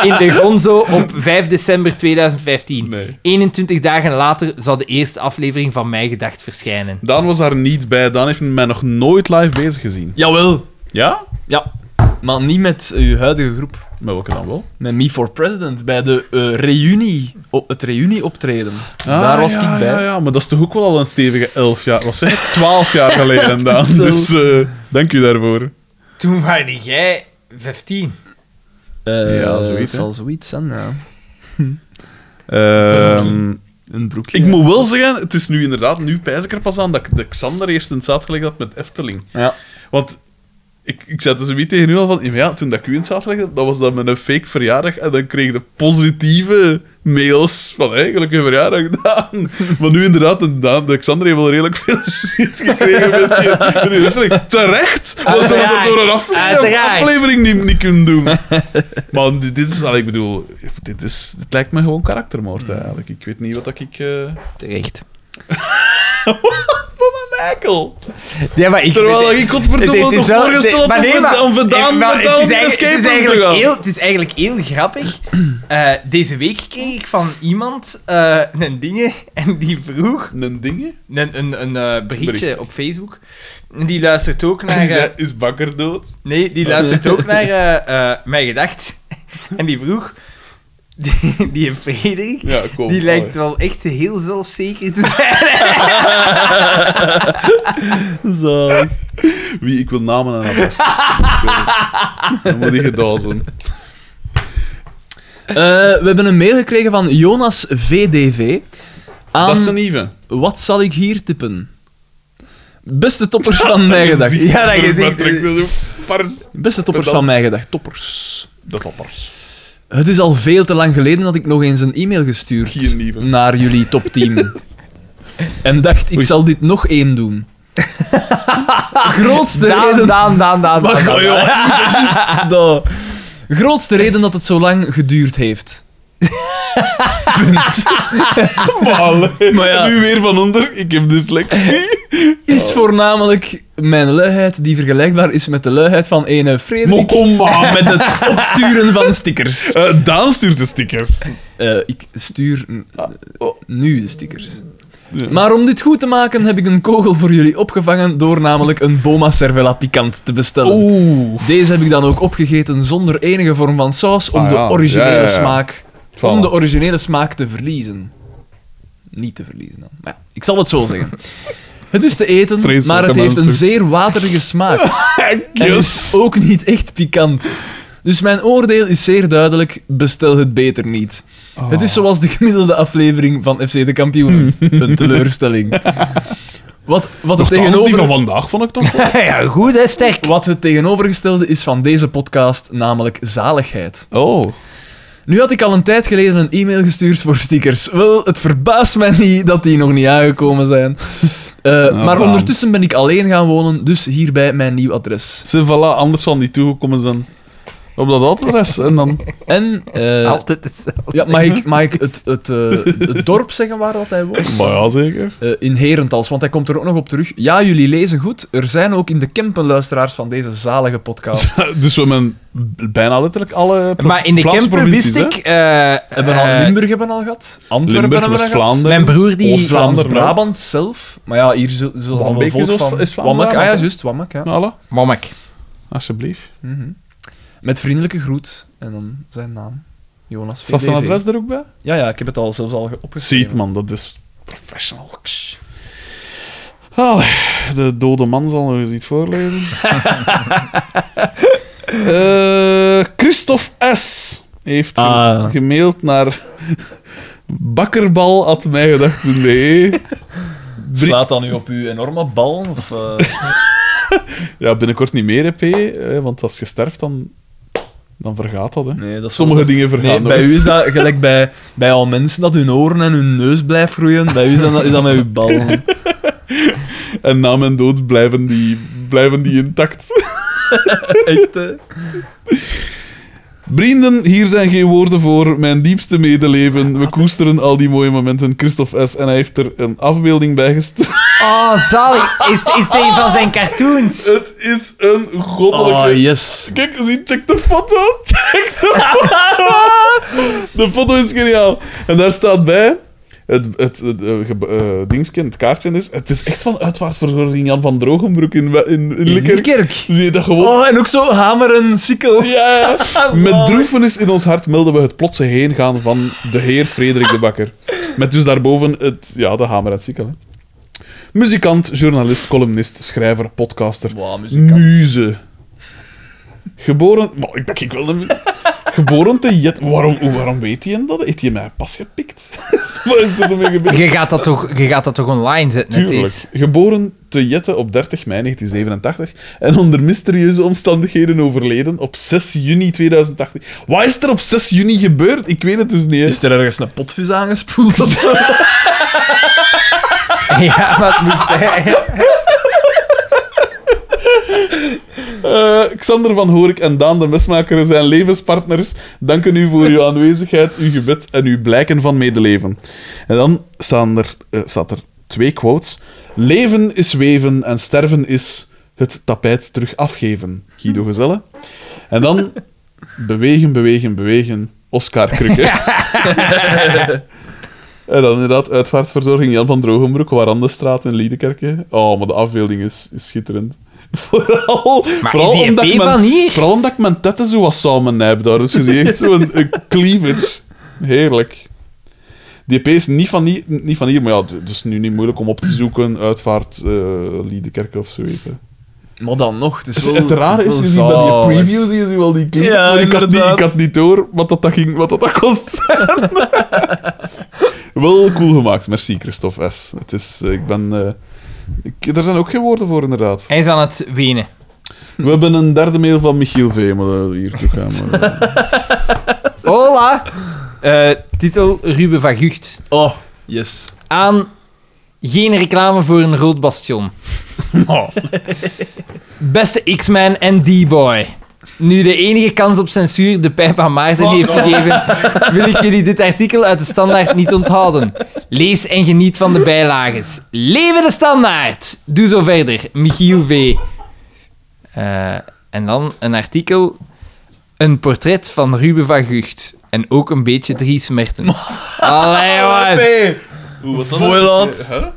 [SPEAKER 1] in de Gonzo op 5 december 2015.
[SPEAKER 2] Nee.
[SPEAKER 1] 21 dagen later zou de eerste aflevering van Mijn Gedacht verschijnen.
[SPEAKER 2] Daan was daar niet bij. Daan heeft mij nog nooit live bezig gezien.
[SPEAKER 3] Jawel.
[SPEAKER 2] Ja?
[SPEAKER 3] Ja. Maar niet met uw huidige groep.
[SPEAKER 2] Met welke dan wel?
[SPEAKER 3] Met Me for President. Bij de eh, reunie. Op het reunieoptreden.
[SPEAKER 2] Ah,
[SPEAKER 3] Daar was
[SPEAKER 2] ja,
[SPEAKER 3] ik bij.
[SPEAKER 2] Ja, ja, maar dat is toch ook wel al een stevige elf jaar... Wat zeg ik? Twaalf jaar geleden, Daan. Dus eh, dank u daarvoor.
[SPEAKER 1] Toen waren jij 15.
[SPEAKER 3] Eh,
[SPEAKER 2] Ja, zoiets, hè.
[SPEAKER 3] zal zoiets zijn, ja.
[SPEAKER 2] Ehm,
[SPEAKER 3] Een broekje.
[SPEAKER 2] ik moet wel zeggen, het is nu inderdaad... Nu pijs ik er pas aan dat ik de Xander eerst in het zaad gelegd had met Efteling.
[SPEAKER 3] Ja.
[SPEAKER 2] Want ik, ik zei dus zoiets tegen u al van... Ja, toen dat ik u in het zaad legde, dat was dat met een fake verjaardag. En dan kreeg de positieve mails van eigenlijk een verjaardag gedaan. Maar nu inderdaad, de, Daan- de Xander heeft wel redelijk veel shit gekregen met die, met die aflevering. Terecht, want we hadden
[SPEAKER 1] Uiteraard.
[SPEAKER 2] door een aflevering,
[SPEAKER 1] Uiteraard.
[SPEAKER 2] aflevering niet, niet kunnen doen. Maar dit dit is, allee, ik bedoel, dit, is, dit lijkt me gewoon karaktermoord eigenlijk. Ik weet niet wat dat ik... eh,
[SPEAKER 1] Terecht.
[SPEAKER 2] Wat een eikel!
[SPEAKER 1] Ja, maar ik...
[SPEAKER 2] Terwijl ik godverdomme
[SPEAKER 1] Het is
[SPEAKER 2] toch
[SPEAKER 1] wel-
[SPEAKER 2] voorgesteld
[SPEAKER 1] maar
[SPEAKER 2] heb
[SPEAKER 1] nee,
[SPEAKER 2] om
[SPEAKER 1] maar-
[SPEAKER 2] van- om vandaan
[SPEAKER 1] ik- maar
[SPEAKER 2] met
[SPEAKER 1] het is
[SPEAKER 2] dan de
[SPEAKER 1] eigenlijk- het
[SPEAKER 2] escape
[SPEAKER 1] is
[SPEAKER 2] room te
[SPEAKER 1] eigenlijk
[SPEAKER 2] gaan.
[SPEAKER 1] heel- Het is eigenlijk heel grappig. Eh, deze week kreeg ik van iemand eh, een ding en die vroeg
[SPEAKER 2] Een ding?
[SPEAKER 1] een, een, een eh, berichtje
[SPEAKER 2] Bericht.
[SPEAKER 1] op Facebook. En Die luistert ook naar...
[SPEAKER 2] Die
[SPEAKER 1] eh,
[SPEAKER 2] zei, is bakker dood?
[SPEAKER 1] Nee, die luistert ook naar eh, eh, Mijn Gedacht. En die vroeg... Die, die Frederik,
[SPEAKER 2] Ja, kom.
[SPEAKER 1] die lijkt wel echt heel zelfzeker te zijn.
[SPEAKER 2] Zo. Wie, ik wil namen aan adres. Ik wil het. Dan moet die gedaan zijn.
[SPEAKER 3] Eh, we hebben een mail gekregen van Jonas VDV. Aan
[SPEAKER 2] Dat is een Ive.
[SPEAKER 3] Wat zal ik hier tippen? Beste toppers van mijn gedacht. Ja, dat
[SPEAKER 2] Druk maar,
[SPEAKER 3] je
[SPEAKER 2] druk,
[SPEAKER 3] denkt.
[SPEAKER 2] dat is een Fars.
[SPEAKER 3] Beste toppers van mijn gedacht. Toppers.
[SPEAKER 2] De toppers.
[SPEAKER 3] Het is al veel te lang geleden dat ik nog eens een e-mail gestuurd
[SPEAKER 2] Geen nieuwe.
[SPEAKER 3] naar jullie topteam. en dacht, ik
[SPEAKER 2] Oei.
[SPEAKER 3] zal dit nog één doen. Grootste
[SPEAKER 1] Daan,
[SPEAKER 3] reden...
[SPEAKER 1] Daan, Daan, Daan,
[SPEAKER 3] Maar
[SPEAKER 1] Daan, Daan.
[SPEAKER 3] goh, joh, dat is juist dat. Grootste reden dat het zo lang geduurd heeft. Punt. Maar ja.
[SPEAKER 2] Nu weer van onder. Ik heb dyslexie.
[SPEAKER 1] Oh.
[SPEAKER 3] Is voornamelijk mijn luiheid die vergelijkbaar is met de luiheid van ene
[SPEAKER 2] Maar
[SPEAKER 3] Frederik.
[SPEAKER 2] kom maar.
[SPEAKER 3] Met het opsturen van stickers.
[SPEAKER 2] Eh, Daan stuurt de stickers.
[SPEAKER 3] Eh, ik stuur n-
[SPEAKER 1] Ah,
[SPEAKER 2] oh.
[SPEAKER 3] nu de stickers.
[SPEAKER 2] Ja.
[SPEAKER 3] Maar om dit goed te maken heb ik een kogel voor jullie opgevangen door namelijk een Boma Cervella pikant te bestellen.
[SPEAKER 2] Oeh.
[SPEAKER 3] Deze heb ik dan ook opgegeten zonder enige vorm van saus om
[SPEAKER 2] Ah, ja.
[SPEAKER 3] de originele
[SPEAKER 2] Ja, ja, ja.
[SPEAKER 3] smaak om
[SPEAKER 2] Voilà.
[SPEAKER 3] de originele smaak te verliezen. Niet te verliezen dan. Maar ja, ik zal het zo zeggen. Het is te eten,
[SPEAKER 2] Vreselijke
[SPEAKER 3] maar het heeft een
[SPEAKER 2] mensen.
[SPEAKER 3] zeer waterige smaak. En is ook niet echt pikant. Dus mijn oordeel is zeer duidelijk: bestel het beter niet.
[SPEAKER 2] Ah.
[SPEAKER 3] Het is zoals de gemiddelde aflevering van FC de Kampioenen. Een teleurstelling. Wat, wat, het
[SPEAKER 2] Tegenover... Die van
[SPEAKER 3] tegenover,
[SPEAKER 2] vandaag vond ik toch wel.
[SPEAKER 1] Ja, goed, hè, sterk.
[SPEAKER 3] wat het tegenovergestelde is van deze podcast, namelijk zaligheid.
[SPEAKER 2] Oh.
[SPEAKER 3] Nu had ik al een tijd geleden een e-mail gestuurd voor stickers. Wel, het verbaast mij niet dat die nog niet aangekomen zijn. Eh, maar
[SPEAKER 2] Daan.
[SPEAKER 3] ondertussen ben ik alleen gaan wonen, dus hierbij mijn nieuw adres.
[SPEAKER 2] Ze, voilà, anders zal die toegekomen zijn. Op dat adres. En dan...
[SPEAKER 3] En, eh,
[SPEAKER 1] Altijd hetzelfde.
[SPEAKER 3] ja, mag ik, mag ik het, het, eh, het dorp zeggen waar dat hij woont?
[SPEAKER 2] Maar ja, zeker.
[SPEAKER 3] Eh, in Herentals, want hij komt er ook nog op terug. Ja, jullie lezen goed. Er zijn ook in de Kempen luisteraars van deze zalige podcast.
[SPEAKER 2] Dus we hebben bijna letterlijk alle pro-
[SPEAKER 1] Maar in de
[SPEAKER 2] Vlaamse
[SPEAKER 1] Kempen
[SPEAKER 2] provincies,
[SPEAKER 1] wist
[SPEAKER 2] hè?
[SPEAKER 1] ik... eh,
[SPEAKER 3] Hebben we al
[SPEAKER 1] eh,
[SPEAKER 3] Limburg hebben we al gehad? Antwerpen
[SPEAKER 2] Limburg,
[SPEAKER 3] hebben we al gehad?
[SPEAKER 2] West-Vlaanderen.
[SPEAKER 1] Mijn broer die...
[SPEAKER 2] Oost- Vlaanderen,
[SPEAKER 3] Vlaams-Brabant zelf. Maar ja, hier zullen ze al
[SPEAKER 2] Wambeek
[SPEAKER 3] wel
[SPEAKER 2] is
[SPEAKER 3] volk
[SPEAKER 2] Oost-
[SPEAKER 3] van...
[SPEAKER 2] is Vlaanderen,
[SPEAKER 3] Wambeek, ah ja,
[SPEAKER 2] Brabant, hè?
[SPEAKER 3] juist, Wambeek, ja.
[SPEAKER 2] Nou, voilà.
[SPEAKER 1] Mammek.
[SPEAKER 2] alsjeblieft.
[SPEAKER 3] Mhm. Met vriendelijke groet. En dan zijn naam. Jonas
[SPEAKER 2] Staat
[SPEAKER 3] VDV.
[SPEAKER 2] zijn adres er ook bij?
[SPEAKER 3] Ja, ja, ik heb het al zelfs al ge- opgeschreven.
[SPEAKER 2] Ziet man, dat is professional. Ksh. Allee, de dode man zal nog eens iets voorlezen. Eh, Christophe S. heeft ge-
[SPEAKER 3] Ah.
[SPEAKER 2] gemaild naar bakkerbal.mijgedacht.be.
[SPEAKER 3] Slaat dan nu op uw enorme bal? Of, eh,
[SPEAKER 2] Ja, binnenkort niet meer, hè, P. eh, Want als je sterft, dan, dan vergaat dat. Hè.
[SPEAKER 3] Nee, dat is
[SPEAKER 2] Sommige
[SPEAKER 3] wel-
[SPEAKER 2] dingen vergaan
[SPEAKER 3] Nee, bij
[SPEAKER 2] nooit.
[SPEAKER 3] u is dat gelijk bij, bij al mensen dat hun oren en hun neus blijft groeien. Bij u is dat, is dat met uw bal.
[SPEAKER 2] En na mijn dood blijven die, blijven die intact.
[SPEAKER 3] Echt, hè?
[SPEAKER 2] Vrienden, hier zijn geen woorden voor. Mijn diepste medeleven. We koesteren al die mooie momenten. Christophe S. En hij heeft er een afbeelding bij gestuurd.
[SPEAKER 1] Oh, zalig. Is, is het een van zijn cartoons?
[SPEAKER 2] Het is een goddelijke...
[SPEAKER 3] Oh, yes.
[SPEAKER 2] Kijk, zie, check de foto. Check de foto. De foto is geniaal. En daar staat bij... Het, het, het, eh, ge- eh, dingetje, het kaartje is... Het is echt van uitvaartverzorging Jan van Drogenbroek in, in, in, Likkerk.
[SPEAKER 3] Likkerk.
[SPEAKER 2] Zie je dat gewoon?
[SPEAKER 3] Oh, en ook zo hamer en sikkel.
[SPEAKER 2] Ja, met droefenis in ons hart melden we het plotse heengaan van de heer Frederik de Bakker. Met dus daarboven het, ja, de hamer uit Sikkel. hè. Muzikant, journalist, columnist, schrijver, podcaster,
[SPEAKER 3] Wow, muzikant.
[SPEAKER 2] muze. Geboren... Maar ik ben ik wel een... Geboren te Jet... Waarom, waarom weet hij hem dat? Heeft hij mij pas gepikt? Wat is er mee gebeurd?
[SPEAKER 1] Je gaat dat toch, je gaat dat toch online zetten, het
[SPEAKER 2] Tuurlijk.
[SPEAKER 1] is.
[SPEAKER 2] Geboren te te Jette op 30 mei 1987 en onder mysterieuze omstandigheden overleden op 6 juni 2018. Wat is er op 6 juni gebeurd? Ik weet het dus niet. hè.
[SPEAKER 3] Is er ergens een potvis aangespoeld of zo?
[SPEAKER 1] Ja, wat moet zijn.
[SPEAKER 2] Eh, Xander van Horik en Daan de Mesmaker zijn levenspartners. Danken u voor uw aanwezigheid, uw gebed en uw blijken van medeleven. En dan staan er, eh, staat er twee quotes. Leven is weven en sterven is het tapijt terug afgeven. Guido Gezelle. En dan bewegen, bewegen, bewegen. Oscar Krukke. En dan inderdaad, uitvaartverzorging Jan van Drogenbroek, Warandestraat in Liedekerke. Oh, maar de afbeelding is, is schitterend. Vooral, vooral,
[SPEAKER 1] is die
[SPEAKER 2] omdat
[SPEAKER 1] een
[SPEAKER 2] ik
[SPEAKER 1] P van
[SPEAKER 2] mijn,
[SPEAKER 1] hier?
[SPEAKER 2] vooral omdat ik mijn tetten zo wat samen heb daar. Dus je ziet echt zo'n een cleavage. Heerlijk. Die EP is niet van, hier, niet van hier, maar ja, het is nu niet moeilijk om op te zoeken. Uitvaart eh Liedekerke of zoiets. hè.
[SPEAKER 3] Maar dan nog, het is
[SPEAKER 2] Dus
[SPEAKER 3] wel...
[SPEAKER 2] het rare
[SPEAKER 3] het
[SPEAKER 2] is,
[SPEAKER 3] wel
[SPEAKER 2] je ziet bij die
[SPEAKER 3] zalig.
[SPEAKER 2] previews zie je zo wel die clip,
[SPEAKER 3] Ja,
[SPEAKER 2] maar ik had, niet,
[SPEAKER 3] inderdaad.
[SPEAKER 2] ik had niet door wat dat, dat, ging, wat dat, dat kost zijn. wel cool gemaakt, merci Christophe S. Het is, eh, ik ben... eh, ik, er zijn ook geen woorden voor, inderdaad.
[SPEAKER 1] Hij is aan het wenen.
[SPEAKER 2] We hebben een derde mail van Michiel V. Maar eh, hier toe gaan. maar, eh.
[SPEAKER 1] Hola! Eh, titel Ruben van Gucht.
[SPEAKER 3] Oh, yes.
[SPEAKER 1] Aan geen reclame voor een rood bastion. Beste X-Man en D-Boy. Nu de enige kans op censuur de pijp aan Maarten heeft gegeven, wil ik jullie dit artikel uit de standaard niet onthouden. Lees en geniet van de bijlages. Leven de standaard! Doe zo verder, Michiel V. Eh, en dan een artikel, een portret van Ruben van Gucht. En ook een beetje Dries Mertens. Allee, man.
[SPEAKER 3] Voiland.
[SPEAKER 2] Hè? Ik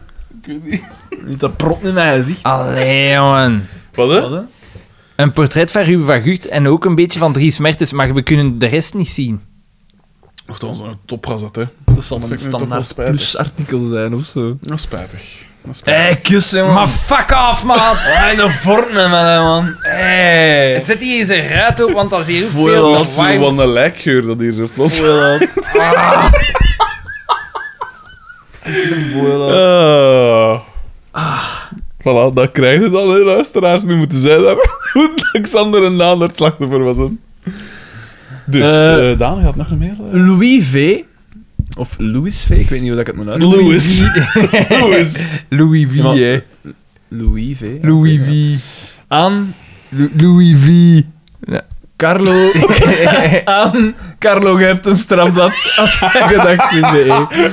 [SPEAKER 2] weet niet.
[SPEAKER 3] Niet dat prop in mijn gezicht.
[SPEAKER 1] Allee, jongen.
[SPEAKER 2] Wat, hè?
[SPEAKER 3] Wat, hè?
[SPEAKER 1] Een portret van Ruben van Gucht en ook een beetje van Dries Mertens, maar we kunnen de rest niet zien.
[SPEAKER 2] Nochtans, een topgazet, hè.
[SPEAKER 3] Dat zal
[SPEAKER 2] Dat
[SPEAKER 3] een
[SPEAKER 2] vind ik nu toch wel
[SPEAKER 3] standaard
[SPEAKER 2] spijtig.
[SPEAKER 3] plus artikel zijn of zo.
[SPEAKER 2] Dat is spijtig. Dat is spijtig.
[SPEAKER 3] Hé, kus, jongen.
[SPEAKER 1] Maar fuck off, maat!
[SPEAKER 3] Ah, in de Fortnite, man, man. Hé.
[SPEAKER 1] Zet hier eens een ruit op, want dat is hier ook
[SPEAKER 3] Voor
[SPEAKER 1] veel
[SPEAKER 2] Dat
[SPEAKER 1] te
[SPEAKER 2] is zo
[SPEAKER 1] warm.
[SPEAKER 2] wat een lijkgeur dat hier zo plots...
[SPEAKER 3] Voiland.
[SPEAKER 2] Ah. Voilà, dat krijg je dan, hè, luisteraars. Nu moeten zij daar... Moet Alexander en Daan daar het slachtoffer van zijn. Dus,
[SPEAKER 3] Eh,
[SPEAKER 2] eh, Daan gaat nog een mail. eh?
[SPEAKER 3] Louis V. Of Louis V, ik weet niet hoe dat ik het moet uitspreken.
[SPEAKER 2] Louis. Louis.
[SPEAKER 1] Louis V,
[SPEAKER 3] Ja,
[SPEAKER 1] hè.
[SPEAKER 3] Louis V. ja,
[SPEAKER 1] Louis
[SPEAKER 3] oké, ja.
[SPEAKER 1] V.
[SPEAKER 3] Aan
[SPEAKER 1] Louis V.
[SPEAKER 3] Carlo. aan Carlo, je hebt een strafblad. Had hij gedacht, vind ik.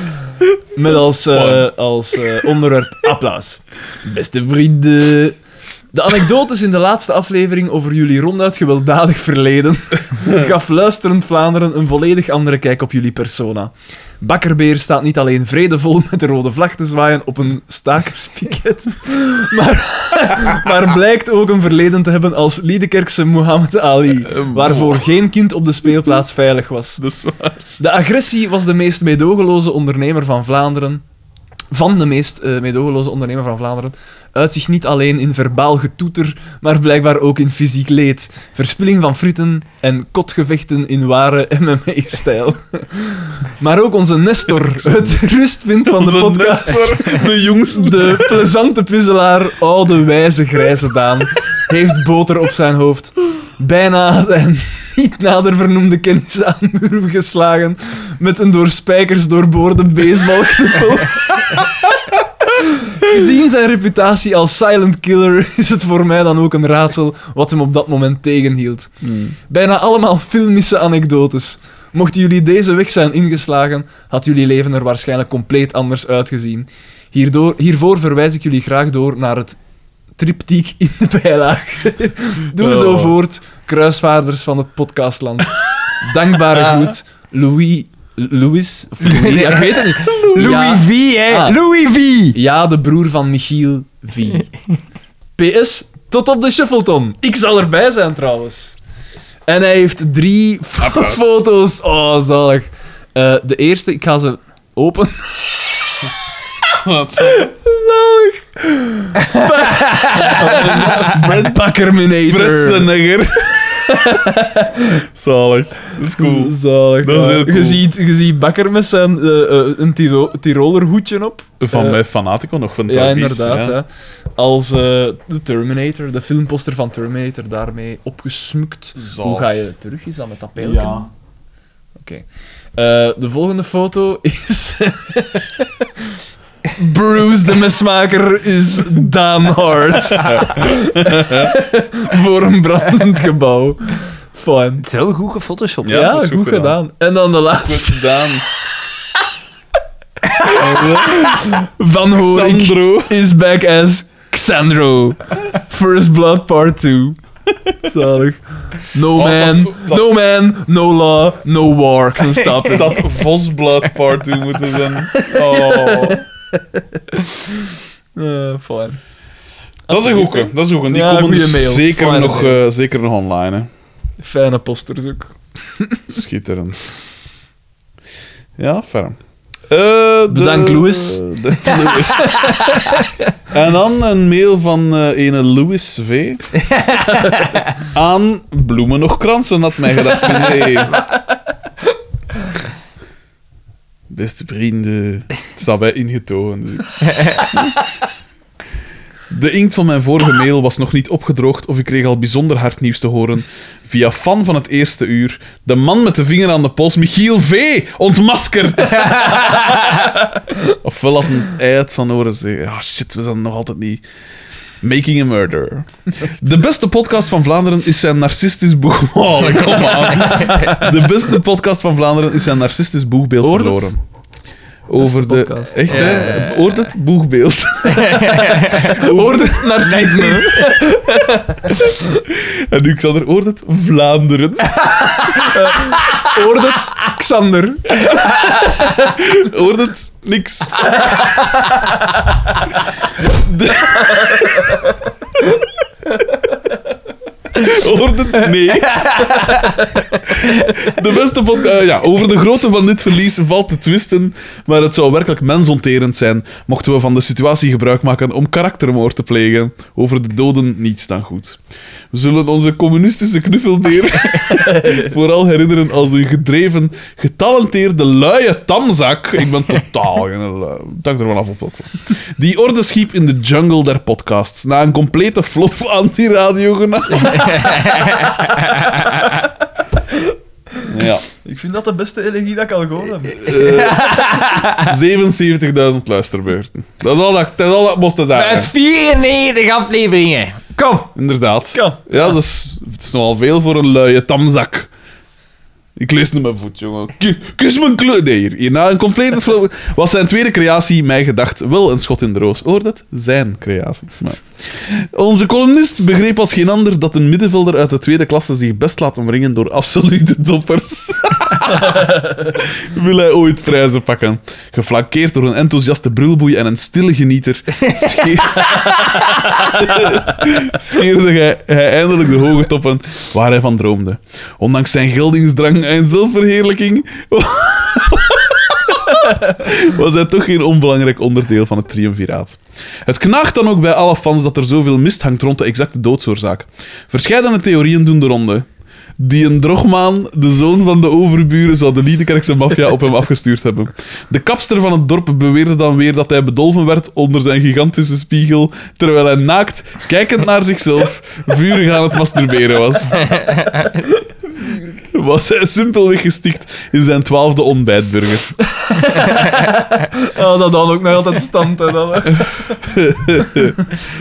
[SPEAKER 3] Met als, eh, als eh, onderwerp applaus. Beste vrienden. De anekdotes in de laatste aflevering over jullie ronduit gewelddadig verleden gaf luisterend Vlaanderen een volledig andere kijk op jullie persona. Bakkerbeer staat niet alleen vredevol met de rode vlag te zwaaien op een stakerspiket, maar, maar blijkt ook een verleden te hebben als Liedekerkse Muhammad Ali, waarvoor geen kind op de speelplaats veilig was.
[SPEAKER 2] Dat is waar.
[SPEAKER 3] De agressie was de meest meedogenloze ondernemer van Vlaanderen. Van de meest eh meedogenloze ondernemer van Vlaanderen. Uit zich niet alleen in verbaal getoeter, maar blijkbaar ook in fysiek leed. Verspilling van frieten en kotgevechten in ware MMA-stijl. Maar ook onze Nestor, het rustpunt van de
[SPEAKER 2] Onze
[SPEAKER 3] podcast.
[SPEAKER 2] Nestor, de jongste.
[SPEAKER 3] De plezante puzzelaar, oude wijze grijze Daan, heeft boter op zijn hoofd. Bijna zijn niet nader vernoemde kennis aan de roef geslagen met een door spijkers doorboorde baseballknuppel. Gezien zijn reputatie als silent killer is het voor mij dan ook een raadsel wat hem op dat moment tegenhield. Bijna allemaal filmische anekdotes. Mochten jullie deze weg zijn ingeslagen, had jullie leven er waarschijnlijk compleet anders uitgezien. Hierdoor, hiervoor verwijs ik jullie graag door naar het triptiek in de bijlage. Doe zo
[SPEAKER 2] Oh.
[SPEAKER 3] voort, kruisvaarders van het podcastland. Dankbare groet, Louis... Louis? Of Louis? Ja, ik weet het niet. Ja.
[SPEAKER 1] Louis V, hè.
[SPEAKER 3] Ah.
[SPEAKER 1] Louis V!
[SPEAKER 3] Ja, de broer van Michiel V. PS, tot op de Shuffleton. Ik zal erbij zijn trouwens. En hij heeft drie fo- foto's. Oh, zalig. Eh, de eerste, ik ga ze open. zalig. Fred Bakkerminator.
[SPEAKER 2] Fritzenegger. Zalig. Dat is cool.
[SPEAKER 3] Zalig.
[SPEAKER 2] Dat is
[SPEAKER 3] ja.
[SPEAKER 2] heel cool.
[SPEAKER 3] je, ziet, je ziet Bakker met zijn eh, eh, een Tiro Tiroler hoedje op.
[SPEAKER 2] Van
[SPEAKER 3] Eh,
[SPEAKER 2] bij Fanatico nog, van
[SPEAKER 3] ja,
[SPEAKER 2] Tarpies,
[SPEAKER 3] inderdaad.
[SPEAKER 2] ja.
[SPEAKER 3] hè. Als eh, de Terminator, de filmposter van Terminator, daarmee opgesmukt.
[SPEAKER 6] Zalig.
[SPEAKER 3] Hoe ga je terug? Is dat met dat pijlje?
[SPEAKER 2] Ja.
[SPEAKER 3] Oké. Eh, de volgende foto is... Bruce de mesmaker is Daan Hart. Voor een brandend gebouw. Fun.
[SPEAKER 1] Het is heel goed gefotoshopt.
[SPEAKER 2] Ja,
[SPEAKER 3] Ja,
[SPEAKER 2] dat is
[SPEAKER 3] goed,
[SPEAKER 2] goed
[SPEAKER 3] gedaan.
[SPEAKER 2] gedaan.
[SPEAKER 3] En dan de laatste.
[SPEAKER 2] Goed gedaan.
[SPEAKER 3] Van Horik
[SPEAKER 2] Sandro.
[SPEAKER 3] is back as Xandro. First Blood Part 2. Zalig. No man,
[SPEAKER 2] Oh, dat-
[SPEAKER 3] no man, no law, no war can stop it.
[SPEAKER 2] Dat Vosblood part 2 moeten zijn. Oh.
[SPEAKER 3] Eh, fijn.
[SPEAKER 2] Dat is een
[SPEAKER 3] Alsjeblieft,
[SPEAKER 2] goeie. Dat is een goeie. Die
[SPEAKER 3] Ja,
[SPEAKER 2] komen
[SPEAKER 3] goeie
[SPEAKER 2] dus
[SPEAKER 3] mail.
[SPEAKER 2] zeker
[SPEAKER 3] Fijne
[SPEAKER 2] nog, eh, zeker nog online. Hè.
[SPEAKER 3] hè. Fijne posters ook.
[SPEAKER 2] Schitterend. Ja, ferm. Eh, de-
[SPEAKER 3] Bedankt, Louis.
[SPEAKER 2] de- Louis. en dan een mail van eh ene Louis V. aan bloemen nog kransen, had mij gedacht. Nee. Beste vrienden, het staat bij ingetogen. dus ik- De inkt van mijn vorige mail was nog niet opgedroogd of ik kreeg al bijzonder hard nieuws te horen via fan van het eerste uur. De man met de vinger aan de pols, Michiel V. Ontmaskerd! Ofwel had een ei het van horen zeggen. Ah shit, we zijn nog altijd niet. Making a Murder. De beste podcast van Vlaanderen is zijn narcistisch boeg... Oh, kom aan. De beste podcast van Vlaanderen is zijn narcistisch boegbeeld
[SPEAKER 3] Hoor het?
[SPEAKER 2] verloren. Over
[SPEAKER 3] Beste
[SPEAKER 2] de...
[SPEAKER 3] podcast. Eh.
[SPEAKER 2] Echt,
[SPEAKER 1] Ja, ja,
[SPEAKER 2] hè?
[SPEAKER 1] ja.
[SPEAKER 2] Hoort het? Boegbeeld.
[SPEAKER 3] Hoort het narcisme?
[SPEAKER 2] En nu, Xander, hoort het? Vlaanderen.
[SPEAKER 3] Eh, Hoort het Xander?
[SPEAKER 2] Hoort het? Niks. De... Hoort het? Nee. De beste pod- eh, ja, over de grootte van dit verlies valt te twisten, maar het zou werkelijk mensonterend zijn mochten we van de situatie gebruik maken om karaktermoord te plegen. Over de doden niets dan goed. We zullen onze communistische knuffelbeer vooral herinneren als een gedreven, getalenteerde, luie tamzak. Ik ben totaal geen lui. Het hangt er wel af op. welk vlak. Die orde schiep in de jungle der podcasts. Na een complete flop anti-radio genaamd. Ja.
[SPEAKER 3] Ik vind dat de beste elegie dat ik al gehoord heb.
[SPEAKER 2] Eh, 77.000 luisterbeurten. Dat is al dat, dat, is al dat moest zijn.
[SPEAKER 1] Uit 94 afleveringen. Kom.
[SPEAKER 2] Inderdaad.
[SPEAKER 3] Ja.
[SPEAKER 2] dat is, het is nogal veel voor een luie tamzak. Ik lees nu mijn voet, jongen. Ki- Kus mijn kleur. Nee, hier. Hierna een complete flow. Was zijn tweede creatie, mij gedacht, wel een schot in de roos. Hoor dat? Zijn creatie. Maar. Onze columnist begreep als geen ander dat een middenvelder uit de tweede klasse zich best laat omringen door absolute toppers. Wil hij ooit prijzen pakken? Geflankeerd door een enthousiaste brulboei en een stille genieter, scheer- scheerde hij, hij eindelijk de hoge toppen waar hij van droomde. Ondanks zijn geldingsdrang en zelfverheerlijking was hij toch geen onbelangrijk onderdeel van het triumviraat. Het knaagt dan ook bij alle fans dat er zoveel mist hangt rond de exacte doodsoorzaak. Verscheidene theorieën doen de ronde. Die een drogmaan, de zoon van de overburen, zou de Liedekerkse maffia op hem afgestuurd hebben. De kapster van het dorp beweerde dan weer dat hij bedolven werd onder zijn gigantische spiegel, terwijl hij naakt, kijkend naar zichzelf, vurig aan het masturberen was was hij simpelweg gestikt in zijn twaalfde ontbijtburger.
[SPEAKER 3] Oh, dat dan ook nog altijd stand. Hè, dat, hè.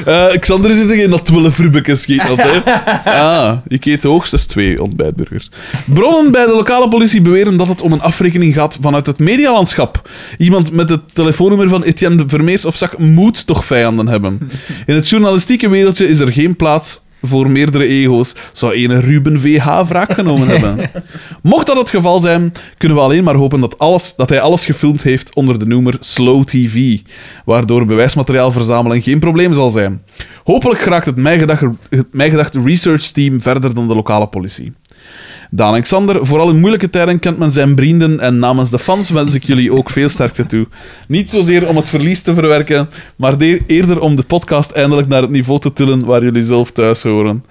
[SPEAKER 2] Eh Xander zit er geen dat 12 rubbekes schiet dat, hè? Ah, ik eet hoogstens twee ontbijtburgers. Bronnen bij de lokale politie beweren dat het om een afrekening gaat vanuit het medialandschap. Iemand met het telefoonnummer van Etienne de Vermeers op zak moet toch vijanden hebben. In het journalistieke wereldje is er geen plaats voor meerdere ego's. Zou ene Ruben VH wraak genomen hebben? Mocht dat het geval zijn, kunnen we alleen maar hopen dat, alles, dat hij alles gefilmd heeft onder de noemer Slow TV, waardoor bewijsmateriaal verzamelen geen probleem zal zijn. Hopelijk geraakt het mijgedacht, het mijgedacht research team verder dan de lokale politie. Daan Alexander, vooral in moeilijke tijden kent men zijn vrienden en namens de fans wens ik jullie ook veel sterkte toe. Niet zozeer om het verlies te verwerken, maar de- eerder om de podcast eindelijk naar het niveau te tillen waar jullie zelf thuis horen.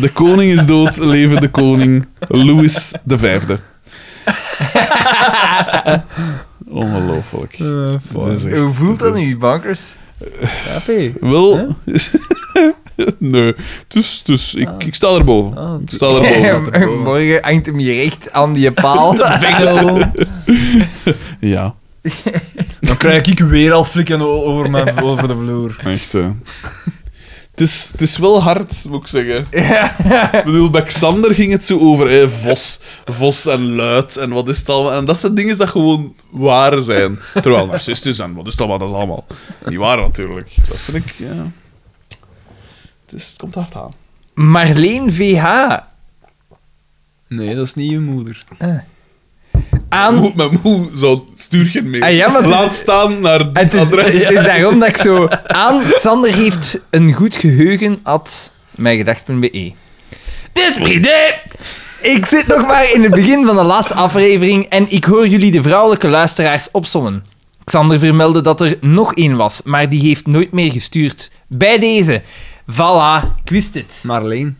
[SPEAKER 2] De koning is dood, leven de koning. Louis de Vijfde. Ongelooflijk. Dit is echt-
[SPEAKER 1] Hoe voelt dat
[SPEAKER 2] dit is-
[SPEAKER 1] nu, bankers?
[SPEAKER 2] Wel... nee. Dus, dus ik, ik sta erboven.
[SPEAKER 3] Ah,
[SPEAKER 2] ik sta erboven.
[SPEAKER 1] Morgen hangt hem hier echt aan die paal.
[SPEAKER 2] Ja,
[SPEAKER 3] Dan krijg ik weer al flikken o- over, mijn, over de vloer.
[SPEAKER 2] echt. eh. Het, is, het is wel hard, moet ik zeggen. Ik bedoel, bij Xander ging het zo over eh, vos, vos en luid en wat is het allemaal. En dat zijn dingen dat gewoon waar zijn. Terwijl narcistisch en wat is het allemaal, dat is allemaal niet waar natuurlijk. Dat vind ik, ja... Het, is, het komt hard aan.
[SPEAKER 1] Marleen VH.
[SPEAKER 3] Nee, dat is niet je moeder.
[SPEAKER 1] Aan...
[SPEAKER 2] Moe, mijn moe zou stuur geen mee.
[SPEAKER 1] Ah, ja, want-
[SPEAKER 2] Laat staan naar
[SPEAKER 1] Het
[SPEAKER 2] dit
[SPEAKER 1] is,
[SPEAKER 2] adres.
[SPEAKER 1] het is daarom dat ik zo... Aan Sander heeft een goed geheugen at mijngedacht.be. Dit vrienden! Ik zit nog maar in het begin van de laatste aflevering en ik hoor jullie de vrouwelijke luisteraars opsommen. Xander vermeldde dat er nog één was, maar die heeft nooit meer gestuurd. Bij deze. Voilà, ik wist het.
[SPEAKER 3] Marleen.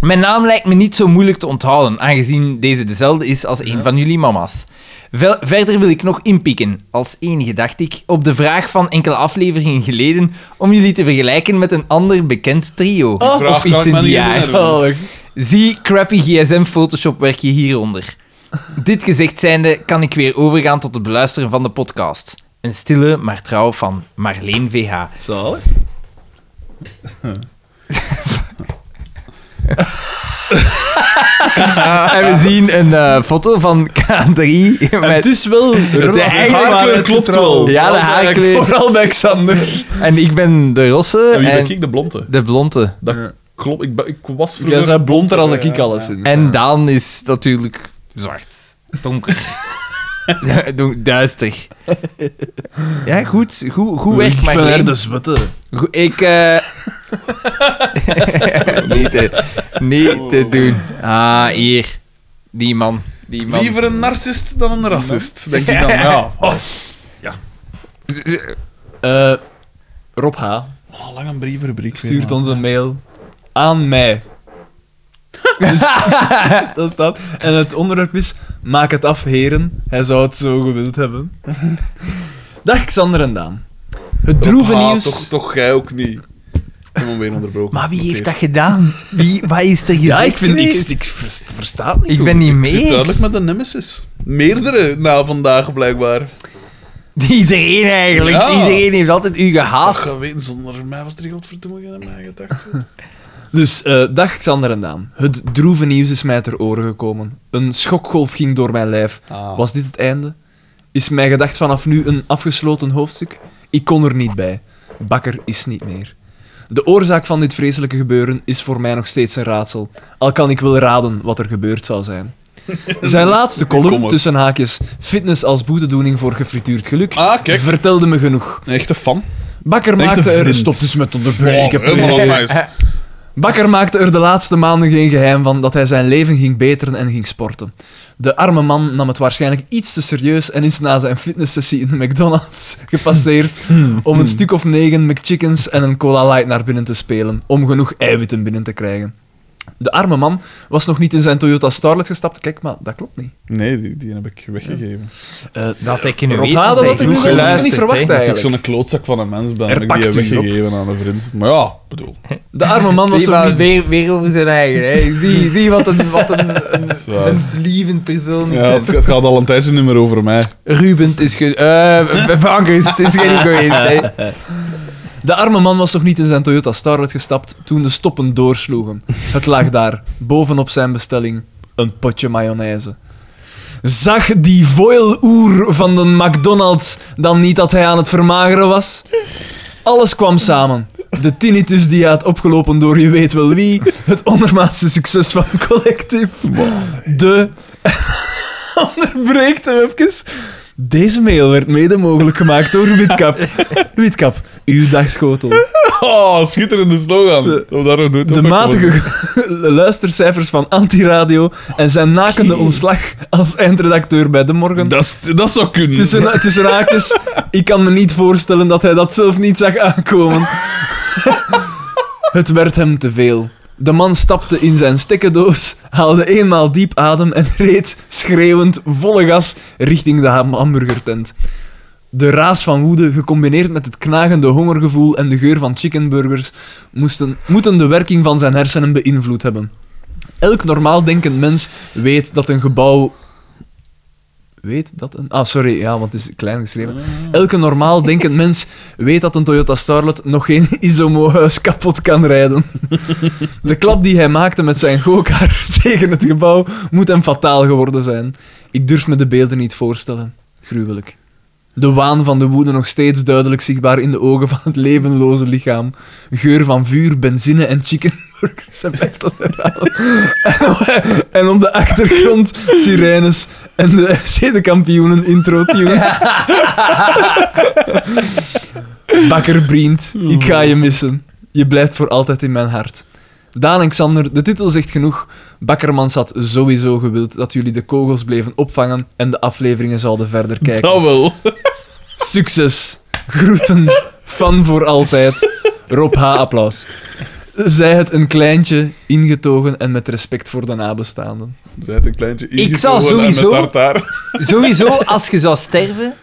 [SPEAKER 1] Mijn naam lijkt me niet zo moeilijk te onthouden, aangezien deze dezelfde is als een van jullie mama's. Vel- verder wil ik nog inpikken, als enige dacht ik, op de vraag van enkele afleveringen geleden om jullie te vergelijken met een ander bekend trio.
[SPEAKER 2] Oh. vraag
[SPEAKER 1] of
[SPEAKER 2] kan
[SPEAKER 1] iets
[SPEAKER 2] ik
[SPEAKER 1] in
[SPEAKER 2] me
[SPEAKER 1] die
[SPEAKER 2] niet
[SPEAKER 1] jaar.
[SPEAKER 2] herinneren.
[SPEAKER 1] Zie crappy gsm photoshop werkje hieronder. Dit gezegd zijnde kan ik weer overgaan tot het beluisteren van de podcast. Een stille, maar trouw van Marleen VH.
[SPEAKER 3] Zalig.
[SPEAKER 1] En we zien een eh, foto van K3 met
[SPEAKER 3] Het is wel...
[SPEAKER 1] de haarkleur
[SPEAKER 2] klopt wel.
[SPEAKER 1] Ja, de haarkleur.
[SPEAKER 3] Vooral bij Xander.
[SPEAKER 1] En ik ben de rosse
[SPEAKER 2] En wie ben
[SPEAKER 1] en
[SPEAKER 2] ik? De blonde.
[SPEAKER 1] de blonde.
[SPEAKER 2] Dat klopt. Ik, ben- ik was
[SPEAKER 3] Jij
[SPEAKER 2] vroeger...
[SPEAKER 3] bent blonder als ik
[SPEAKER 2] Ja,
[SPEAKER 3] alles in.
[SPEAKER 1] En Daan is natuurlijk zwart. Donker. Ja, don- Duister. Ja, goed. Goed, goed werk,
[SPEAKER 3] Ik ben
[SPEAKER 1] Marleen.
[SPEAKER 3] er de zwitte.
[SPEAKER 1] Goed, Ik... eh niet, te, niet
[SPEAKER 3] Oh.
[SPEAKER 1] te doen. Ah, hier. Die man. Die man.
[SPEAKER 2] Liever een narcist dan een racist, denk ik dan. Ja.
[SPEAKER 3] Oh. Eh, Rob H.
[SPEAKER 2] Oh, lang een brievenrubriek.
[SPEAKER 3] stuurt ons een mail aan mij. Dus- dat staat. En het onderwerp is: maak het af, heren. Hij zou het zo gewild hebben. Dag Xander en Daan. Het droeve nieuws.
[SPEAKER 2] Toch, toch jij ook niet. Ik heb hem weer onderbroken.
[SPEAKER 1] Maar wie heeft dat gedaan? Wie, wat is er gezegd
[SPEAKER 3] ja, ik vind ik,
[SPEAKER 1] geweest?
[SPEAKER 3] ik versta- versta het niet.
[SPEAKER 1] Ik ben niet
[SPEAKER 2] Ik zit
[SPEAKER 1] mee.
[SPEAKER 2] duidelijk met de nemesis. Meerdere na vandaag, blijkbaar.
[SPEAKER 1] Iedereen eigenlijk.
[SPEAKER 2] Ja.
[SPEAKER 1] Iedereen heeft altijd u
[SPEAKER 2] Ach,
[SPEAKER 1] gehaat.
[SPEAKER 2] je weet, zonder mij was er godverdomme geen aan mij gedacht.
[SPEAKER 3] Dus, eh, dag Xander en Daan. Het droeve nieuws is mij ter oren gekomen. Een schokgolf ging door mijn lijf.
[SPEAKER 2] Ah.
[SPEAKER 1] Ah.
[SPEAKER 3] Was dit het einde? Is mijn gedacht vanaf nu een afgesloten hoofdstuk? Ik kon er niet bij. Bakker is niet meer. De oorzaak van dit vreselijke gebeuren is voor mij nog steeds een raadsel. Al kan ik wel raden wat er gebeurd zou zijn. Zijn laatste
[SPEAKER 2] Kom
[SPEAKER 3] column,
[SPEAKER 2] op.
[SPEAKER 3] tussen haakjes, fitness als boetedoening voor gefrituurd geluk,
[SPEAKER 2] Ah, kijk.
[SPEAKER 3] vertelde me genoeg.
[SPEAKER 2] Een echte fan.
[SPEAKER 3] Bakker
[SPEAKER 2] Echte
[SPEAKER 3] maakte er...
[SPEAKER 2] vriend.
[SPEAKER 3] Stop dus met onderbreken,
[SPEAKER 2] helemaal
[SPEAKER 3] please.
[SPEAKER 2] nice.
[SPEAKER 3] Bakker maakte er de laatste maanden geen geheim van dat hij zijn leven ging beteren en ging sporten. De arme man nam het waarschijnlijk iets te serieus en is na zijn fitnesssessie in de McDonald's gepasseerd om een stuk of negen McChickens en een Cola Light naar binnen te spelen, om genoeg eiwitten binnen te krijgen. De arme man was nog niet in zijn Toyota Starlet gestapt. Kijk, maar dat klopt niet.
[SPEAKER 2] Nee, die, die heb ik weggegeven.
[SPEAKER 1] Dat ik nu
[SPEAKER 3] Rob
[SPEAKER 1] weet.
[SPEAKER 3] Hade,
[SPEAKER 1] dat hij
[SPEAKER 3] wat
[SPEAKER 1] goed
[SPEAKER 3] ik nu zo-
[SPEAKER 1] geluisterd
[SPEAKER 3] niet verwacht,
[SPEAKER 1] heeft.
[SPEAKER 3] hè.
[SPEAKER 2] Dat ik
[SPEAKER 3] Eigenlijk.
[SPEAKER 2] zo'n klootzak van een mens ben.
[SPEAKER 3] Er
[SPEAKER 2] dat Ik die heb
[SPEAKER 3] pakt u op.
[SPEAKER 2] weggegeven aan een vriend. Maar ja, ik bedoel.
[SPEAKER 3] De arme man was
[SPEAKER 1] Nee,
[SPEAKER 3] nog
[SPEAKER 1] maar
[SPEAKER 3] niet...
[SPEAKER 1] weer, weer over zijn eigen. Hè. Zie, zie wat een, wat een, een
[SPEAKER 2] Zwaar.
[SPEAKER 1] menslievend persoon.
[SPEAKER 2] eh, Ja, het, het gaat al een tijdje niet meer over mij.
[SPEAKER 1] Ruben, het is geen... eh bankers, het is geen geweest. Hè.
[SPEAKER 3] De arme man was nog niet in zijn Toyota Starlet gestapt toen de stoppen doorsloegen. Het lag daar, bovenop zijn bestelling, een potje mayonaise. Zag die foil-oer van de McDonald's dan niet dat hij aan het vermageren was? Alles kwam samen. De tinnitus die hij had opgelopen door je weet wel wie, het ondermaatse succes van Collective, de... Onderbreekt hem even. Deze mail werd mede mogelijk gemaakt door Witkap. Witkap, uw dagschotel.
[SPEAKER 2] Oh, schitterende slogan. Dat we daar nog nooit
[SPEAKER 3] De
[SPEAKER 2] op gekomen.
[SPEAKER 3] matige luistercijfers van Antiradio en zijn nakende ontslag als eindredacteur bij De Morgen.
[SPEAKER 2] Dat, is- dat zou kunnen.
[SPEAKER 3] Tussen, tussen haakjes, ik kan me niet voorstellen dat hij dat zelf niet zag aankomen. Het werd hem te veel. De man stapte in zijn stekkendoos, haalde eenmaal diep adem en reed schreeuwend volle gas richting de ham- hamburgertent. De raas van woede, gecombineerd met het knagende hongergevoel en de geur van chickenburgers, moesten, moeten de werking van zijn hersenen beïnvloed hebben. Elk normaal denkend mens weet dat een gebouw. Weet dat een. Ah, sorry, ja, want het is klein geschreven. Elke normaal denkend mens weet dat een Toyota Starlet nog geen Isomo-huis kapot kan rijden. De klap die hij maakte met zijn gokaar tegen het gebouw moet hem fataal geworden zijn. Ik durf me de beelden niet voorstellen. Gruwelijk. De waan van de woede nog steeds duidelijk zichtbaar in de ogen van het levenloze lichaam. Geur van vuur, benzine en chickenburgers en blijft dat herhalen. En, en op de achtergrond sirenes en de FC de kampioenen intro tune. Bakker Brient, ik ga je missen. Je blijft voor altijd in mijn hart. Daan en Xander, de titel zegt genoeg. Bakkermans had sowieso gewild dat jullie de kogels bleven opvangen en de afleveringen zouden verder kijken.
[SPEAKER 2] Dat wel.
[SPEAKER 3] Succes. Groeten. Fan voor altijd. Rob H. Applaus. Zij het een kleintje, ingetogen en met respect voor de nabestaanden.
[SPEAKER 2] Zij het een kleintje
[SPEAKER 7] Ik zal
[SPEAKER 2] ingetogen en met
[SPEAKER 7] sowieso-
[SPEAKER 2] tartaar.
[SPEAKER 7] Sowieso, als je zou sterven,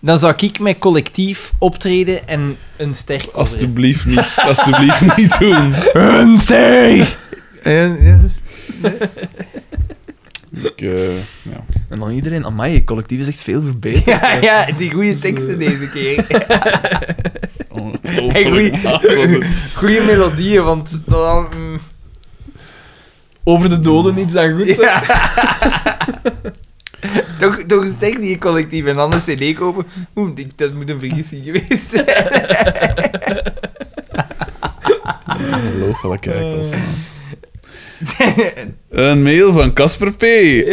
[SPEAKER 7] dan zou ik met collectief optreden en een ster coveren.
[SPEAKER 2] Alsjeblieft niet. Alsjeblieft niet doen.
[SPEAKER 8] Ik, eh, ja.
[SPEAKER 3] En dan iedereen, amai, je collectief is echt veel verbeterd.
[SPEAKER 7] Ja, ja, die goede teksten deze keer.
[SPEAKER 2] Ongelooflijk.
[SPEAKER 7] Goede melodieën, want dan... mm,
[SPEAKER 3] Over de doden niets dan goed.
[SPEAKER 7] ja. toch, toch sterk die collectief en dan een cd kopen. Oeh, die- dat moet een vergissing geweest zijn.
[SPEAKER 8] Ongelooflijk, kijk. Dat is,
[SPEAKER 2] Een mail van Casper P.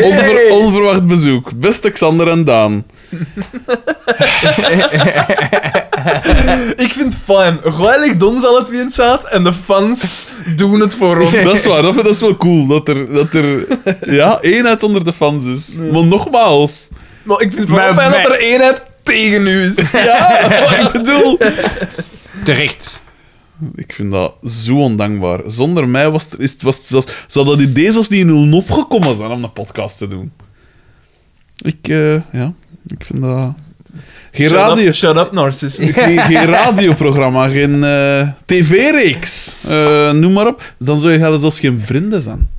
[SPEAKER 2] Onver- onverwacht bezoek. Beste Xander en Daan.
[SPEAKER 3] Ik vind fijn. Gelijk Don zal het wie in staat en de fans doen het voor ons.
[SPEAKER 2] Dat is waar, dat, vind- dat is wel cool. Dat er, dat er ja, eenheid onder de fans is. Maar nogmaals.
[SPEAKER 3] Maar ik vind het vooral fijn dat er eenheid tegen u is.
[SPEAKER 2] Ja, wat ik bedoel.
[SPEAKER 7] Terecht.
[SPEAKER 2] Ik vind dat zo ondankbaar. Zonder mij was, het- is, het- was het zelfs, zou dat idee zelfs niet in hun opgekomen zijn om een podcast te doen. Ik, eh, ja, ik vind dat... Geen,
[SPEAKER 3] Shut
[SPEAKER 2] radio,
[SPEAKER 3] up, shut up, narcist.
[SPEAKER 2] geen, geen Dus radioprogramma, geen eh, tv-reeks, eh, noem maar op. Dan zou je zelfs geen vrienden zijn.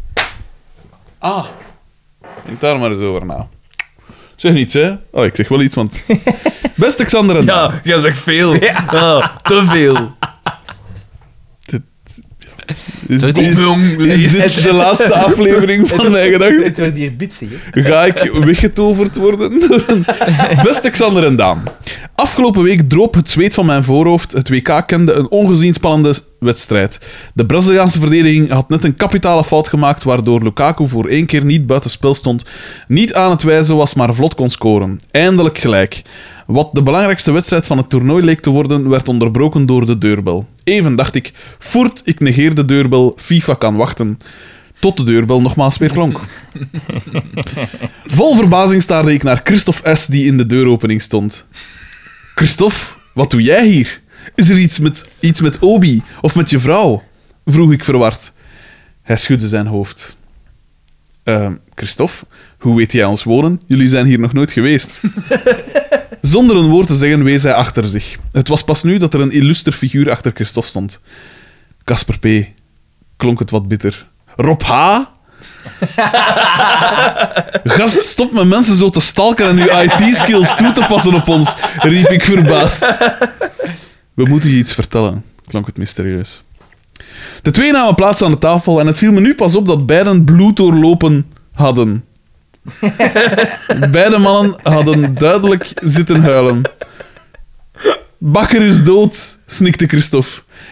[SPEAKER 2] Ah. Denk daar maar eens over na. Zeg niets, hè. Oh, ik zeg wel iets, want... Beste Xander en Daan.
[SPEAKER 3] Ja, jij zegt veel. Ah, te veel.
[SPEAKER 2] Is,
[SPEAKER 7] Door die-
[SPEAKER 2] is- is dit de laatste aflevering van Mijn Gedachten?
[SPEAKER 7] Het wordt hier bitsig, hè.
[SPEAKER 2] Ga ik weggetoverd worden? Beste Xander en Daan. Afgelopen week droop het zweet van mijn voorhoofd. Het WK kende een ongezien spannende wedstrijd. De Braziliaanse verdediging had net een kapitale fout gemaakt, waardoor Lukaku voor één keer niet buitenspel stond, niet aan het wijzen was, maar vlot kon scoren. Eindelijk gelijk. Wat de belangrijkste wedstrijd van het toernooi leek te worden, werd onderbroken door de deurbel. Even dacht ik, voert, ik negeer de deurbel, FIFA kan wachten. Tot de deurbel nogmaals weer klonk. Vol verbazing staarde ik naar Christophe S. die in de deuropening stond. Christophe, wat doe jij hier? Is er iets met, iets met Obi of met je vrouw? vroeg ik verward. Hij schudde zijn hoofd. Ehm, Christophe, hoe weet jij ons wonen? Jullie zijn hier nog nooit geweest. Zonder een woord te zeggen wees hij achter zich. Het was pas nu dat er een illuster figuur achter Christophe stond. Casper P. klonk het wat bitter. Rob H. Gast, stop met mensen zo te stalken en uw IT-skills toe te passen op ons, riep ik verbaasd. We moeten je iets vertellen, klonk het mysterieus. De twee namen plaats aan de tafel en het viel me nu pas op dat beiden bloed doorlopen hadden. Beide mannen hadden duidelijk zitten huilen. Bakker is dood, snikte Christophe.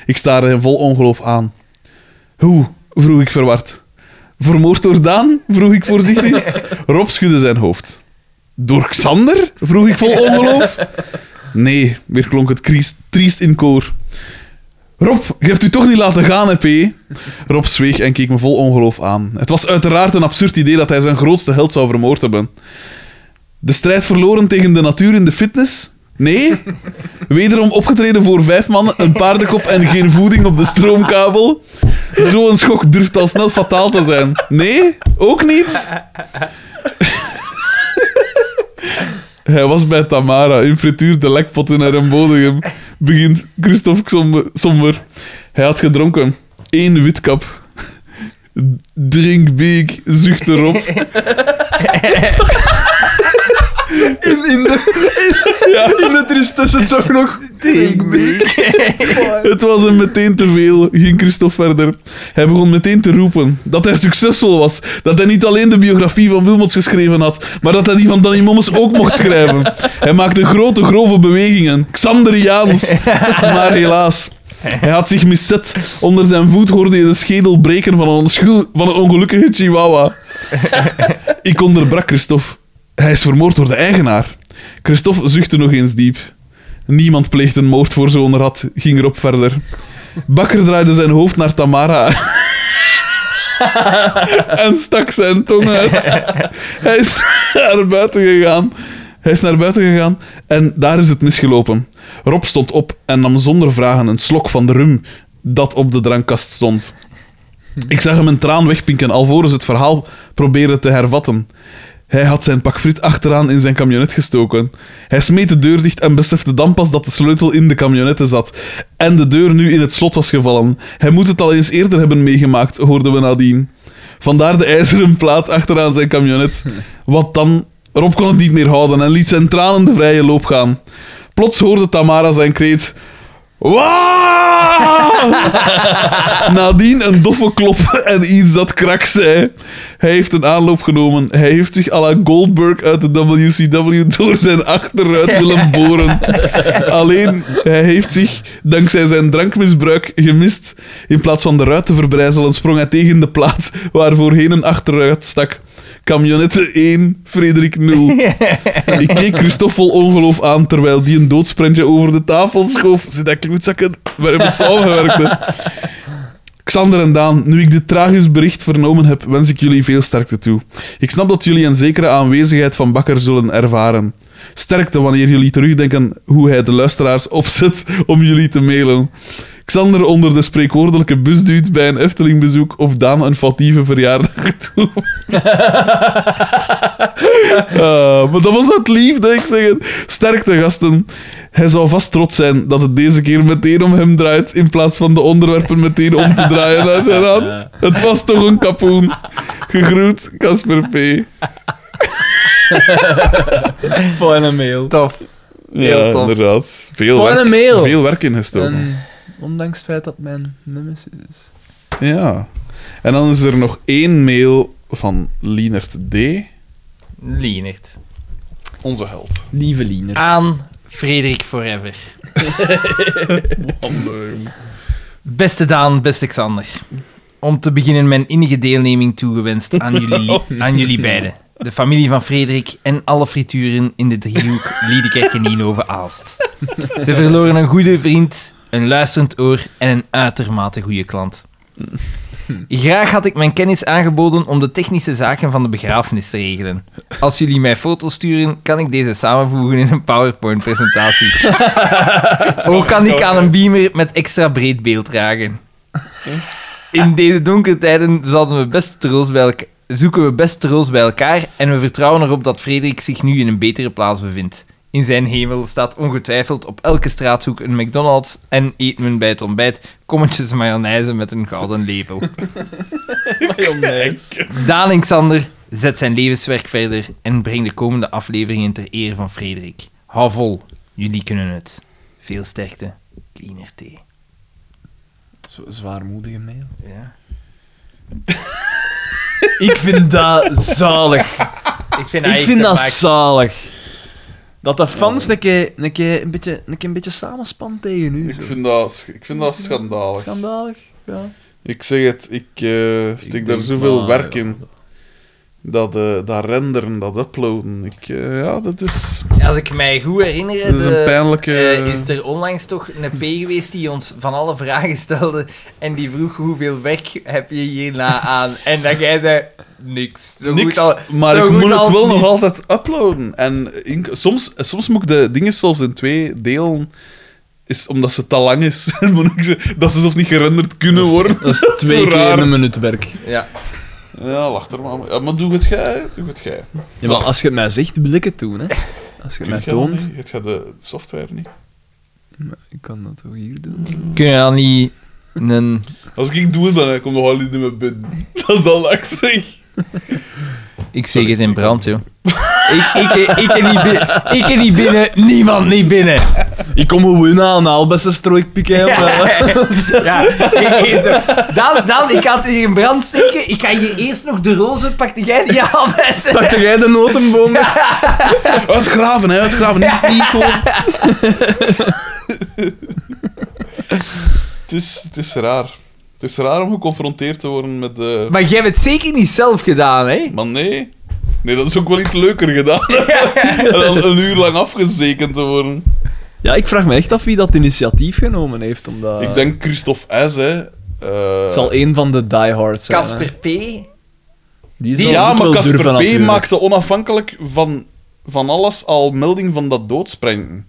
[SPEAKER 2] Ik staarde hem vol ongeloof aan. Hoe? vroeg ik verward. Vermoord door Daan? vroeg ik voorzichtig. Rob schudde zijn hoofd. Door Xander? vroeg ik vol ongeloof. Nee, weer klonk het kriest- triest in koor. Rob, je hebt u toch niet laten gaan, hè, P? Rob zweeg en keek me vol ongeloof aan. Het was uiteraard een absurd idee dat hij zijn grootste held zou vermoord hebben. De strijd verloren tegen de natuur in de fitness? Nee, wederom opgetreden voor vijf man, een paardenkop en geen voeding op de stroomkabel. Zo'n schok durft al snel fataal te zijn. Nee, ook niet. Hij was bij Tamara in frituur de lekpot in haar in Bodegem, begint Christophe somber, somber. Hij had gedronken. Eén witkap. Drink big, zucht erop.
[SPEAKER 3] In, in, de, in, in de tristesse toch nog. Take me.
[SPEAKER 2] Het was hem meteen te veel, ging Christophe verder. Hij begon meteen te roepen dat hij succesvol was. Dat hij niet alleen de biografie van Wilmots geschreven had, maar dat hij die van Danny Mommes ook mocht schrijven. Hij maakte grote, grove bewegingen. Xanderiaans. Maar helaas. Hij had zich miszet. Onder zijn voet hoorde je de schedel breken van een, onschul- van een ongelukkige chihuahua. Ik onderbrak Christophe. Hij is vermoord door de eigenaar. Christophe zuchtte nog eens diep. Niemand pleegt een moord voor zo'n rat, ging Rob verder. Bakker draaide zijn hoofd naar Tamara. en stak zijn tong uit. Hij is naar buiten gegaan. Hij is naar buiten gegaan en daar is het misgelopen. Rob stond op en nam zonder vragen een slok van de rum dat op de drankkast stond. Ik zag hem een traan wegpinken alvorens het verhaal probeerde te hervatten. Hij had zijn pak friet achteraan in zijn camionet gestoken. Hij smeet de deur dicht en besefte dan pas dat de sleutel in de camionette zat. En de deur nu in het slot was gevallen. Hij moet het al eens eerder hebben meegemaakt, hoorden we nadien. Vandaar de ijzeren plaat achteraan zijn camionet. Wat dan? Rob kon het niet meer houden en liet zijn tranen de vrije loop gaan. Plots hoorde Tamara zijn kreet. Waaah! Nadien een doffe klop en iets dat krak zei. Hij heeft een aanloop genomen. Hij heeft zich à la Goldberg uit de WCW door zijn achteruit willen boren. Alleen, hij heeft zich, dankzij zijn drankmisbruik, gemist. In plaats van de ruit te verbrijzelen, sprong hij tegen de plaat waar voorheen een achteruit stak. Camionette 1, Frederik 0. Ik keek Christophe vol ongeloof aan terwijl die een doodsprentje over de tafel schoof. Zit dat kloetzakken? We hebben samengewerkt. hè. Xander en Daan, nu ik dit tragisch bericht vernomen heb, wens ik jullie veel sterkte toe. Ik snap dat jullie een zekere aanwezigheid van Bakker zullen ervaren. Sterkte wanneer jullie terugdenken hoe hij de luisteraars opzet om jullie te mailen. Xander onder de spreekwoordelijke bus duwt bij een Eftelingbezoek of Daan een foutieve verjaardag toe. Eh, maar dat was wat liefde, ik zeg het. Sterkte, gasten. Hij zou vast trots zijn dat het deze keer meteen om hem draait, in plaats van de onderwerpen meteen om te draaien naar zijn hand. Het was toch een kapoen. Gegroet, Casper P.
[SPEAKER 3] Fijne mail.
[SPEAKER 1] Tof. Heel
[SPEAKER 2] Ja,
[SPEAKER 1] tof.
[SPEAKER 2] inderdaad. Veel
[SPEAKER 3] Voor
[SPEAKER 2] werk,
[SPEAKER 3] een mail.
[SPEAKER 2] Veel werk ingestoken.
[SPEAKER 3] En ondanks het feit dat mijn nemesis is.
[SPEAKER 2] Ja. En dan is er nog één mail van Lienert D.
[SPEAKER 1] Lienert.
[SPEAKER 2] Onze held.
[SPEAKER 3] Lieve Liener.
[SPEAKER 1] Aan Frederik Forever. Beste Daan, beste Xander. Om te beginnen mijn innige deelneming toegewenst aan jullie, aan jullie beiden. De familie van Frederik en alle frituren in de driehoek Liedekerk en Nienhoven Aalst. Ze verloren een goede vriend, een luisterend oor en een uitermate goede klant. Graag had ik mijn kennis aangeboden om de technische zaken van de begrafenis te regelen. Als jullie mij foto's sturen, kan ik deze samenvoegen in een PowerPoint-presentatie. Ook kan ik aan een beamer met extra breed beeld dragen. In deze donkere tijden zouden we best troost bij elk- zoeken we best troost bij elkaar en we vertrouwen erop dat Frederik zich nu in een betere plaats bevindt. In zijn hemel staat ongetwijfeld op elke straathoek een McDonald's en eet men bij het ontbijt kommetjes mayonaise met een gouden label.
[SPEAKER 3] Ah,
[SPEAKER 1] Daan en Xander, zet zijn levenswerk verder en breng de komende afleveringen ter ere van Frederik. Hou vol, jullie kunnen het. Veel sterkte, Cleaner T.
[SPEAKER 3] Z- Zwaarmoedige mail.
[SPEAKER 1] Ja.
[SPEAKER 3] Ik vind dat zalig.
[SPEAKER 1] Ik vind,
[SPEAKER 3] Ik vind dat zalig. Dat de fans een keer, een keer, een beetje, een keer een beetje samenspan tegen u.
[SPEAKER 9] Ik
[SPEAKER 3] zo.
[SPEAKER 9] vind, dat, sch- ik vind dat schandalig.
[SPEAKER 3] Schandalig. Ja.
[SPEAKER 9] Ik zeg het, ik eh,
[SPEAKER 3] Ik
[SPEAKER 9] steek daar
[SPEAKER 3] denk,
[SPEAKER 9] zoveel
[SPEAKER 3] maar,
[SPEAKER 9] werk
[SPEAKER 3] ja,
[SPEAKER 9] in.
[SPEAKER 2] Dat, eh, dat renderen, dat uploaden. Ik, eh, ja, dat is,
[SPEAKER 1] Als ik mij goed herinner,
[SPEAKER 2] dat is
[SPEAKER 1] de-
[SPEAKER 2] een pijnlijke...
[SPEAKER 1] eh, is er onlangs toch een P geweest die ons van alle vragen stelde en die vroeg hoeveel werk heb je hierna aan? En dat jij zei, niks. Zo goed
[SPEAKER 2] Niks,
[SPEAKER 1] al-
[SPEAKER 2] maar
[SPEAKER 1] zo
[SPEAKER 2] ik
[SPEAKER 1] goed
[SPEAKER 2] moet het
[SPEAKER 1] als
[SPEAKER 2] wel nog
[SPEAKER 1] niets.
[SPEAKER 2] altijd uploaden. En in- soms, soms moet ik de dingen zelfs in twee delen, is omdat ze te lang is. moet ik ze- dat ze zelfs niet gerenderd kunnen worden.
[SPEAKER 3] Dat is twee
[SPEAKER 2] zo
[SPEAKER 3] keer
[SPEAKER 2] raar.
[SPEAKER 3] een minuut werk.
[SPEAKER 1] Ja.
[SPEAKER 2] Ja, wacht er maar. mee. Ja, maar doe het jij, doe het jij.
[SPEAKER 3] Ja, maar als je het mij zegt, wil ik het doen. Hè. Als je het
[SPEAKER 2] Kun
[SPEAKER 3] mij
[SPEAKER 2] jij dat
[SPEAKER 3] toont,
[SPEAKER 2] niet? Het gaat de software niet.
[SPEAKER 3] ik kan dat ook hier doen.
[SPEAKER 1] Kun je dan niet een...
[SPEAKER 2] Als ik doe, dan komt nog al niet meer binnen. Dat is al ik zeg.
[SPEAKER 1] Ik zeg het in brand, joh. ik, ik, ik, er niet binnen, ik er niet binnen, niemand niet binnen.
[SPEAKER 3] Ik kom gewoon aan, al best een strooikpikken. Ja.
[SPEAKER 1] Ja, ik- ik zo- dan, dan, ik had hier in brand steken. Ik ga hier eerst nog de rozen. Pakte jij die al best?
[SPEAKER 3] Pakte jij de notenboom?
[SPEAKER 2] Uitgraven, hè, uitgraven. Niet, niet gewoon. het, is, het is raar. Het is raar om geconfronteerd te worden met eh, de...
[SPEAKER 1] Maar jij hebt het zeker niet zelf gedaan, hè?
[SPEAKER 2] Maar nee. Nee, dat is ook wel iets leuker gedaan. en dan een uur lang afgezekend te worden.
[SPEAKER 3] Ja, ik vraag me echt af wie dat initiatief genomen heeft. Omdat...
[SPEAKER 2] Ik denk Christophe S. Hè. Eh,
[SPEAKER 3] Ah. Het zal een van de diehards zijn. hè.
[SPEAKER 1] Casper P.
[SPEAKER 3] Die zal
[SPEAKER 2] ja,
[SPEAKER 3] ook
[SPEAKER 2] maar
[SPEAKER 3] wel durven,
[SPEAKER 2] Casper B.
[SPEAKER 3] natuurlijk.
[SPEAKER 2] maakte onafhankelijk van, van alles al melding van dat doodsprengen.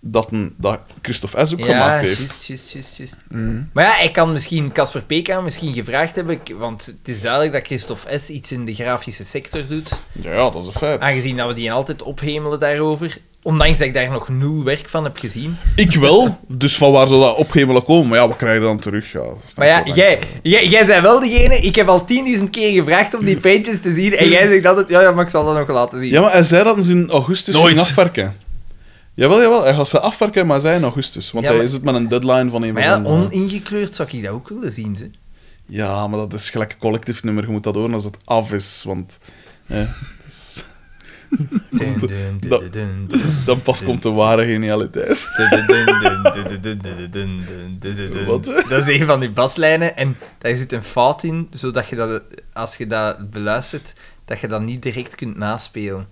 [SPEAKER 2] Dat, een, dat Christophe S. ook
[SPEAKER 1] Ja,
[SPEAKER 2] gemaakt heeft.
[SPEAKER 1] juist, juist, juist, juist.
[SPEAKER 3] Mm.
[SPEAKER 1] Maar ja, ik kan misschien, Casper P. kan misschien gevraagd hebben, k- want het is duidelijk dat Christophe S. iets in de grafische sector doet.
[SPEAKER 2] Ja, ja, dat is een feit.
[SPEAKER 1] Aangezien dat we die altijd ophemelen daarover. Ondanks dat ik daar nog nul werk van heb gezien.
[SPEAKER 2] Ik wel, dus van waar zou dat opgemelen komen? Maar ja, we krijgen dan terug. Ja, dat is
[SPEAKER 1] Maar ja,
[SPEAKER 2] dan-
[SPEAKER 1] jij, jij, jij bent wel degene... Ik heb al 10.000 keer gevraagd om die pages te zien. En jij zegt altijd... Ja, ja, maar ik zal dat nog laten zien.
[SPEAKER 2] Ja, maar hij zei dat ze in augustus
[SPEAKER 3] Nooit.
[SPEAKER 2] ging afwerken. Jawel, jawel, hij gaat ze afwerken, maar hij zei in augustus. Want
[SPEAKER 1] Ja,
[SPEAKER 2] hij
[SPEAKER 1] maar-
[SPEAKER 2] is het met een deadline van een
[SPEAKER 1] Maar
[SPEAKER 2] van
[SPEAKER 1] ja,
[SPEAKER 2] zijn... eh,
[SPEAKER 1] oningekleurd zou ik dat ook willen zien. Ze.
[SPEAKER 2] Ja, maar dat is gelijk een collectief nummer. Je moet dat horen als het af is, want... Hè, dus-
[SPEAKER 1] Dun, dun, dun, dun, dun, dun,
[SPEAKER 2] dan pas komt de ware genialiteit.
[SPEAKER 1] dun, dun, dun, dun, dun, dun, dun, dun, dun, dun.
[SPEAKER 2] Wat?
[SPEAKER 1] Dat is een van die baslijnen. En daar zit een fout in, zodat je dat, als je dat beluistert, dat je dat niet direct kunt naspelen.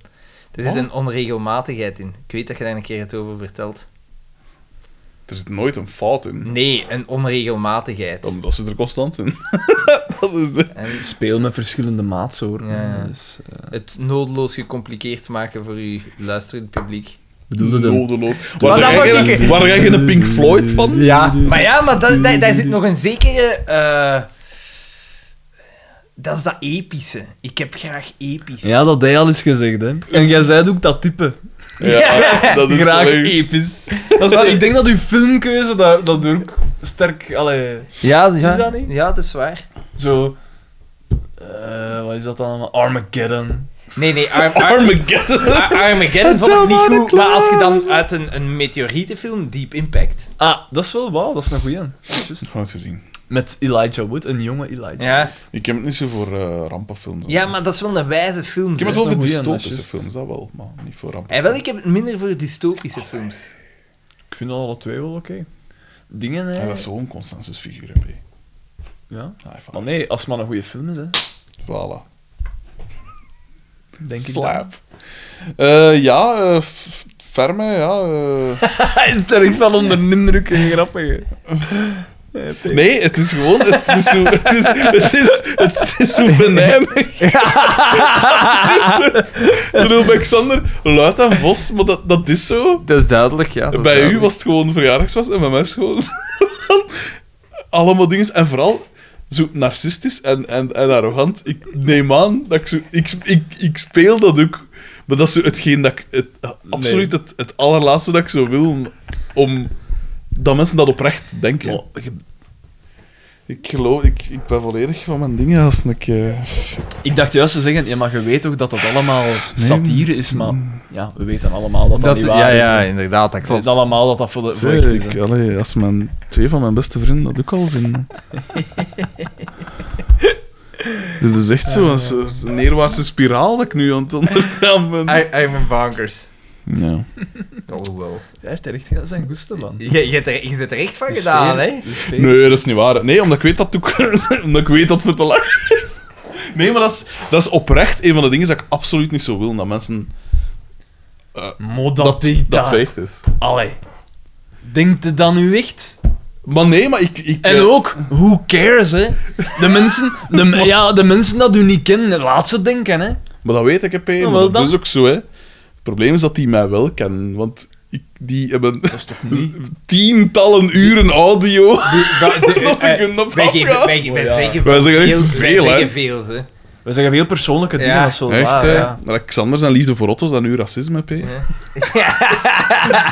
[SPEAKER 1] Er zit
[SPEAKER 2] Oh.
[SPEAKER 1] een onregelmatigheid in. Ik weet dat je daar een keer het over vertelt.
[SPEAKER 2] Er zit nooit een fout in.
[SPEAKER 1] Nee, een onregelmatigheid.
[SPEAKER 2] Omdat ze er constant in. dat is de...
[SPEAKER 1] En
[SPEAKER 3] Speel met verschillende maatsoorten.
[SPEAKER 1] Ja, ja.
[SPEAKER 3] Dus, eh,
[SPEAKER 1] het noodloos gecompliceerd maken voor uw luisterend publiek.
[SPEAKER 3] bedoelde de-
[SPEAKER 2] Nodeloos.
[SPEAKER 1] Maar
[SPEAKER 2] Waar
[SPEAKER 1] dat
[SPEAKER 2] jij
[SPEAKER 1] word ik-
[SPEAKER 2] geen- waar jij geen Pink Floyd van?
[SPEAKER 1] Ja, Ah, maar ja, maar dat, dat- daar zit nog een zekere... eh, dat is dat epische. Ik heb graag episch.
[SPEAKER 3] Ja, dat had hij al eens gezegd, hè. En jij zei ook dat type.
[SPEAKER 2] Ja, dat is
[SPEAKER 3] Graag
[SPEAKER 2] wel-
[SPEAKER 3] episch. Dat is wel- ik denk dat uw filmkeuze dat, dat doet ook sterk... Allee,
[SPEAKER 1] ja,
[SPEAKER 3] Is dat niet?
[SPEAKER 1] ja, Dus dat is waar.
[SPEAKER 3] zo... eh, wat is dat dan allemaal? Armageddon.
[SPEAKER 1] Nee, nee, Ar- Ar-
[SPEAKER 2] Armageddon.
[SPEAKER 1] Ar- Armageddon vond ik niet goed. Maar als je dan uit een, een meteorietenfilm, Deep Impact.
[SPEAKER 3] Ah, dat is wel wauw, dat is een goeie. Juist.
[SPEAKER 2] Fout gezien.
[SPEAKER 3] Met Elijah Wood, een jonge Elijah.
[SPEAKER 1] Ja.
[SPEAKER 2] Ik heb het niet zo voor eh, rampenfilms.
[SPEAKER 1] ja, maar dat is wel een wijze film.
[SPEAKER 2] Ik heb het
[SPEAKER 1] zeg.
[SPEAKER 2] wel voor
[SPEAKER 3] Dat is een goeie,
[SPEAKER 2] dystopische
[SPEAKER 3] dat is
[SPEAKER 2] films, dat wel, maar niet voor rampen.
[SPEAKER 1] Eh, wel, ik heb het minder voor dystopische films.
[SPEAKER 3] Ik vind dat alle twee wel oké. Dingen, hè.
[SPEAKER 2] Ja, dat is zo'n consensusfiguur, heb je.
[SPEAKER 3] Ja.
[SPEAKER 2] Ah, even-
[SPEAKER 3] Maar nee, als het maar een goede film is, hè.
[SPEAKER 2] Voilà.
[SPEAKER 3] Denk ik
[SPEAKER 2] Slaap. Eh, ja, eh, f- f- Ferme, ja. eh.
[SPEAKER 3] Hij is sterk van onder de indruk en grappig.
[SPEAKER 2] Nee, het is gewoon... Het is zo, het is, het is, het is zo venijnig. Terwijl bij Xander, luid en vos, maar dat, dat is zo.
[SPEAKER 1] Dat is duidelijk, ja.
[SPEAKER 2] Bij u was het gewoon verjaardagsfeest en bij mij is het gewoon... allemaal dingen. En vooral zo narcistisch en, en, en arrogant. Ik neem aan dat ik zo... Ik, ik, ik speel dat ook. Maar dat is zo hetgeen dat ik... Het, Absoluut het, het allerlaatste dat ik zo wil. Om, om dat mensen dat oprecht denken.
[SPEAKER 1] Oh,
[SPEAKER 2] Ik geloof... Ik, ik ben volledig van mijn dingen als ik... eh,
[SPEAKER 3] Ik dacht juist te zeggen, ja, maar je weet toch dat dat allemaal satire
[SPEAKER 2] mm.
[SPEAKER 3] is, maar ja, we weten allemaal dat dat, niet waar is. hè.
[SPEAKER 1] inderdaad, dat
[SPEAKER 3] We weten allemaal dat dat voor de voor echt is.
[SPEAKER 2] ik,
[SPEAKER 3] hè.
[SPEAKER 2] allee, als mijn, twee van mijn beste vrienden dat ook al vinden. Dit is echt zo, een, zo- een neerwaartse spiraal dat ik nu aan het ondergaan ben.
[SPEAKER 1] I'm in bankers.
[SPEAKER 2] Ja.
[SPEAKER 1] Oh, wow.
[SPEAKER 3] Hij heeft er echt zijn goesten van.
[SPEAKER 1] Je, je, hebt er, je zit er echt van
[SPEAKER 3] De
[SPEAKER 1] gedaan,
[SPEAKER 3] sfeer-
[SPEAKER 1] hè?
[SPEAKER 3] de sfeer is-
[SPEAKER 2] Nee, dat is niet waar. Nee, omdat ik weet dat het ook, omdat ik weet dat het te lang is. Nee, maar dat is, dat is oprecht een van de dingen dat ik absoluut niet zo wil. Dat mensen...
[SPEAKER 3] Modal
[SPEAKER 2] Dat,
[SPEAKER 3] die
[SPEAKER 2] dat
[SPEAKER 3] daar.
[SPEAKER 2] veegt is.
[SPEAKER 3] Allee. Denkt het dan nu echt?
[SPEAKER 2] Maar nee, maar ik... ik
[SPEAKER 3] En
[SPEAKER 2] eh,
[SPEAKER 3] ook, who cares, hè? De mensen, de, me- ja, de mensen dat u niet kennen, laat ze denken, hè?
[SPEAKER 2] Maar dat weet ik, hè, P.
[SPEAKER 3] wel
[SPEAKER 2] maar dat
[SPEAKER 3] dan.
[SPEAKER 2] is ook zo, hè. Het probleem is dat die mij wel kennen, want ik, die hebben tientallen uren audio. Dat ik een op
[SPEAKER 1] eh, Wij geven-
[SPEAKER 2] afgaan.
[SPEAKER 1] wij geven- wij
[SPEAKER 3] Oh, ja.
[SPEAKER 1] zeggen
[SPEAKER 2] Wij zeggen echt
[SPEAKER 1] veel-
[SPEAKER 2] veel,
[SPEAKER 1] wij
[SPEAKER 2] hè.
[SPEAKER 1] zeggen veel, hè.
[SPEAKER 3] We zeggen heel persoonlijke dingen,
[SPEAKER 1] Ja.
[SPEAKER 3] dat is wel
[SPEAKER 2] Echt,
[SPEAKER 3] waar,
[SPEAKER 2] hè.
[SPEAKER 3] ja.
[SPEAKER 2] Alexander zijn liefde voor auto's, dan nu racisme, P.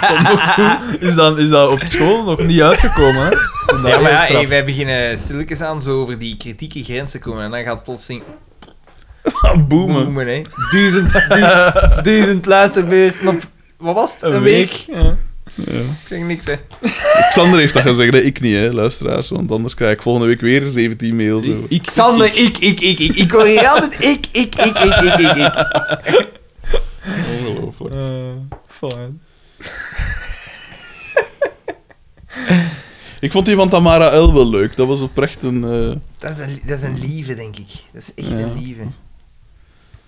[SPEAKER 3] Tot nog toe is dat, is dat op school nog niet uitgekomen, hè? Vond dat
[SPEAKER 1] Ja, maar
[SPEAKER 3] heel
[SPEAKER 1] ja,
[SPEAKER 3] straf.
[SPEAKER 1] hey, wij beginnen stilletjes aan zo over die kritieke grenzen komen. En dan gaat plotseling
[SPEAKER 2] Ah, Boemen.
[SPEAKER 1] boomen, hè. Duizend, du- duizend luisterbeurten op... Wat was het? Een, week?
[SPEAKER 3] Ja.
[SPEAKER 1] Ik zeg niks, hè.
[SPEAKER 2] Xander heeft dat gezegd, hè. ik niet, hè, luisteraars. Want anders krijg ik volgende week weer 17 mails. hè.
[SPEAKER 3] Ik,
[SPEAKER 1] Xander, ik, ik, ik, ik. Ik hoor hier altijd ik, ik, ik, ik, ik, ik, ik.
[SPEAKER 2] Ongelooflijk.
[SPEAKER 3] Eh, fine.
[SPEAKER 2] Ik vond die van Tamara L. wel leuk. Dat was oprecht een... eh,
[SPEAKER 1] Dat is een, dat is een lieve, denk ik. Dat is echt een lieve.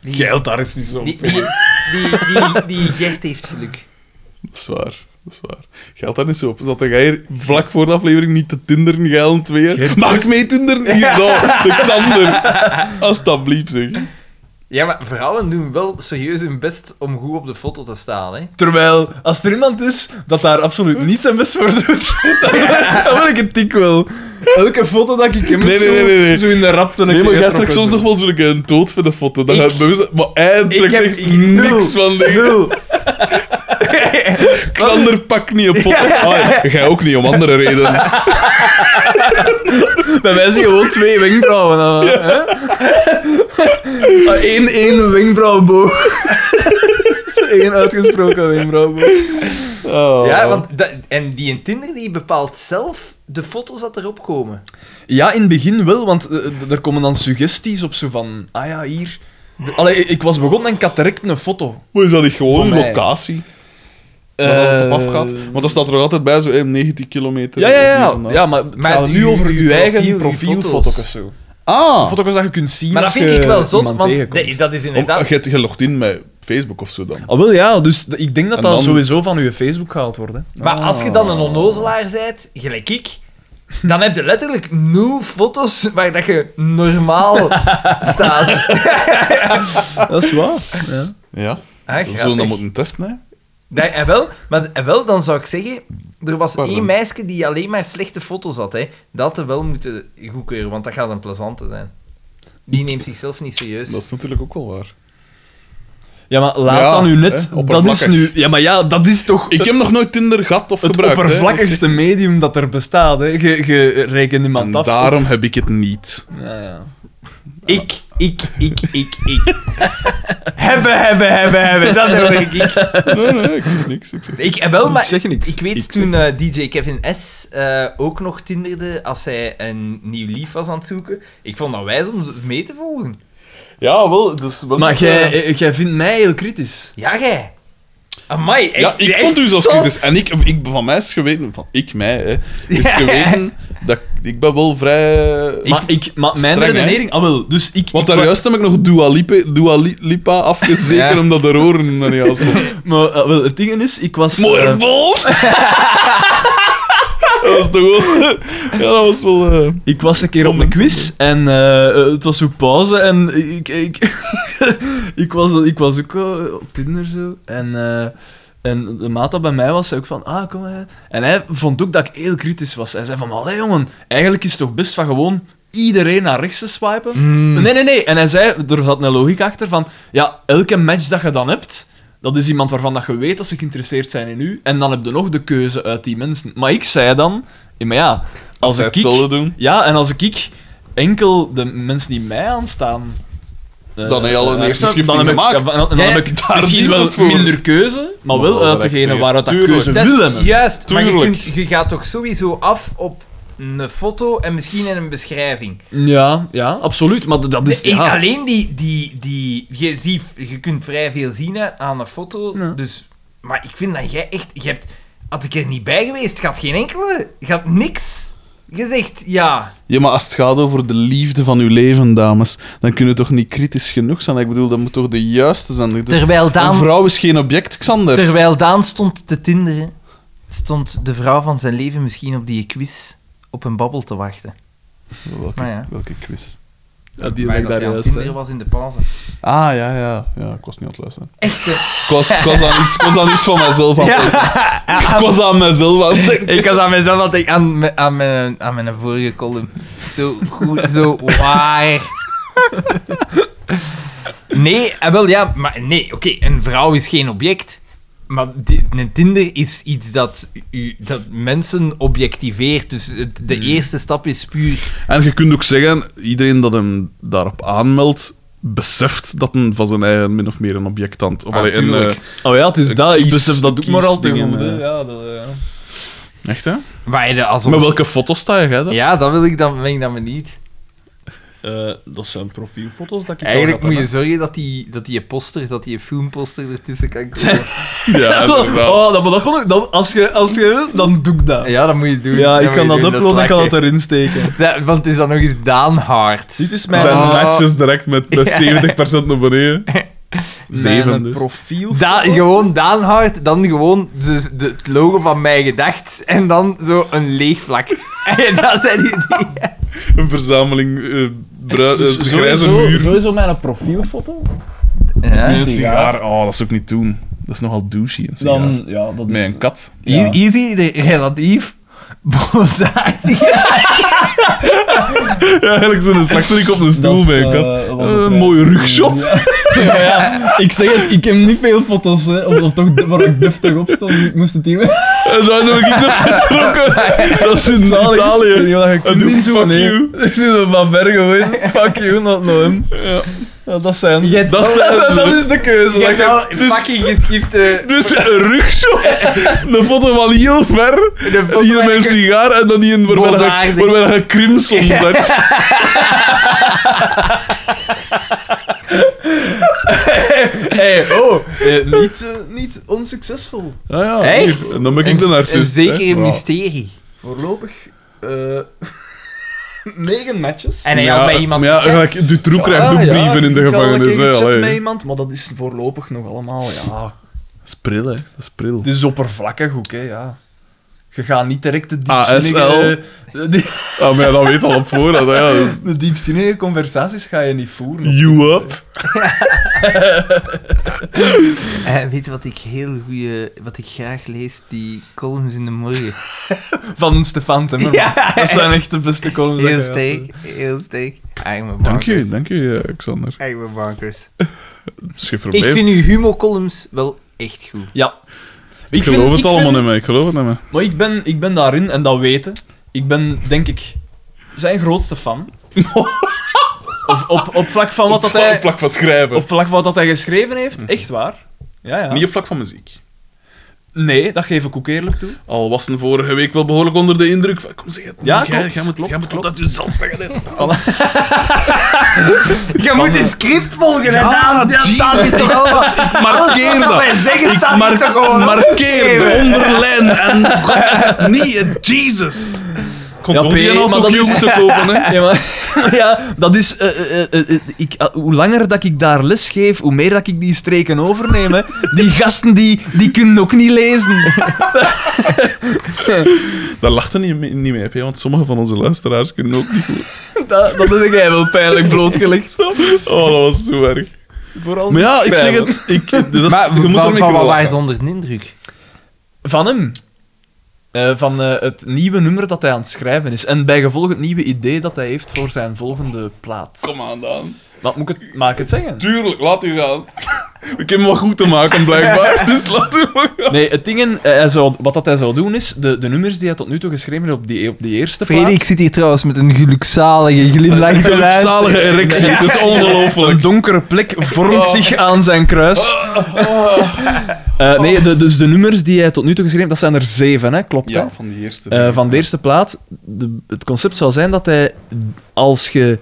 [SPEAKER 1] Die,
[SPEAKER 7] Geld, daar is niet zo.
[SPEAKER 1] die, die, die, die, die Gert heeft geluk.
[SPEAKER 2] Dat is waar, dat is waar. Geldt daar niet zo op. Zat jij hier vlak voor de aflevering niet te tinderen, geilend weer? Mag ik mee tinderen? Hier, daar, de Xander. Alsjeblieft, zeg.
[SPEAKER 1] Ja, maar vrouwen doen wel serieus hun best om goed op de foto te staan, hè.
[SPEAKER 3] Terwijl, als er iemand is dat daar absoluut niet zijn best voor doet, dan, dan wil ik het tik wel. Elke foto dat ik hem
[SPEAKER 2] Nee,
[SPEAKER 3] zo,
[SPEAKER 2] nee, nee, nee, nee.
[SPEAKER 3] zo in de rapte
[SPEAKER 2] Nee, maar jij trekt soms nog wel zo'n een dood voor de foto. Dan ga je bewust... Maar hij trekt
[SPEAKER 1] heb-
[SPEAKER 2] echt
[SPEAKER 1] ik-
[SPEAKER 2] niks van dingen.
[SPEAKER 1] Nul.
[SPEAKER 2] Xander pakt niet op foto. Ah, ja, jij ook niet, om andere redenen.
[SPEAKER 3] Bij mij zijn gewoon twee wenkbrauwen. dan, hè? Ah, Eén één wenkbrauwboog. Zo één uitgesproken wenkbrauwboog.
[SPEAKER 2] Oh.
[SPEAKER 1] Ja, Eh, want dat- en die in Tinder die bepaalt zelf de foto's dat erop komen.
[SPEAKER 3] Ja, in het begin wel, want eh, d- er komen dan suggesties op zo van... Ah ja, hier... Allee, ik was begonnen en ik had direct een foto.
[SPEAKER 2] Maar is dat niet gewoon
[SPEAKER 3] Van mij.
[SPEAKER 2] locatie? Waar dat op afgaat? Want dat staat er nog altijd bij, zo eh, 90 kilometer.
[SPEAKER 3] eh, Ja, ja,
[SPEAKER 2] of hier
[SPEAKER 3] ja.
[SPEAKER 2] vandaan.
[SPEAKER 3] ja maar het
[SPEAKER 1] Maar
[SPEAKER 3] gaat nu
[SPEAKER 1] uw-
[SPEAKER 3] over
[SPEAKER 1] uw
[SPEAKER 3] uw, eigen
[SPEAKER 1] profiel, uw
[SPEAKER 3] profielfoto's.
[SPEAKER 1] foto's.
[SPEAKER 3] zo.
[SPEAKER 2] Ah,
[SPEAKER 3] Foto's dat je kunt zien
[SPEAKER 1] Maar dat
[SPEAKER 3] als
[SPEAKER 1] vind
[SPEAKER 3] je
[SPEAKER 1] ik wel zot,
[SPEAKER 3] iemand
[SPEAKER 1] want
[SPEAKER 3] tegenkomt.
[SPEAKER 1] de- dat is
[SPEAKER 2] om,
[SPEAKER 1] inderdaad...
[SPEAKER 2] je, je logt in met Facebook of zo dan.
[SPEAKER 3] Ah, wel ja, dus d- ik denk dat
[SPEAKER 2] En
[SPEAKER 3] dat
[SPEAKER 2] dan-
[SPEAKER 3] sowieso van je Facebook gehaald wordt. Hè.
[SPEAKER 1] Maar als je dan een onnozelaar bent, gelijk ik, dan heb je letterlijk nul foto's waar dat je normaal staat.
[SPEAKER 3] Dat is waar. Ja.
[SPEAKER 2] Ja.
[SPEAKER 1] Ah,
[SPEAKER 2] We zullen
[SPEAKER 1] grappig.
[SPEAKER 2] dat moeten testen, hè?
[SPEAKER 1] Nee, en wel, maar en wel, dan zou ik zeggen, er was
[SPEAKER 2] Pardon.
[SPEAKER 1] één meisje die alleen maar slechte foto's had. Hè. Dat had er wel moeten goedkeuren, want dat gaat een plezante zijn. Die neemt zichzelf niet serieus.
[SPEAKER 2] Dat is natuurlijk ook wel waar.
[SPEAKER 3] ja, maar laat
[SPEAKER 2] Ja,
[SPEAKER 3] dan nu net.
[SPEAKER 2] hè,
[SPEAKER 3] dat
[SPEAKER 2] oppervlakkig.
[SPEAKER 3] is nu. Ja, maar ja, dat is toch.
[SPEAKER 2] Ik heb nog nooit Tinder gehad of
[SPEAKER 3] het
[SPEAKER 2] gebruikt. hè.
[SPEAKER 3] oppervlakkigste medium dat er bestaat. Hè. Je, je rekent
[SPEAKER 2] En
[SPEAKER 3] iemand af.
[SPEAKER 2] daarom heb ik het niet.
[SPEAKER 3] Ja, ja.
[SPEAKER 1] Ik, ik, ik, ik, ik. hebben, hebben, hebben, hebben. Dat hoor ik. Ik,
[SPEAKER 2] Nee, nee, ik zeg niks. Ik zeg...
[SPEAKER 1] ik eh, wel, maar...
[SPEAKER 3] zeg niks.
[SPEAKER 1] Ik weet toen eh, DJ Kevin S. eh, ook nog tinderde als hij een nieuw lief was aan het zoeken. Ik vond dat wijs om het mee te volgen.
[SPEAKER 2] Ja, wel, dus... wel
[SPEAKER 3] Maar
[SPEAKER 2] eh,
[SPEAKER 3] jij eh, jij vindt mij heel kritisch.
[SPEAKER 1] Ja, jij. Amai, echt,
[SPEAKER 2] Ja, ik
[SPEAKER 1] echt
[SPEAKER 2] vond u zelfs
[SPEAKER 1] zot.
[SPEAKER 2] kritisch. En ik, dus ik, van mij is geweten... Van ik, mij, hè. Is
[SPEAKER 1] Ja.
[SPEAKER 2] geweten dat ik- ik ben wel vrij...
[SPEAKER 3] maar ik, maar mijn
[SPEAKER 2] streng, hè.
[SPEAKER 3] redenering. Ah, wel. Dus ik.
[SPEAKER 2] Want
[SPEAKER 3] ik
[SPEAKER 2] daar juist heb ik nog Dua Lipa, Dua Li- Lipa afgezekerd
[SPEAKER 1] Ja.
[SPEAKER 2] omdat er oren er niet aan stonden.
[SPEAKER 3] maar, ah, wel, het ding is, ik was. eh,
[SPEAKER 2] Moerbol! dat was toch wel... ja, dat was wel... eh,
[SPEAKER 3] Ik was een keer op een quiz en eh, eh, het was zo pauze en ik, ik, ik, was, ik was ook eh, op Tinder zo. En, eh, en de maat dat bij mij was, zei ook van, ah, kom maar. En hij vond ook dat ik heel kritisch was. Hij zei van, allee jongen, eigenlijk is het toch best van gewoon iedereen naar rechts te swipen? Nee, nee, nee. En hij zei, er zat een logica achter van, ja, elke match dat je dan hebt, dat is iemand waarvan dat je weet dat ze geïnteresseerd zijn in u. En dan heb je nog de keuze uit die mensen. Maar ik zei dan, ja, maar ja, als
[SPEAKER 2] zij
[SPEAKER 3] ik...
[SPEAKER 2] hetzelfde doen.
[SPEAKER 3] Ja, en als ik enkel de mensen die mij aanstaan. eh,
[SPEAKER 2] Dan heb je al een
[SPEAKER 3] eh,
[SPEAKER 2] eerste
[SPEAKER 3] dan
[SPEAKER 2] schifting
[SPEAKER 3] heb ik-
[SPEAKER 2] gemaakt.
[SPEAKER 3] ja, dan- dan
[SPEAKER 1] Ja,
[SPEAKER 3] heb ik
[SPEAKER 2] daar
[SPEAKER 3] misschien
[SPEAKER 2] dient
[SPEAKER 3] wel
[SPEAKER 2] het voor.
[SPEAKER 3] minder keuze, maar
[SPEAKER 2] Maar
[SPEAKER 3] wel
[SPEAKER 2] wel
[SPEAKER 3] uit
[SPEAKER 2] direct
[SPEAKER 3] degene
[SPEAKER 2] weer.
[SPEAKER 3] waaruit dat
[SPEAKER 2] Tuurlijk.
[SPEAKER 3] keuze
[SPEAKER 1] Dat is
[SPEAKER 3] wil hebben.
[SPEAKER 1] Juist, maar je,
[SPEAKER 2] Tuurlijk.
[SPEAKER 1] kunt, je gaat toch sowieso af op een foto en misschien in een beschrijving.
[SPEAKER 3] Ja, ja, absoluut. Maar d- dat is.
[SPEAKER 1] De een-
[SPEAKER 3] Dus, Ja.
[SPEAKER 1] Alleen die... die, die je, ziet, je kunt vrij veel zien hè, aan een foto.
[SPEAKER 3] Ja.
[SPEAKER 1] Dus, maar ik vind dat jij echt... Je hebt, had ik er niet bij geweest, gaat geen enkele... gaat niks... gezegd ja.
[SPEAKER 2] Ja, maar als het gaat over de liefde van uw leven, dames, dan kunnen we toch niet kritisch genoeg zijn? Ik bedoel, dat moet toch de juiste zijn?
[SPEAKER 3] Dus
[SPEAKER 2] Het is-
[SPEAKER 1] Terwijl
[SPEAKER 2] Een
[SPEAKER 1] Daan,
[SPEAKER 2] vrouw is geen object, Xander.
[SPEAKER 1] terwijl Daan stond te tinderen, stond de vrouw van zijn leven misschien op die quiz op een babbel te wachten.
[SPEAKER 2] Welke,
[SPEAKER 1] Maar ja.
[SPEAKER 2] welke quiz?
[SPEAKER 3] Ja, die
[SPEAKER 1] Maar
[SPEAKER 3] heb ik
[SPEAKER 1] dat
[SPEAKER 3] daar
[SPEAKER 1] hij aan het
[SPEAKER 3] juist. hè.
[SPEAKER 1] tinderen was in de pauze.
[SPEAKER 2] Ah, ja, ja. Ja, ik was niet aan het luisteren.
[SPEAKER 1] Echte.
[SPEAKER 2] Ik was, ik was, aan, iets, ik was aan iets van mezelf aan het denken. Ik was aan mezelf aan het denken.
[SPEAKER 1] Ik was aan mezelf altijd aan, me- aan, mijn, aan mijn vorige column. Zo goed, zo waar. Nee, eh, wel ja, maar nee, oké, een vrouw is geen object. Maar di- een Tinder is iets dat, u, dat mensen objectiveert. Dus het-
[SPEAKER 3] Hmm.
[SPEAKER 1] de eerste stap is puur.
[SPEAKER 2] En je kunt ook zeggen, iedereen dat hem daarop aanmeldt, beseft dat een van zijn eigen min of meer een object aan het... Of
[SPEAKER 10] Ah,
[SPEAKER 2] allee, een,
[SPEAKER 10] tuurlijk.
[SPEAKER 2] eh,
[SPEAKER 3] Oh ja, het is dat.
[SPEAKER 2] kies-
[SPEAKER 3] Ik besef dat ook maar al te
[SPEAKER 2] kiesdingen,
[SPEAKER 3] goed. hè.
[SPEAKER 2] eh.
[SPEAKER 3] Ja, dat, ja.
[SPEAKER 2] Echt, hè?
[SPEAKER 1] Waar je de als
[SPEAKER 2] Met welke foto sta je, hè? dan?
[SPEAKER 1] Ja, dat wil ik dan, ben ik dan benieuwd.
[SPEAKER 3] Eh, dat zijn profielfoto's dat ik
[SPEAKER 1] Eigenlijk
[SPEAKER 3] al
[SPEAKER 1] moet
[SPEAKER 3] had,
[SPEAKER 1] je zorgen dat die, dat die poster, dat die filmposter ertussen kan komen.
[SPEAKER 2] Ja,
[SPEAKER 3] hè.
[SPEAKER 2] inderdaad.
[SPEAKER 3] Oh, dat, maar dat kon ik. Dat, als je als je wilt, dan doe ik dat.
[SPEAKER 1] Ja, dat moet je doen.
[SPEAKER 3] Ja, ik
[SPEAKER 1] moet je
[SPEAKER 3] kan dat
[SPEAKER 1] doen,
[SPEAKER 3] uploaden, ik kan
[SPEAKER 1] lachen.
[SPEAKER 3] dat erin steken.
[SPEAKER 1] Ja, want het is dan nog eens Daan Hart.
[SPEAKER 3] Dit is
[SPEAKER 2] Zijn
[SPEAKER 1] Ah.
[SPEAKER 2] matches direct met met 70% naar beneden. Zeven dus.
[SPEAKER 3] profiel.
[SPEAKER 1] Da gewoon Daan Hart, dan gewoon dus de, het logo van mij gedacht en dan zo een leeg vlak. En dat zijn die dingen.
[SPEAKER 2] Een verzameling eh brui- eh, grijze
[SPEAKER 3] Dus sowieso,
[SPEAKER 2] muren.
[SPEAKER 3] sowieso mijn profielfoto.
[SPEAKER 2] Met
[SPEAKER 1] Ja.
[SPEAKER 2] een
[SPEAKER 3] sigaar.
[SPEAKER 2] sigaar. Oh, dat zou ik niet doen. Dat is nogal douchey, een sigaar.
[SPEAKER 3] Dan, ja, dat is...
[SPEAKER 2] Met een kat.
[SPEAKER 3] Ja.
[SPEAKER 1] Hier, hier zie je de relatief boosaardige...
[SPEAKER 2] Ja, eigenlijk zo'n slechterik op een stoel
[SPEAKER 3] Dat is,
[SPEAKER 2] bij een
[SPEAKER 3] eh,
[SPEAKER 2] kat.
[SPEAKER 3] dat was
[SPEAKER 2] Eh,
[SPEAKER 3] het,
[SPEAKER 2] een
[SPEAKER 3] ja.
[SPEAKER 2] mooie rugshot.
[SPEAKER 3] Ja. Ja, ja. Ik zeg het, ik heb niet veel foto's, hè, of, of toch waar ik deftig op stond. Ik moest het hier...
[SPEAKER 2] En daar ben ik naar betrokken. Dat is in Italië.
[SPEAKER 3] En
[SPEAKER 2] En doe fuck you.
[SPEAKER 3] Ik zie dat van ver gewoon. Fuck you, not known. Ja. dat zijn ze.
[SPEAKER 1] Je hebt
[SPEAKER 2] Dat
[SPEAKER 1] wel-
[SPEAKER 2] zijn ze.
[SPEAKER 3] dat is de keuze.
[SPEAKER 1] je
[SPEAKER 3] dat
[SPEAKER 1] hebt
[SPEAKER 3] ik heb.
[SPEAKER 1] wel fucking geschifte...
[SPEAKER 2] Dus een rugshot, een foto van heel ver,
[SPEAKER 1] Eh,
[SPEAKER 2] hier met een sigaar en dan die een waarbij je-
[SPEAKER 1] Boosaardig.
[SPEAKER 2] waarbij je crimson bent.
[SPEAKER 3] Hey, oh, eh, niet, eh, niet onsuccesvol.
[SPEAKER 2] Ah ja,
[SPEAKER 1] Echt?
[SPEAKER 2] hier. En dan ben ik de
[SPEAKER 1] Een, een
[SPEAKER 2] narcist. hè.
[SPEAKER 1] zekere
[SPEAKER 2] Ja.
[SPEAKER 1] mysterie.
[SPEAKER 3] Voorlopig eh negen matches.
[SPEAKER 1] En hij
[SPEAKER 2] Ja,
[SPEAKER 1] had bij iemand
[SPEAKER 2] Maar ja,
[SPEAKER 1] gecheckt.
[SPEAKER 2] eigenlijk, Dutroux krijgt ook
[SPEAKER 3] Ah, ja,
[SPEAKER 2] brieven in de
[SPEAKER 3] ik kan wel
[SPEAKER 2] gevangenis.
[SPEAKER 3] een keer
[SPEAKER 2] hè,
[SPEAKER 3] chatten
[SPEAKER 2] allee.
[SPEAKER 3] met iemand, maar dat is voorlopig nog allemaal, ja.
[SPEAKER 2] Dat is pril, hè. Dat is pril.
[SPEAKER 3] Het is oppervlakkig ook, hè, ja. Je gaat niet direct de diepzinnige...
[SPEAKER 2] ASL.
[SPEAKER 3] De, die-
[SPEAKER 2] Ah, maar ja, dat weet al op voorhand. hè, Ja. Dus-
[SPEAKER 3] de diepzinnige conversaties ga je niet voeren.
[SPEAKER 2] You up.
[SPEAKER 1] Eh, weet je wat ik heel goeie... Wat ik graag lees? Die columns in de morgen.
[SPEAKER 3] Van Stefan Timmerman. Dat zijn echt de beste columns.
[SPEAKER 1] Heel
[SPEAKER 3] dat ik heb.
[SPEAKER 1] steek, heel steek. Arme
[SPEAKER 2] Dank je,
[SPEAKER 1] bankers.
[SPEAKER 2] dank je, eh, Xander.
[SPEAKER 1] Arme bankers.
[SPEAKER 2] Schip
[SPEAKER 1] Ik
[SPEAKER 2] probleem.
[SPEAKER 1] vind uw humocolumns wel echt goed.
[SPEAKER 3] Ja.
[SPEAKER 2] Ik
[SPEAKER 3] vind-
[SPEAKER 2] geloof het
[SPEAKER 3] ik
[SPEAKER 2] allemaal
[SPEAKER 3] vind-
[SPEAKER 2] niet meer. Ik geloof het niet meer.
[SPEAKER 3] Maar ik ben, ik ben daarin, en dat weten, ik ben, denk ik, zijn grootste fan. of, op, op vlak van wat
[SPEAKER 2] op,
[SPEAKER 3] dat hij...
[SPEAKER 2] vlak Mhm. van schrijven.
[SPEAKER 3] Op vlak van wat dat hij geschreven heeft, echt waar. Ja, ja.
[SPEAKER 2] Niet op vlak van muziek.
[SPEAKER 3] Nee, dat geef ik ook eerlijk toe.
[SPEAKER 2] Al was een vorige week wel behoorlijk onder de indruk van... Kom, zeg het.
[SPEAKER 3] Ja,
[SPEAKER 2] jij,
[SPEAKER 3] klopt,
[SPEAKER 2] jij moet,
[SPEAKER 3] klopt,
[SPEAKER 2] jij moet
[SPEAKER 3] klopt.
[SPEAKER 2] dat jezelf zeggen. hè.
[SPEAKER 1] Je moet een script volgen,
[SPEAKER 2] Ja,
[SPEAKER 1] Daan. Dat
[SPEAKER 2] Jesus.
[SPEAKER 1] staat hier toch al.
[SPEAKER 2] Markeer
[SPEAKER 1] Alles wat
[SPEAKER 2] dat.
[SPEAKER 1] wij zeggen staat hier toch
[SPEAKER 2] Mar
[SPEAKER 1] gewoon
[SPEAKER 2] markeer,
[SPEAKER 1] opgeschreven.
[SPEAKER 2] onderlijn en... Niet, eh, Jesus. Komt
[SPEAKER 3] Ja,
[SPEAKER 2] toch
[SPEAKER 3] P,
[SPEAKER 2] die een
[SPEAKER 3] maar dat
[SPEAKER 2] autocue
[SPEAKER 3] is-
[SPEAKER 2] moeten kopen, hè?
[SPEAKER 3] Ja, maar, ja dat is... eh, eh, eh, eh, ik, ah, hoe langer dat ik daar les geef, hoe meer dat ik die streken overneem. Hè. Die gasten, die, die kunnen ook niet lezen.
[SPEAKER 2] Daar lachten niet, mee- niet mee, hè, want sommige van onze luisteraars kunnen ook niet goed.
[SPEAKER 3] Dat, dat heb jij wel pijnlijk blootgelegd.
[SPEAKER 2] Oh, dat was zo erg.
[SPEAKER 3] Vooral
[SPEAKER 2] Maar ja, ik zeg
[SPEAKER 3] schrijven.
[SPEAKER 2] het. Ik, dat is,
[SPEAKER 1] Maar
[SPEAKER 2] je moet
[SPEAKER 1] van,
[SPEAKER 2] ermee
[SPEAKER 1] van wat
[SPEAKER 2] kunnen
[SPEAKER 1] waren het
[SPEAKER 2] lachen.
[SPEAKER 1] onder de indruk?
[SPEAKER 3] Van hem. Eh, van eh, het nieuwe nummer dat hij aan het schrijven is. En bijgevolg het nieuwe idee dat hij heeft voor zijn volgende plaat.
[SPEAKER 2] Kom aan, Daan.
[SPEAKER 3] Wat moet ik het, maak ik het zeggen?
[SPEAKER 2] Tuurlijk, laat u gaan. Ik heb hem wat goed te maken, blijkbaar. Dus laat u maar gaan.
[SPEAKER 3] Nee, het ding, eh, hij zou, wat dat hij zou doen is, de, de nummers die hij tot nu toe geschreven heeft op die, op die eerste plaat...
[SPEAKER 1] zit hier trouwens met een gelukzalige glimlach
[SPEAKER 2] Een zalige erectie, het is ongelooflijk. Oh.
[SPEAKER 3] Een donkere plek vormt zich aan zijn kruis. Eh, nee, de- dus de nummers die hij tot nu toe geschreven heeft, dat zijn er zeven, hè? klopt hè?
[SPEAKER 2] Ja, van die eerste.
[SPEAKER 3] Eh, van de eerste plaat, de- het concept zou zijn dat hij als je...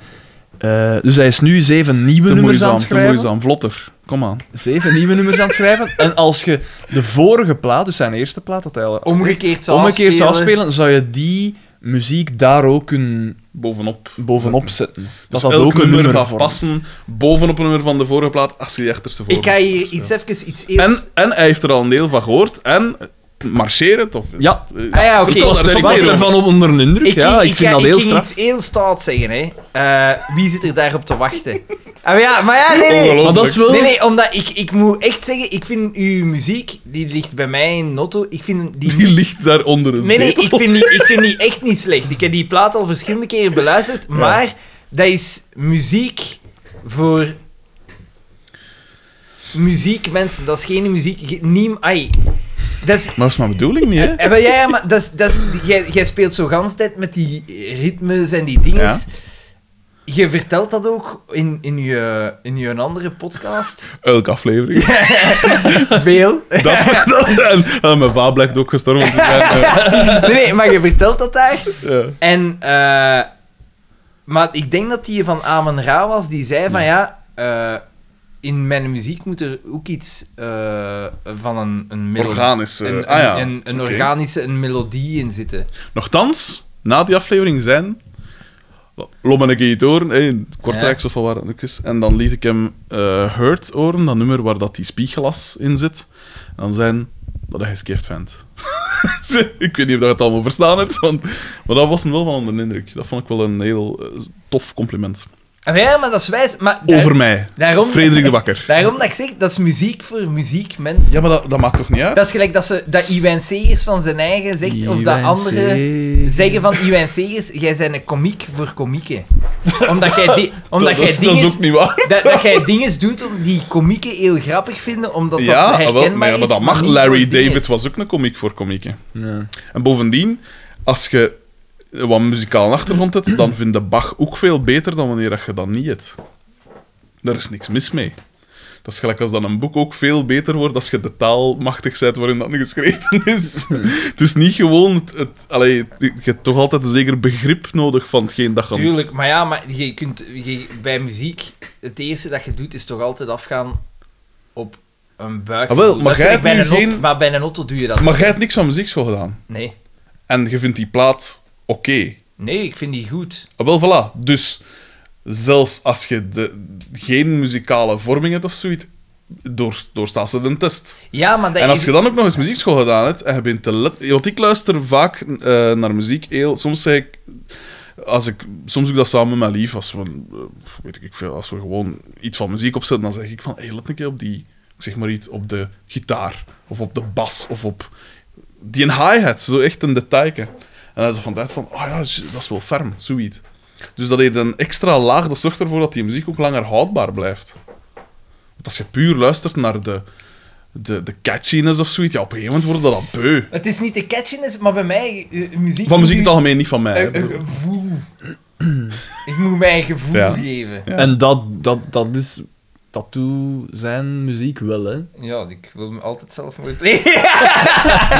[SPEAKER 3] eh, dus hij is nu zeven nieuwe
[SPEAKER 2] te
[SPEAKER 3] nummers aan
[SPEAKER 2] moeizaam,
[SPEAKER 3] het
[SPEAKER 2] te
[SPEAKER 3] schrijven.
[SPEAKER 2] moeizaam. Vlotter. Kom aan.
[SPEAKER 3] zeven nieuwe nummers aan het schrijven. En als je de vorige plaat, dus zijn eerste plaat, dat hij al
[SPEAKER 2] Oh,
[SPEAKER 1] Omgekeerd zou
[SPEAKER 3] omgekeerd zou
[SPEAKER 1] afspelen.
[SPEAKER 3] spelen, zou je die muziek daar ook een
[SPEAKER 2] bovenop.
[SPEAKER 3] bovenop zetten.
[SPEAKER 2] Dus
[SPEAKER 3] dat dat
[SPEAKER 2] elk
[SPEAKER 3] ook een nummer
[SPEAKER 2] gaat
[SPEAKER 3] vormt.
[SPEAKER 2] passen bovenop een nummer van de vorige plaat als je die achterste
[SPEAKER 1] Ik
[SPEAKER 2] vorige
[SPEAKER 1] ga
[SPEAKER 2] plaat
[SPEAKER 1] hier
[SPEAKER 2] speelt.
[SPEAKER 1] iets even iets eerst...
[SPEAKER 2] En, en hij heeft er al een deel van gehoord. En marcheren, of...
[SPEAKER 3] Ja.
[SPEAKER 2] Eh,
[SPEAKER 1] Ah ja, oké.
[SPEAKER 2] vertel
[SPEAKER 3] was,
[SPEAKER 2] daar eens
[SPEAKER 3] er,
[SPEAKER 2] wat
[SPEAKER 3] was
[SPEAKER 2] meer over.
[SPEAKER 3] ervan op onder een indruk, ja. Ik, vind
[SPEAKER 1] ga-
[SPEAKER 3] dat heel
[SPEAKER 1] ging
[SPEAKER 3] straf.
[SPEAKER 1] iets heel stout zeggen, hè. Eh, wie zit er daarop te wachten? Ah, ja, maar ja, nee, nee.
[SPEAKER 3] Maar dat is wel...
[SPEAKER 1] Nee, nee, omdat ik, ik moet echt zeggen, ik vind uw muziek, die ligt bij mij in Notto, ik vind die...
[SPEAKER 2] Die ligt daar onder een
[SPEAKER 1] Nee, nee,
[SPEAKER 2] zetel.
[SPEAKER 1] ik vind, die, ik vind die echt niet slecht. Ik heb die plaat al verschillende keren beluisterd, maar dat is muziek voor... Muziek, mensen, dat is geen muziek. je- Niem, ai. Dat is,
[SPEAKER 2] Maar dat is mijn bedoeling niet, hè?
[SPEAKER 1] eh, maar ja, ja, maar dat is, dat is, jij, jij speelt zo gans tijd met die ritmes en die dingen.
[SPEAKER 2] Ja.
[SPEAKER 1] Je vertelt dat ook in, in, je, in je andere podcast.
[SPEAKER 2] Elke aflevering.
[SPEAKER 1] Veel.
[SPEAKER 2] Dat, dat, en, en mijn vader blijkt ook gestorven te zijn. eh,
[SPEAKER 1] Nee, nee, maar je vertelt dat daar.
[SPEAKER 2] ja.
[SPEAKER 1] En, eh, maar ik denk dat die van Amen Ra was, die zei van ja, eh, in mijn muziek moet er ook iets eh, van een, een melo-
[SPEAKER 2] Organisch. eh,
[SPEAKER 1] Een,
[SPEAKER 2] ah ja.
[SPEAKER 1] een, een
[SPEAKER 2] oké.
[SPEAKER 1] organische een melodie in zitten.
[SPEAKER 2] Nochtans, na die aflevering zijn... Lom en ik het horen, hè, in Kortrijk, of van waar het ook is. En dan liet ik hem eh Hurt horen, dat nummer waar dat die spiegelglas in zit. En dan zijn dat hij geskift vent. ik weet niet of dat je het allemaal verstaan hebt, want, maar dat was hem wel van onder de indruk. Dat vond ik wel een heel eh, tof compliment.
[SPEAKER 1] Ah, Ja, maar dat is wijs. Maar daar-
[SPEAKER 2] Over mij.
[SPEAKER 1] daarom-
[SPEAKER 2] Frederik de Bakker.
[SPEAKER 1] Daarom dat ik zeg, dat is muziek voor muziekmensen.
[SPEAKER 2] Ja, maar dat, dat maakt toch niet uit?
[SPEAKER 1] Dat is gelijk dat, ze, dat Iwijn Segers van zijn eigen zegt, of dat anderen zeggen van Iwijn Segers, jij bent een komiek voor komieken. Omdat jij, di- omdat
[SPEAKER 2] dat,
[SPEAKER 1] jij
[SPEAKER 2] is, dat is
[SPEAKER 1] dingen...
[SPEAKER 2] ook niet waar.
[SPEAKER 1] Dat, dat jij dingen doet om die komieken heel grappig vinden, omdat dat
[SPEAKER 2] Ja, ah,
[SPEAKER 1] herkenbaar
[SPEAKER 2] wel, maar, ja,
[SPEAKER 1] is.
[SPEAKER 2] maar dat mag.
[SPEAKER 1] niet
[SPEAKER 2] Larry
[SPEAKER 1] voor dingen
[SPEAKER 2] David
[SPEAKER 1] is.
[SPEAKER 2] was ook een komiek voor komieken.
[SPEAKER 3] Ja.
[SPEAKER 2] En bovendien, als je wat muzikaal achtergrond hebt, dan vindt de Bach ook veel beter dan wanneer dat je dat niet hebt. Daar is niks mis mee. Dat is gelijk als dan een boek ook veel beter wordt als je de taal machtig bent waarin dat geschreven is. Het is niet gewoon... Het, het- allee, je hebt toch altijd een zeker begrip nodig van hetgeen dat je aan het-
[SPEAKER 1] Tuurlijk, maar ja, maar je kunt, je- bij muziek, het eerste dat je doet is toch altijd afgaan op een buik.
[SPEAKER 2] Ah, wel, maar
[SPEAKER 1] Dat is
[SPEAKER 2] jij
[SPEAKER 1] gelijk bij
[SPEAKER 2] hebt
[SPEAKER 1] een
[SPEAKER 2] nu
[SPEAKER 1] auto-
[SPEAKER 2] geen-
[SPEAKER 1] maar bij een auto doe je dat
[SPEAKER 2] Maar jij hebt niks aan muziekschool gedaan.
[SPEAKER 1] Nee.
[SPEAKER 2] En je vindt die plaat oké.
[SPEAKER 1] Nee, ik vind die goed.
[SPEAKER 2] Ah, wel, voilà. Dus zelfs als je de, geen muzikale vorming hebt of zoiets, door, doorstaat ze de test.
[SPEAKER 1] Ja, maar dat
[SPEAKER 2] en als
[SPEAKER 1] is-
[SPEAKER 2] je dan ook nog eens muziekschool gedaan hebt en je bent te let... Want ik luister vaak eh, naar muziek heel... Soms zeg ik... Als ik, soms doe ik dat samen met mijn lief. Als we, eh, weet ik veel, als we gewoon iets van muziek opzetten, dan zeg ik van... hey, let een keer op die... Ik zeg maar iets, op de gitaar. Of op de bas. Of op die een hi-hat. Zo echt een detailje. En dan is dat van tijd van... Oh ja, j- dat is wel ferm. Zoiets. Dus dat heeft een extra laag. Dat zorgt ervoor dat die muziek ook langer houdbaar blijft. Want als je puur luistert naar de de, de catchiness of zoiets. Ja, op een gegeven moment worden dat al beu.
[SPEAKER 1] Het is niet de catchiness, maar bij mij eh, muziek...
[SPEAKER 2] Van muziek in
[SPEAKER 1] moet
[SPEAKER 2] het algemeen, niet van mij.
[SPEAKER 1] u-
[SPEAKER 2] hè.
[SPEAKER 1] een- een gevoel. ik moet mij een gevoel
[SPEAKER 2] Ja.
[SPEAKER 1] geven.
[SPEAKER 2] Ja.
[SPEAKER 3] En dat, dat, dat is... Dat doet zijn muziek wel, hè.
[SPEAKER 1] Ja, ik wil me altijd zelf moeten. Nee,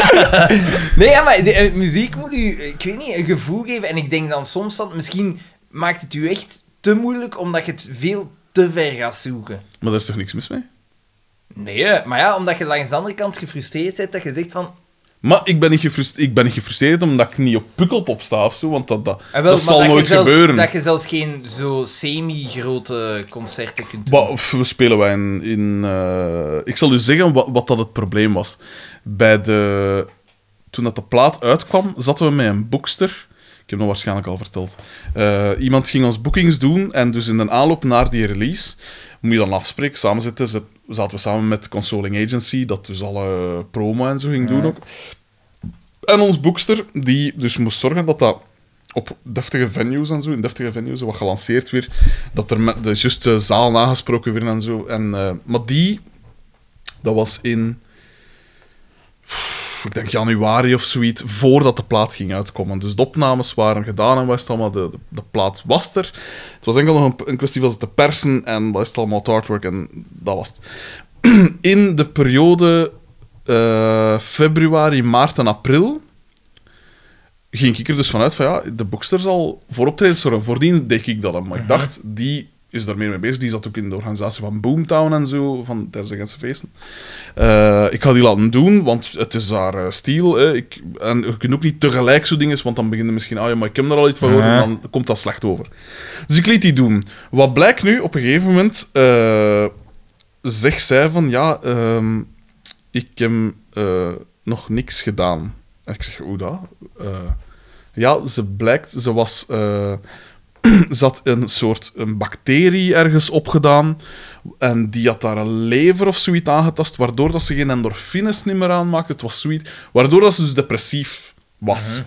[SPEAKER 1] nee ja, maar de, eh, muziek moet u, ik weet niet, een gevoel geven. En ik denk dan soms van, misschien maakt het u echt te moeilijk omdat je het veel te ver gaat zoeken.
[SPEAKER 2] Maar daar is toch niks mis mee?
[SPEAKER 1] Nee, hè. maar ja, omdat je langs de andere kant gefrustreerd bent, dat je zegt van...
[SPEAKER 2] Maar ik ben niet, gefrust- ik ben niet gefrustreerd omdat ik niet op pukkelpop sta of zo, want dat, dat,
[SPEAKER 1] Ah, wel,
[SPEAKER 2] dat
[SPEAKER 1] maar
[SPEAKER 2] zal
[SPEAKER 1] je
[SPEAKER 2] nooit
[SPEAKER 1] zelfs-
[SPEAKER 2] gebeuren.
[SPEAKER 1] Dat je zelfs geen zo semi-grote concerten kunt doen.
[SPEAKER 2] Wa- of we spelen wij in... in, eh, Ik zal u zeggen wat, wat dat het probleem was. Bij de... Toen dat de plaat uitkwam, zaten we met een boekster. Ik heb dat waarschijnlijk al verteld. Eh, iemand ging ons boekings doen en dus in de aanloop naar die release moet je dan afspreken, samen zitten. zet- Zaten we samen met Consoling Agency, dat dus alle promo en zo ging doen ook. En ons boekster, die dus moest zorgen dat dat op deftige venues en zo, in deftige venues, wat gelanceerd weer, dat er met de juiste zaal nagesproken werd en zo. En, eh, maar die, dat was in, pff, ik denk januari of zoiets, voordat de plaat ging uitkomen. Dus de opnames waren gedaan en was het allemaal, de, de, de plaat was er. Het was enkel nog een, een kwestie van ze te persen en was het allemaal het artwork en dat was het. In de periode eh, februari, maart en april ging ik er dus vanuit van ja, de boekster zal voor optredens zorgen. Voordien deed ik dat, hè, maar ik dacht, die is daar meer mee bezig. Die zat ook in de organisatie van Boomtown en zo, van Terzegense feesten. Eh, ik ga die laten doen, want het is daar eh, stiel. Hè. Ik, en je kunt ook niet tegelijk zo dingen, want dan beginnen misschien, ah ja, maar ik heb er al iets van gehoord, en dan komt dat slecht over. Dus ik liet die doen. Wat blijkt nu, op een gegeven moment eh, zegt zij van, ja, ehm, ik heb eh, nog niks gedaan. En ik zeg, hoe dat? Eh, ja, ze blijkt, ze was... eh, ze had een soort een bacterie ergens opgedaan. En die had daar een lever of zoiets aangetast, waardoor dat ze geen endorfines niet meer aanmaakte. Het was zoiets. Waardoor dat ze dus depressief was.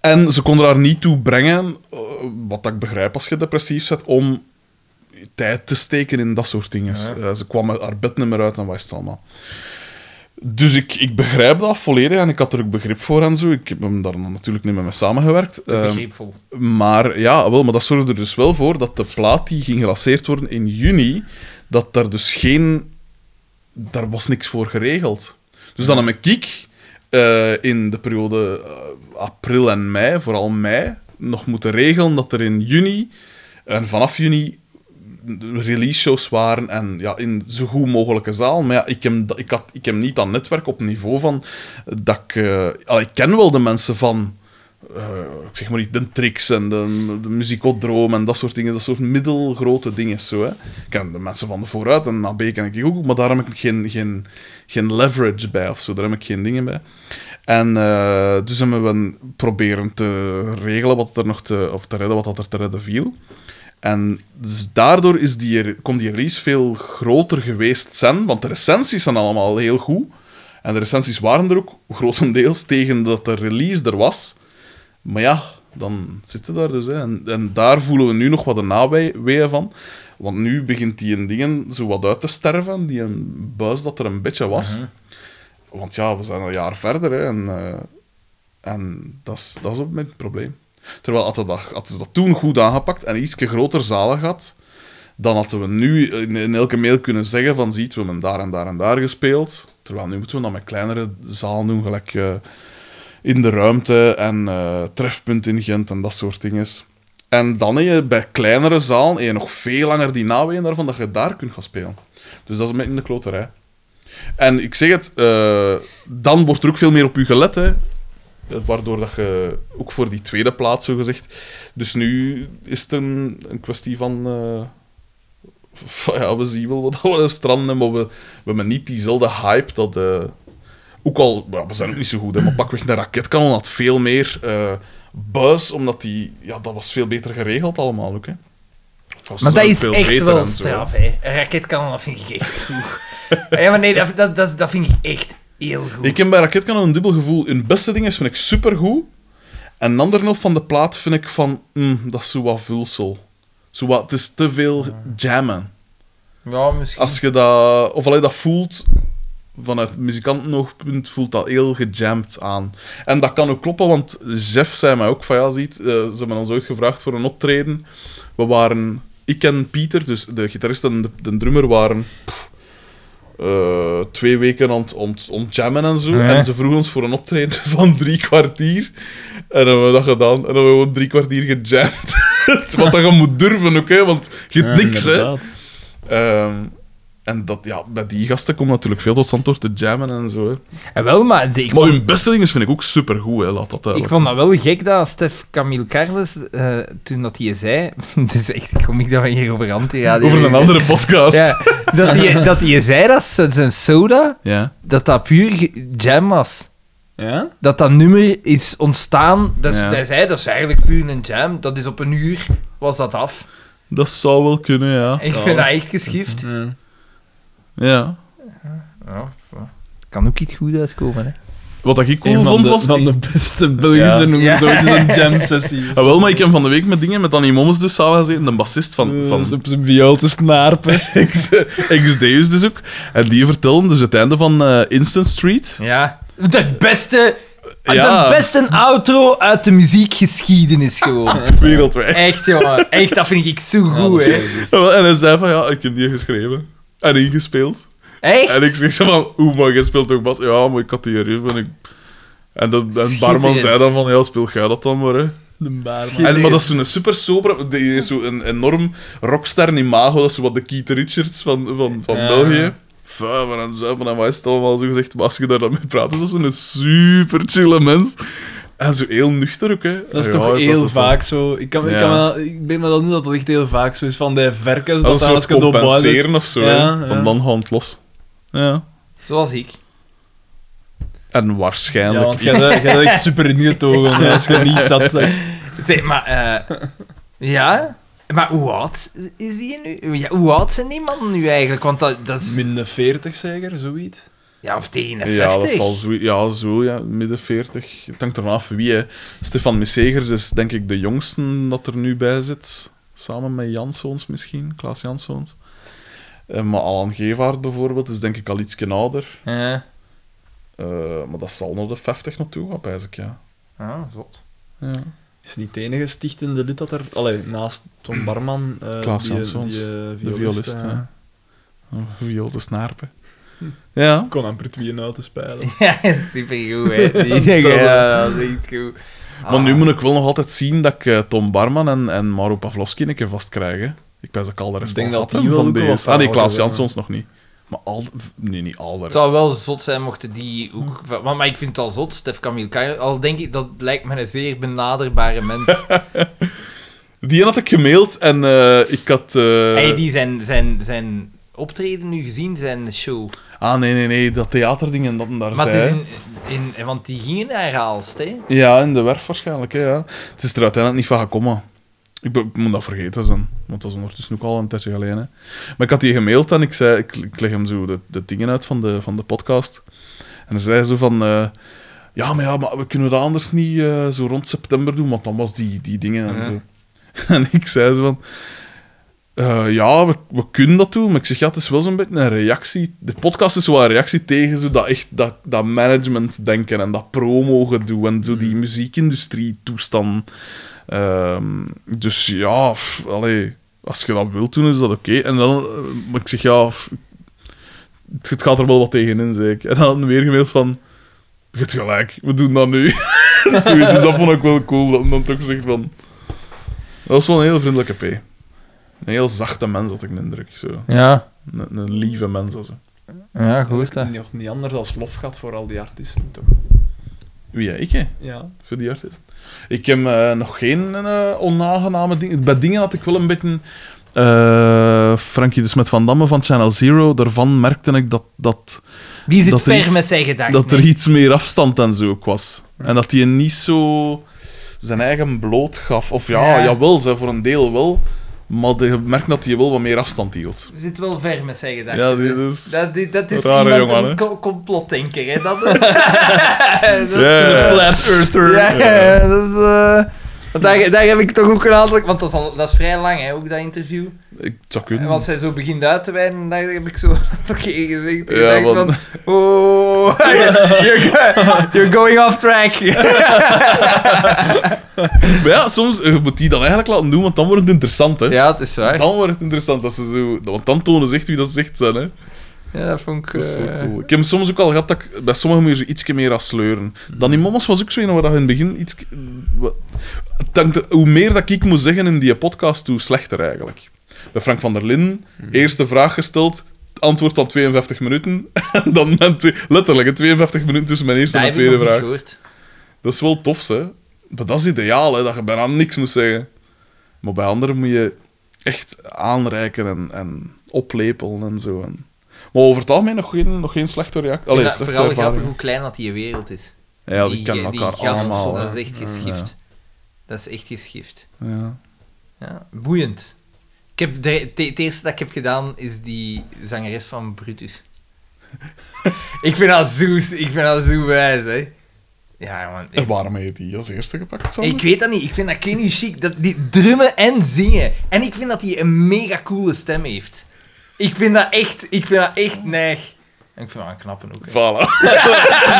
[SPEAKER 2] En ze kon haar niet toe brengen, eh, wat dat ik begrijp als je depressief zet, om tijd te steken in dat soort dingen. Eh, ze kwam uit haar bed niet meer uit en wat is het allemaal. Dus ik, ik begrijp dat volledig en ik had er ook begrip voor en zo. Ik heb hem daar natuurlijk niet meer mee samengewerkt.
[SPEAKER 1] eh,
[SPEAKER 2] Ehm,
[SPEAKER 1] Begripvol.
[SPEAKER 2] maar ja, wel, maar dat zorgde er dus wel voor dat de plaat die ging gelanceerd worden in juni, dat daar dus geen... Daar was niks voor geregeld. Dus dan heb ik eh, in de periode eh, april en mei, vooral mei, nog moeten regelen dat er in juni en vanaf juni release shows waren en ja, in zo goed mogelijke zaal. Maar ja, ik heb, dat- ik, had, ik heb niet dat netwerk op niveau van dat ik... eh, al, ik ken wel de mensen van... eh, ik zeg maar niet, de tricks en de, de muziekodroom en dat soort dingen. Dat soort middelgrote dingen zo, hè. Ik ken de mensen van de vooruit en AB ken ik ook, maar daar heb ik geen, geen, geen leverage bij of zo. Daar heb ik geen dingen bij. En eh, dus hebben we een- proberen te regelen wat er nog te... Of te redden wat dat er te redden viel. En dus daardoor is die, kon die release veel groter geweest zijn, want de recensies zijn allemaal heel goed. En de recensies waren er ook grotendeels tegen dat de release er was. Maar ja, dan zitten daar dus. Hè. En, en daar voelen we nu nog wat de naweeën van. Want nu begint die in dingen zo wat uit te sterven, die een buis dat er een beetje was. Want ja, we zijn al een jaar verder hè, en, eh, en dat is dat is op mijn probleem. Terwijl hadden dat, hadden ze dat toen goed aangepakt en iets groter zalen gehad, dan hadden we nu in, in elke mail kunnen zeggen van ziet, we hebben daar en daar en daar gespeeld. Terwijl nu moeten we dat met kleinere zalen doen, gelijk eh, in de ruimte en eh, trefpunt in Gent en dat soort dingen. En dan heb je bij kleinere zalen heb je nog veel langer die naweeën daarvan dat je daar kunt gaan spelen. Dus dat is met in de kloterij. En ik zeg het, eh, dan wordt er ook veel meer op u gelet, hè. Eh, Waardoor dat je ook voor die tweede plaats, zo gezegd. Dus nu is het een, een kwestie van. eh, van, ja, we zien wel wat we stranden, maar we, we hebben niet diezelfde hype dat. eh, ook al, ja, we zijn ook niet zo goed, hè, maar pakweg een raketkanon had veel meer eh buzz, omdat die. Ja, dat was veel beter geregeld allemaal ook, hè. Dat was
[SPEAKER 1] Maar dat
[SPEAKER 2] veel
[SPEAKER 1] is echt
[SPEAKER 2] beter
[SPEAKER 1] wel
[SPEAKER 2] en zo.
[SPEAKER 1] straf, hè. Een raketkanon, dat vind ik echt goed. ja, maar nee, dat, dat, dat, dat vind ik echt heel goed.
[SPEAKER 2] Ik heb bij Raketkanon een dubbel gevoel. Een beste ding is, vind ik supergoed. En een ander helft van de plaat vind ik van... mm, dat is zo wat vulsel. Zo wat, het is te veel jammen.
[SPEAKER 1] Ja, misschien.
[SPEAKER 2] Als je dat... Of alleen dat voelt... Vanuit muzikantenoogpunt voelt dat heel gejamd aan. En dat kan ook kloppen, want Jeff zei mij ook van... Ja, ziet, eh, ze hebben ons ooit gevraagd voor een optreden. We waren... Ik en Pieter, dus de gitarist en de, de drummer, waren... pff, eh, twee weken aan het ont, ontjammen en zo. En ze vroegen ons voor een optreden van drie kwartier. En dan hebben we dat gedaan. En dan hebben we gewoon drie kwartier gejamd. Wat dat je moet durven ook, hè, want je hebt niks, hè.
[SPEAKER 3] inderdaad.
[SPEAKER 2] Ehm, en dat, ja, bij die gasten komt natuurlijk veel tot stand door te jammen en zo. Hè.
[SPEAKER 1] Ja, Eh, wel, maar de- ik,
[SPEAKER 2] Maar
[SPEAKER 1] vond,
[SPEAKER 2] hun beste dingen vind ik ook supergoed, hè, laat dat
[SPEAKER 1] ik
[SPEAKER 2] duidelijk
[SPEAKER 1] vond dat wel gek dat Stef Camille Carles, eh, toen dat hij zei... Het is echt komiek dat we hier over
[SPEAKER 2] zijn.
[SPEAKER 1] antiradio...
[SPEAKER 2] Over een andere podcast. Ja.
[SPEAKER 1] Ja, dat hij, dat hij zei dat z- zijn soda, dat dat puur ge- jam was.
[SPEAKER 3] Ja?
[SPEAKER 1] Dat dat nummer is ontstaan. Dat is,
[SPEAKER 2] Ja.
[SPEAKER 1] Hij zei, dat is eigenlijk puur een jam. Dat is op een uur, was dat af.
[SPEAKER 2] Dat zou wel kunnen, ja.
[SPEAKER 1] Ik vind dat echt geschift.
[SPEAKER 3] Ja.
[SPEAKER 2] ja.
[SPEAKER 1] Ja, ja. kan ook iets goed uitkomen, hè.
[SPEAKER 2] Wat dat ik cool
[SPEAKER 3] Een van,
[SPEAKER 2] vond
[SPEAKER 3] de,
[SPEAKER 2] was...
[SPEAKER 3] van de beste Belgische
[SPEAKER 2] Ja.
[SPEAKER 3] noemen
[SPEAKER 1] Ja.
[SPEAKER 3] zo. Het is een jam-sessie.
[SPEAKER 2] Ah, wel, maar ik heb van de week met dingen, met Annie Mommes dus samengezeten, de bassist van...
[SPEAKER 3] Eh,
[SPEAKER 2] van
[SPEAKER 3] is op zijn viool te snarpen.
[SPEAKER 2] X- XD's dus ook. En die vertellen dus het einde van eh, Instant Street.
[SPEAKER 1] Ja. De beste...
[SPEAKER 3] Ah,
[SPEAKER 2] Ja.
[SPEAKER 1] De beste outro uit de muziekgeschiedenis, gewoon.
[SPEAKER 2] Wereldwijd.
[SPEAKER 1] Echt, jongen. Echt, dat vind ik zo
[SPEAKER 3] dat
[SPEAKER 1] goed,
[SPEAKER 3] is
[SPEAKER 1] hè.
[SPEAKER 3] wel juist.
[SPEAKER 2] Ah, wel, En hij zei van, ja, ik heb die geschreven. En ingespeeld.
[SPEAKER 1] Echt?
[SPEAKER 2] En ik zeg zo van, oeh, maar jij speelt toch bas? Ja, maar ik had die erin. En, ik... en, dat, en barman
[SPEAKER 1] Schitterend.
[SPEAKER 2] zei dan van, ja, speel jij dat dan maar, hè.
[SPEAKER 3] De baar, man.
[SPEAKER 2] En, maar dat is zo'n super sober, die is zo'n enorm rockster imago, dat is zo wat de Keith Richards van, van, van
[SPEAKER 3] Ja.
[SPEAKER 2] België. Vuiven en zuipen en wat is het allemaal zo gezegd. Maar als je daar dan mee praat, is dat zo'n super chille mens. En zo heel nuchter ook, hè.
[SPEAKER 3] Dat is
[SPEAKER 2] Ja,
[SPEAKER 3] toch
[SPEAKER 2] ik
[SPEAKER 3] heel
[SPEAKER 2] had het wel.
[SPEAKER 3] vaak zo. Ik, kan, ik,
[SPEAKER 2] Ja.
[SPEAKER 3] kan me, ik ben me dat nu dat dat echt heel vaak zo is van de verkens.
[SPEAKER 2] Dat
[SPEAKER 3] Dat
[SPEAKER 2] is
[SPEAKER 3] daar
[SPEAKER 2] een
[SPEAKER 3] als
[SPEAKER 2] soort
[SPEAKER 3] cadeau bij zit.
[SPEAKER 2] compenseren of zo,
[SPEAKER 3] Ja,
[SPEAKER 2] hè.
[SPEAKER 3] ja.
[SPEAKER 2] Van dan gaan het los. Ja.
[SPEAKER 1] Zoals ik.
[SPEAKER 2] En
[SPEAKER 3] Ja,
[SPEAKER 2] waarschijnlijk...
[SPEAKER 3] want jij bent- jij bent echt super ingetogen hè, als je niet zat zegt.
[SPEAKER 1] Zeg, maar... eh, ja? Maar hoe oud is die nu? Ja, hoe oud zijn die mannen nu eigenlijk? Want dat, dat is...
[SPEAKER 3] Min de 40 zeker, zoiets.
[SPEAKER 1] Ja, of tegen de 50.
[SPEAKER 2] Ja, dat zal zo, ja, zo ja, midden 40. Het hangt ervan af wie. Hè. Stefan Missegers is denk ik de jongste dat er nu bij zit. Samen met Janszoons misschien, Klaas Janszoons. Eh, maar Alan Gevaert bijvoorbeeld is denk ik al ietsje ouder.
[SPEAKER 1] Ja.
[SPEAKER 2] Eh, maar dat zal naar de 50 naartoe gaan, pijs ik, ja.
[SPEAKER 1] Ah, zot.
[SPEAKER 2] ja.
[SPEAKER 3] Is niet het enige stichtende lid dat er. Allee, naast Tom Barman. eh
[SPEAKER 2] Klaas
[SPEAKER 3] die,
[SPEAKER 2] Janssons,
[SPEAKER 3] die, eh,
[SPEAKER 2] De
[SPEAKER 3] violist,
[SPEAKER 2] violist,
[SPEAKER 3] eh, Hm.
[SPEAKER 2] ja. Oh, Viool de snaarpen. Ja.
[SPEAKER 3] Kon aan Pertwee uit te spelen.
[SPEAKER 1] Ja, supergoed, hè. Die zeggen, ja, dat is echt goed.
[SPEAKER 2] Maar
[SPEAKER 1] Ah.
[SPEAKER 2] nu moet ik wel nog altijd zien dat ik eh, Tom Barman en, en Maro Pavlovski een keer vastkrijg. hè. Ik ben dat ik al de rest
[SPEAKER 3] Ik denk
[SPEAKER 2] al
[SPEAKER 3] dat
[SPEAKER 2] gehad
[SPEAKER 3] die
[SPEAKER 2] heb
[SPEAKER 3] wel
[SPEAKER 2] van
[SPEAKER 3] ook wel
[SPEAKER 2] deze.
[SPEAKER 3] wat
[SPEAKER 2] Ah nee, Klaas
[SPEAKER 3] verhalen
[SPEAKER 2] Janssons nog niet. Maar al... Nee, niet al de
[SPEAKER 1] Het
[SPEAKER 2] rest.
[SPEAKER 1] zou wel zot zijn mochten die ook... Maar, maar ik vind het al zot, Stef Camille Kaino. Al denk ik, dat lijkt me een zeer benaderbare mens.
[SPEAKER 2] Die had ik gemaild en eh, ik had... eh,
[SPEAKER 1] hey, die zijn, zijn, zijn optreden nu gezien, zijn show.
[SPEAKER 2] Ah nee, nee, nee, dat theaterding en dat en daar
[SPEAKER 1] Maar het
[SPEAKER 2] zei.
[SPEAKER 1] is in, in, want die gingen naar Haalst, hè.
[SPEAKER 2] Ja, in de werf waarschijnlijk, hè, ja. Het is er uiteindelijk niet van gekomen. Ik, be- ik moet dat vergeten zijn, want dat is ondertussen ook al een tijdje geleden. Hè. Maar ik had die gemaild en ik zei, ik, ik leg hem zo de, de dingen uit van de, van de podcast. En dan zei hij zo van, eh, ja, maar ja, maar we kunnen dat anders niet eh, zo rond september doen, want dan was die, die dingen en
[SPEAKER 1] Ja.
[SPEAKER 2] zo. En ik zei zo van, eh, ja, we, we kunnen dat doen, maar ik zeg, ja, het is wel zo'n beetje een reactie. De podcast is wel een reactie tegen zo dat, echt, dat, dat management denken en dat promo gedoe en zo die muziekindustrie toestand. Ehm, dus ja, f, allee, als je dat wilt doen, is dat oké. En dan, eh, maar ik zeg, ja, f, het, het gaat er wel wat tegenin, zeg ik. En dan weer gemaild van, je hebt gelijk, we doen dat nu. Zoiets, dus dat vond ik wel cool, dat men dan toch zegt van... Dat was wel een heel vriendelijke P. Een heel zachte mens, had ik de indruk. Zo.
[SPEAKER 1] Ja,
[SPEAKER 2] Een, een lieve mens. Zo.
[SPEAKER 1] ja, gehoord
[SPEAKER 3] Wordt Nog niet anders als lof gaat voor al die artiesten, toch?
[SPEAKER 2] Wie, ja, ik, hè?
[SPEAKER 3] Ja.
[SPEAKER 2] Voor die artiest. Ik heb eh, nog geen eh, onaangename dingen... Bij dingen had ik wel een beetje... eh Frankie de Smet van Damme van Channel Zero, daarvan merkte ik dat, dat
[SPEAKER 1] Die zit
[SPEAKER 2] Dat er
[SPEAKER 1] ver
[SPEAKER 2] iets-
[SPEAKER 1] met zijn gedachten.
[SPEAKER 2] dat er iets meer afstand en zo ook was. En dat hij niet zo zijn eigen bloot gaf. Of ja,
[SPEAKER 1] Ja.
[SPEAKER 2] jawel, ze, voor een deel wel. Maar je merkt dat hij wel wat meer afstand hield.
[SPEAKER 1] hè. Zit wel ver met zijn gedachten.
[SPEAKER 2] Ja, dus- dit is...
[SPEAKER 1] Dat, die- dat is
[SPEAKER 2] Rare
[SPEAKER 1] iemand
[SPEAKER 2] jongen, hè.
[SPEAKER 1] een co- complotdenker, hè. Dat is... dat
[SPEAKER 2] Ja.
[SPEAKER 3] Flat Earther.
[SPEAKER 1] Ja, ja, dat is... eh, want daar, daar heb ik toch ook een aantal... Want dat is, al, dat is vrij lang, hè, ook dat interview.
[SPEAKER 2] Ik zou
[SPEAKER 1] En
[SPEAKER 2] kunnen.
[SPEAKER 1] als zij zo begint uit te wijden, daar heb ik zo toch geen gezegd. Ik
[SPEAKER 2] Ja,
[SPEAKER 1] denk
[SPEAKER 2] want-
[SPEAKER 1] van... Oh, you're, go- you're going off track.
[SPEAKER 2] Maar ja, soms eh, je moet die dan eigenlijk laten doen, want dan wordt het interessant, hè.
[SPEAKER 1] ja, het is waar.
[SPEAKER 2] Dan wordt het interessant, dat ze zo... Want dan tonen ze echt wie dat ze echt zijn, hè.
[SPEAKER 1] Ja, dat vond ik...
[SPEAKER 2] Dat is wel
[SPEAKER 1] eh,
[SPEAKER 2] cool. Ik heb soms ook al gehad dat ik bij sommigen moet je zo ietsje meer aan sleuren.
[SPEAKER 1] Mhm.
[SPEAKER 2] Dan in Mamas was ook zo een waar dat in het begin iets... Hoe meer dat ik moest zeggen in die podcast, hoe slechter eigenlijk. Bij Frank van der Linden,
[SPEAKER 1] Mhm.
[SPEAKER 2] eerste vraag gesteld, antwoord dan 52 minuten. En dan mijn twee- letterlijk, hè, 52 minuten tussen mijn eerste
[SPEAKER 1] dat
[SPEAKER 2] en
[SPEAKER 1] heb
[SPEAKER 2] mijn tweede
[SPEAKER 1] ik nog
[SPEAKER 2] vraag.
[SPEAKER 1] niet gehoord.
[SPEAKER 2] Dat is wel tof, hè? Maar dat is ideaal, hè? Dat je bijna niks moet zeggen. Maar bij anderen moet je echt aanreiken en, en oplepelen en zo. En... Maar over het algemeen nog geen, nog geen slechte reactie.
[SPEAKER 1] Ik
[SPEAKER 2] Allee,
[SPEAKER 1] vind dat
[SPEAKER 2] slechte
[SPEAKER 1] vooral grappig
[SPEAKER 2] ervaring.
[SPEAKER 1] hoe klein dat die wereld is.
[SPEAKER 2] Ja, die, kennen
[SPEAKER 1] die
[SPEAKER 2] elkaar
[SPEAKER 1] gasten,
[SPEAKER 2] allemaal.
[SPEAKER 1] Dat
[SPEAKER 2] hè.
[SPEAKER 1] is echt geschift. Dat is echt geschift.
[SPEAKER 2] Ja.
[SPEAKER 1] Ja, boeiend. Ik heb de, te- het eerste dat ik heb gedaan is die zangeres van Brutus. ik vind dat zo, ik vind dat zo wijs, hè. Ja, man.
[SPEAKER 2] En
[SPEAKER 1] Ik,
[SPEAKER 2] waarom heb je die als eerste gepakt, Sander?
[SPEAKER 1] ik weet dat niet. Ik vind dat Kenny chic. Dat, die drummen en zingen. En ik vind dat hij een mega coole stem heeft. Ik vind dat echt, ik vind dat echt neig. En ik vind dat een knappe ook. hè.
[SPEAKER 2] Voilà.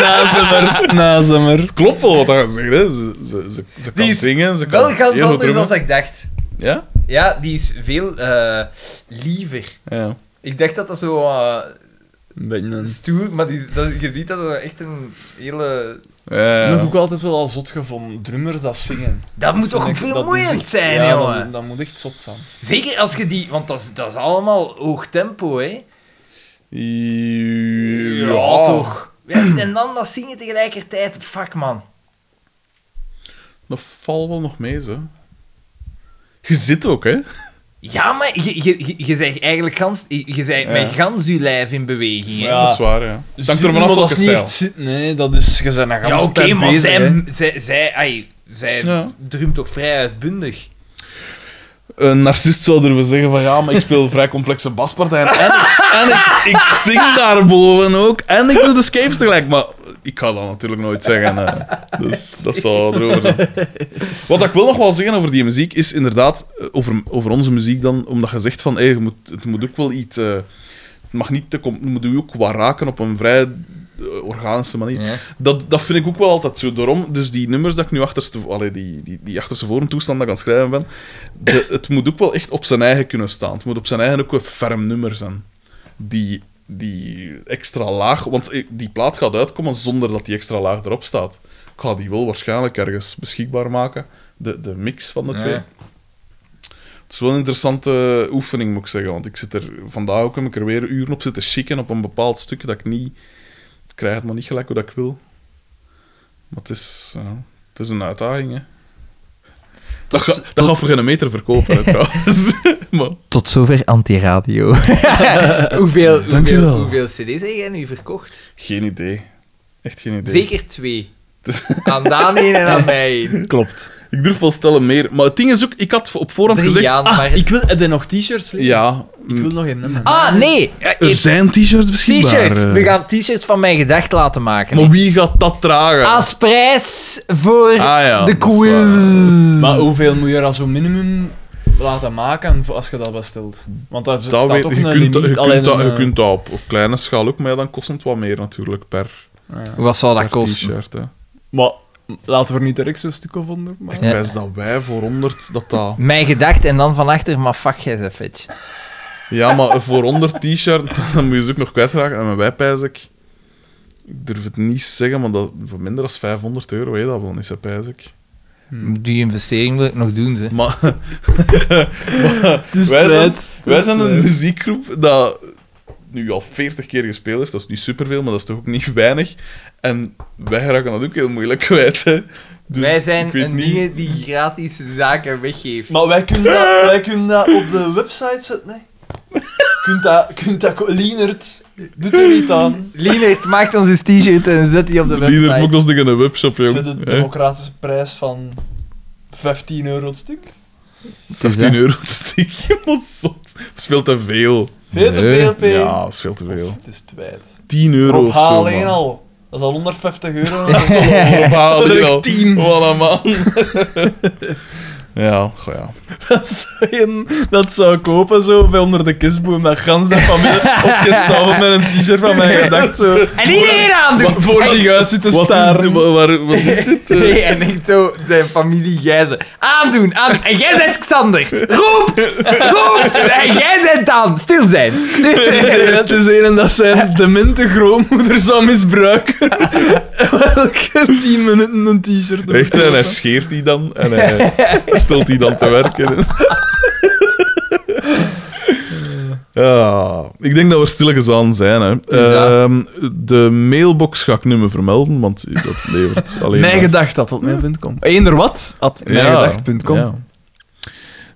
[SPEAKER 3] Nazemer. Nazemer.
[SPEAKER 2] Het klopt wel wat hij zegt, hè? Ze, ze, ze, ze kan
[SPEAKER 1] Die is
[SPEAKER 2] zingen, ze kan
[SPEAKER 1] Wel
[SPEAKER 2] heel
[SPEAKER 1] gans
[SPEAKER 2] goed
[SPEAKER 1] anders
[SPEAKER 2] drummen.
[SPEAKER 1] dan ik dacht.
[SPEAKER 2] Ja?
[SPEAKER 1] Ja, die is veel eh, liever.
[SPEAKER 2] Ja.
[SPEAKER 1] Ik dacht dat dat zo eh,
[SPEAKER 3] Een beetje een...
[SPEAKER 1] Stoer, maar die, dat, je ziet dat er echt een hele...
[SPEAKER 3] Ik heb
[SPEAKER 7] Ja.
[SPEAKER 3] ook altijd wel al zot gevonden. Drummers dat zingen.
[SPEAKER 1] Dat moet toch
[SPEAKER 3] Vind
[SPEAKER 1] ook
[SPEAKER 3] ik- dat is
[SPEAKER 1] vermoeiend
[SPEAKER 3] echt-
[SPEAKER 1] zijn,
[SPEAKER 3] ja,
[SPEAKER 1] jongen.
[SPEAKER 3] Dat, dat moet echt zot zijn.
[SPEAKER 1] Zeker als je die... Want dat is, dat is allemaal hoog tempo, hè.
[SPEAKER 2] Ja,
[SPEAKER 1] toch. Ja, en dan dat zingen tegelijkertijd. Fuck, man.
[SPEAKER 2] Dat valt wel nog mee, ze.
[SPEAKER 7] Je zit ook, hè?
[SPEAKER 1] Ja, maar je, je, je, je zegt eigenlijk gans, je, je zegt met gans je lijf in beweging, hè.
[SPEAKER 2] Dat is waar, ja.
[SPEAKER 3] Dus
[SPEAKER 2] Dank
[SPEAKER 3] zitten,
[SPEAKER 2] er vanaf
[SPEAKER 3] maar dat
[SPEAKER 2] welke
[SPEAKER 3] is niet
[SPEAKER 2] stijl.
[SPEAKER 3] echt zitten, nee, dat is... Je bent
[SPEAKER 1] Ja, oké, maar
[SPEAKER 3] bezig, hè.
[SPEAKER 1] zij, zij, zij, ai, zij
[SPEAKER 2] Ja.
[SPEAKER 1] drumt toch vrij uitbundig.
[SPEAKER 2] Een narcist zou durven zeggen van ja, maar ik speel vrij complexe baspartijen. En, en ik, ik zing daarboven ook. En ik doe de scapes tegelijk. Maar ik ga dat natuurlijk nooit zeggen. hè. Dus dat zou erover zijn. Wat ik wil nog wel zeggen over die muziek is inderdaad, eh, over, over onze muziek dan, omdat je zegt van hey, je moet, het moet ook wel iets... eh, het mag niet te... com- Het moet je ook wat raken op een vrij eh, organische manier. Dat, dat vind ik ook wel altijd zo. Daarom, dus die nummers dat ik nu achterste, allee, die, die, die achterste voren toestand dat ik aan het schrijven ben, de- het moet ook wel echt op zijn eigen kunnen staan. Het moet op zijn eigen ook een ferm nummer zijn. Die, die extra laag, want ik- die plaat gaat uitkomen zonder dat die extra laag erop staat. Ik ga die wel waarschijnlijk ergens beschikbaar maken, de, de mix van de
[SPEAKER 1] Ja.
[SPEAKER 2] twee. Het is wel een interessante oefening, moet ik zeggen. Want ik zit er vandaag ook heb ik er weer uren op zitten chicken op een bepaald stuk dat ik niet... Ik krijg het maar niet gelijk hoe dat ik wil. Maar het is, ja, het is een uitdaging, hè. Dat, ga, dat gaat voor geen meter verkopen, hè, trouwens. maar,
[SPEAKER 1] Tot zover anti-radio. hoeveel, hoeveel, hoeveel cd's heb jij nu verkocht?
[SPEAKER 2] geen idee. Echt geen idee.
[SPEAKER 1] Zeker twee. Aan Daan één en aan mij één.
[SPEAKER 3] Klopt.
[SPEAKER 2] Ik durf wel stellen meer. Maar het ding is ook, ik had op voorhand
[SPEAKER 1] Drie
[SPEAKER 2] gezegd...
[SPEAKER 1] Jaan, maar-
[SPEAKER 3] Ah, ik wil... Heb je nog t-shirts liggen?
[SPEAKER 2] Ja,
[SPEAKER 3] Ik wil
[SPEAKER 2] mm,
[SPEAKER 3] nog een nummer.
[SPEAKER 1] Ah, nee. Ja,
[SPEAKER 2] er
[SPEAKER 1] ik-
[SPEAKER 2] zijn t-shirts beschikbaar.
[SPEAKER 1] T-shirts.
[SPEAKER 2] eh.
[SPEAKER 1] We gaan t-shirts van mijn gedacht laten maken.
[SPEAKER 2] Maar wie gaat dat dragen? Ah,
[SPEAKER 1] Als prijs voor
[SPEAKER 2] ja,
[SPEAKER 1] Ah, de
[SPEAKER 2] dat is
[SPEAKER 1] quiz.
[SPEAKER 3] Maar hoeveel moet je er als zo'n minimum laten maken voor als je dat bestelt? Want daar
[SPEAKER 2] Dat
[SPEAKER 3] staat
[SPEAKER 2] weet,
[SPEAKER 3] toch
[SPEAKER 2] je,
[SPEAKER 3] een
[SPEAKER 2] kunt,
[SPEAKER 3] limiet.
[SPEAKER 2] dat- je,
[SPEAKER 3] alleen
[SPEAKER 2] kunt dat,
[SPEAKER 3] een,
[SPEAKER 2] je
[SPEAKER 3] eh,
[SPEAKER 2] kunt dat op, op kleine schaal ook, maar ja, dan kost het wat meer natuurlijk per,
[SPEAKER 1] Wat zal dat
[SPEAKER 2] per
[SPEAKER 1] kosten?
[SPEAKER 2] t-shirt. hè.
[SPEAKER 3] Maar laten we er niet direct zo'n stuk of onder maken.
[SPEAKER 1] Ja.
[SPEAKER 2] Ik wijs dat wij voor 100 dat dat...
[SPEAKER 1] Mijn gedacht en dan van achter, maar fuck jij ze fetch.
[SPEAKER 2] Ja, maar voor 100 t-shirt, dan moet je ze ook nog kwijtraken. En met wij pijs ik... Ik durf het niet zeggen, maar dat, voor minder dan 500 euro, weet je dat wel niet, hè, pijs ik.
[SPEAKER 1] Die investering wil ik nog doen, ze.
[SPEAKER 2] Maar
[SPEAKER 3] Dus
[SPEAKER 2] wij zijn, wij zijn een muziekgroep dat nu al 40 keer gespeeld heeft. Dat is niet superveel, maar dat is toch ook niet weinig. En wij raken dat ook heel moeilijk kwijt, hè. Dus
[SPEAKER 1] Wij
[SPEAKER 2] ik
[SPEAKER 1] zijn
[SPEAKER 2] weet
[SPEAKER 1] een
[SPEAKER 2] niet-
[SPEAKER 1] dingen die gratis zaken weggeeft.
[SPEAKER 3] Maar Oh, wij kunnen, dat, wij kunnen dat op de website zetten, hè? kunt dat, kunt dat... ko- Lienert, doet er niet aan.
[SPEAKER 1] Lienert maakt ons eens t-shirt en zet die op de website.
[SPEAKER 2] Lieder moet ons dingen in een webshop,
[SPEAKER 3] Voor
[SPEAKER 2] jong.
[SPEAKER 3] de
[SPEAKER 2] Hè?
[SPEAKER 3] democratische prijs van 15 euro het stuk.
[SPEAKER 2] 15 euro het stuk, je moet zot. Dat is veel te veel.
[SPEAKER 3] Veel te
[SPEAKER 1] Nee.
[SPEAKER 3] veel, P.
[SPEAKER 2] Ja, dat is veel te veel.
[SPEAKER 3] Het is twijt.
[SPEAKER 2] 10 euro
[SPEAKER 3] Rob
[SPEAKER 2] of zo.
[SPEAKER 3] Haal één
[SPEAKER 2] man.
[SPEAKER 3] al. Dat is al 150 euro. Dat is al
[SPEAKER 2] Rob Haal
[SPEAKER 3] Dat is
[SPEAKER 2] één
[SPEAKER 3] echt
[SPEAKER 2] al.
[SPEAKER 3] 10.
[SPEAKER 2] Wat een man. ja, goh ja.
[SPEAKER 3] dat zou, je- dat zou kopen zo bij onder de kistboom. Dat gans dat van mij opgestapeld met een t-shirt van mij gedacht zo.
[SPEAKER 1] En iedereen aan doen!
[SPEAKER 3] Voor zich uit zitten
[SPEAKER 2] Wat is,
[SPEAKER 3] staren.
[SPEAKER 2] dit, wa- waar, wat is dit? eh?
[SPEAKER 1] Nee, en ik zo, de familie Gijzen. Aandoen, aandoen. En jij bent Xander. Roept! Roept! En jij bent dan. Stil zijn. Stil
[SPEAKER 3] Het is een- Het is een dat zijn demente grootmoeder zou misbruiken. Elke 10 minuten een t-shirt.
[SPEAKER 2] Echt, en hij scheert die dan en hij stelt die dan te werken. Ja, ik denk dat we stilletjes aan zijn. Hè.
[SPEAKER 1] Ja.
[SPEAKER 2] Ehm, de mailbox ga ik nu me vermelden, want dat levert alleen
[SPEAKER 3] Mijn
[SPEAKER 2] maar-
[SPEAKER 3] gedacht dat tot mijngedacht.com. Eender wat? At mijngedacht.com.
[SPEAKER 2] ja.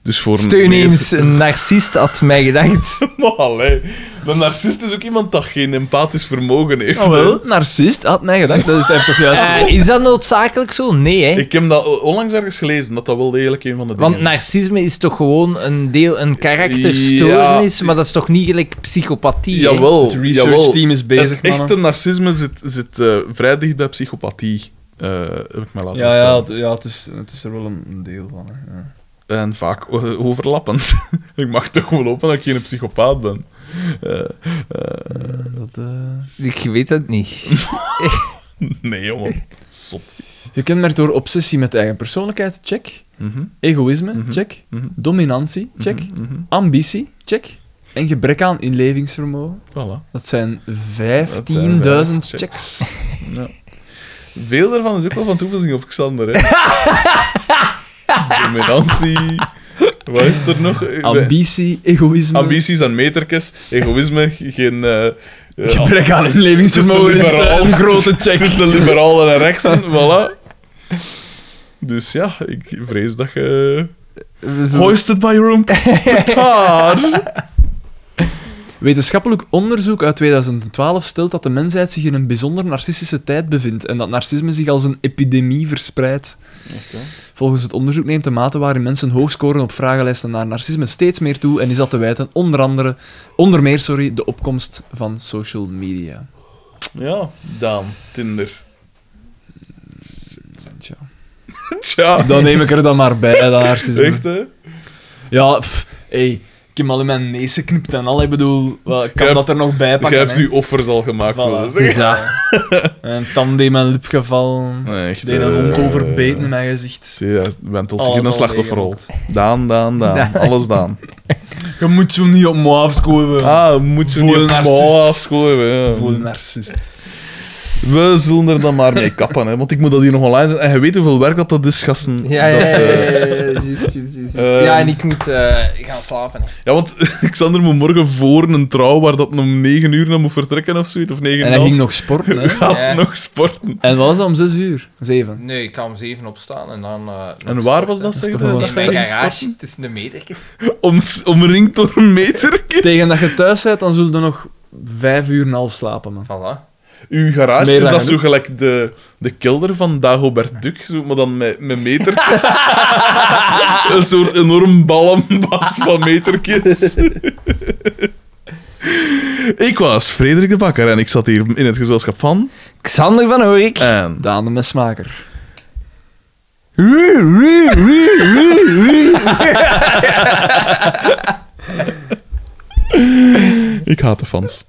[SPEAKER 2] Dus voor
[SPEAKER 1] Steun
[SPEAKER 2] meer-
[SPEAKER 1] eens een narcist, had mij gedacht.
[SPEAKER 2] Maar allee, de narcist is ook iemand dat geen empathisch vermogen heeft.
[SPEAKER 3] Oh,
[SPEAKER 2] hè.
[SPEAKER 3] wel, narcist, had mij gedacht. Dat is hij heeft toch juist.
[SPEAKER 1] Eh, is dat noodzakelijk zo? Nee, hè?
[SPEAKER 2] Ik heb dat onlangs ergens gelezen, dat dat wel degelijk een van de dingen
[SPEAKER 1] Want narcisme is toch gewoon een deel, een karakterstoornis, maar dat is toch niet gelijk psychopathie?
[SPEAKER 2] is.
[SPEAKER 1] hè?
[SPEAKER 2] Jawel,
[SPEAKER 3] Het research
[SPEAKER 2] jawel.
[SPEAKER 3] team is bezig,
[SPEAKER 2] Het echte
[SPEAKER 3] mannen.
[SPEAKER 2] narcisme zit, zit eh, vrij dicht bij psychopathie, eh, heb ik mij laten
[SPEAKER 3] Ja, ja,
[SPEAKER 2] vertellen.
[SPEAKER 3] het, ja het, is, het is er wel een deel van. Hè. Ja.
[SPEAKER 2] En vaak o- overlappend. ik mag toch wel hopen dat ik geen psychopaat ben. Eh, eh,
[SPEAKER 3] Dat, eh,
[SPEAKER 1] Ik weet het niet.
[SPEAKER 2] nee, jongen. Zot.
[SPEAKER 3] Gekenmerkt door obsessie met eigen persoonlijkheid, check.
[SPEAKER 2] Mhm,
[SPEAKER 3] Egoïsme,
[SPEAKER 2] Mhm.
[SPEAKER 3] check.
[SPEAKER 2] mhm,
[SPEAKER 3] Dominantie, check.
[SPEAKER 2] mhm, mhm.
[SPEAKER 3] Ambitie, check. en gebrek aan inlevingsvermogen.
[SPEAKER 2] Voilà.
[SPEAKER 3] Dat zijn 15.000
[SPEAKER 2] checks.
[SPEAKER 3] checks.
[SPEAKER 2] Veel daarvan is ook wel van toepassing op Xander, hè. Dominantie... Wat is er nog? Eh,
[SPEAKER 3] Ambitie, egoïsme.
[SPEAKER 2] Ambities en metertjes. Egoïsme, geen... eh, eh,
[SPEAKER 3] Gebrek aan inlevingsvermogen
[SPEAKER 2] Het is
[SPEAKER 3] is
[SPEAKER 2] een liberaal.
[SPEAKER 3] een grote check.
[SPEAKER 2] tussen de liberalen en rechtsen, voilà. Dus ja, ik vrees dat je...
[SPEAKER 3] We zullen-
[SPEAKER 2] Hoisted by your own petard.
[SPEAKER 3] Wetenschappelijk onderzoek uit 2012 stelt dat de mensheid zich in een bijzonder narcistische tijd bevindt en dat narcisme zich als een epidemie verspreidt. Volgens het onderzoek neemt de mate waarin mensen hoog scoren op vragenlijsten naar narcisme steeds meer toe en is dat te wijten onder, andere, onder meer sorry, de opkomst van social media.
[SPEAKER 2] Ja, Daan. Tinder.
[SPEAKER 3] Tja.
[SPEAKER 2] Tja,
[SPEAKER 3] Dan neem ik er dan maar bij, dat narcisme.
[SPEAKER 2] echt hè.
[SPEAKER 3] Ja, pff, ey, ik heb al in mijn neus geknipt en al, ik bedoel, wat kan
[SPEAKER 2] Jij
[SPEAKER 3] dat er nog bij
[SPEAKER 2] Jij
[SPEAKER 3] pakken?
[SPEAKER 2] hebt
[SPEAKER 3] hè?
[SPEAKER 2] uw offers al gemaakt,
[SPEAKER 3] Voilà,
[SPEAKER 2] wilde
[SPEAKER 3] het
[SPEAKER 2] zeggen.
[SPEAKER 3] is dat. Een tand in mijn lip gevallen.
[SPEAKER 2] Nee,
[SPEAKER 3] Ik
[SPEAKER 2] echt.
[SPEAKER 3] deed een hond
[SPEAKER 2] eh,
[SPEAKER 3] overbeten in mijn gezicht.
[SPEAKER 2] Zie je, hij bent
[SPEAKER 1] Oh,
[SPEAKER 2] tot
[SPEAKER 3] Alles
[SPEAKER 2] zich in een
[SPEAKER 3] al
[SPEAKER 2] slachtofferrol. Daan, Daan, Daan.
[SPEAKER 1] Ja.
[SPEAKER 2] Alles Daan.
[SPEAKER 3] Je moet zo niet op me afscoven.
[SPEAKER 2] Ah, moet je
[SPEAKER 3] Voor
[SPEAKER 2] niet
[SPEAKER 3] een
[SPEAKER 2] op
[SPEAKER 3] narcist.
[SPEAKER 2] mouw afschoven, ja.
[SPEAKER 3] Voor een narcist.
[SPEAKER 2] We zullen er dan maar mee kappen, hè, want ik moet dat hier nog online zijn. En je weet hoeveel werk dat, dat is, gasten.
[SPEAKER 1] Ja, ja,
[SPEAKER 2] Dat,
[SPEAKER 1] ja, ja,
[SPEAKER 2] eh,
[SPEAKER 1] ja, ja, juist, juist, juist.
[SPEAKER 2] Ehm.
[SPEAKER 1] Ja, en ik moet eh, gaan slapen.
[SPEAKER 2] ja, want Xander moet morgen voor een trouw waar dat om 9 uur naar moet vertrekken of zoiets, of 9
[SPEAKER 3] En hij ging nog sporten, hè.
[SPEAKER 2] gaat
[SPEAKER 1] Ja.
[SPEAKER 2] nog sporten.
[SPEAKER 3] En wat was dat om 6 uur? 7.
[SPEAKER 1] Nee, ik kan om zeven opstaan en dan... eh, nog
[SPEAKER 2] En waar was
[SPEAKER 1] sporten.
[SPEAKER 2] dat,
[SPEAKER 3] is
[SPEAKER 2] zeg
[SPEAKER 3] toch
[SPEAKER 2] je?
[SPEAKER 3] wel
[SPEAKER 2] Dat
[SPEAKER 1] In mijn
[SPEAKER 2] stadion
[SPEAKER 1] garage, tussen de metertjes.
[SPEAKER 2] sporten? Om, omringd door een meter.
[SPEAKER 3] Tegen dat je thuis bent, dan zullen er nog 5 uur en een half slapen, man.
[SPEAKER 1] Voilà.
[SPEAKER 2] Uw
[SPEAKER 3] Dat
[SPEAKER 2] garage
[SPEAKER 3] is
[SPEAKER 2] is,
[SPEAKER 3] meer dan
[SPEAKER 2] dat zo
[SPEAKER 3] genoeg.
[SPEAKER 2] gelijk de, de kelder van Dagobert Duck, zo, maar dan met, met metertjes. een soort enorm ballenbad van metertjes. ik was Frederik de Bakker en ik zat hier in het gezelschap van.
[SPEAKER 1] Xander van Oorik.
[SPEAKER 2] En.
[SPEAKER 3] Daan de mesmaker.
[SPEAKER 2] Ik haat de fans.